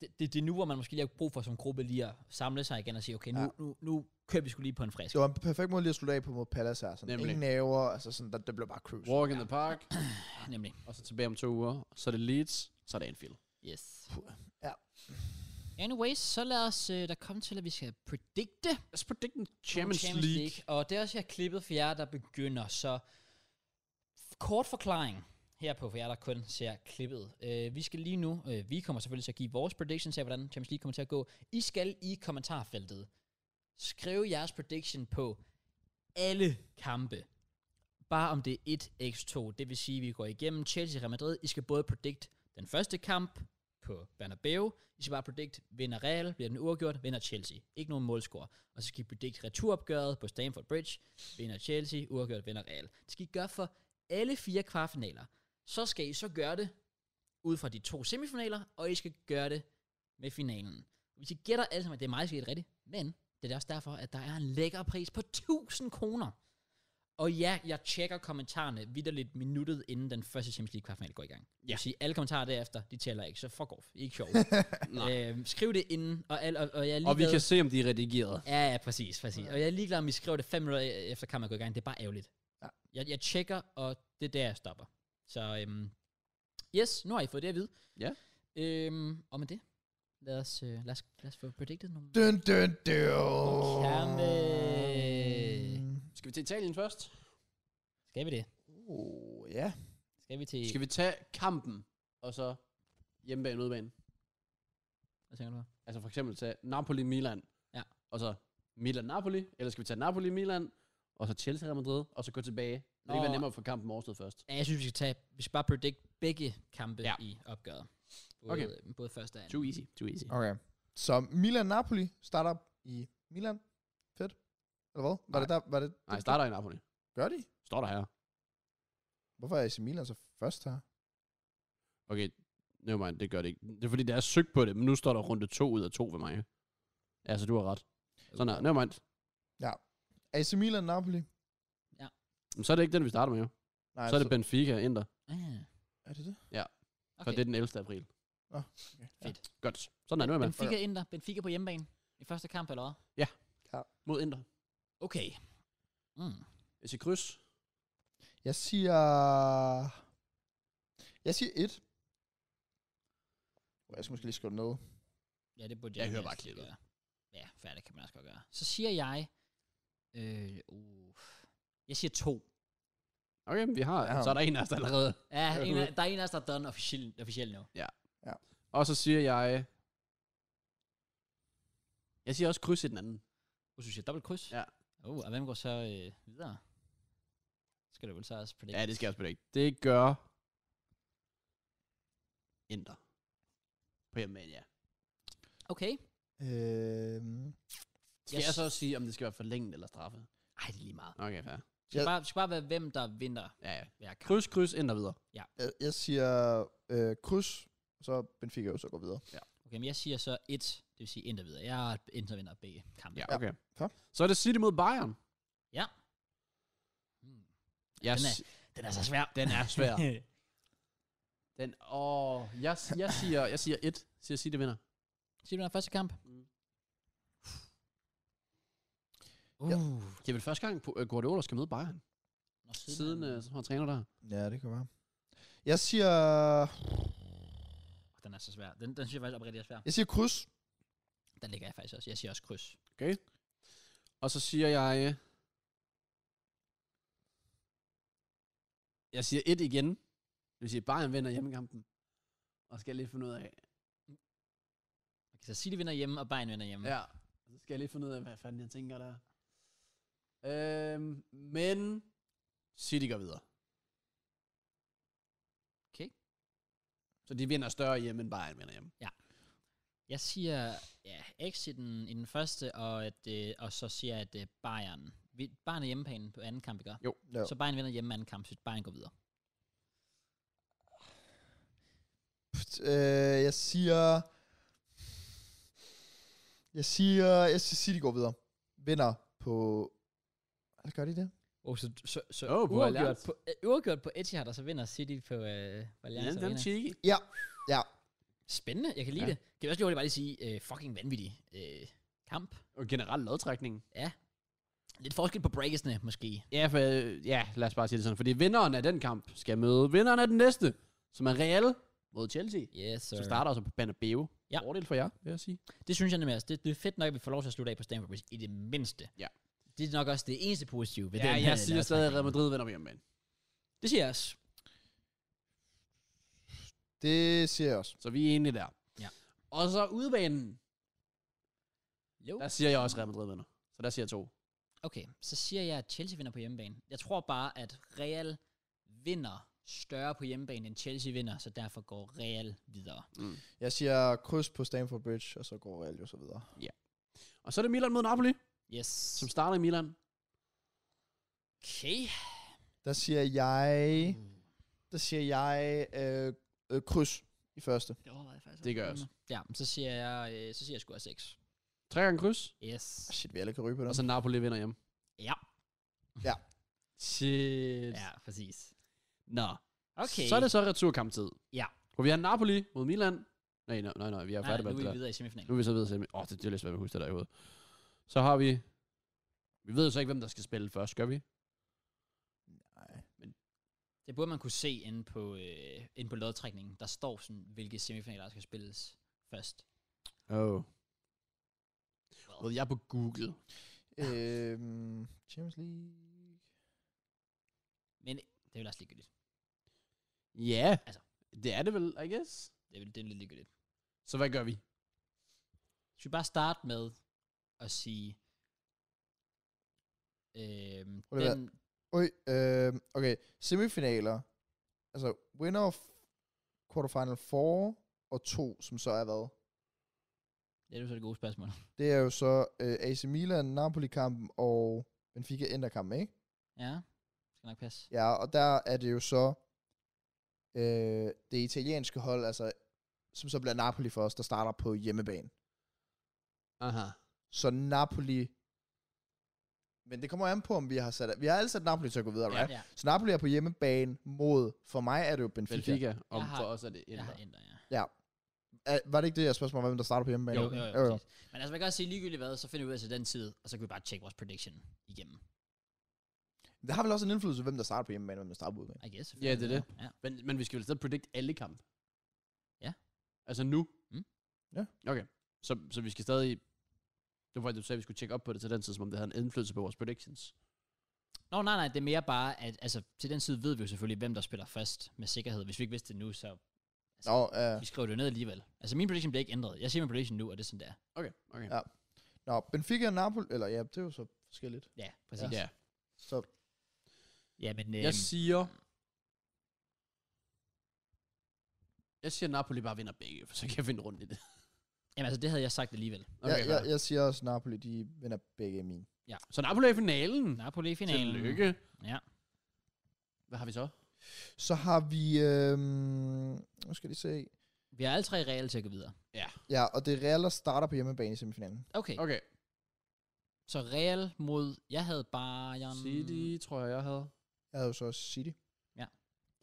A: Det, det, det er nu, hvor man måske lige har brug for som gruppe lige at samle sig igen og sige, okay, nu, ja.
C: Ja.
A: nu, nu kører vi skulle lige på en frisk.
C: Det var en perfekt måde lige at slutte af på mod Palace her. Sådan.
B: Nemlig.
C: Ingen naver. Altså sådan, der, det blev bare cruise.
B: Walk in the park,
A: Nemlig.
B: og så tilbage om to uger. Så er det Leeds, så er det Anfield.
A: Yes.
C: Ja.
A: Anyways, så lad os øh, da komme til, at vi skal predikte
B: Let's predict the Champions,
A: Champions League.
B: League.
A: Og det er også, jeg har klippet for jer, der begynder. Så f- kort forklaring her på, for jer, der kun ser klippet. Øh, vi skal lige nu, øh, vi kommer selvfølgelig til at give vores predictions af, hvordan Champions League kommer til at gå. I skal i kommentarfeltet skrive jeres prediction på alle kampe. Bare om det er 1x2. Det vil sige, at vi går igennem Chelsea Real Madrid. I skal både predict den første kamp på Bernabeu. I skal bare predict, vinder Real, bliver den uafgjort, vinder Chelsea. Ikke nogen målscore. Og så skal I predict returopgøret på Stamford Bridge. Vinder Chelsea, uafgjort, vinder Real. Det skal I gøre for alle fire kvartfinaler. Så skal I så gøre det ud fra de to semifinaler, og I skal gøre det med finalen. Hvis I gætter alle sammen, at det er meget sikkert rigtigt, men det er også derfor, at der er en lækker pris på 1000 kroner. Og ja, jeg tjekker kommentarerne vidderligt minuttet inden den første Champions League kvartfinal går i gang. Ja. Det
B: Ja.
A: vil sige, alle kommentarer derefter, de tæller ikke, så fuck off. I er ikke sjov.
B: Nej.
A: øhm, skriv det inden, og, al, og, og jeg er
B: Og vi
A: ligeglad-
B: kan se, om de er redigeret.
A: Ja, ja, præcis, præcis. Og jeg er ligeglad, om I skriver det fem minutter e- efter kampen er gået i gang. Det er bare ærgerligt.
C: Ja.
A: Jeg, jeg tjekker, og det er der, jeg stopper. Så øhm, yes, nu har I fået det at vide.
B: Ja.
A: Øhm, og med det, lad os, øh, lad os, lad os få predicted nogle.
C: Dun, dun, dun.
A: Kampe.
B: Skal vi til Italien først?
A: Skal vi det?
C: Oh, ja.
A: Skal vi til...
B: Skal vi tage kampen, og så hjemmebane, udebane?
A: Hvad tænker du?
B: Altså for eksempel tage Napoli-Milan.
A: Ja.
B: Og så Milan-Napoli, eller skal vi tage Napoli-Milan, og så Chelsea-Real Madrid, og så gå tilbage? Det
A: Nå.
B: vil være nemmere for kampen overstået først.
A: Ja, jeg synes, vi skal tage... Vi skal bare predict begge kampe ja.
B: Ja.
A: i opgøret. Både,
B: Okay.
A: Både første og anden.
B: Too easy, too easy.
C: Okay. Så Milan-Napoli starter i Milan. Fedt. Eller hvad? Var det der? Var det,
B: Nej, starter i Napoli.
C: Gør de?
B: Står der her.
C: Hvorfor er AC Milan så først her?
B: Okay, nevermind, det gør det ikke. Det er fordi, der er søgt på det, men nu står der runde to ud af to ved mig. Altså, du har ret. Sådan her, nevermind.
C: AC Milan-Napoli.
B: Men så er det ikke den, vi starter med, jo.
C: Nej,
B: Så er det Benfica, Inter,
A: Ah,
C: Er det det?
A: okay.
B: for det er den 11. april.
A: Fedt.
B: Godt. Sådan er det, nevermind.
A: Benfica Inter. Benfica på hjemmebane. I første kamp, eller hvad?
B: Mod Inter.
A: Okay. Mm.
B: Hvis I kryds,
C: Jeg siger... Jeg siger 1. Jeg skal måske lige skrive det ned.
A: Ja, det burde jeg.
B: Jeg hører
A: helst
B: bare
A: lige
B: klippet.
A: gøre. Ja, færdigt kan man også godt gøre. Så siger jeg... Øh, uh, jeg siger to.
B: Okay, vi har.
C: Ja.
B: Ja. Så er der en af os der allerede.
A: Ja,
C: Ja,
A: en
C: du-
A: af, der er en af os, der er done officielt officiel nu.
B: Og så siger jeg... Jeg siger også kryds i den anden.
A: Du synes, jeg dobbelt kryds?
B: Ja.
A: Oh, og hvem går så øh, videre? Skal du vel så også på det?
B: Ja, det skal jeg også ikke. Det gør... Inter. På hjemmebane, ja.
A: Okay.
C: Øhm,
B: Skal
A: Jeg
B: jeg, jeg så
A: s-
B: også sige, om det skal være forlænget eller straffet?
A: Ej, det er lige meget.
B: Okay, fair.
A: Det skal,
C: Jeg-
A: bare, det skal bare være, hvem der vinder
B: Ja, ja.
A: hver kamp.
B: Kryds, kryds, Inter videre.
C: jeg, jeg siger øh, kryds, så Benfica jo så går videre.
A: Okay, men jeg siger så et, det vil sige Inter videre. Jeg er Inter vinder begge kampe.
B: Ja,
C: Ja.
B: okay.
C: Fair.
B: Så er det City mod Bayern.
A: Mm.
B: Jeg
A: Den er-
B: si-
A: Den er så svær.
B: den er svær. den, åh, jeg, si- jeg siger, jeg siger et. Siger City vinder.
A: Siger du, den er første kamp?
B: Mm.
A: Uh,
C: Ja.
B: Det er vel første gang, på- øh, Guardiola skal møde Bayern.
A: Nå,
B: Siden, øh, som han træner der.
C: Ja, det kan være. Jeg siger...
A: Den er så svær. Den, den synes jeg faktisk oprigtigt er svær.
C: Jeg siger kryds.
A: Den ligger jeg faktisk også. Jeg siger også kryds.
B: Og så siger jeg... øh, Jeg siger et igen. Det vil sige, Bayern vinder hjemmekampen. Og skal jeg lige finde ud af...
A: Okay, så City vinder hjemme, og Bayern vinder hjemme.
B: Ja. Og så skal jeg lige finde ud af, hvad fanden jeg tænker der. Øhm, men... City går videre. Så de vinder større hjemme, end Bayern vinder hjemme.
A: Jeg siger ja, X i den, i den første, og, at, øh, og så siger jeg, at øh, Bayern. Vi, Bayern er hjemmebanen på anden kamp, ikke?
B: Jo.
C: Jo.
A: Så Bayern vinder hjemme anden kamp, så Bayern går videre.
C: Pft, Øh, jeg siger... Jeg siger... Jeg siger City går videre. Vinder på... Eller gør de det?
A: Oh, så, så, så
B: Åh, på
A: uafgjort,
B: Allianz.
A: på, øh, uafgjort på Etihad, og så vinder City på øh, på Allianz
B: Ja, dem
A: Arena.
B: cheeky.
C: Ja. Ja.
A: Spændende, jeg kan lide
B: Ja.
A: ja. det. Kan vi også lige hurtigt bare lige sige, øh, fucking vanvittig øh, kamp.
B: Og generelt lodtrækningen.
A: Lidt forskel på breakesne, måske.
B: Ja, for, øh, ja, lad os bare sige det sådan. Fordi vinderen af den kamp skal møde vinderen af den næste, som er Real mod Chelsea.
A: Yes, sir.
B: Så starter altså på Banabeo.
A: Ja.
B: Fordel for jer, vil jeg sige.
A: Det synes jeg nemlig også. Det, det er fedt nok, at vi får lov til at slutte af på Stamford Bridge, i det mindste.
B: Ja.
A: Det er nok også det eneste positive ved
B: ja,
A: den her
B: jeg siger stadig, at Real
A: lodtrækning.
B: Madrid vinder på hjemmebane.
A: Det siger jeg også.
C: Det siger jeg også.
B: Så vi er enige der.
A: Ja.
B: Og så udebanen,
A: Jo.
B: der siger jeg også, at Real Madrid vinder. Så der siger jeg to.
A: Okay, så siger jeg, at Chelsea vinder på hjemmebane. Jeg tror bare, at Real vinder større på hjemmebane, end Chelsea vinder, så derfor går Real videre.
C: Jeg siger kryds på Stamford Bridge, og så går Real jo så videre.
B: Og så er det Milan mod Napoli,
A: Yes.
B: som starter i Milan.
A: Okay.
C: Der siger jeg... Der siger jeg øh, øh, kryds i første.
A: Det overvejede jeg faktisk.
B: Det gør jeg også.
A: Ja, men så siger jeg, øh, så siger jeg sgu også 6.
B: Tre gange kryds,
A: Yes.
C: Shit, vi alle kan ryge på den.
B: og så Napoli vinder hjem.
A: Ja.
B: Shit.
A: Ja, præcis.
B: Nå.
A: Okay.
B: Så er det så returkamptid.
A: Ja.
B: For vi har Napoli mod Milan. Nej, nej, nej, nej vi er
A: Nej,
B: færdige med
A: nu
B: det
A: er
B: der.
A: vi videre i
B: Nu
A: semifinalen.
B: er vi så ved at Åh, oh, det, det er lidt svært at huske det der i hovedet. Så har vi... Vi ved jo så ikke, hvem der skal spille først, gør vi?
C: Nej.
A: Det burde man kunne se inde på, øh, inde på lodtrækningen. Der står sådan, hvilke semifinaler, der skal spilles først.
B: Oh. Well, jeg er på Google.
C: Øhm, Champions League...
A: Men det er vel også ligegyldigt.
B: Ja. Yeah.
A: Altså.
B: Det er det vel, I guess.
A: Det er, vel- det er lidt ligegyldigt.
B: Så hvad gør vi?
A: Skal vi bare starte med at sige, øhm,
C: Ved du hvad?
A: den,
C: Øj, øh, okay, semifinaler. Altså, winner of quarterfinal 4 og 2, som så er hvad?
A: det er jo så det gode spørgsmål.
C: Det er jo så øh, AC Milan, Napoli-kampen og Benfica Inter-kampen, ikke?
A: ja, det skal nok passe.
C: Ja, og der er det jo så øh, det italienske hold, altså, som så bliver Napoli for os, der starter på hjemmebane.
B: Aha.
C: Så Napoli... Men det kommer an på, om vi har sat... Vi har alle sat Napoli til at gå videre, right?
A: ja.
C: Så Napoli er på hjemmebane mod... For mig er det jo Benfica. Benfica.
B: Benfica, og
A: Jeg har-
B: for os er det
A: Jeg har
B: Inter.
A: ændret, ja.
C: Er, var det ikke det, jeg spørgsmål om, hvem der starter på hjemmebane?
A: Jo, jo, jo, præcis. Men altså, man kan også sige ligegyldigt hvad, så finder vi ud af til den tid, og så kan vi bare tjekke vores prediction igennem.
C: Det har vel også en indflydelse, hvem der starter på hjemmebane, og hvem der starter på udebane.
A: I guess.
B: Ja, det er det.
A: Ja.
B: Men, men vi skal vel stadig predict alle kampe?
A: Ja.
B: Altså nu?
A: Mm.
C: Ja.
B: Okay. Så, så vi skal stadig... Det var faktisk, du sagde, at vi skulle tjekke op på det til den tid, som om det havde en indflydelse på vores predictions.
A: Nå, nej, nej, det er mere bare, at altså, til den tid ved vi jo selvfølgelig, hvem der spiller først med sikkerhed. Hvis vi ikke vidste det nu, så
C: Nå, øh,
A: vi skriver det jo ned alligevel. Altså, min prediction bliver ikke ændret. Jeg siger min prediction nu, og det er sådan, der.
B: Okay, okay.
C: Ja. nå, Benfica og Napoli... Eller ja, det er jo så forskelligt.
A: Ja, præcis.
B: Ja.
C: Så
A: ja men øhm,
B: Jeg siger... Jeg siger, at Napoli bare vinder begge, for så kan jeg finde rundt i det.
A: jamen, altså, det havde jeg sagt alligevel.
C: okay, jeg, jeg,
B: fair.
C: jeg siger også, Napoli, de vinder begge min.
B: Så Napoli er i finalen.
A: Napoli i finalen.
B: Tillykke.
A: Ja.
B: Hvad har vi så?
C: Så har vi... Øh, nu skal de se.
A: Vi har alle tre reelle til at gå videre.
C: Ja, og det er Real, der starter på hjemmebane i semifinalen.
A: Okay, okay.
B: Okay.
A: så Real mod... Jeg havde Bayern...
B: City, tror jeg, jeg havde.
C: Jeg havde jo så også City.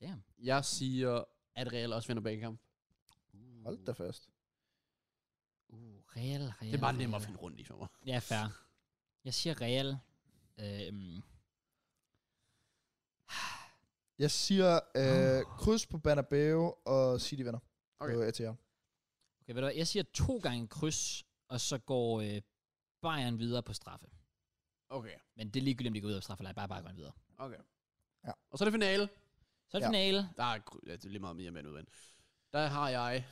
A: Damn.
B: Jeg siger, at Real også vinder begge kampe.
C: Hold da fast.
A: Uh, Real, Real.
B: Det er bare
A: Real.
B: nemmere at finde rundt i for mig.
A: Ja, fair. Jeg siger Real. Øhm,
C: Jeg siger øh, kryds på Banabeo og City vinder.
B: Okay.
C: Okay. På Etihad.
A: okay, ved du hvad? Jeg siger to gange kryds, og så går øh, Bayern videre på straffe.
B: Okay,
A: Men det er ligegyldigt, om de går ud af straffe eller ej. Bare bare går videre.
B: okay.
C: Ja.
B: Og så er det finale.
A: Så er det
C: Ja.
A: ja. finale.
B: Der er, gry- ja, det er lige meget mere med udvendt. Der har jeg...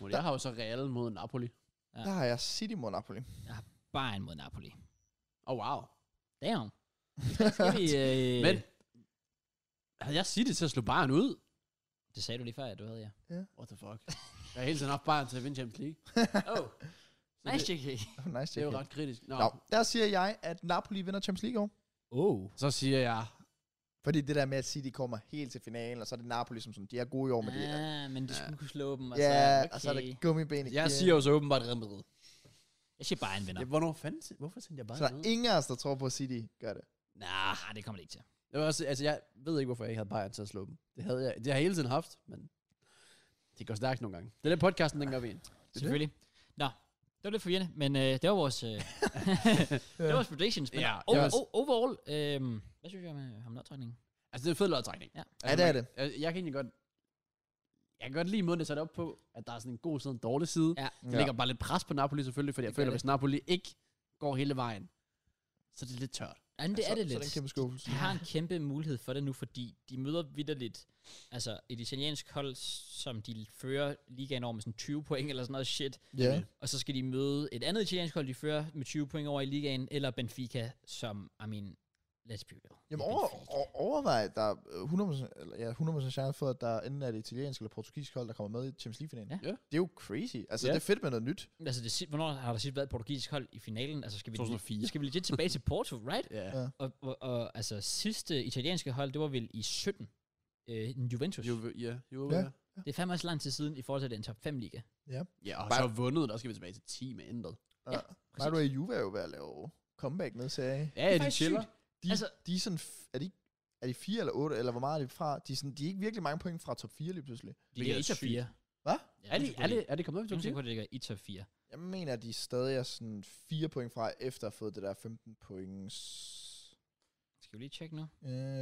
B: Well, Jeg har jo så Real mod Napoli.
A: Ja.
C: Der har jeg City mod Napoli.
A: Bayern mod Napoli.
B: Oh, wow.
A: Damn. Skal vi, øh,
B: Men havde jeg City til at slå Bayern ud?
A: Det sagde du lige før, at du havde, ja.
B: What the fuck? Jeg har hele tiden haft Bayern til at vinde Champions League.
A: oh,
B: Så
A: nice
B: det,
A: JK.
C: nice,
B: det er jo
C: JK.
B: ret kritisk. Nå.
C: Nå, der siger jeg, at Napoli vinder Champions League i år.
A: Oh.
B: Så siger jeg,
C: Fordi det der med at sige, at de kommer helt til finalen, og så er det Napoli, som sådan, de er gode i år, men de er...
A: Ah, men du skulle kunne slå dem, og så,
C: Ja,
A: okay.
C: og så er det gummiben igen.
B: jeg siger jo så åbenbart Real Madrid.
A: Jeg siger bare en vinder.
B: Ja, hvornår fanden, hvorfor sendte jeg bare
C: Så der er ingen af os, der tror på, at City gør det.
A: Nej, nah, det kommer det ikke til.
B: Jeg, vil også, altså, jeg ved ikke, hvorfor jeg ikke havde Bayern til at slå dem. Det, havde jeg, det har jeg hele tiden haft, men det går stærkt nogle gange. Det er den podcasten, den gør vi en.
A: Selvfølgelig. Nå, det var lidt forvirrende, men øh, det var vores, øh, det var vores predictions. Men
B: Ja,
A: ja, over,
B: jeg vil-
A: o- overall, øh, hvad synes jeg om, øh, om lodtrækningen?
B: Altså, det er en fed lodtrækning.
A: Ja.
B: altså,
C: Ja, det er
B: man- Jeg, jeg kan egentlig godt... Jeg kan godt lide måden, det er sat op på, at der er sådan en god side og en dårlig side.
A: Ja.
B: Der ligger bare lidt pres på Napoli selvfølgelig, fordi jeg
A: Det gør
B: føler,
A: det.
B: hvis Napoli ikke går hele vejen, så er det lidt tørt.
A: Ja, men det
C: så,
A: er det
C: Så
A: lidt.
C: er det en kæmpe skuffelse.
A: De har en kæmpe mulighed for det nu, fordi de møder vidderligt altså et italiensk hold, som de fører ligaen over med sådan 20 point eller sådan noget shit.
C: Ja.
A: Og så skal de møde et andet italiensk hold, de fører med 20 point over i ligaen, eller Benfica, som, I mean, let's be real.
C: Jamen
A: Det er
C: over,
A: Benfica.
C: over, overvej, at der er øh, 100%, eller, ja, 100% chance for, at der enten er det italienske eller portugisiske hold, der kommer med i Champions League-finalen.
A: Ja.
B: Ja.
C: Det er jo crazy. Altså,
B: Ja.
C: det er fedt med noget nyt.
A: Altså, det, si- hvornår har der sidst været et portugisisk hold i finalen? Altså, skal vi,
B: 2004.
A: skal vi legit tilbage til Porto, right?
B: Ja.
C: Ja.
A: Og, og, og altså, sidste italienske hold, det var vel i 17. Øh, Juventus.
B: Jo,
A: Jo.
B: ja, jo,
C: Ja.
B: ja.
A: Det er fandme også lang tid siden i forhold til at det er en top 5 liga.
B: ja og
C: Bare-
B: så vundet, der skal vi tilbage til 10 med intet.
A: Ja,
C: By the way, Juve er jo ved at lave comeback ned, sagde jeg.
B: Ja, de
A: faktisk
B: chiller.
C: De, altså,
A: Altså-
C: de er sådan, f- er de, er de fire eller otte, eller hvor meget er de fra? De er, sådan, de er ikke virkelig mange point fra top 4 lige pludselig.
A: De ligger i
B: er
A: top
B: sygt.
A: 4.
C: Hvad?
A: Ja,
B: Er det, er det, er det kommet op i
A: Jeg er
B: top
A: sikker på, at
B: 10?
A: det ligger i top 4.
C: Jeg mener, at de stadig er sådan fire point fra, efter at have fået det der 15 points.
A: Skal vi lige tjekke nu?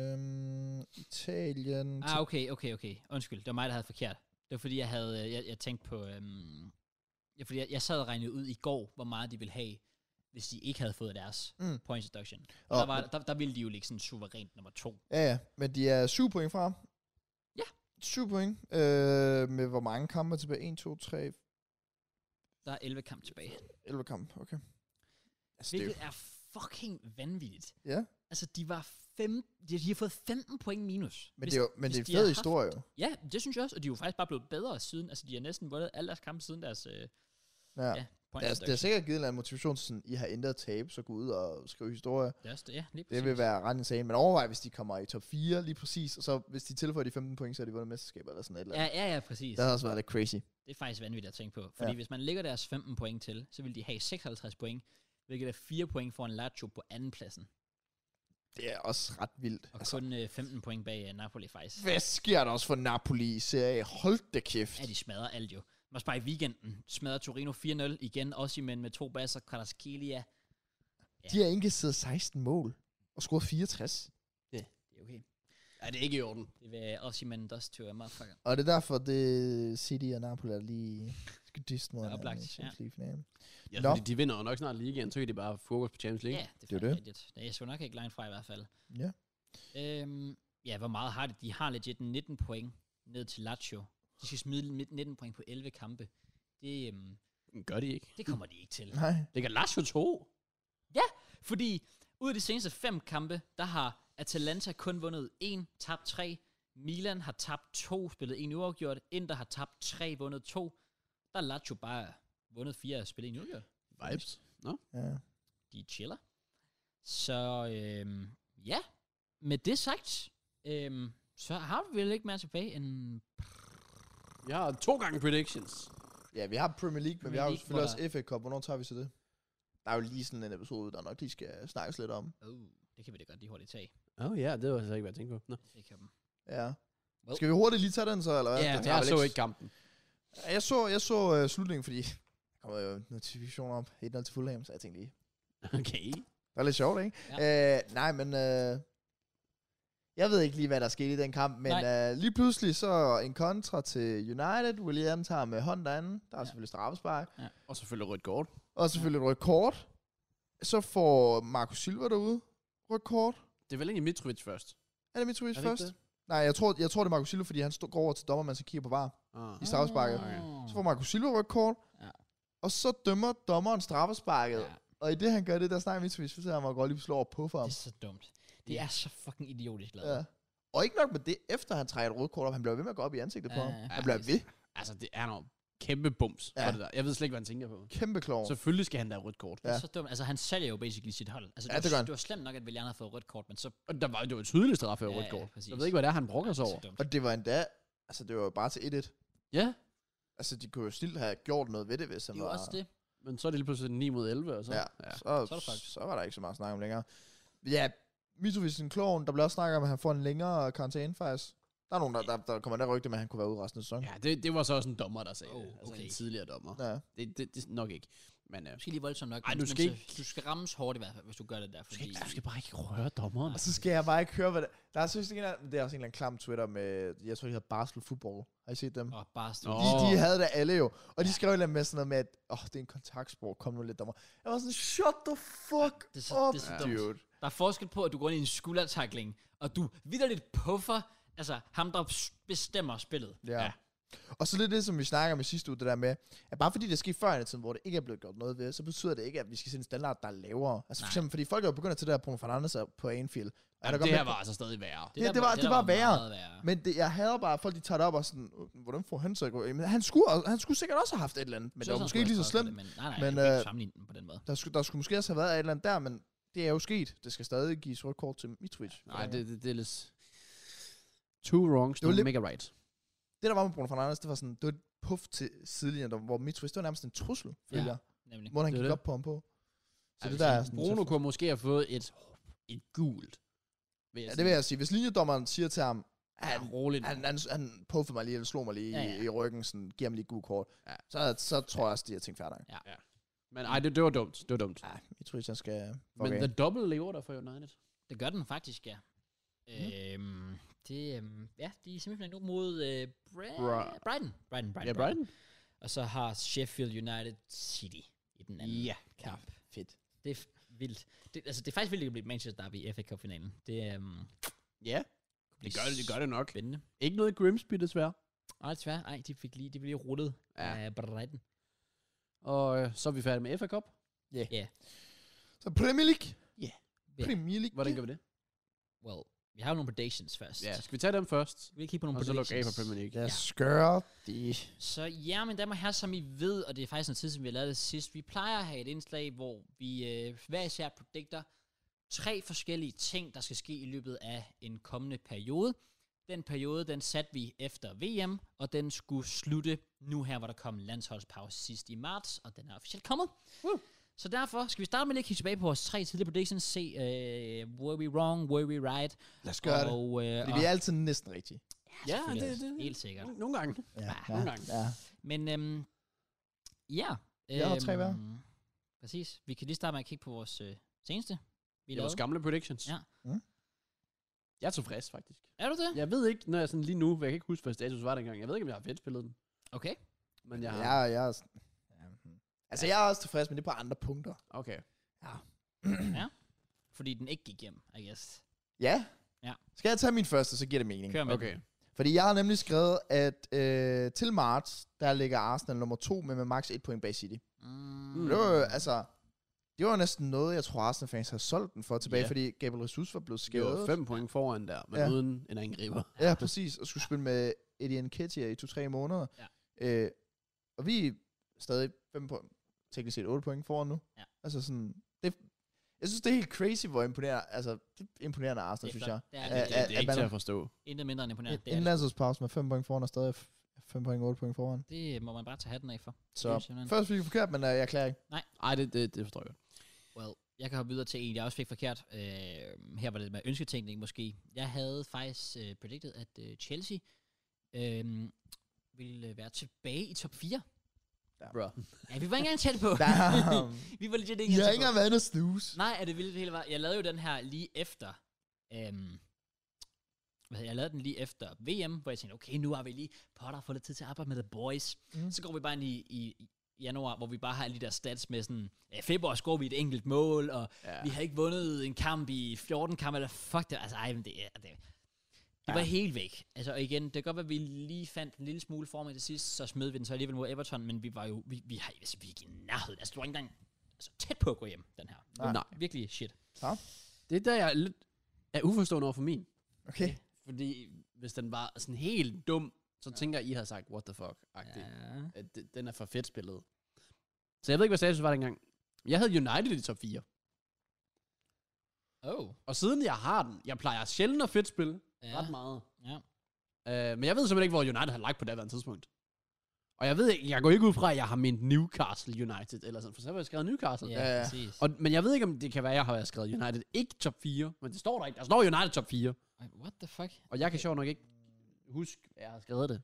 C: Øhm, Italien.
A: Ah, okay, okay, okay. Undskyld, det var mig, der havde forkert. Det var fordi, jeg havde, øh, jeg, jeg tænkte på, øhm, ja, fordi jeg, jeg sad og regnede ud i går, hvor meget de ville have, hvis de ikke havde fået deres
C: Mm.
A: mm. points deduction. Og
C: Åh,
A: der, var, der, der ville de jo ligge sådan suverænt nummer to.
C: Ja, ja, men de er 7 point fra.
A: Ja.
C: 7 point. Øh, med hvor mange kampe tilbage? 1, 2, 3,
A: Der er 11 kamp tilbage.
C: 11 kampe. Okay. Altså, det er jo,
A: Hvilket er fucking vanvittigt.
C: ja,
A: Altså, de var fem, de, de har fået 15 point minus.
C: men det er jo men
A: hvis
C: det er
A: de
C: en
A: har
C: fed
A: haft-
C: historie jo.
A: Ja, det synes jeg også, og de er jo faktisk bare blevet bedre siden. Altså, de har næsten vundet alle deres kampe siden deres øh,
C: Ja.
A: ja, points
C: Det er, det er sikkert givet en eller anden motivation, til sådan, I har ændret tabe, så gå ud og skrive historie.
A: Det er også det, ja, lige
C: Det
A: præcis.
C: vil være ret insane. Men overvej, hvis de kommer i top 4 lige præcis, og så hvis de tilføjer de 15 point, så har de vundet mesterskabet eller sådan et eller andet.
A: Ja, ja, ja, præcis.
C: Det har også været lidt crazy.
A: Det er faktisk vanvittigt at tænke på. Fordi
C: Ja.
A: ja. hvis man lægger deres 15 point til, så vil de have 56 point, hvilket er 4 point for en Lazio på anden pladsen.
C: Det er også ret vildt.
A: Og
C: Altså,
A: altså, kun øh, 15 point bag øh, Napoli faktisk.
C: hvad sker der også for Napoli i Serie A? Hold da kæft.
A: Ja, de smadrer alt jo. Men Også bare i weekenden smadrer Torino 4-0 igen, også imellem med to basser, Kvaratskhelia.
C: De har indkasseret 16 mål og scoret 64.
A: Det er okay.
B: Ja, det er ikke i orden.
A: Det vil også imellem også til motherfucker.
C: Og det er derfor, det City og Napoli er lige skal disse mod
A: Ja,
C: hinanden
A: oplagt,
C: i Champions League-finalen.
B: Ja,
C: Nå.
B: fordi de vinder jo nok snart ligaen, så kan de bare have fokus på Champions League.
A: Ja, det
C: Det er
A: er
C: det.
A: det. rigtigt. Det er sgu nok ikke langt fra i hvert fald.
C: Ja.
A: Øhm, ja, hvor meget har de? De har legit 19 point ned til Lazio. De skal smide 19 point på 11 kampe. Det, øhm,
B: Yeah. Gør de ikke.
A: det kommer de ikke til.
C: Nej.
B: Det kan Lazio 2.
A: Fordi ud af de seneste fem kampe, der har Atalanta kun vundet en, tabt tre. Milan har tabt to, spillet en uafgjort. Inter har tabt tre, vundet to. Der er Lazio bare vundet fire og spillet en uafgjort.
B: Vibes. Nå?
C: Ja.
A: De chiller. Så øhm, ja, med det sagt, øhm, så har vi vel ikke mere tilbage end...
B: Jeg har to gange predictions.
C: ja, vi har Premier League, men vi
A: Premier
C: har jo
A: League,
C: selvfølgelig
A: hvor
C: også FA Cup. Hvornår tager vi så det? Der er jo lige sådan en episode, der nok lige skal snakkes lidt om.
A: Oh, det kan vi da godt lige hurtigt tage.
B: Åh oh, ja, det var altså ikke, hvad jeg tænkte på. Nå.
A: Det kan
C: Ja.
A: Well.
C: Skal vi hurtigt lige tage den så, eller hvad?
B: Ja,
C: Den tager
B: jeg
C: vel
B: så ikke kampen.
C: Ja, Jeg så, jeg så uh, slutningen, fordi der kommer jo notifikationer op. 1-0 til Fulham, så jeg tænkte lige,
B: Okay.
C: det var lidt sjovt, ikke? Ja. Uh, nej, men uh, jeg ved ikke lige, hvad der skete i den kamp, men uh, lige pludselig så en kontra til United. William tager med hånd derinde. Der er ja.
A: Ja.
C: selvfølgelig straffespark.
B: Og selvfølgelig rødt kort.
C: Og selvfølgelig et rødt kort. Så får Marco Silva derude rødt kort.
B: Det er vel egentlig Mitrovic først.
C: Er det Mitrovic
B: Er det ikke
C: først?
B: det?
C: Nej, jeg tror, jeg tror, det er Marco Silva, fordi han stå, går over til dommeren, så kigger på var.
B: Ah.
C: I strafsparket.
A: Ah.
C: Så får Marco Silva rødt kort.
A: Ja.
C: Og så dømmer dommeren straffesparket.
A: Ja.
C: Og i det, han gør det, der snakker Mitrovic, så han mig godt lige slår på for
A: Det
C: ham.
A: er så dumt. Det er så fucking idiotisk lavet.
C: Ja. Og ikke nok med det, efter han trækker et rødt kort op, han bliver ved med at gå op i ansigtet på
A: Ja,
C: ham.
A: ja.
C: Han bliver ved.
B: Altså, det er noget kæmpe bums ja.
C: Ja.
B: for det der. Jeg ved slet ikke, hvad han tænker på.
C: Kæmpe klog.
B: Selvfølgelig skal han da have rødt kort.
A: Ja.
C: Ja.
A: Så dumt. Altså, han sælger jo basically sit hold. Altså,
C: Ja,
A: det,
C: det
A: var, det,
C: gør han.
A: det var slemt nok, at Willian havde fået rødt kort, men så...
B: Og der var, det var et tydeligt straf af
A: Ja,
B: ja,
A: ja,
B: rødt kort.
A: præcis.
B: jeg ved ikke, hvad det er, han brokker sig
A: så
B: over.
A: dumt.
C: Og det var endda, altså det var jo bare til 1-1.
B: Ja,
C: Altså, de kunne jo snilt have gjort noget ved det, hvis han
A: Det er jo
C: var...
A: også det.
B: men så er det lige pludselig 9 mod 11, og så...
C: Ja,
B: ja.
C: så,
A: Så er det faktisk.
C: så, var der ikke så meget snak om længere. Ja, Mitovicen kloven, der blev også snakket om, at han får en længere karantæne faktisk. Der er nogen, der, der, der kommer der rygte med, at han kunne være ude resten af sæsonen.
B: ja det, det var så også en dommer, der sagde
A: Oh,
B: oh, okay. altså
A: okay.
B: en tidligere dommer.
C: Ja.
B: Det, det, det nok ikke. Men øh,
A: Måske lige voldsomt nok.
B: Ej,
A: men-
B: du
A: men
B: skal
A: så-
B: ikke-
A: Du skal rammes hårdt i hvert fald, hvis du gør det der.
B: du,
A: Fordi...
B: skal, ikke- du skal bare ikke røre dommeren.
C: Og så skal jeg bare ikke høre, hvad det... Der er seriøst en eller anden- det er også en eller anden klam Twitter med, jeg tror, de hedder Barsel Football. Har I set dem?
A: Og bare stå.
B: Nå.
C: De, de havde det alle jo. Og de skrev et eller andet med sådan noget med, at åh, oh, det er en kontaktspor, kom nu lidt dommer. Jeg var sådan, shut the fuck
A: Det er så-
C: up,
A: det er så dumt.
C: dude.
A: Der er forskel på, at du går ind i en skuldertakling, og du vidderligt puffer, altså ham, der s- bestemmer spillet.
C: Ja.
B: Ja.
C: ja. Og så lidt det, som vi snakker om i sidste uge, det der med, at bare fordi det sker før i tiden, hvor det ikke er blevet gjort noget ved, så betyder det ikke, at vi skal se en standard, der er lavere. Altså for
A: Nej.
C: eksempel, fordi folk er jo begyndt at til det her Bruno Fernandes er på Anfield. Og
B: Ja,
C: er der
B: det,
C: godt
B: det her
C: med-
B: var altså stadig værre.
C: Ja,
A: der
C: det var- det
A: der
C: var værre.
A: meget værre.
C: Men det, jeg hader bare, at folk de tager det op og sådan, "Øh, hvordan får han så at gå ind? Men han skulle, også- han skulle sikkert også have haft et eller andet, men det var
A: sådan
C: måske ikke lige så
A: skulle jeg
C: slemt.
A: også have skrevet det, Men, nej, nej, men,
C: Men,
A: du kan
C: øh,
A: ikke sammenligne den på den måde.
C: Der skulle, der skulle måske også have været et eller andet der, men det er jo sket. Det skal stadig gives rødt kort til Mitrovic.
B: Nej, det, det, det er lidt... Two wrongs,
C: Det var
B: don't
C: lidt-
B: make a right.
C: det, der var med Bruno Fernandes, det var sådan, det var et puff til sidelinjen, der, hvor Mitrovic, det var nærmest en trussel, føler
A: Ja.
C: jeg,
A: Nemlig.
C: hvor han
B: Det er
C: gik
B: det.
C: op på ham på. Så
B: Ja,
C: det
B: Altså, hvis
C: der er
B: en
C: sådan...
B: Bruno kunne måske have fået et, et gult. Vil
C: Ja, det vil jeg sige. Hvis linjedommeren siger til ham, "Ah,
B: Han,
C: han,
B: roligt.
C: han, han, han puffede mig lige, eller slog mig lige
A: Ja,
C: ja,
A: ja.
C: ja. i ryggen, sådan, giver ham lige et gult kort,
B: Ja.
C: ja. så, så tror jeg også, de har tænkt færdig.
B: Men ej, det, det var dumt. Det var dumt.
C: Ja, jeg tror, jeg skal...
B: Okay.
C: Okay.
B: Men the double lever der for United.
A: Det gør den faktisk, ja.
C: Mm.
A: Øhm, det, øhm, ja, de er simpelthen nu mod øh, Bra-
B: Bra-
A: Brighton. Brighton, Brighton,
B: Ja, Brighton.
A: Og så har Sheffield United City i den anden
B: Ja.
A: kamp.
C: fedt.
A: Det er f- vildt. Det, altså, det er faktisk vildt, at det kan blive Manchester Derby i FA Cup-finalen. Det øhm, bliver
B: Ja, det gør det, det gør det nok.
A: spændende.
B: Ikke noget i Grimsby, desværre.
A: Nej, desværre. Ej, de fik lige, de blev lige rullet
B: Ja.
A: af Brighton.
B: Og øh, så er vi færdige med FA Cup.
C: Så Premier League.
B: Ja.
A: Ja.
C: Premier League.
B: Hvordan gør vi det?
A: Well, vi har jo nogle predictions først.
B: Ja, skal vi tage dem først?
A: Skal vi kigge på nogle
B: Og så lukke af
A: predictions?
B: på Premier League.
C: Lad os gøre det.
A: Så ja, men damer og herrer, som I ved, og det er faktisk noget tid, som vi har lavet det sidst, vi plejer at have et indslag, hvor vi øh, hver især predicter tre forskellige ting, der skal ske i løbet af en kommende periode. Den periode, den satte vi efter VM, og den skulle slutte nu her, hvor der kom en landsholdspause sidst i marts, og den er officielt kommet.
B: Woo.
A: Så derfor skal vi starte med lige at kigge tilbage på vores tre tidligere predictions, se, øh, were we wrong, were we right?
C: Lad os gøre det.
A: og, Øh,
C: Fordi
A: og,
C: vi er altid næsten rigtige.
A: ja, det, det, helt sikkert.
B: Nogle- Nogle gange.
C: Ja,
B: nogle gange.
C: ja.
A: Men øhm, ja.
C: Jeg har tre hver.
A: øhm, Præcis. Vi kan lige starte med at kigge på vores øh, seneste. Vi
B: Det er vores gamle predictions.
A: Ja.
C: Mm.
B: Jeg er tilfreds, faktisk.
A: er du det?
B: Jeg ved ikke, når jeg sådan lige nu, for jeg kan ikke huske, hvad status var dengang. Jeg ved ikke, om jeg har fedt spillet den.
A: Okay.
B: Men jeg har...
C: Jeg, jeg, er sådan- ja. mhm. Altså, jeg er også tilfreds, men det er på andre punkter.
B: Okay.
A: Fordi den ikke gik hjem, I guess.
C: Ja.
A: Ja.
C: Skal jeg tage min første, så giver det mening.
A: Kør med
B: Okay.
A: den.
C: Fordi jeg har nemlig skrevet, at øh, til marts, der ligger Arsenal nummer to, men med max 1 point bag City. Mm.
A: Mm.
C: Det var jo, altså, det var jo næsten noget, jeg tror, Arsenal-fans havde solgt den for tilbage,
B: Ja.
C: yeah. fordi Gabriel Jesus var blevet
B: Det var
C: skadet.
B: fem point foran der, men
C: Ja.
B: uden en angriber.
C: Ja, præcis. Og skulle spille med Eddie Nketiah i to-tre måneder.
A: Ja.
C: Øh, og vi er stadig fem point, teknisk set 8 point foran nu.
A: Ja.
C: Altså sådan, det, jeg synes, det er helt crazy, hvor imponerende, altså, det er imponerende Arsenal, synes jeg.
A: Det
B: Ja,
A: er
B: det, det,
A: virkelig
B: det er ikke
C: At-
B: til at forstå.
A: intet mindre end imponerende. Det,
C: en
A: er,
C: landsholdspause med 5 point foran og stadig 5 point 8 point foran.
A: det. altså- det må man bare tage hatten af for. Det er
C: Så
A: simpelthen-
C: først fik vi forkert, men øh, jeg klager ikke.
B: Ej, det, det, det forstår jeg godt.
A: Well, jeg kan hoppe videre til en, jeg også fik forkert. Øh, her var det med ønsketænkning måske. Jeg havde faktisk øh, predicted, at øh, Chelsea øh, ville øh, være tilbage i top 4.
B: Bro.
A: Ja, vi var ikke engang tæt på.
C: Damn.
A: vi var legit ikke
C: Jeg
A: engang
C: har
A: tæt
C: ikke
A: på.
C: engang været inde og snuse.
A: Nej, er det vildt hele vejen. Jeg lavede jo den her lige efter. Øhm, hvad hedder- jeg lavede den lige efter VM, hvor jeg tænkte, okay, nu har vi lige Potter fået lidt tid til at arbejde med The Boys. Mm.
C: Mm.
A: Så går vi bare ind i, i i januar, hvor vi bare har alle de der stats med sådan, øh, februar scorer vi et enkelt mål, og ja.
B: Ja.
A: vi har ikke vundet en kamp i 14 kampe, eller fuck det, altså ej, men det er... Det, det var
B: Ja.
A: helt væk. Altså og igen, det kan godt være, at vi lige fandt en lille smule form i det sidste, så smed vi den så alligevel mod Everton, men vi var jo, vi, vi, har, altså, vi er ikke i nærheden. Altså, du var ikke engang altså, tæt på at gå hjem, den her.
C: Nej.
B: Nej.
A: Virkelig shit.
B: Det er der, jeg er lidt er uforstående over for min.
C: Okay.
B: Fordi hvis den var sådan helt dum, så ja. tænker jeg, I havde sagt, what the fuck, agtigt. Ja.
A: Ja.
B: At det- den er for fedt spillet. Så jeg ved ikke, hvad status var dengang. Jeg havde United i top 4.
A: Oh.
B: Og siden jeg har den, jeg plejer sjældent at fedt spille
A: Ja.
B: ja. ret meget.
A: Ja.
B: Øh, men jeg ved simpelthen ikke, hvor United har lagt på det andet tidspunkt. Og jeg ved ikke, jeg går ikke ud fra, at jeg har ment Newcastle United, eller sådan, for så har jeg skrevet Newcastle. Øh,
A: Ja,
C: Ja, ja.
A: præcis.
B: altså. Og, men jeg ved ikke, om det kan være, at jeg har skrevet United ikke top 4, men det står der ikke. Der står United top 4,
A: Ej, What the fuck?
B: og jeg kan sjovt nok ikke huske, at jeg har skrevet det.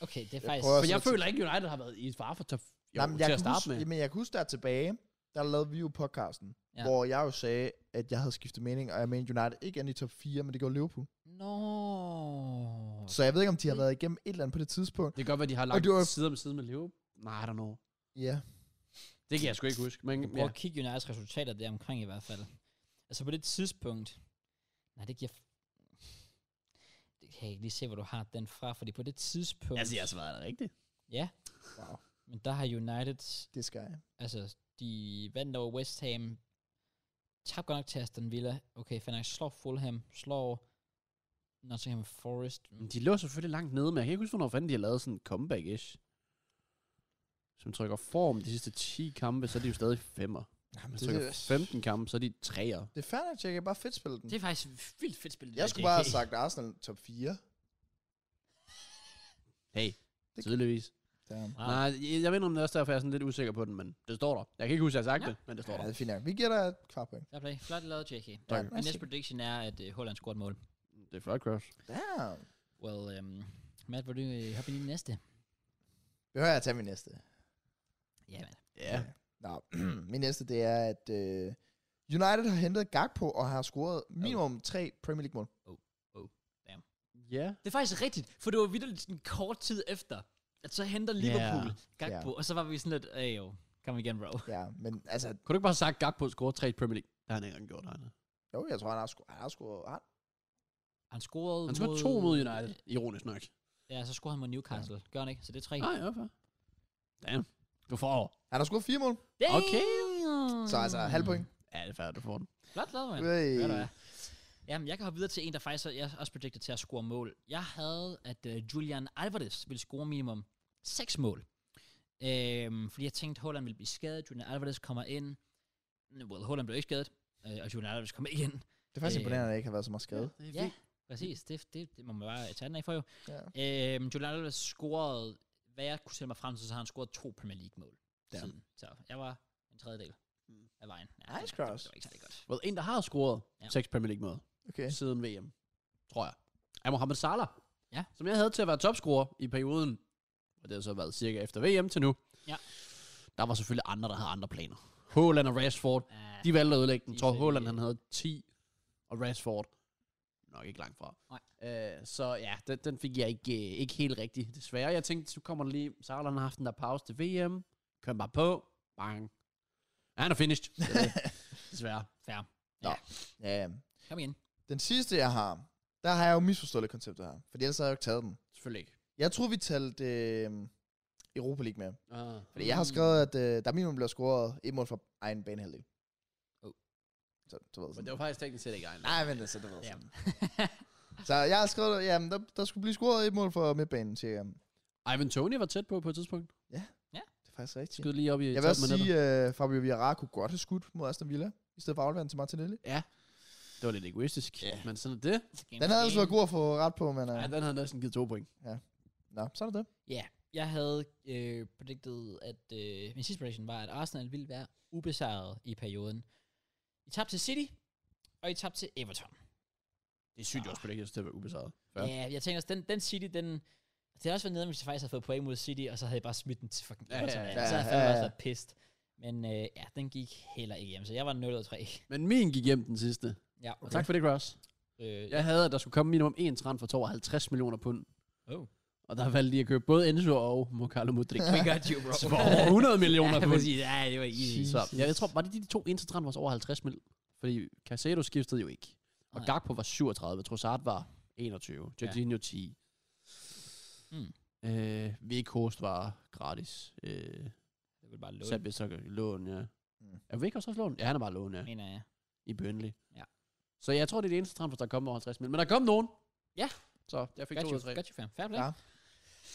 A: Okay, det er
C: Jeg
A: faktisk...
C: prøver
B: Men
C: så
B: jeg
C: til-
B: føler ikke, at United har været i far for top 4
C: Jo, Nej, men jeg
B: til
C: kan
B: at starte
C: huske,
B: med.
C: Jamen, jeg kan huske der tilbage, der lavede vi jo podcasten,
A: Ja.
C: ja. hvor jeg jo sagde, at jeg havde skiftet mening, og jeg mente United ikke endte i top 4, men det gjorde Liverpool.
A: Nå.
C: Så jeg ved ikke, om de har været igennem et eller andet på det tidspunkt.
B: Det kan godt være, de har
C: Og
B: lagt
C: det var-
B: side om side med Liverpool. Nej, I don't know.
C: Ja,
B: Det kan jeg sgu ikke huske. Men,
A: Prøv
B: ja.
A: at kigge Uniteds resultater der omkring i hvert fald. Altså på det tidspunkt... Nej, det giver... Det kan jeg ikke lige se, hvor du har den fra, fordi på det tidspunkt...
B: Altså, jeg har svaret rigtigt.
A: Men der har United...
C: det skal jeg.
A: Altså, de vandt over West Ham. Tabte godt nok til Aston Villa. Okay, fair nok. Slår Fulham. Slår Nottingham Forest.
B: Men De lå selvfølgelig langt nede, men jeg kan ikke huske, hvornår fanden de har lavet sådan en comeback-ish. Som trykker form de sidste 10 kampe, så er de jo stadig femmer.
C: Jamen,
B: Hvis
C: det,
B: trykker
C: det,
B: 15 kampe, så er de træer.
C: det er fair nok, jeg kan bare fedt spille den.
A: Det er faktisk vildt fedt spillet.
C: Jeg skulle bare have sagt Arsenal top 4.
B: Hey,
C: Det-
B: tydeligvis.
C: Damn.
A: Wow.
B: Nej, jeg, jeg ved ikke, om det er også derfor, jeg er sådan lidt usikker på den, men det står der. Jeg kan ikke huske, at jeg har sagt
A: Nå.
B: det, men det står
C: Ja,
B: der.
C: det er fint nok. Vi giver dig et kvart point.
A: Der blev flot lavet, JK.
C: Ja,
A: Min næste prediction er, at uh, Holland scorer et mål.
B: Det er flot, Cross.
C: Damn.
A: Well, um, Matt, vil du uh, hoppe ind i den næste?
C: Behøver jeg at tage min næste?
A: Ja, Matt.
B: Ja.
C: Nå, min næste det er, at øh, United har hentet Gakpo og har scoret minimum tre Premier League-mål.
B: Ja.
A: Det er faktisk rigtigt, for det var vidderligt sådan kort tid efter, at så henter Liverpool yeah. Gakpo, yeah. og så var vi sådan lidt, ej jo, kom igen, bro.
C: Ja, men altså,
B: Kunne du ikke bare have sagt, Gakpo scorer 3 i Premier League? Det har han ikke engang gjort, han.
C: jo, jeg tror, han har scoret. Han har scoret. Han,
A: Han scorede
B: Han scorede 2 mod United, ironisk nok.
A: Ja, Ah. så scorede han mod Newcastle. Gør han ikke? Så det er tre.
B: Nej, ja, fair. Damn. Du får over.
C: han har scoret fire mål,
B: okay.
A: Damn!
C: så altså halv point.
B: Ja, det er færdigt, du får den.
A: Flot lavet, mand.
C: Hey.
A: Hvad der Mm. er. Jamen, jeg kan hoppe videre til en, der faktisk er- jeg er også predicted til at score mål. Jeg havde, at uh, Julian Alvarez ville score minimum 6 mål. Øhm, fordi jeg tænkte, Holland ville blive skadet, Julian Alvarez kommer ind. Well, Holland blev ikke skadet, øh, og Julian Alvarez kommer ikke ind.
C: Det er faktisk
A: Øh.
C: imponerende, at jeg ikke har været så meget skadet.
B: det er
A: Ja, præcis. Det, det, det må man bare tage den af for jo.
C: Ja.
A: Øhm, Julian Alvarez scorede, hvad jeg kunne sætte mig frem til, så har han scoret to Premier League-mål
B: Ja.
A: siden. Så jeg var en tredjedel
B: Mm.
A: af vejen. Ja,
C: Hmm. Nice
A: det var-
C: cross.
A: Det var ikke særlig godt.
B: Well, en, der har scoret
A: Ja.
B: 6 Premier League mål
C: Okay.
B: siden VM, tror jeg, er Mohamed Salah.
A: Ja.
B: Som jeg havde til at være topscorer i perioden, og det har så været cirka efter VM til nu.
A: Ja.
B: Der var selvfølgelig andre, der havde andre planer. Haaland og Rashford,
A: Uh,
B: de valgte at ødelægge den.
A: De
B: Jeg tror,
A: fik,
B: Haaland
A: øh,
B: han havde 10, og Rashford nok ikke langt fra.
A: Nej.
B: Øh, så ja, den, den fik jeg ikke, øh, ikke helt rigtig, desværre. Jeg tænkte, så kommer der lige, Salah han har haft den der pause til VM, kører bare på, bang. Ja, han er finished. Det er det. desværre.
A: fair.
C: Ja.
A: Kom igen.
C: Den sidste, jeg har, der har jeg jo misforstået lidt konceptet her. Fordi ellers havde jeg jo ikke taget den.
B: Selvfølgelig ikke.
C: Jeg tror, vi talte øh, Europa League med.
B: Uh,
C: Fordi jeg har
A: Mm.
C: skrevet, at øh, der minimum bliver scoret et mål fra egen banehalvdel.
A: Oh.
C: Så, du ved
B: men
C: sådan.
B: det var faktisk teknisk set ikke egen.
C: Nej, men altså, det var
A: Ja.
C: sådan. Så jeg har skrevet, at der, der skulle blive scoret et mål for midtbanen, siger jeg. Det
B: Ivan Tony var tæt på på et tidspunkt.
C: er faktisk rigtigt.
B: Skød lige op i
C: Jeg vil også sige, at øh, Fabio Vieira kunne godt have skudt mod Aston Villa, i stedet for afleveren til Martinelli.
B: Det var lidt egoistisk, yeah. men sådan er det.
C: Den havde altså været god at få ret på, men øh,
B: Ja, den havde næsten givet to point.
C: nå, så er det det.
A: Ja, jeg havde øh, predicted, at øh, min sidste prediction var, at Arsenal ville være ubesejret i perioden. I tabte til City, og I tabte til Everton.
B: Det er sygt, jeg
A: Ah.
B: også på det ikke til at være ubesejret.
A: Ja, ja jeg tænker også, den, den City, den... altså, Det havde også været nede, hvis jeg faktisk havde fået point mod City, og så havde jeg bare smidt den til fucking
B: Ja, ja,
A: Everton. Ja,
B: ja,
A: ja, ja, så havde jeg
C: ja,
A: fandme
C: ja.
A: også været pissed. Men øh, ja, den gik heller ikke hjem, så jeg var 0-3.
B: Men min gik hjem den sidste.
A: Ja,
B: Okay. Tak for det, Cross.
A: Øh, ja.
B: Jeg havde, at der skulle komme minimum én transfer for 52 millioner pund.
A: Oh.
B: Og der valgte de at købe både Enzo og Mokalo Mudrik.
A: We got you, bro.
B: for over 100 millioner
A: ja,
B: pund.
A: præcis. Ja, det var easy.
B: Så
C: Jesus.
B: ja, jeg tror, var det de to eneste transfers over 50 mil? Fordi Casado skiftede jo ikke. Og
A: Nej.
B: Gakpo var 37, Trossard var 21,
A: Ja.
B: Jorginho 10.
A: Mm.
B: Øh, Vekost var gratis. Øh,
A: Det ville bare låne,
B: Sat hvis så lån, ja.
C: Mm.
A: øh,
B: Er Vekost også lån? Ja, han er bare lån, ja.
A: mener jeg.
B: I Burnley.
A: Ja.
B: Så jeg tror, det er det eneste transfer, der kommer over 50 mil. Men der kom nogen.
A: Ja.
B: Så jeg fik
A: Got
B: to ud
A: you,
B: af tre.
A: got you, fam. Fair play.
C: Ja.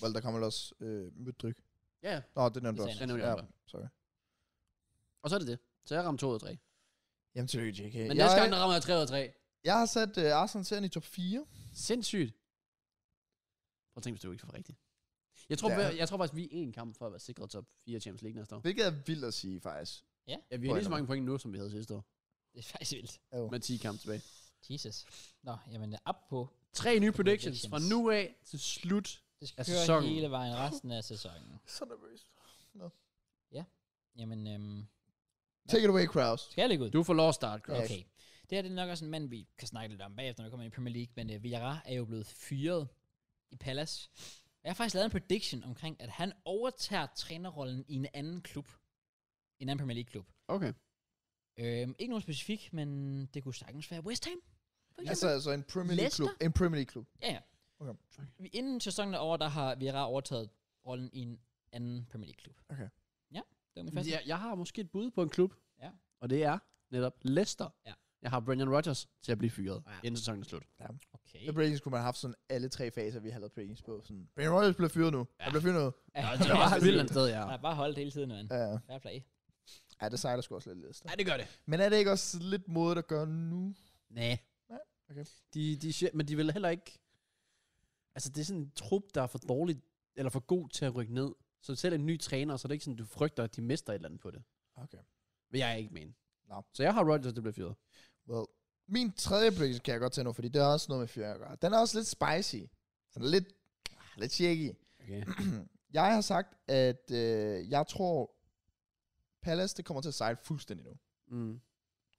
C: Well, der kommer vel også øh, møddryk.
B: Ja, ja.
C: Nå, det nævnte du
A: Det
C: også.
B: sagde jeg
C: ja,
B: nok.
C: sorry.
B: Og så er det det. Så jeg ramte to ud af tre.
C: Jamen, tillykke, JK.
B: Men
C: jeg,
B: næste gang, der rammer jeg tre ud af tre.
C: jeg har sat øh, Arsenal serien i top 4.
B: Sindssygt. Prøv at tænke, hvis du ikke får rigtigt. Jeg tror,
C: Ja.
B: ja. jeg tror faktisk, vi er én kamp for at være sikret top 4 Champions League næste år.
C: Hvilket er vildt at sige, faktisk.
B: Ja, vi har lige så
C: Pointer.
B: mange point nu, som vi havde sidste år.
A: Det er faktisk vildt.
C: Jo.
B: Med 10 kampe tilbage.
A: Jesus. Nå, jamen øh, op på.
B: Tre nye predictions fra
A: Predictions.
B: nu af til slut.
A: Det skal
B: Af
C: Altså,
A: køre
B: sæsonen.
A: hele vejen resten af sæsonen.
C: Så nervøs.
A: Jamen, øhm,
C: Take it away, Kraus.
A: skal jeg lægge ud?
B: Du får lov at starte, Kraus.
A: Okay. Det her det er nok også en mand, vi kan snakke lidt om bagefter, når vi kommer ind i Premier League, men uh, Villarreal er jo blevet fyret i Palace. Og jeg har faktisk lavet en prediction omkring, at han overtager trænerrollen i en anden klub. En anden Premier League-klub.
B: Okay.
A: Øhm, ikke nogen specifik, men det kunne sagtens være West Ham. for
C: Altså,
A: eksempel.
C: altså en Premier League-klub.
A: Leicester?
C: En Premier League-klub.
A: Ja, ja.
C: Okay.
A: Vi- Inden sæsonen er over, der har Villarreal overtaget rollen i en anden Premier League-klub.
C: Okay.
A: Ja, det var min første.
B: Ja, jeg har måske et bud på en klub.
A: Ja.
B: Og det er netop Leicester.
A: Ja.
B: Jeg har Brendan Rodgers til at blive fyret,
A: Ja.
B: ja. inden sæsonen er slut.
A: Okay.
C: Det Breaking skulle man have haft sådan alle tre faser, vi har lavet Breaking på. Sådan, Ben Rodgers bliver fyret nu. Han bliver fyret nu.
A: Ja,
B: Det
A: det
B: er
A: var
B: også vildt et sted, ja.
A: Nej, bare holdt hele tiden, mand.
C: Ja, ja.
A: Fair play.
C: ja det sejler sgu også lidt lidt.
A: Nej, det gør det.
C: Men er det ikke også lidt måde at gøre nu?
B: Nej.
C: Nej, okay.
B: De, de, siger- men de vil heller ikke... Altså, det er sådan en trup, der er for dårlig, eller for god til at rykke ned. Så selv en ny træner, så er det ikke sådan, du frygter, at de mister et eller andet på det.
C: Okay.
B: Vil jeg ikke mene.
C: Nå.
B: Så jeg har Rodgers, det bliver fyret.
C: Well, min tredje prediction kan jeg godt tage nu, fordi det har også noget med fyring at gøre. Den er også lidt spicy. Sådan lidt, ah, lidt shaky.
B: Okay.
C: Jeg har sagt, at øh, jeg tror, Palace det kommer til at sejle fuldstændig nu.
B: Mm.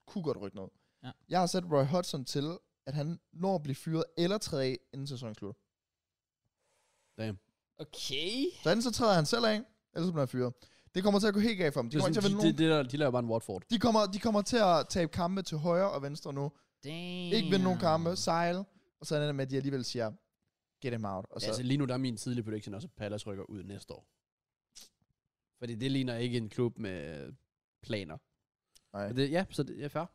C: Kunne godt rykke noget.
A: Ja.
C: Jeg har sat Roy Hodgson til, at han når at blive fyret eller træde af, inden sæsonen slutter.
A: Okay.
C: Så enten så træder han selv af, eller så bliver han fyret. Det kommer til at gå helt galt for dem.
B: Det
C: De
B: er
C: kommer,
B: sådan,
C: ikke til at
B: de,
C: vinde
B: de,
C: nogen.
B: de, der- de laver bare en Watford.
C: de, kommer, de kommer til at tabe kampe til højre og venstre nu.
A: Damn.
C: Ikke vinde nogen kampe, sejle. Og så er det med, at de alligevel siger, get him out. Og
B: Altså,
C: så,
B: altså lige nu, der er min tidlige prediction også, at Palace rykker ud næste år. Fordi det ligner ikke en klub med øh, planer.
C: nej.
B: Men Det, ja, så det er fair.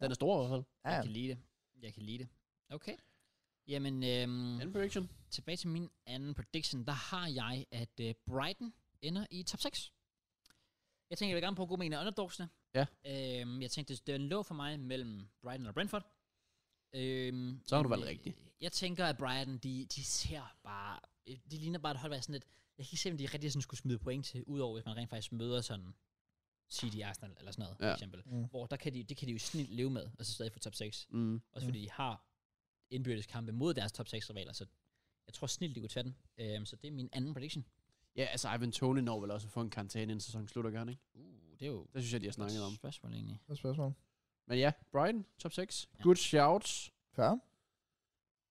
B: Den er stor i hvert fald.
A: Jeg
C: Ja,
A: kan lide det. Jeg kan lide det. Okay. Jamen, øhm,
B: Anden prediction.
A: tilbage til min anden prediction. Der har jeg, at øh, Brighton ender i top 6. Jeg tænker, jeg vil gerne prøve at gå med en af underdogsene.
B: Ja.
A: Øhm, jeg tænkte, det er en lå for mig mellem Brighton og Brentford. Øhm,
B: Så har du
A: men,
B: valgt
A: øh,
B: rigtigt.
A: Jeg tænker, at Brighton, de, de ser bare... øh, De ligner bare et hold, der er sådan lidt... Jeg kan ikke se, om de rigtig sådan skulle smide point til, udover hvis man rent faktisk møder sådan City Arsenal eller sådan noget, ja.
B: Ja.
A: for eksempel.
C: Mm.
A: Mm. Hvor der kan de, det kan de jo snilt leve med, og så stadig få top 6.
B: Mm.
A: Også fordi de har indbyrdes kampe mod deres top 6 rivaler, så jeg tror snilt, de kunne tage den. Øhm, så det er min anden prediction.
B: Ja, altså Ivan Tony når vel også at få en karantæne inden sæsonen slutter, gør han ikke?
A: Uh, det er jo
B: Det synes jeg, de har snakket om.
A: et spørgsmål egentlig.
C: det er et spørgsmål.
B: Men ja, Brighton, top 6.
A: Ja.
B: Ja. Good shouts.
C: Fair.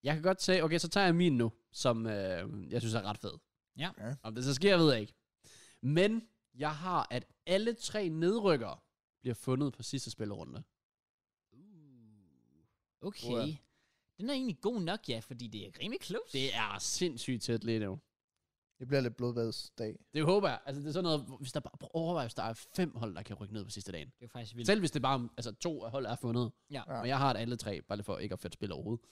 B: Jeg kan godt tage, okay, så tager jeg min nu, som øh, jeg synes er ret fed.
A: Ja.
C: Ja.
B: Om det så sker, ved jeg ikke. Men jeg har, at alle tre nedrykkere bliver fundet på sidste spillerunde.
A: Uh, okay.
C: Uha.
A: Den er egentlig god nok, ja, fordi det er rimelig close.
B: Det er sindssygt tæt lige nu.
C: Det bliver lidt blodbadsdag.
B: Det håber jeg. Altså, det er sådan noget, hvis der bare prøv at overveje, hvis der er fem hold, der kan rykke ned på sidste dagen.
A: det er faktisk vildt.
B: Selv hvis det bare altså, to af hold er fundet.
A: Ja.
C: Ja.
B: Og jeg har et alle tre, bare lige for ikke at fedt spil overhovedet.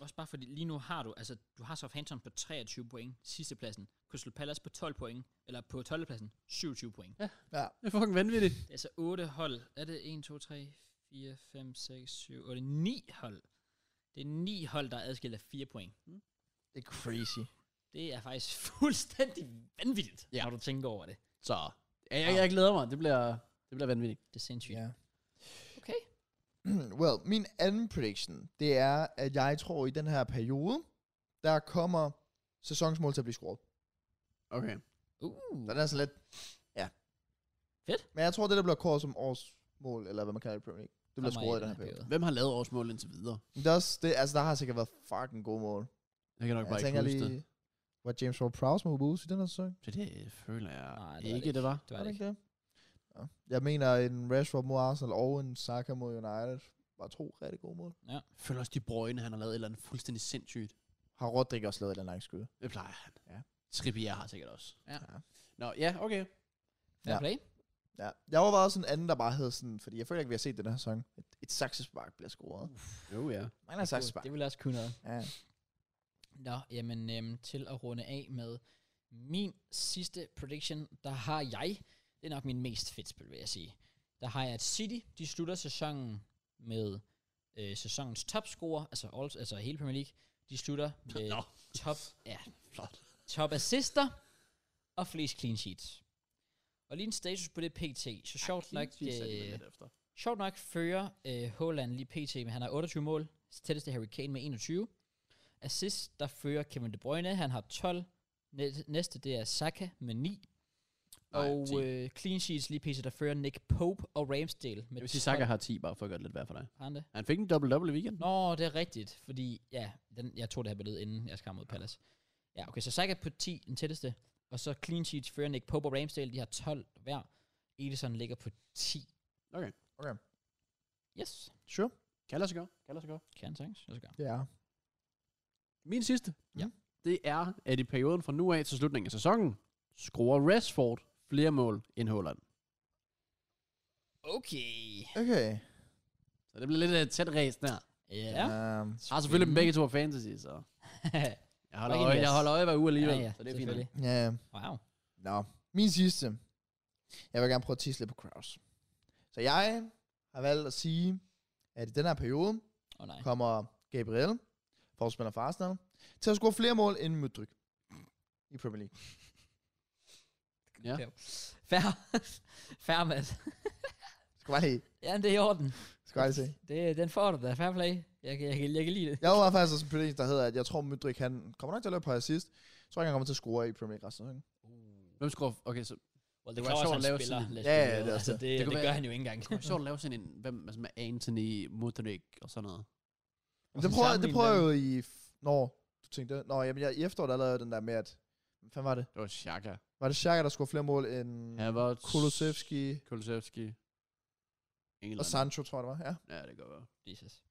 A: Også bare fordi lige nu har du, altså du har Southampton på 23 point, sidste pladsen. Crystal Palace på 12 point, eller på 12. pladsen, 27 point.
B: Det er fucking vanvittigt.
A: Det er altså 8 hold. Er det 1, 2, 3, 4, 5, 6, 7, 8, 9 hold. Det er 9 hold, der er adskilt af 4 point.
C: Det er crazy.
A: Det er faktisk fuldstændig vanvittigt, ja.
B: Ja.
A: når du tænker over det.
B: Så jeg, jeg, jeg glæder mig. Det bliver, det bliver vanvittigt.
A: Det er sindssygt. Ja.
C: Ja.
A: Okay.
C: well, min anden prediction, det er, at jeg tror, i den her periode, der kommer sæsonsmål til at blive scoret.
B: Okay.
A: Uh.
C: Den er sådan lidt... Ja.
A: Fedt.
C: Men jeg tror, det der bliver kåret som års mål, eller hvad man kalder det i Premier League, det bliver
A: Kommer
C: scoret i den her periode.
B: Hvem har lavet årsmål indtil videre?
C: Men det er også, det, altså, der har sikkert været fucking gode mål.
B: Jeg kan nok
C: jeg
B: bare
C: tænker
B: ikke huske det.
C: lige, var James Ward Prowse med Wolves i den her sæson?
B: Så det øh, føler jeg
A: Nej,
B: Nej,
A: det
B: det
A: var
B: ikke, det var.
A: Det var det ikke.
C: det? Ja. Jeg mener, en Rashford mod Arsenal og en Saka mod United var to rigtig gode mål.
B: Jeg føler også, de brøgne, han har lavet et eller andet fuldstændig sindssygt.
C: Har Rodrik også lavet et eller andet skud?
B: Det plejer han.
C: Ja.
B: Trippier har sikkert også.
A: Ja.
B: Nå, ja, okay.
A: Fair
C: Ja.
A: play.
C: Ja. Jeg overvejede sådan en anden, der bare hed sådan, fordi jeg føler ikke, vi har set den her sæson. Et, et saksespark bliver scoret.
B: Jo, ja.
C: Man har
A: Det,
C: saksespark.
A: det vil også kunne noget.
C: Ja.
A: Nå, jamen øhm, til at runde af med min sidste prediction, der har jeg, det er nok min mest fedt spil, vil jeg sige. Der har jeg, at City, de slutter sæsonen med øh, sæsonens topscorer, altså, all, altså hele Premier League, de slutter med
B: Nå.
A: top, ja,
B: Flot.
A: top assister og flest clean sheets. Og lige en status på det pt. Så sjovt nok, øh,
B: efter.
A: Sjovt nok fører øh, Haaland lige pt, men han har 28 mål. Tætteste Harry Kane med 21. Assist, der fører Kevin De Bruyne, han har 12. Næ- Næste, det er Saka med 9.
B: Nej,
A: Og
B: 10.
A: øh, clean sheets lige pt, der fører Nick Pope og Ramsdale med
B: Jeg vil sige, Saka
A: 12.
B: har 10, bare for at gøre det lidt værd for dig.
A: Har han det?
B: Han fik en double-double i weekenden.
A: Nå, det er rigtigt, fordi ja, den, jeg tog det her billede, inden jeg skar mod Palace. Ja, okay, så Saka på 10, den tætteste. Og så clean sheets fører Nick Pope og Ramsdale, de har 12 hver. Edison ligger på 10.
B: Okay.
C: Okay.
A: Yes,
C: Sure.
B: Kan lade sig gøre. Kan lade sig gøre.
A: kan sagtens. Lad os gøre.
C: Ja.
B: Min sidste.
C: Ja.
B: Det er, at i perioden fra nu af til slutningen af sæsonen, scorer Rashford flere mål end Haaland.
A: Okay.
C: Okay.
B: Så det bliver lidt et tæt race der.
A: Ja.
C: Um,
B: Jeg har selvfølgelig dem begge to af fantasy, så jeg holder
A: Fucking
B: øje,
A: yes.
B: jeg holder øje hver uge alligevel.
A: ja, ja,
B: så det er fint. nok.
A: selvfølgelig.
C: ja.
A: Wow.
C: Nå. Min sidste. Jeg vil gerne prøve at tisse lidt på Kraus. Så jeg har valgt at sige, at i den her periode
A: Åh oh, nej.
C: kommer Gabriel, forspiller for Arsenal, til at score flere mål end Mudryk i Premier League.
B: Ja.
A: Færre. Færre, Mads.
C: Skal bare lige,
A: Ja, det er i orden.
C: skal bare lige se.
A: Det, den får du da. Fair play. Jeg, kan- jeg, kan- jeg kan lide det.
C: Jeg var faktisk også en prediction, der hedder, at jeg tror, Mudryk han kommer nok til at løbe på assist. Jeg tror ikke, han kommer til at score i Premier League resten af sæsonen.
B: Hvem scorer? Okay, så
A: Well,
B: Uh. det var sjovt at lave sådan en-
A: Let's
C: Ja,
A: be
C: ja,
A: real.
C: det
A: altså,
C: er også
A: det,
B: Det
A: det,
B: kunne
A: gør
B: være-
A: han jo ikke engang.
B: det kunne være sjovt at lave sådan en, hvem altså med Anthony, Mudrik og sådan noget.
C: Men det prøver, det prøver jeg jo i... f- Nå, du tænkte... Nå, jamen, jeg, i efteråret der lavede jeg den der med, at... Hvad fanden var det?
B: Det var Shaka.
C: Var det Xhaka, der scorede flere mål end ja,
B: Havertz.
C: Kulusevski
B: Mm. Kulusevski. England.
C: og Sancho, tror jeg det var? Ja.
B: Ja, det kan godt være.
A: Jesus.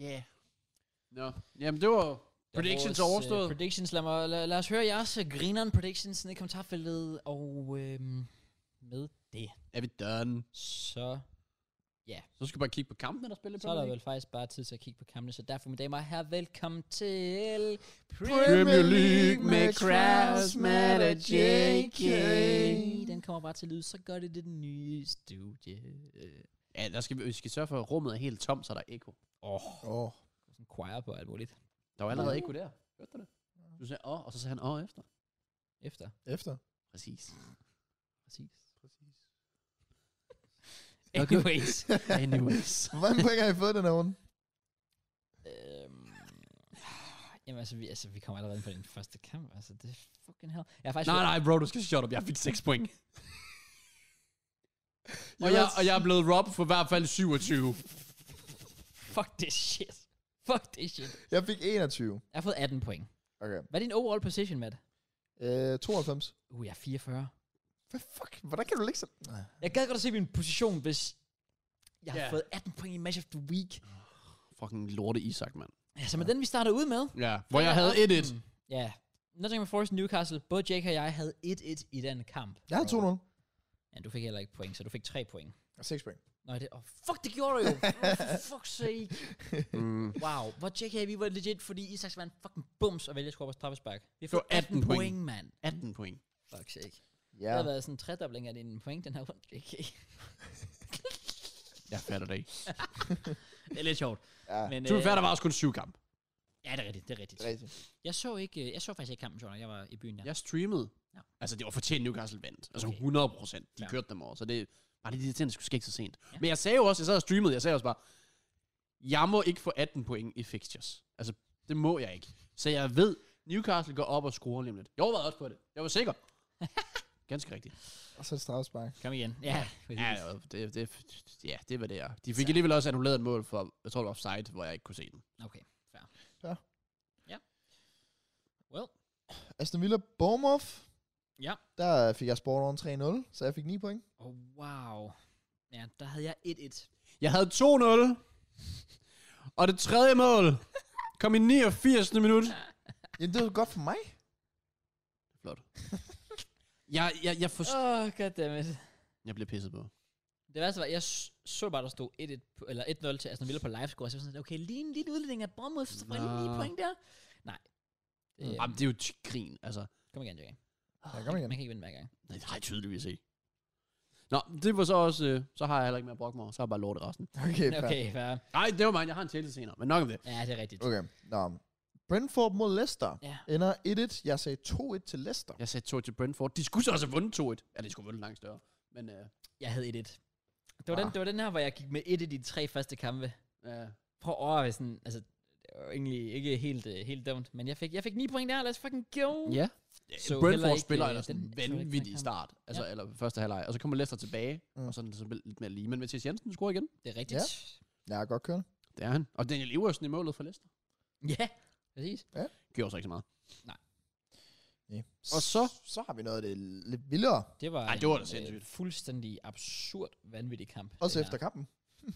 B: Yeah. Nå, jamen det var
A: Vores,
B: predictions
A: øh,
B: overstået.
A: predictions. Lad, mig, lad, lad os høre jeres øh, grineren predictions ned i kommentarfeltet. Og øhm, med det,
B: er vi done?
A: så,
B: Så skal vi bare kigge på kampene, der spiller
A: så er der vel faktisk bare tid til at kigge på kampene. Så derfor, mine damer og herrer, velkommen til
B: Premier League med Kraus, Matt og JK.
A: Den kommer bare til at lyde, så gør det det nye studie. Øh,
B: Ja, der skal vi, vi skal sørge for, at rummet er helt tomt, så der er ekko.
A: Åh, oh,
C: Åh. Oh.
A: sådan choir på alt muligt.
B: Der var allerede
C: Ja.
B: ekko der. Hørte du det? Du sagde åh, og så sagde han åh efter.
A: Efter,
C: Efter.
B: Præcis.
A: præcis.
C: Præcis.
B: Okay.
A: Anyways.
B: Anyways.
C: Hvordan point har I fået den her runde?
A: øhm, jamen altså vi, altså, vi kommer allerede ind på den første kamp. Altså, det er fucking hell. Jeg har faktisk...
B: nej, nej, bro, du skal shut up. Jeg fik 6 point. og,
C: Jeg
B: jeg,
C: var-
B: og jeg er blevet robbed for i hvert fald 27.
A: Fuck det shit. Fuck det shit.
C: Jeg fik 21.
A: Jeg har fået 18 point.
C: Okay.
A: Hvad er din overall position, Matt?
C: Øh, 92.
A: Uh, jeg er 44.
C: Hvad fuck? Hvordan kan du ligge så... Nej.
A: Jeg gad godt at se min position, hvis jeg yeah.
B: Ja.
A: har fået 18 point i Match of the Week.
B: Fucking lorte Isak, mand.
A: Altså, men den vi starter ud med.
B: Ja, hvor jeg havde 1-1.
A: Mm, Ja. Nottingham Forest Newcastle. Både Jake og jeg havde 1-1 i den kamp.
C: Jeg har 2-0.
A: Ja, du fik heller ikke point, så du fik 3 point.
C: Og 6 point.
A: Nej, det... Oh, fuck, det gjorde du jo! Oh, for fuck's sake!
B: Mm.
A: Wow, hvor Jake og jeg, vi var legit, fordi Isaks var en fucking bums og vælge at score på straffespark. Vi har
B: Det var
A: fået 18,
B: 18
A: point,
B: point.
A: mand.
B: 18 point.
A: Fuck sake. Ja.
C: Ja.
A: Det har været sådan en tredobling af din point, den her rundt, Jake.
B: Jeg fatter det ikke.
A: det er lidt sjovt.
C: Ja.
A: Men, øh,
B: Du fatter, der var også kun syv kamp.
A: ja, det er rigtigt, det er rigtigt.
C: Det er rigtigt.
A: Jeg så, ikke, øh, jeg så faktisk ikke kampen, sjovt nok. jeg var i byen der.
B: Jeg streamede.
A: Ja.
B: Altså, det var fortjent Newcastle vandt. Altså,
A: Okay.
B: 100 procent. De
A: Ja.
B: kørte dem over, så det var lige de ting, der skulle ske ikke så sent.
A: Ja.
B: Men jeg sagde jo også, jeg sad og streamede, jeg sagde også bare, jeg må ikke få 18 point i fixtures. Altså, det må jeg ikke. Så jeg ved, Newcastle går op og scorer lige om lidt. Jeg var også på det. Jeg var sikker. Ganske rigtigt.
C: Og så er det straffespark.
A: Kom igen. Ja,
B: Ja,
A: præcis.
B: det, var- det, det, ja, det var det, jeg. De fik alligevel også annulleret et mål for, jeg tror, det var offside, hvor jeg ikke kunne se den.
A: Okay, fair.
C: Fair.
A: Ja. Well,
C: Aston Villa Bournemouth.
A: Ja.
C: Der fik jeg sport over en 3-0, så jeg fik 9 point.
A: oh, wow. Ja, der havde jeg 1-1.
B: Jeg havde 2-0. Og det tredje mål kom i 89. minut.
C: Jamen, det var godt for mig.
B: Jeg, jeg, jeg, for,
A: Åh, oh, goddammit.
B: Jeg bliver pisset på.
A: Det værste var, jeg s- så bare, der stod 1-1, på- eller 1-0 til Aston Villa på livescore, og så var jeg sådan, okay, lige en lille udligning af Bournemouth, så får jeg lige
B: Nå.
A: lige point der. Nej. Det,
C: Mm.
A: mm.
B: Jamen, det er jo t- grin, altså.
A: Kom igen, Jørgen.
C: Ja, kom igen.
A: Man kan ikke vinde hver gang.
B: Nej, det har jeg tydeligvis ikke. Nå, det var så også, øh, så har jeg heller ikke mere at brokke mig, over. så har jeg bare lort i resten.
C: Okay, fair.
A: Okay, fair.
B: Nej, det var mig, jeg har en Chelsea senere, men nok om det.
A: Ja, det er rigtigt.
C: okay. Nå. Brentford mod Leicester.
A: Ja.
C: Ender 1-1. Jeg sagde 2-1 til Leicester.
B: Jeg sagde 2 til Brentford. De skulle så også have vundet 2-1. Ja, de skulle have vundet langt større. Men øh,
A: Jeg havde 1-1. Det var, den,
C: Ah.
A: det var den her, hvor jeg gik med 1 i de tre første kampe.
B: ja,
A: Prøv at overveje sådan, altså, det var egentlig ikke helt, øh, helt dumt, men jeg fik, jeg fik 9 point der, lad os fucking go.
B: ja.
A: Så
B: Så
A: heller
B: Brentford
A: ikke,
B: spiller
A: øh,
B: ellers
A: den-
B: en
A: så heller ikke
B: vanvittig
A: den
B: start, altså, eller første halvleg, og så kommer Leicester tilbage,
C: Mm.
B: og så er det så lidt mere lige. Men Mathias Jensen scorer igen.
A: Det er rigtigt. Ja.
C: Jeg er godt kørende.
B: Det er han. Og Daniel Iversen i målet for Leicester.
A: ja. Præcis.
B: Gjorde så ikke så meget.
C: Ja.
B: Og så-
C: så har vi noget af det lidt vildere.
A: Det var,
B: Ej, det var da
A: en, øh,
B: sindssygt.
A: fuldstændig absurd vanvittig kamp.
C: Også
A: det
C: efter
A: her.
C: kampen.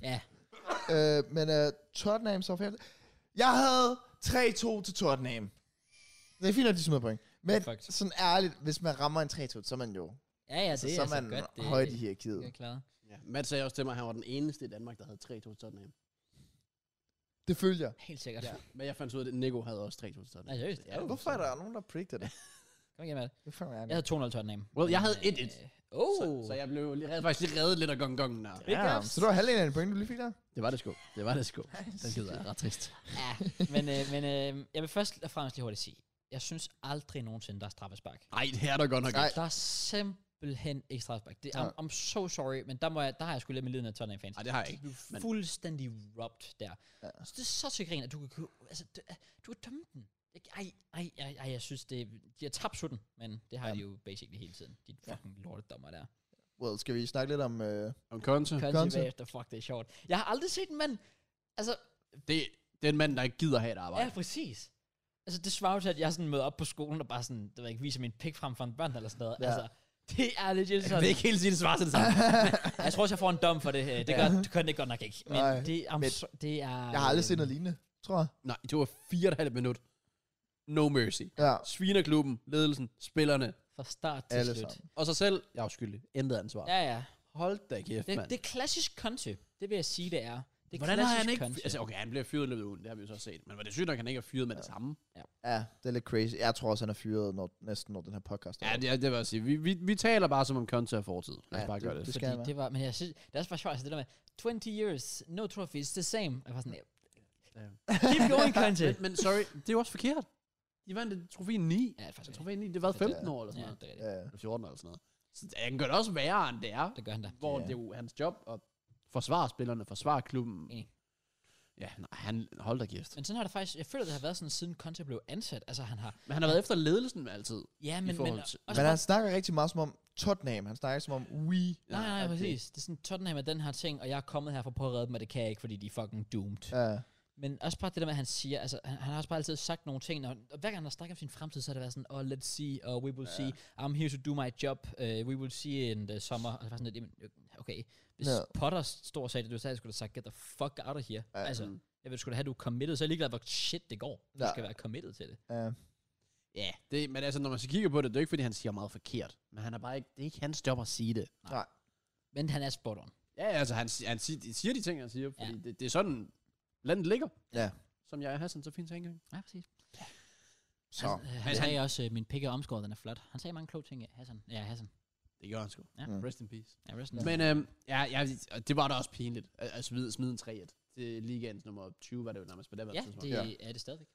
A: Ja.
C: Øh, men uh, Tottenham Southampton. Jeg havde 3-2 til Tottenham. Det er fint, at de smider point. Men
A: Fuck.
C: sådan ærligt, hvis man rammer en 3-2, så er man jo
A: Ja, ja, det
C: så,
A: er
C: så er
A: altså
C: man
A: godt. Det,
C: højt i
A: det,
C: hierarkiet.
A: det er klaret.
B: Ja. Matt sagde også til mig, at han var den eneste i Danmark, der havde 3-2 til Tottenham.
C: Det følger jeg.
A: Helt sikkert. Ja.
B: Ja. Men jeg fandt så ud af, at Nico havde også 3-2 til Tottenham.
A: Nej, seriøst?
B: Ja,
A: Oh.
C: Hvorfor er der nogen, der predicted det?
A: Kom igen, Matt.
C: Det er fandme
A: Jeg
C: ærligt.
A: havde 2-0 Tottenham.
B: Well, jeg
A: Men,
B: havde
A: øh,
B: 1-1.
A: Oh.
B: Så, så jeg blev lige, reddet, faktisk lige reddet lidt af gongongen der.
A: Big
C: Ja,
A: ups.
C: så det var halvdelen af en point, du lige fik der?
B: Det var det sgu. Det var det sgu. Det gider jeg ret trist.
A: Ja, men, øh, men øh, jeg vil først og fremmest lige hurtigt sige, jeg synes aldrig nogensinde, der er straffespark.
B: Nej, det er der godt nok
C: Nej.
B: ikke.
A: Der er simpelthen ikke straffespark. Det, I'm,
C: Nej.
A: I'm, so sorry, men der, må jeg, der har jeg sgu lidt med liden af Tottenham fans.
B: Nej, det har jeg ikke.
A: Du
B: men-
A: er fuldstændig robbed der.
C: Ja.
A: Ja. Så det er så til grin, at du kan købe, altså, du, du kan dømme den. Jeg- Ej, ej, ej, ej, jeg synes, det, de har tabt 17, men det har
C: Ja.
A: de jo basically hele tiden. De fucking ja. lortedommer der.
C: Well, skal vi snakke lidt om... Øh,
B: Om Conte.
A: Conte
C: Conte.
A: bagefter, fuck, det er sjovt. Jeg har aldrig set en mand, altså,
B: Det, det er en mand, der ikke gider have et
A: ja,
B: arbejde.
A: præcis. Altså, det svarer jo til, at jeg sådan møder op på skolen og bare sådan, det ved jeg ikke, viser min pik frem for en børn eller sådan noget.
C: Ja.
A: Ja. Altså, det er legit
B: Jeg vil
A: sådan.
B: ikke helt sige det svar til det samme.
A: jeg tror også, jeg får en dom for det. øh, Det gør, det gør det godt nok ikke. Men
C: Nej,
A: det, er,
C: men
A: so, det er...
C: jeg har aldrig
A: øhm,
C: set noget lignende, tror jeg.
B: Nej, det var fire og et halvt minut. No mercy.
C: Ja,
B: Svinerklubben, ledelsen, spillerne
A: Fra start til
C: alle
A: slut.
C: sammen.
B: og sig selv. Jeg er skyldig. Intet ansvar.
A: Ja, ja.
B: Hold da kæft,
A: Det,
B: mand.
A: det er klassisk Conte. Det vil jeg sige, det er. Det er
B: Hvordan har
A: klassisk
B: han ikke...
A: Conte.
B: Altså, okay, han bliver fyret i løbet af ugen. Det har vi jo så set. Men var det sygt, at han ikke er fyret med det samme?
C: Ja, det er lidt crazy. Jeg tror også, han er fyret når, næsten, når den her podcast er.
B: Ja, det, det vil jeg sige. Vi, vi, vi taler bare som om Conte er fortid. Lad os
C: Ja,
B: bare gøre det.
C: det
A: det,
C: skal
A: fordi
C: han være.
A: det var, men jeg synes, det er også bare sjovt, altså det der med, 20 years, no trophies, the same. Jeg var sådan, ja. keep going, Conte.
B: Men, men sorry, det er jo også forkert. De vandt et trofæ 9.
A: ja, det er faktisk rigtigt.
B: Trofæ 9, det var
C: Så det er-
B: 15 år eller sådan
A: Ja,
B: noget.
A: det er rigtigt.
C: Ja.
B: Eller 14 eller sådan noget. Så det- han gør det også værre, end det er.
A: Det gør han da.
B: Hvor
C: Ja.
B: det er jo hans job at forsvare spillerne, forsvare klubben.
A: Enig.
B: Ja, nej, han holder da kæft.
A: Men sådan har det faktisk, jeg føler, det har været sådan, siden Conte blev ansat. Altså han har,
B: Men han har været efter ledelsen altid.
A: ja, men, men
B: forhold til-
A: også
C: Men
A: bare-
C: han snakker rigtig meget som om Tottenham. Han snakker som om we.
A: Nej, nej,
B: Ja,
A: okay.
B: okay.
A: præcis. Det er sådan, Tottenham er den her ting, og jeg er kommet her for at prøve at redde dem, og det kan jeg ikke, fordi de er fucking doomed. Ja.
C: Ja,
A: Men også bare det der med, at han siger, altså, han, han har også bare altid sagt nogle ting, og, og hver gang han har snakket om sin fremtid, så har det været sådan, oh, let's see, og we will see, I'm here to do my job, uh, we will see in the summer, og så bare sådan lidt, "Jamen, okay, hvis
C: Ja.
A: Potter stod og sagde det, du sagde, jeg skulle have sagt, get the fuck out of here.
C: Ja.
A: Altså, jeg vil sgu da have, at du er committed, så er jeg ligeglad, hvor shit det går. Du
C: Ja.
A: skal være committed til det.
C: ja.
A: Ja,
B: Det, men altså, når man så kigger på det, det er ikke, fordi han siger meget forkert. Men han er bare ikke, det er ikke hans job at sige det.
A: men han er spot on.
B: Ja, altså, han, si- han si- de siger de ting, han siger, fordi
A: Ja.
B: ja. det, det, er sådan, landet ligger.
C: Ja.
B: Som jeg Hassan så fint tænker.
A: Ja, præcis.
C: Så.
A: Han, øh, han
B: Men
A: sagde også, øh, min pikke er omskåret, den er flot. Han sagde mange kloge ting, ja, Hassan. Ja, Hassan.
B: Det gør han sgu.
A: Ja.
C: Mm.
B: Rest in peace.
A: Ja, resten.
B: Ja. Men øhm, ja, ja, og det var da også pinligt at, at smide, smide en 3-1. Det er ligaens nummer 20, var det jo nærmest på det her
A: Ja,
B: tidspunkt.
A: det
C: Ja.
A: ja. er det stadigvæk.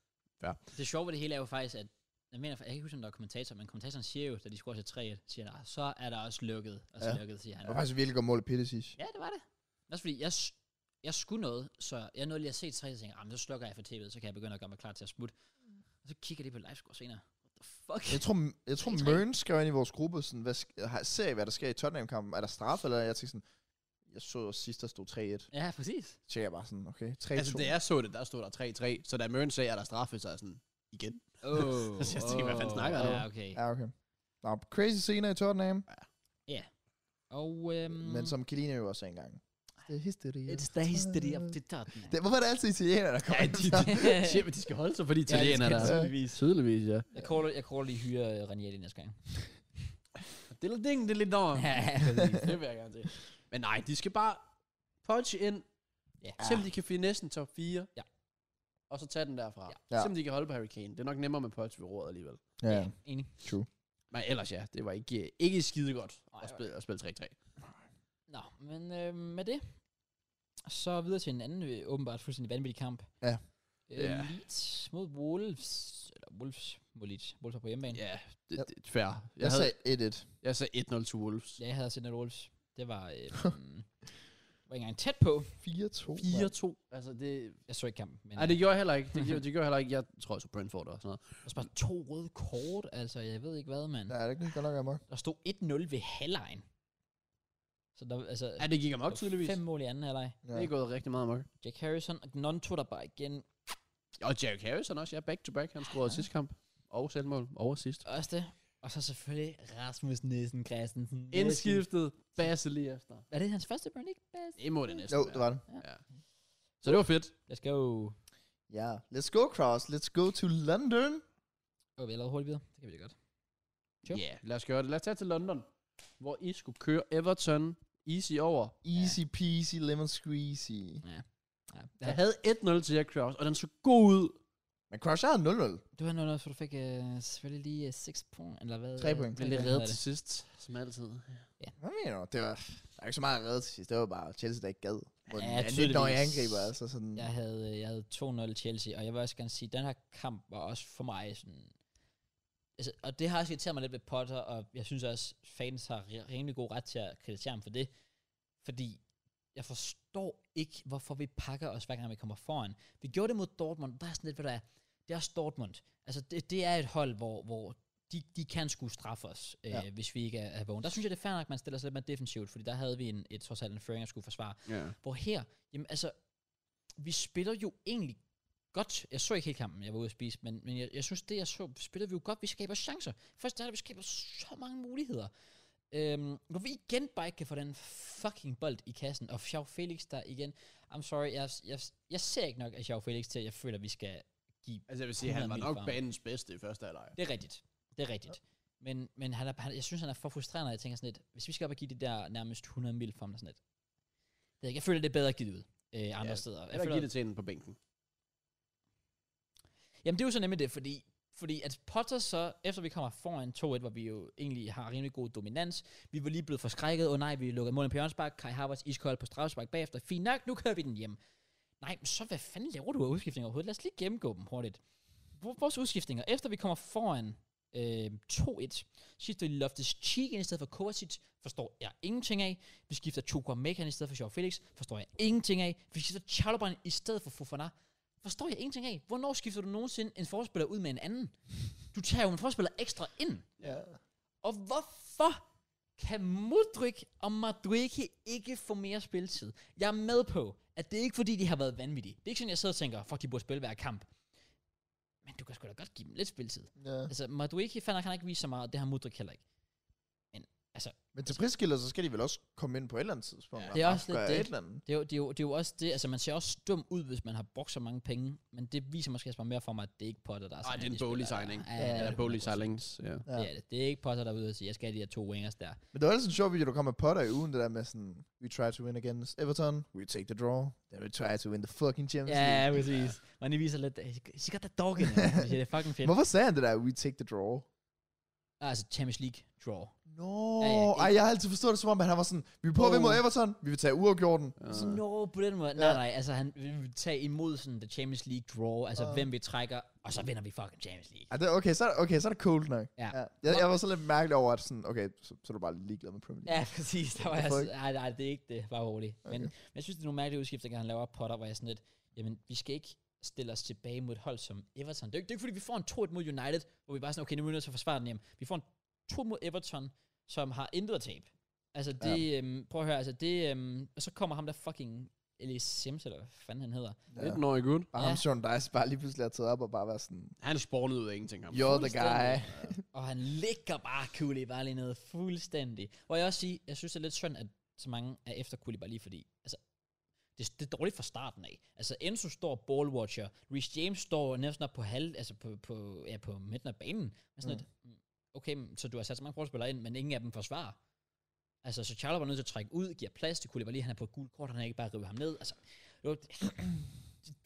B: Ja.
A: Det sjove ved det hele er jo faktisk, at jeg mener, jeg kan ikke huske, om der er kommentator, men kommentatoren siger jo, da de scorer til 3 siger der, så er der også lukket, og så
C: Ja.
A: ja. lukket, siger
C: Det
A: han.
C: var faktisk et virkelig godt mål i Pittisic.
A: Ja, det var det. Også fordi, jeg, s- jeg skulle noget, så jeg nåede lige at se 3 og tænkte, "Ah, men så slukker jeg for tv'et, så kan jeg begynde at gøre mig klar til at smutte. Og så kigger de på livescore senere. What the fuck?
C: Jeg tror, jeg tror
A: Tre-tre.
C: Møn skrev ind i vores gruppe, sådan, hvad, sk- har- ser I, hvad der sker i Tottenham-kampen? Er der straf, eller jeg tænkte sådan, jeg så sidst, der stod 3-1.
A: Ja, præcis.
C: Så tænkte jeg bare sådan, okay, 3-2.
B: Altså, da jeg så det, der stod der 3-3, så da Møren sagde, at der er straffe, så er jeg sådan, igen.
A: Oh,
B: Så jeg tænker, hvad fanden snakker han om?
A: ja, okay.
C: Ja, okay. Nå, crazy scener i Tottenham,
B: Mm.
A: Og, øhm,
C: mm. men som Kilina jo også sagde engang. Det er history.
A: It's the history of the Tottenham.
C: Det, hvorfor er det altid italiener, der kommer?
B: Ja, de, de, shit, men de skal holde sig for de
A: skal
B: italienere,
A: de
B: der.
C: tydeligvis.
B: Tydeligvis, ja.
A: øh, Jeg caller, jeg caller lige hyre uh, Ranieri næste gang.
B: Det er lidt ding, det er lidt dår.
A: Ja, præcis.
B: det vil jeg gerne se. Men nej, de skal bare punch ind,
A: ja.
B: se om de kan finesse en top 4.
A: Ja.
B: Og så tage den derfra.
C: Ja.
B: Ja. Se om de kan holde på Hurricane. Det er nok nemmere med punch ved roret alligevel.
C: Ja,
A: ja. Enig.
C: true.
B: Men ellers ja, det var ikke, ikke skide godt
A: Nej,
B: at
A: nej.
B: spille, at spille 3-3.
A: Nå, men øh, med det, så videre til en anden øh, åbenbart fuldstændig vanvittig kamp.
C: Ja.
A: Øh,
B: Ja.
A: Leeds mod Wolves, eller Wolves mod Leeds. Wolves var på hjemmebane.
B: Ja, det,
C: Ja.
B: det er fair. Jeg,
C: Jeg, jeg
B: havde,
C: sagde 1-1.
B: jeg sagde 1-0 til Wolves.
A: Ja, jeg havde set Wolves. Det var, øh, var ikke engang tæt på.
C: 4-2.
B: 4-2. Altså det...
A: Jeg så ikke kampen, men øh,
B: Nej, det gjorde jeg heller ikke. Det gjorde, det gjorde jeg heller ikke. Jeg tror, jeg så Brentford og sådan noget.
A: også bare to røde kort, altså jeg ved ikke hvad, mand.
C: Ja, det er ikke godt nok amok.
A: Der stod 1-0 ved halvlejen. Så der, altså,
B: Ja, det gik ham op
A: der var
B: tydeligvis.
A: fem mål i anden halvleg.
C: Ja.
B: Det er gået rigtig meget amok.
A: Jack Harrison, og non tog der bare igen.
B: Og Jack Harrison også, ja. Back-to-back. Han scorede ja. sidste kamp. Og selvmål. Og sidst.
A: Også det. Og så selvfølgelig Rasmus Nielsen Christensen.
B: Indskiftet. Basse lige efter.
A: Er det hans første Premier League pass?
B: Det må det næsten
C: Jo, det var det.
B: Ja. Så det var fedt.
A: Jeg skal jo...
C: Ja. Let's go, Cross. Let's go to London.
A: Åh, vi er allerede hurtigt videre. Det kan vi da godt.
B: Ja,
A: Jo.
B: yeah, lad os gøre det. Lad os tage til London, hvor I skulle køre Everton easy over.
C: Easy peasy, lemon squeezy.
A: Ja.
B: Ja. Jeg havde 1-0 til jer, Kraus, og den så god ud.
C: Men Cross, jeg havde 0-0.
A: Du har noget, for du fik øh, selvfølgelig lige øh, 6 point, eller hvad?
C: Tre point.
B: Men
A: Blev
B: det
A: det
B: reddet
A: reddet
B: til sidst, som altid.
C: Hvad mener du? Det var, der er ikke så meget at redde til sidst. Det var bare Chelsea, der ikke gad. Hvor
A: Ja,
C: den anden
A: tydeligvis.
C: når jeg angriber, altså sådan...
A: Jeg havde, øh, jeg havde 2-0 Chelsea, og jeg vil også gerne sige, at den her kamp var også for mig sådan... Altså, og det har også irriteret mig lidt ved Potter, og jeg synes også, fans har ri- rimelig god ret til at kritisere ham for det. Fordi jeg forstår ikke, hvorfor vi pakker os, hver gang vi kommer foran. Vi gjorde det mod Dortmund, der er sådan lidt, hvad der er. Det er også Dortmund. Altså, det, det er et hold, hvor, hvor de, de kan skulle straffe os, øh,
C: Ja.
A: ja. hvis vi ikke er, er vågen. Der synes jeg, det er fair nok, at man stiller sig lidt mere defensivt, fordi der havde vi en, et, trods alt en føring, at skulle forsvare.
B: Ja.
A: Hvor her, jamen altså, vi spiller jo egentlig godt. Jeg så ikke hele kampen, jeg var ude at spise, men, men jeg, jeg synes, det jeg så, spiller vi jo godt. Vi skaber chancer. Først er det, vi skaber så mange muligheder. Øhm, hvor vi igen bare ikke kan få den fucking bold i kassen. Og Xiao Felix der igen. I'm sorry, jeg, jeg, jeg ser ikke nok af Xiao Felix til, at jeg føler, at vi skal give...
B: Altså jeg vil sige, han var
A: 100
B: nok
A: mil frem.
B: banens bedste i første halvleg.
A: Det er rigtigt. Det er rigtigt. Men, men han er, han, jeg synes, han er for frustrerende, og jeg tænker sådan lidt, hvis vi skal op og give det der nærmest 100 mil for ham, og sådan lidt. Det, ved jeg ikke, jeg føler, det er bedre givet ud øh, andre
B: Ja,
A: steder.
B: Jeg Altså, vil give det til en på bænken.
A: Jamen det er jo så nemlig det, fordi, fordi at Potter så, efter vi kommer foran 2-1, hvor vi jo egentlig har rimelig god dominans, vi var lige blevet forskrækket, og nej, vi lukkede målen på hjørnsbak, Kai Havertz iskold på strafspark bagefter, fint nok, nu kører vi den hjem. Nej, men så hvad fanden laver du af udskiftninger overhovedet? Lad os lige gennemgå dem hurtigt. Hvor- Vores udskiftninger, efter vi kommer foran øh, 2-1, skifter vi Loftus Cheek ind i stedet for Kovacic, forstår jeg ingenting af. Vi skifter Chukwameka Mekan i stedet for Joao Felix, forstår jeg ingenting af. Vi skifter Chalobah i stedet for Fofana, forstår jeg ingenting af. Hvornår skifter du nogensinde en forspiller ud med en anden? Du tager jo en forspiller ekstra ind.
C: Ja.
A: Og hvorfor kan Mudryk og Madryki ikke få mere spilletid? Jeg er med på, at det er ikke fordi, de har været vanvittige. Det er ikke sådan, jeg sidder og tænker, fuck, de burde spille hver kamp. Men du kan sgu da godt give dem lidt spilletid.
C: ja.
A: Altså, Madryki fandt, han ikke vise så meget, og det har Mudryk heller ikke.
C: Men til prisskilder, så skal de vel også komme ind på et eller andet tidspunkt.
B: Ja.
C: og
A: Det er
C: bare
A: også lidt
C: gøre
A: det.
C: Et eller andet.
A: Det er, jo, det, er jo, det er jo også det, altså man ser også dum ud, hvis man har brugt så mange penge, men det viser måske også bare mere for mig, at det er ikke Potter, der er
B: Nej, Ah, det er
A: en
B: en bolig signing.
A: Ja,
B: Ja,
A: det
B: det
A: er
B: er bolig signings. Ja.
C: Ja.
A: Ja. Det er det. Det er ikke Potter, der er ude og sige, jeg skal have de her to wingers der.
C: Men det var ellers en sjov video, der kom med Potter i ugen, det der med sådan, we try to win against Everton, we take the draw, then we try to win the fucking Champions League.
A: Ja, præcis. Man, de viser lidt, she got that dog in her. Det er fucking fedt.
C: Hvorfor sagde han det der, we take the draw?
A: Altså, Champions League draw.
C: Nå,
A: Ja, ja, ikke-
C: ej, jeg har altid forstået det som om, at han var sådan, vi er på oh. ved mod Everton, vi vil tage uafgjorten.
B: Ja.
A: Så no, på den måde.
C: Ja.
A: Nej, nej, altså han vil tage imod sådan the Champions League draw, altså
C: Ja.
A: hvem vi trækker, og så vinder vi fucking Champions League.
C: Ja, det, okay, så er, okay, så er det cold nok.
A: Ja.
C: Jeg, jeg var så lidt mærkelig over, at sådan, okay, så, så er du bare ligeglad med Premier League.
A: Ja, præcis. Der var
C: What
A: jeg,
C: the
A: s- nej, nej, det er ikke det. Bare roligt. Okay. Men, men jeg synes, det er nogle mærkelige udskifter, han laver Potter, hvor jeg sådan lidt, jamen, vi skal ikke stille os tilbage mod et hold som Everton. Det er jo ikke, det er ikke fordi, vi får en 2-1 mod United, hvor vi bare sådan, okay, nu er vi nødt til at forsvare den hjem. Vi får en 2 mod Everton, som har intet at tabe. Altså, det, ja. øhm, prøv at høre, altså, det, øhm, og så kommer ham der fucking Elias Sims, eller hvad fanden han hedder.
C: Ja.
B: 19-årig gut.
C: Bare
A: Ja.
C: ham, Sean Dice, bare lige pludselig har taget op og bare været sådan,
B: Han spawnede ud af ingenting. Ham.
C: you're the guy.
A: Fuldstændig. Og han ligger bare Koulibaly ned fuldstændig. Hvor jeg også siger, jeg synes, det er lidt synd, at så mange er efter Koulibaly, fordi altså, det, det er dårligt fra starten af. Altså Enzo står ballwatcher, Rhys James står næsten op på halv, altså på, på, ja, på midten af banen. Men sådan mm. okay, men så du har sat så mange forspillere ind, men ingen af dem forsvarer. Altså, så Charlo var nødt til at trække ud, giver plads til Koulibaly, han er på et gult kort, han kan ikke bare rive ham ned. Altså, det var et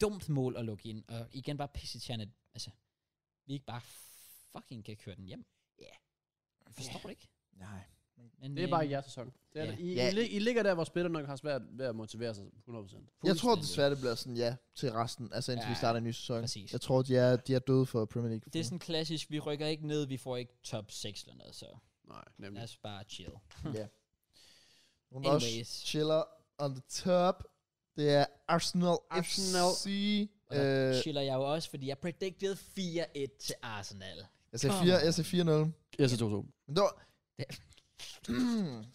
A: dumt mål at lukke ind, og igen bare pissetjerne, altså, vi ikke bare fucking kan køre den hjem. Ja. Yeah. Jeg forstår det ikke.
C: Nej.
A: Men,
B: Det er
A: øh,
B: bare ikke jeres sæson. Det er,
A: Ja.
B: yeah. I,
C: Ja.
B: I, lig- I, ligger der, hvor spillerne nok har svært ved at motivere sig 100%.
C: Jeg tror
A: fuldstændig.
C: desværre, det bliver sådan ja til resten, altså indtil ja, vi
A: Ja,
C: starter en ny sæson.
A: præcis.
C: Jeg tror, de er, de er døde for Premier League.
A: Det er sådan klassisk, vi rykker ikke ned, vi får ikke top 6 eller noget, så
B: Nej,
A: lad
B: nemlig.
A: os bare chill.
C: Nogle der også
A: Anyways.
C: chiller on the top. Det er Arsenal,
B: Arsenal.
C: FC.
A: Og
C: Øh,
A: der chiller jeg jo også, fordi jeg predicted 4-1 til Arsenal.
C: jeg sagde
A: Come
C: 4
A: on.
C: jeg sagde 4-0.
B: Jeg siger 2-2.
C: Men det var...
A: Det-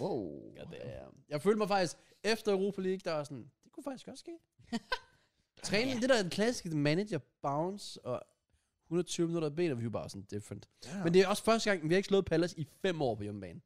C: wow.
B: Ja. Jeg følte mig faktisk, efter Europa League, der var sådan, det kunne faktisk godt ske. Træning, det der er en klassisk manager bounce, og 120 minutter af ben, og vi var bare sådan different.
C: Damn.
B: Men det er også første gang, vi har ikke slået Palace i fem år på hjemmebane.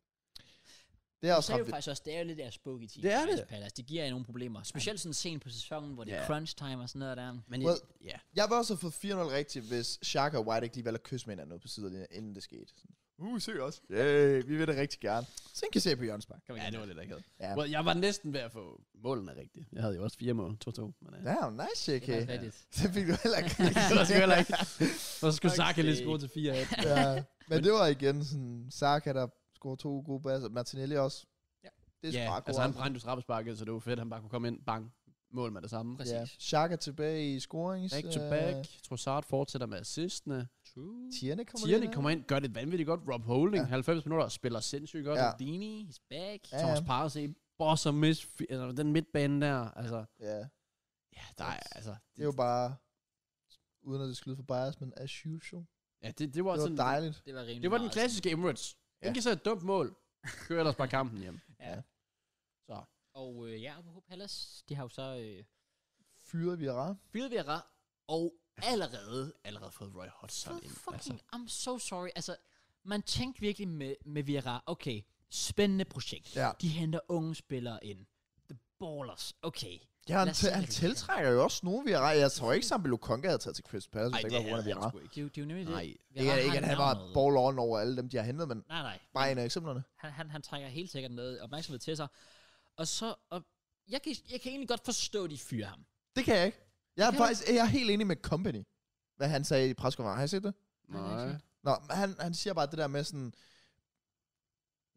C: Det er
A: Jeg
C: også
A: sagde
C: ret
A: jo
C: vildt.
A: faktisk også, det er jo lidt af spooky team.
B: Det er
A: Crystal
B: det.
A: Palace. Det giver jer nogle problemer. Specielt sådan sent på sæsonen, hvor det er
B: Ja.
A: crunch time og sådan noget der.
B: Men
C: Well,
B: ja.
C: Jeg ville også have fået 4-0 rigtigt, hvis Shaka og White ikke lige valgte at kysse med hinanden ude på sidelinjen, inden det skete. Sådan, Uh, se os. Yeah, vi vil det rigtig gerne. Så kan se på Jørgens Bank.
A: Kom
B: ja, det var lidt akavet.
C: Ja.
B: Well, jeg var næsten ved at få målene rigtigt. Jeg havde jo også fire mål, 2-2. Men, ja.
C: Damn, nice, JK.
A: Det er faktisk rigtigt.
C: Det fik du heller ikke.
B: Det var sgu heller ikke. Og så skulle
A: Fuck's
B: Saka lige
A: sake.
B: score til 4-1.
C: ja. Men det var igen sådan, Saka, der scorede to gode baser. Martinelli også.
A: Ja.
C: Det er sgu
B: Ja,
C: ret
B: altså
C: godt.
B: han brændte jo straffesparket, så det var fedt, han bare kunne komme ind, bang, mål med det samme.
A: Præcis.
C: Ja. Shaka tilbage i scorings. øh,
B: Back to back, Trossard fortsætter med assistene.
A: True.
C: Tierne kommer lige
B: Tierney
C: ind.
B: kommer ind, gør det vanvittigt godt. Rob Holding,
C: Ja.
B: ja. 90 minutter, spiller sindssygt godt.
C: Ja.
B: Ja.
A: Dini, he's back.
C: Ja.
B: Thomas Parse, boss og miss, fi- altså, den midtbane der, altså,
C: Ja,
B: ja, der er, altså,
C: det er jo bare, uden at det skyder for bias, men as usual.
B: ja, det, det var,
C: Det
B: sådan,
C: var dejligt.
A: Det var rimelig
B: det var den
A: meget
B: klassiske Emirates.
C: Ja.
B: Ja. Ikke så et dumt mål, kører ellers bare kampen hjem.
A: sådan. Ja.
C: Ja.
B: Så,
A: Og øh, ja, på Palace, de har jo så øh,
C: Fyret vi er
A: fyret Vera og allerede
B: allerede fået Roy Hodgson
A: for
B: ind.
C: altså.
B: altså.
A: fucking, I'm so sorry. Altså, man tænkte virkelig med, med Vieira, okay, spændende projekt.
C: Ja.
A: De henter unge spillere ind. The Ballers, okay.
C: Ja, han,
A: Lad os se,
C: t-
A: hvad
C: han
A: vi kan.
C: tiltrækker jo også nogen, vi har Jeg tror ikke, Sambi Lukonga havde taget til Chris Palace, hvis det ikke var på grund af Vieira.
A: Det er jo, det er jo nemlig
B: Nej,
A: det.
C: Ikke,
A: Vieira
C: ikke,
A: har
C: at han var
A: navnet.
C: ball on over alle dem, de har hentet, men
A: Nej, nej.
C: bare en af eksemplerne.
A: Han, han, han trækker helt sikkert noget opmærksomhed til sig. Og så, og jeg kan, jeg kan egentlig godt forstå, at de fyrer ham.
C: Det kan jeg ikke. Jeg er
A: kan du
C: faktisk jeg er helt enig med Company, hvad han sagde i pressekonferencen. Har I set det?
B: Nej.
C: Nå, men han, han siger bare det der med sådan...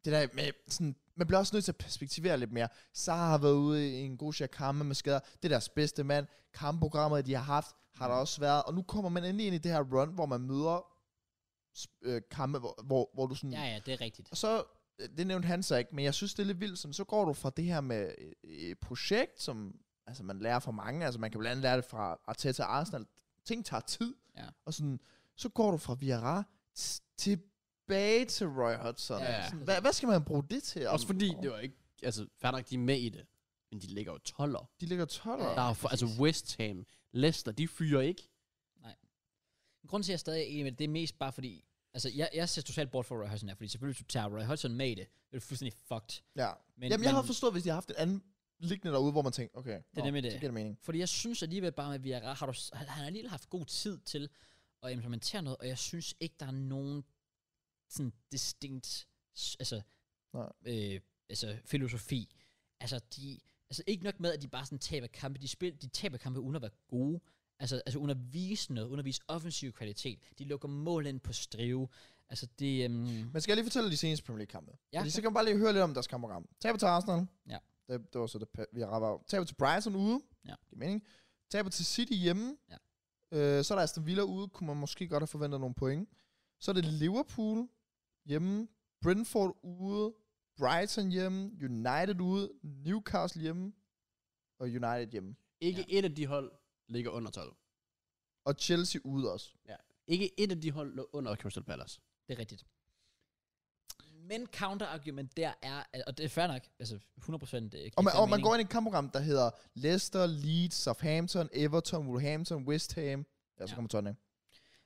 C: Det der med sådan... Man bliver også nødt til at perspektivere lidt mere. Sara har været ude i en god shakarma med skader. Det er deres bedste mand. Kampprogrammet, de har haft, har der også været. Og nu kommer man endelig ind i det her run, hvor man møder sp- øh, kampe, hvor, hvor, hvor du sådan...
A: Ja, ja, det er rigtigt.
C: Og så, øh, det nævnte han så ikke, men jeg synes, det er lidt vildt, sådan, så går du fra det her med øh, et projekt, som altså, man lærer fra mange, altså man kan blandt andet lære det fra Arteta og Arsenal, ting tager tid,
A: Ja.
C: og sådan, så går du fra Vieira t- tilbage til Roy Hodgson.
A: Ja.
C: Sådan, hvad, hvad skal man bruge det til?
B: Også fordi, det var ikke, altså, fair nok, de er med i det, men de ligger jo 12 år.
C: De ligger 12 år.
B: Der
C: Ja.
B: er, for, altså West Ham, Leicester, de fyrer ikke.
A: Grunden til, at jeg stadig er enig med det, det er mest bare fordi, altså jeg, jeg ser totalt bort for Roy Hodgson her, fordi selvfølgelig, hvis du tager Roy Hodgson med i det, det er det fuldstændig fucked.
C: ja.
A: Men,
C: Jamen, jeg
A: men,
C: har forstået, hvis de har haft en anden liggende derude, hvor man tænker, okay, det,
A: er nemlig det.
C: det giver det mening.
A: Fordi jeg synes alligevel bare, at Vieira har, du, s- han han har alligevel haft god tid til at implementere noget, og jeg synes ikke, der er nogen sådan distinkt s- altså,
C: Nej.
A: øh, altså, filosofi. Altså, de, altså ikke nok med, at de bare sådan taber kampe. De, spil, de taber kampe uden at være gode. Altså, altså uden at vise noget, uden at vise offensiv kvalitet. De lukker mål ind på strive. Altså, det... Øhm,
C: Men skal jeg lige fortælle de seneste Premier League-kampe?
A: Ja,
C: Ja.
A: klar.
C: Fordi så kan man bare lige høre lidt om deres kampprogram. Taber til Arsenal.
A: Ja.
C: Det, det var så det, pa- vi rapper. Taber til Brighton ude.
A: Ja.
C: Giver mening. Taber til City hjemme.
A: Ja.
C: Øh, så er der Aston Villa ude. Kunne man måske godt have forventet nogle point. Så er det Liverpool hjemme. Brentford ude. Brighton hjemme. United ude. Newcastle hjemme. Og United hjemme.
B: Ikke ja. et af de hold ligger under 12.
C: Og Chelsea ude også.
B: Ikke et af de hold lå under Crystal Palace.
A: Det er rigtigt. Men counterargument der er, og det er fair nok, altså 100% øh, giver
C: Og man,
A: fair
C: og man
A: mening.
C: går ind i et kampprogram, der hedder Leicester, Leeds, Southampton, Everton, Wolverhampton, West Ham. Ja, så
A: Ja.
C: kommer Tottenham.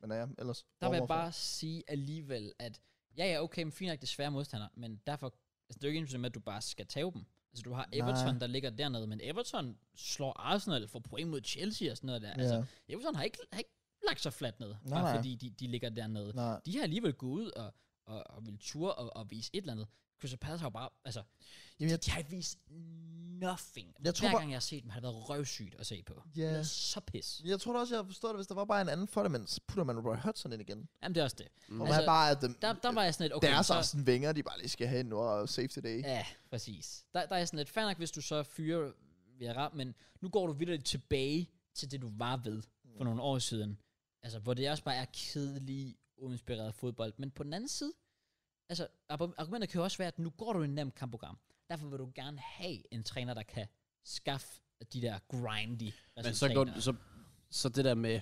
C: Men ja, ellers.
A: Der vil jeg
C: Bournemouth.
A: bare sige alligevel, at ja, ja, okay, men fint nok, det er svære modstandere, men derfor, altså, det er jo ikke ens med, at du bare skal tage dem. Altså, du har Everton,
C: Nej.
A: der ligger dernede, men Everton slår Arsenal for point mod Chelsea og sådan noget der.
C: Ja.
A: Altså, Everton har ikke, har ikke lagt sig fladt ned,
C: Nej,
A: nej, bare
C: nej.
A: fordi de, de ligger dernede. Nej.
C: Nej.
A: De har alligevel gået ud og, og, og vil ture og, og vise et eller andet. Crystal Palace har jo bare, altså,
C: Jamen, jeg,
A: de har ikke vist nothing.
C: Jeg tror
A: Hver
C: bare-
A: gang jeg har set dem, har det været røvsygt at se på. Yeah.
C: Ja.
A: Det er så pis.
C: jeg tror da også, jeg havde forstået det, hvis der var bare en anden for det, men så putter man Roy Hudson ind igen.
A: Jamen, det er også det.
B: Mm.
C: Hvor
A: Altså,
C: man bare er dem,
A: Der, der var jeg sådan lidt, okay,
C: deres
A: så,
C: Arsene Wenger, de bare lige skal have ind nu og save today. Ja.
A: Ja, præcis. Der, der er sådan lidt fair nok, hvis du så fyrer Vieira, men nu går du vildt tilbage til det, du var ved for
C: Mm.
A: nogle år siden. Altså, hvor det også bare er kedelig, uinspireret fodbold. Men på den anden side, altså, argu- argumentet kan jo også være, at nu går du i en nem kampprogram. Derfor vil du gerne have en træner, der kan skaffe de der grindy
B: Men
A: Altså,
B: så, går, så, så det der med,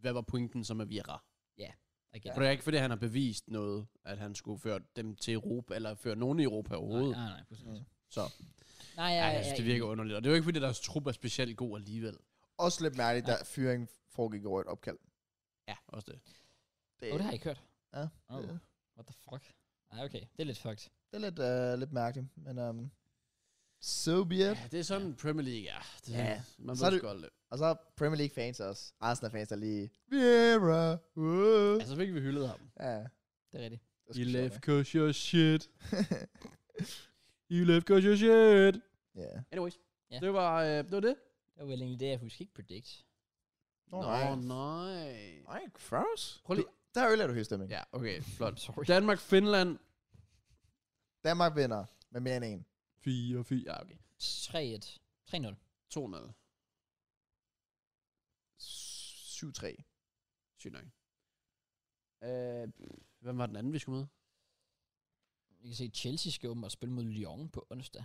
B: hvad var pointen som er Vieira? Ja.
A: igen.
B: For det er ikke, fordi han har bevist noget, at han skulle føre dem til Europa, eller føre nogen i Europa overhovedet.
A: Nej, nej, nej, præcis.
C: Mm.
B: Så
A: Nej, ja,
B: ja,
A: ja,
B: jeg synes,
A: ja,
B: det virker underligt. Og det er jo ikke, fordi deres trup er specielt god alligevel.
C: Også lidt mærkeligt, der fyringen foregik over et opkald.
B: Ja. Også det.
A: Åh, det har jeg ikke hørt.
C: Ja,
A: Oh,
C: det-
A: what the fuck? Ej, okay. Det er lidt fucked.
C: Det er lidt, øh, lidt mærkeligt, men um, so be it.
B: Ja, det er sådan, Premier League er. Det er sådan,
C: Ja.
B: Man
C: Så
B: ved
C: er det-
B: sgu aldrig.
C: Og så Premier League fans også. Arsenal fans, der lige... Vieira! Uh.
B: Altså, fik vi hyldet ham.
C: Ja,
A: Det er rigtigt.
C: det er sgu
B: You
C: sjovt,
B: left
C: ikke?
B: cause you're shit. You left cause you're shit.
C: Ja.
B: Anyways.
A: Ja.
B: Det var, øh, det var det.
A: Det var vel egentlig det, jeg husker ikke predict.
C: Nå, nej.
B: nej.
C: Ej, Kraus.
B: Prøv lige.
C: Der ødelægger du høstemning.
B: Ja, okay, flot.
A: Sorry.
B: Danmark, Finland.
C: Danmark vinder med mere end en.
B: 4, 4. Ja, okay.
A: 3-1. 3-0.
B: 2-0.
C: 7-3.
B: Sygt nok. Øh, hvem var den anden, vi skulle med?
A: Vi kan se, at Chelsea skal åbenbart spille mod Lyon på onsdag.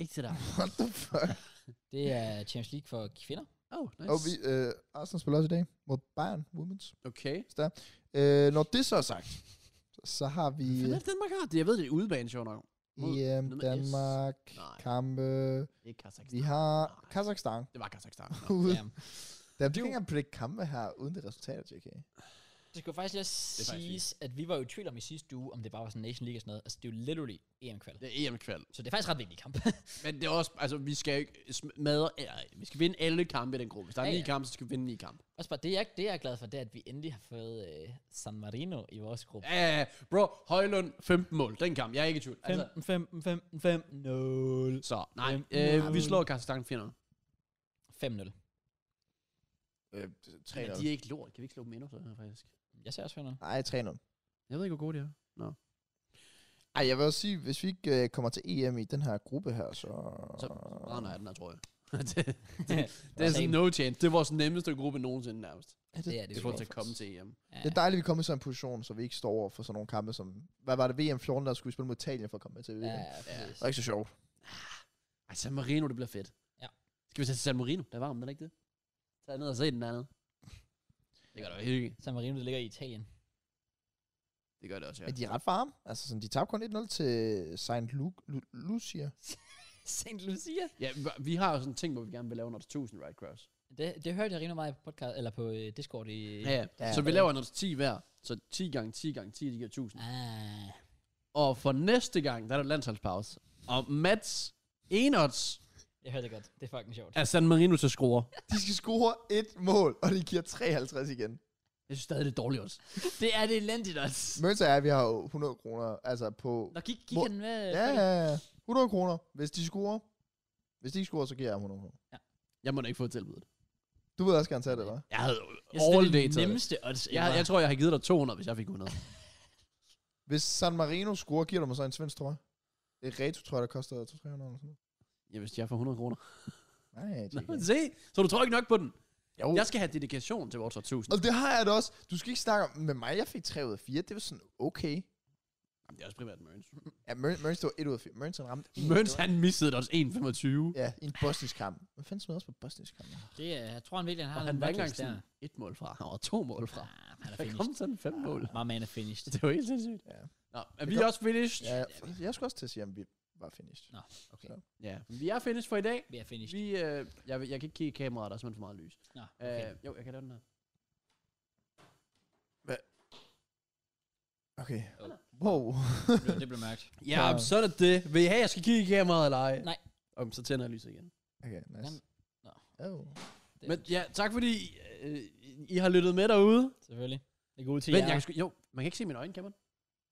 B: Ikke til dig.
C: What the fuck?
A: Det er Champions League for kvinder.
B: Oh, nice.
C: og vi, øh, Arsenal spiller også i dag mod Bayern Women's.
B: Okay.
C: Øh, når det så er sagt, så har vi
B: Hvad fanden er det, Danmark har? Det, jeg ved, det er udebane, sjovt nok.
C: øh,
B: Mod-
C: EM,
B: nummer S?
C: Danmark,
B: Nej.
C: kampe.
B: Det er Kazakhstan.
C: Vi har
B: Nej.
C: Kazakhstan.
B: Det var Kazakhstan. Nå.
C: Ude.
A: Ja.
C: Der er ikke engang predict kampe her, uden det resultater, JK.
B: Øh,
A: Det skulle faktisk lige
B: er faktisk
A: siges, at vi var jo i tvivl om i sidste uge, om det bare var sådan Nation League og sådan noget. Altså, det er jo literally EM-kval.
B: Det er EM-kval.
A: Så det er faktisk ret vigtig kamp.
B: Men det er også, altså, vi skal jo ikke smadre, eller, vi skal vinde alle kampe i den gruppe. Hvis der er
A: Ja,
B: ni
A: ja.
B: kampe, så skal vi vinde ni kampe.
A: Også bare, det jeg, det jeg er glad for, det er, at vi endelig har fået øh, San Marino i vores gruppe.
B: Ja, ja, ja. bro, Højlund, 15 mål, den kamp, jeg er ikke i tvivl. Altså,
A: 15, 15, 15, 15, 0.
B: så, nej,
A: Fem-
B: øh, vi slår Kazakhstan 4
A: 5-0.
C: Øh,
B: Men
C: 3-0.
B: de er ikke lort, kan vi ikke slå dem endnu, så faktisk?
A: Jeg ser også 5
C: Nej, 3-0.
B: Jeg ved ikke, hvor gode de er.
C: Ej, jeg vil også sige, hvis vi ikke øh, kommer til EM i den her gruppe her, så...
B: Så brænder jeg den her, tror jeg. det, det, er
A: Same.
B: sådan no chance. Det er vores nemmeste gruppe nogensinde nærmest.
C: er det,
A: Det er det
B: Det får til at komme til EM.
A: Ja,
C: Det er dejligt, at vi kommer i sådan en position, så vi ikke står over for sådan nogle kampe som... Hvad var det? VM 14, der skulle vi spille mod Italien for at komme med til VM.
A: ja,
C: Ja.
A: ja,
C: Det var ikke så sjovt.
B: Ej, San Marino, det bliver fedt.
A: Ja.
B: Skal vi tage til San Marino? Der er varmt, er det ikke det? Tag ned og se den dernede. Det gør det jo hygge.
A: San Marino, det ligger i Italien.
B: Det gør det også, ja.
C: Men de er ret varme. Altså, sådan, de tabte kun 1-0 til Saint Lu- Lu- Lucia.
A: St. Lucia.
B: ja vi- vi har jo sådan en ting, hvor vi gerne vil lave en 1000 right cross.
A: Det, det hørte jeg rimelig meget på podcast, eller på øh, Discord i...
B: Ja, ja.
C: Ja.
B: Så vi laver en 10 hver. Så 10 gange 10 gange 10, det giver 1000.
A: Ah,
B: Og for næste gang, der er der landsholdspause. Og Mats Enots
A: jeg hørte det godt. Det er fucking sjovt.
B: er San Marino til score.
C: De skal score et mål, og de giver 53 igen.
B: Jeg synes stadig, det er dårligt også.
A: det er det elendigt også.
C: Mønter er, at vi har jo 100 kroner, altså på...
A: Nå, gik, gik
C: Hvor-
A: han med...
C: Ja, ja, ja. 100 kroner, hvis de scorer. Hvis de ikke scorer, så giver jeg ham 100 kroner.
B: Jeg må da ikke få et tilbud.
C: Du vil også gerne tage det, eller? hvad?
B: Jeg havde
A: Jeg synes, det
B: all
A: er det
B: day taget det.
A: nemmeste odds ever.
B: jeg, jeg tror, jeg har givet dig 200, hvis jeg fik 100.
C: Hvis San Marino scorer, giver du mig så en svensk trøje. Det er retro trøje, der koster 200-300 eller sådan noget.
B: Ja, hvis jeg får 100 kroner.
C: Nej,
B: Nå,
C: JK.
B: se, så du tror ikke nok på den.
C: Jo.
B: Jeg skal have dedikation til vores år 1000.
C: Og det har jeg da også. Du skal ikke snakke om med mig. Jeg fik 3 ud af 4. Det var sådan okay.
B: Jamen, det er også primært Mørns.
C: Ja, Møn- Mørns, det var 1 ud af 4. Mørns, han ramte en.
B: Mørns, han missede også 1,25.
C: Ja, i en bosnisk kamp. Hvad fanden smed også på bosnisk kamp?
A: Det er, jeg tror, han virkelig, han
B: Og
A: har
B: han
A: en
B: var ikke
A: reckless
B: engang sådan et mål fra, og to mål fra.
A: Ah, han er
B: Der
A: finished.
B: kom sådan fem mål.
A: My man er finished.
B: Det var helt sindssygt.
C: Ja.
B: Nå, er
C: Det
B: vi
C: kom-
B: også finished?
C: Ja, jeg- jeg skulle også til at sige, at vi var finished.
A: Nå, okay.
C: Så.
B: ja. Vi er finished for i dag.
A: Vi er finished.
B: Vi, øh, jeg, vil- jeg kan ikke kigge i kameraet, der er simpelthen for meget lys.
A: Nå,
B: Okay.
A: okay.
B: Øh, jo, jeg kan lave den her.
C: Okay.
A: Oh.
C: Wow.
A: Det blev- det blev mørkt.
B: Ja,
C: Så-
B: så er det det. Vil I have, jeg skal kigge i kameraet eller ej?
A: Nej.
B: Om, så tænder jeg lyset igen.
C: Okay, nice.
A: Jamen, nå.
C: Oh.
A: Det er
B: Men ja, tak fordi øh, I har lyttet med derude.
A: Selvfølgelig. Det er gode til
B: Men
A: jer.
B: jeg kan sgu, jo, man kan ikke se mine øjne, kan man?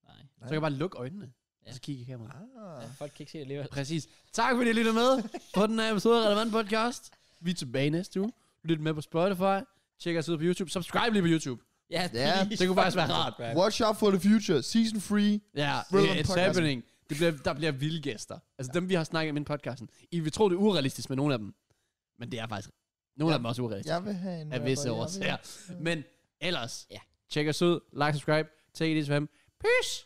A: Nej.
B: Så kan jeg bare lukke øjnene, ja. og så kigge i kameraet.
A: Ja,
C: Ah.
A: folk kan ikke se det alligevel.
B: Præcis. Tak fordi I lyttede med på den her episode af Relevant Podcast. Vi er tilbage næste uge. Lyt med på Spotify. Tjek os ud på YouTube. Subscribe lige på YouTube.
A: Ja,
C: Ja,
A: please,
B: det kunne faktisk være
A: fucking
B: rart.
A: subscribe.
C: Watch out for the future. Season 3.
B: Ja,
C: Relevant
B: yeah, it's
C: Podcast.
B: happening. Det bliver, der bliver vilde gæster. Altså dem, vi har snakket med i podcasten. I vil tro, det er urealistisk med nogle af dem. Men det er faktisk... Nogle af dem er også urealistisk.
C: Jeg vil have en
B: af visse
C: rapper, jeg vil-
B: årsager. Men ellers,
A: Ja.
B: tjek os ud, like, subscribe, take it easy for ham. Peace!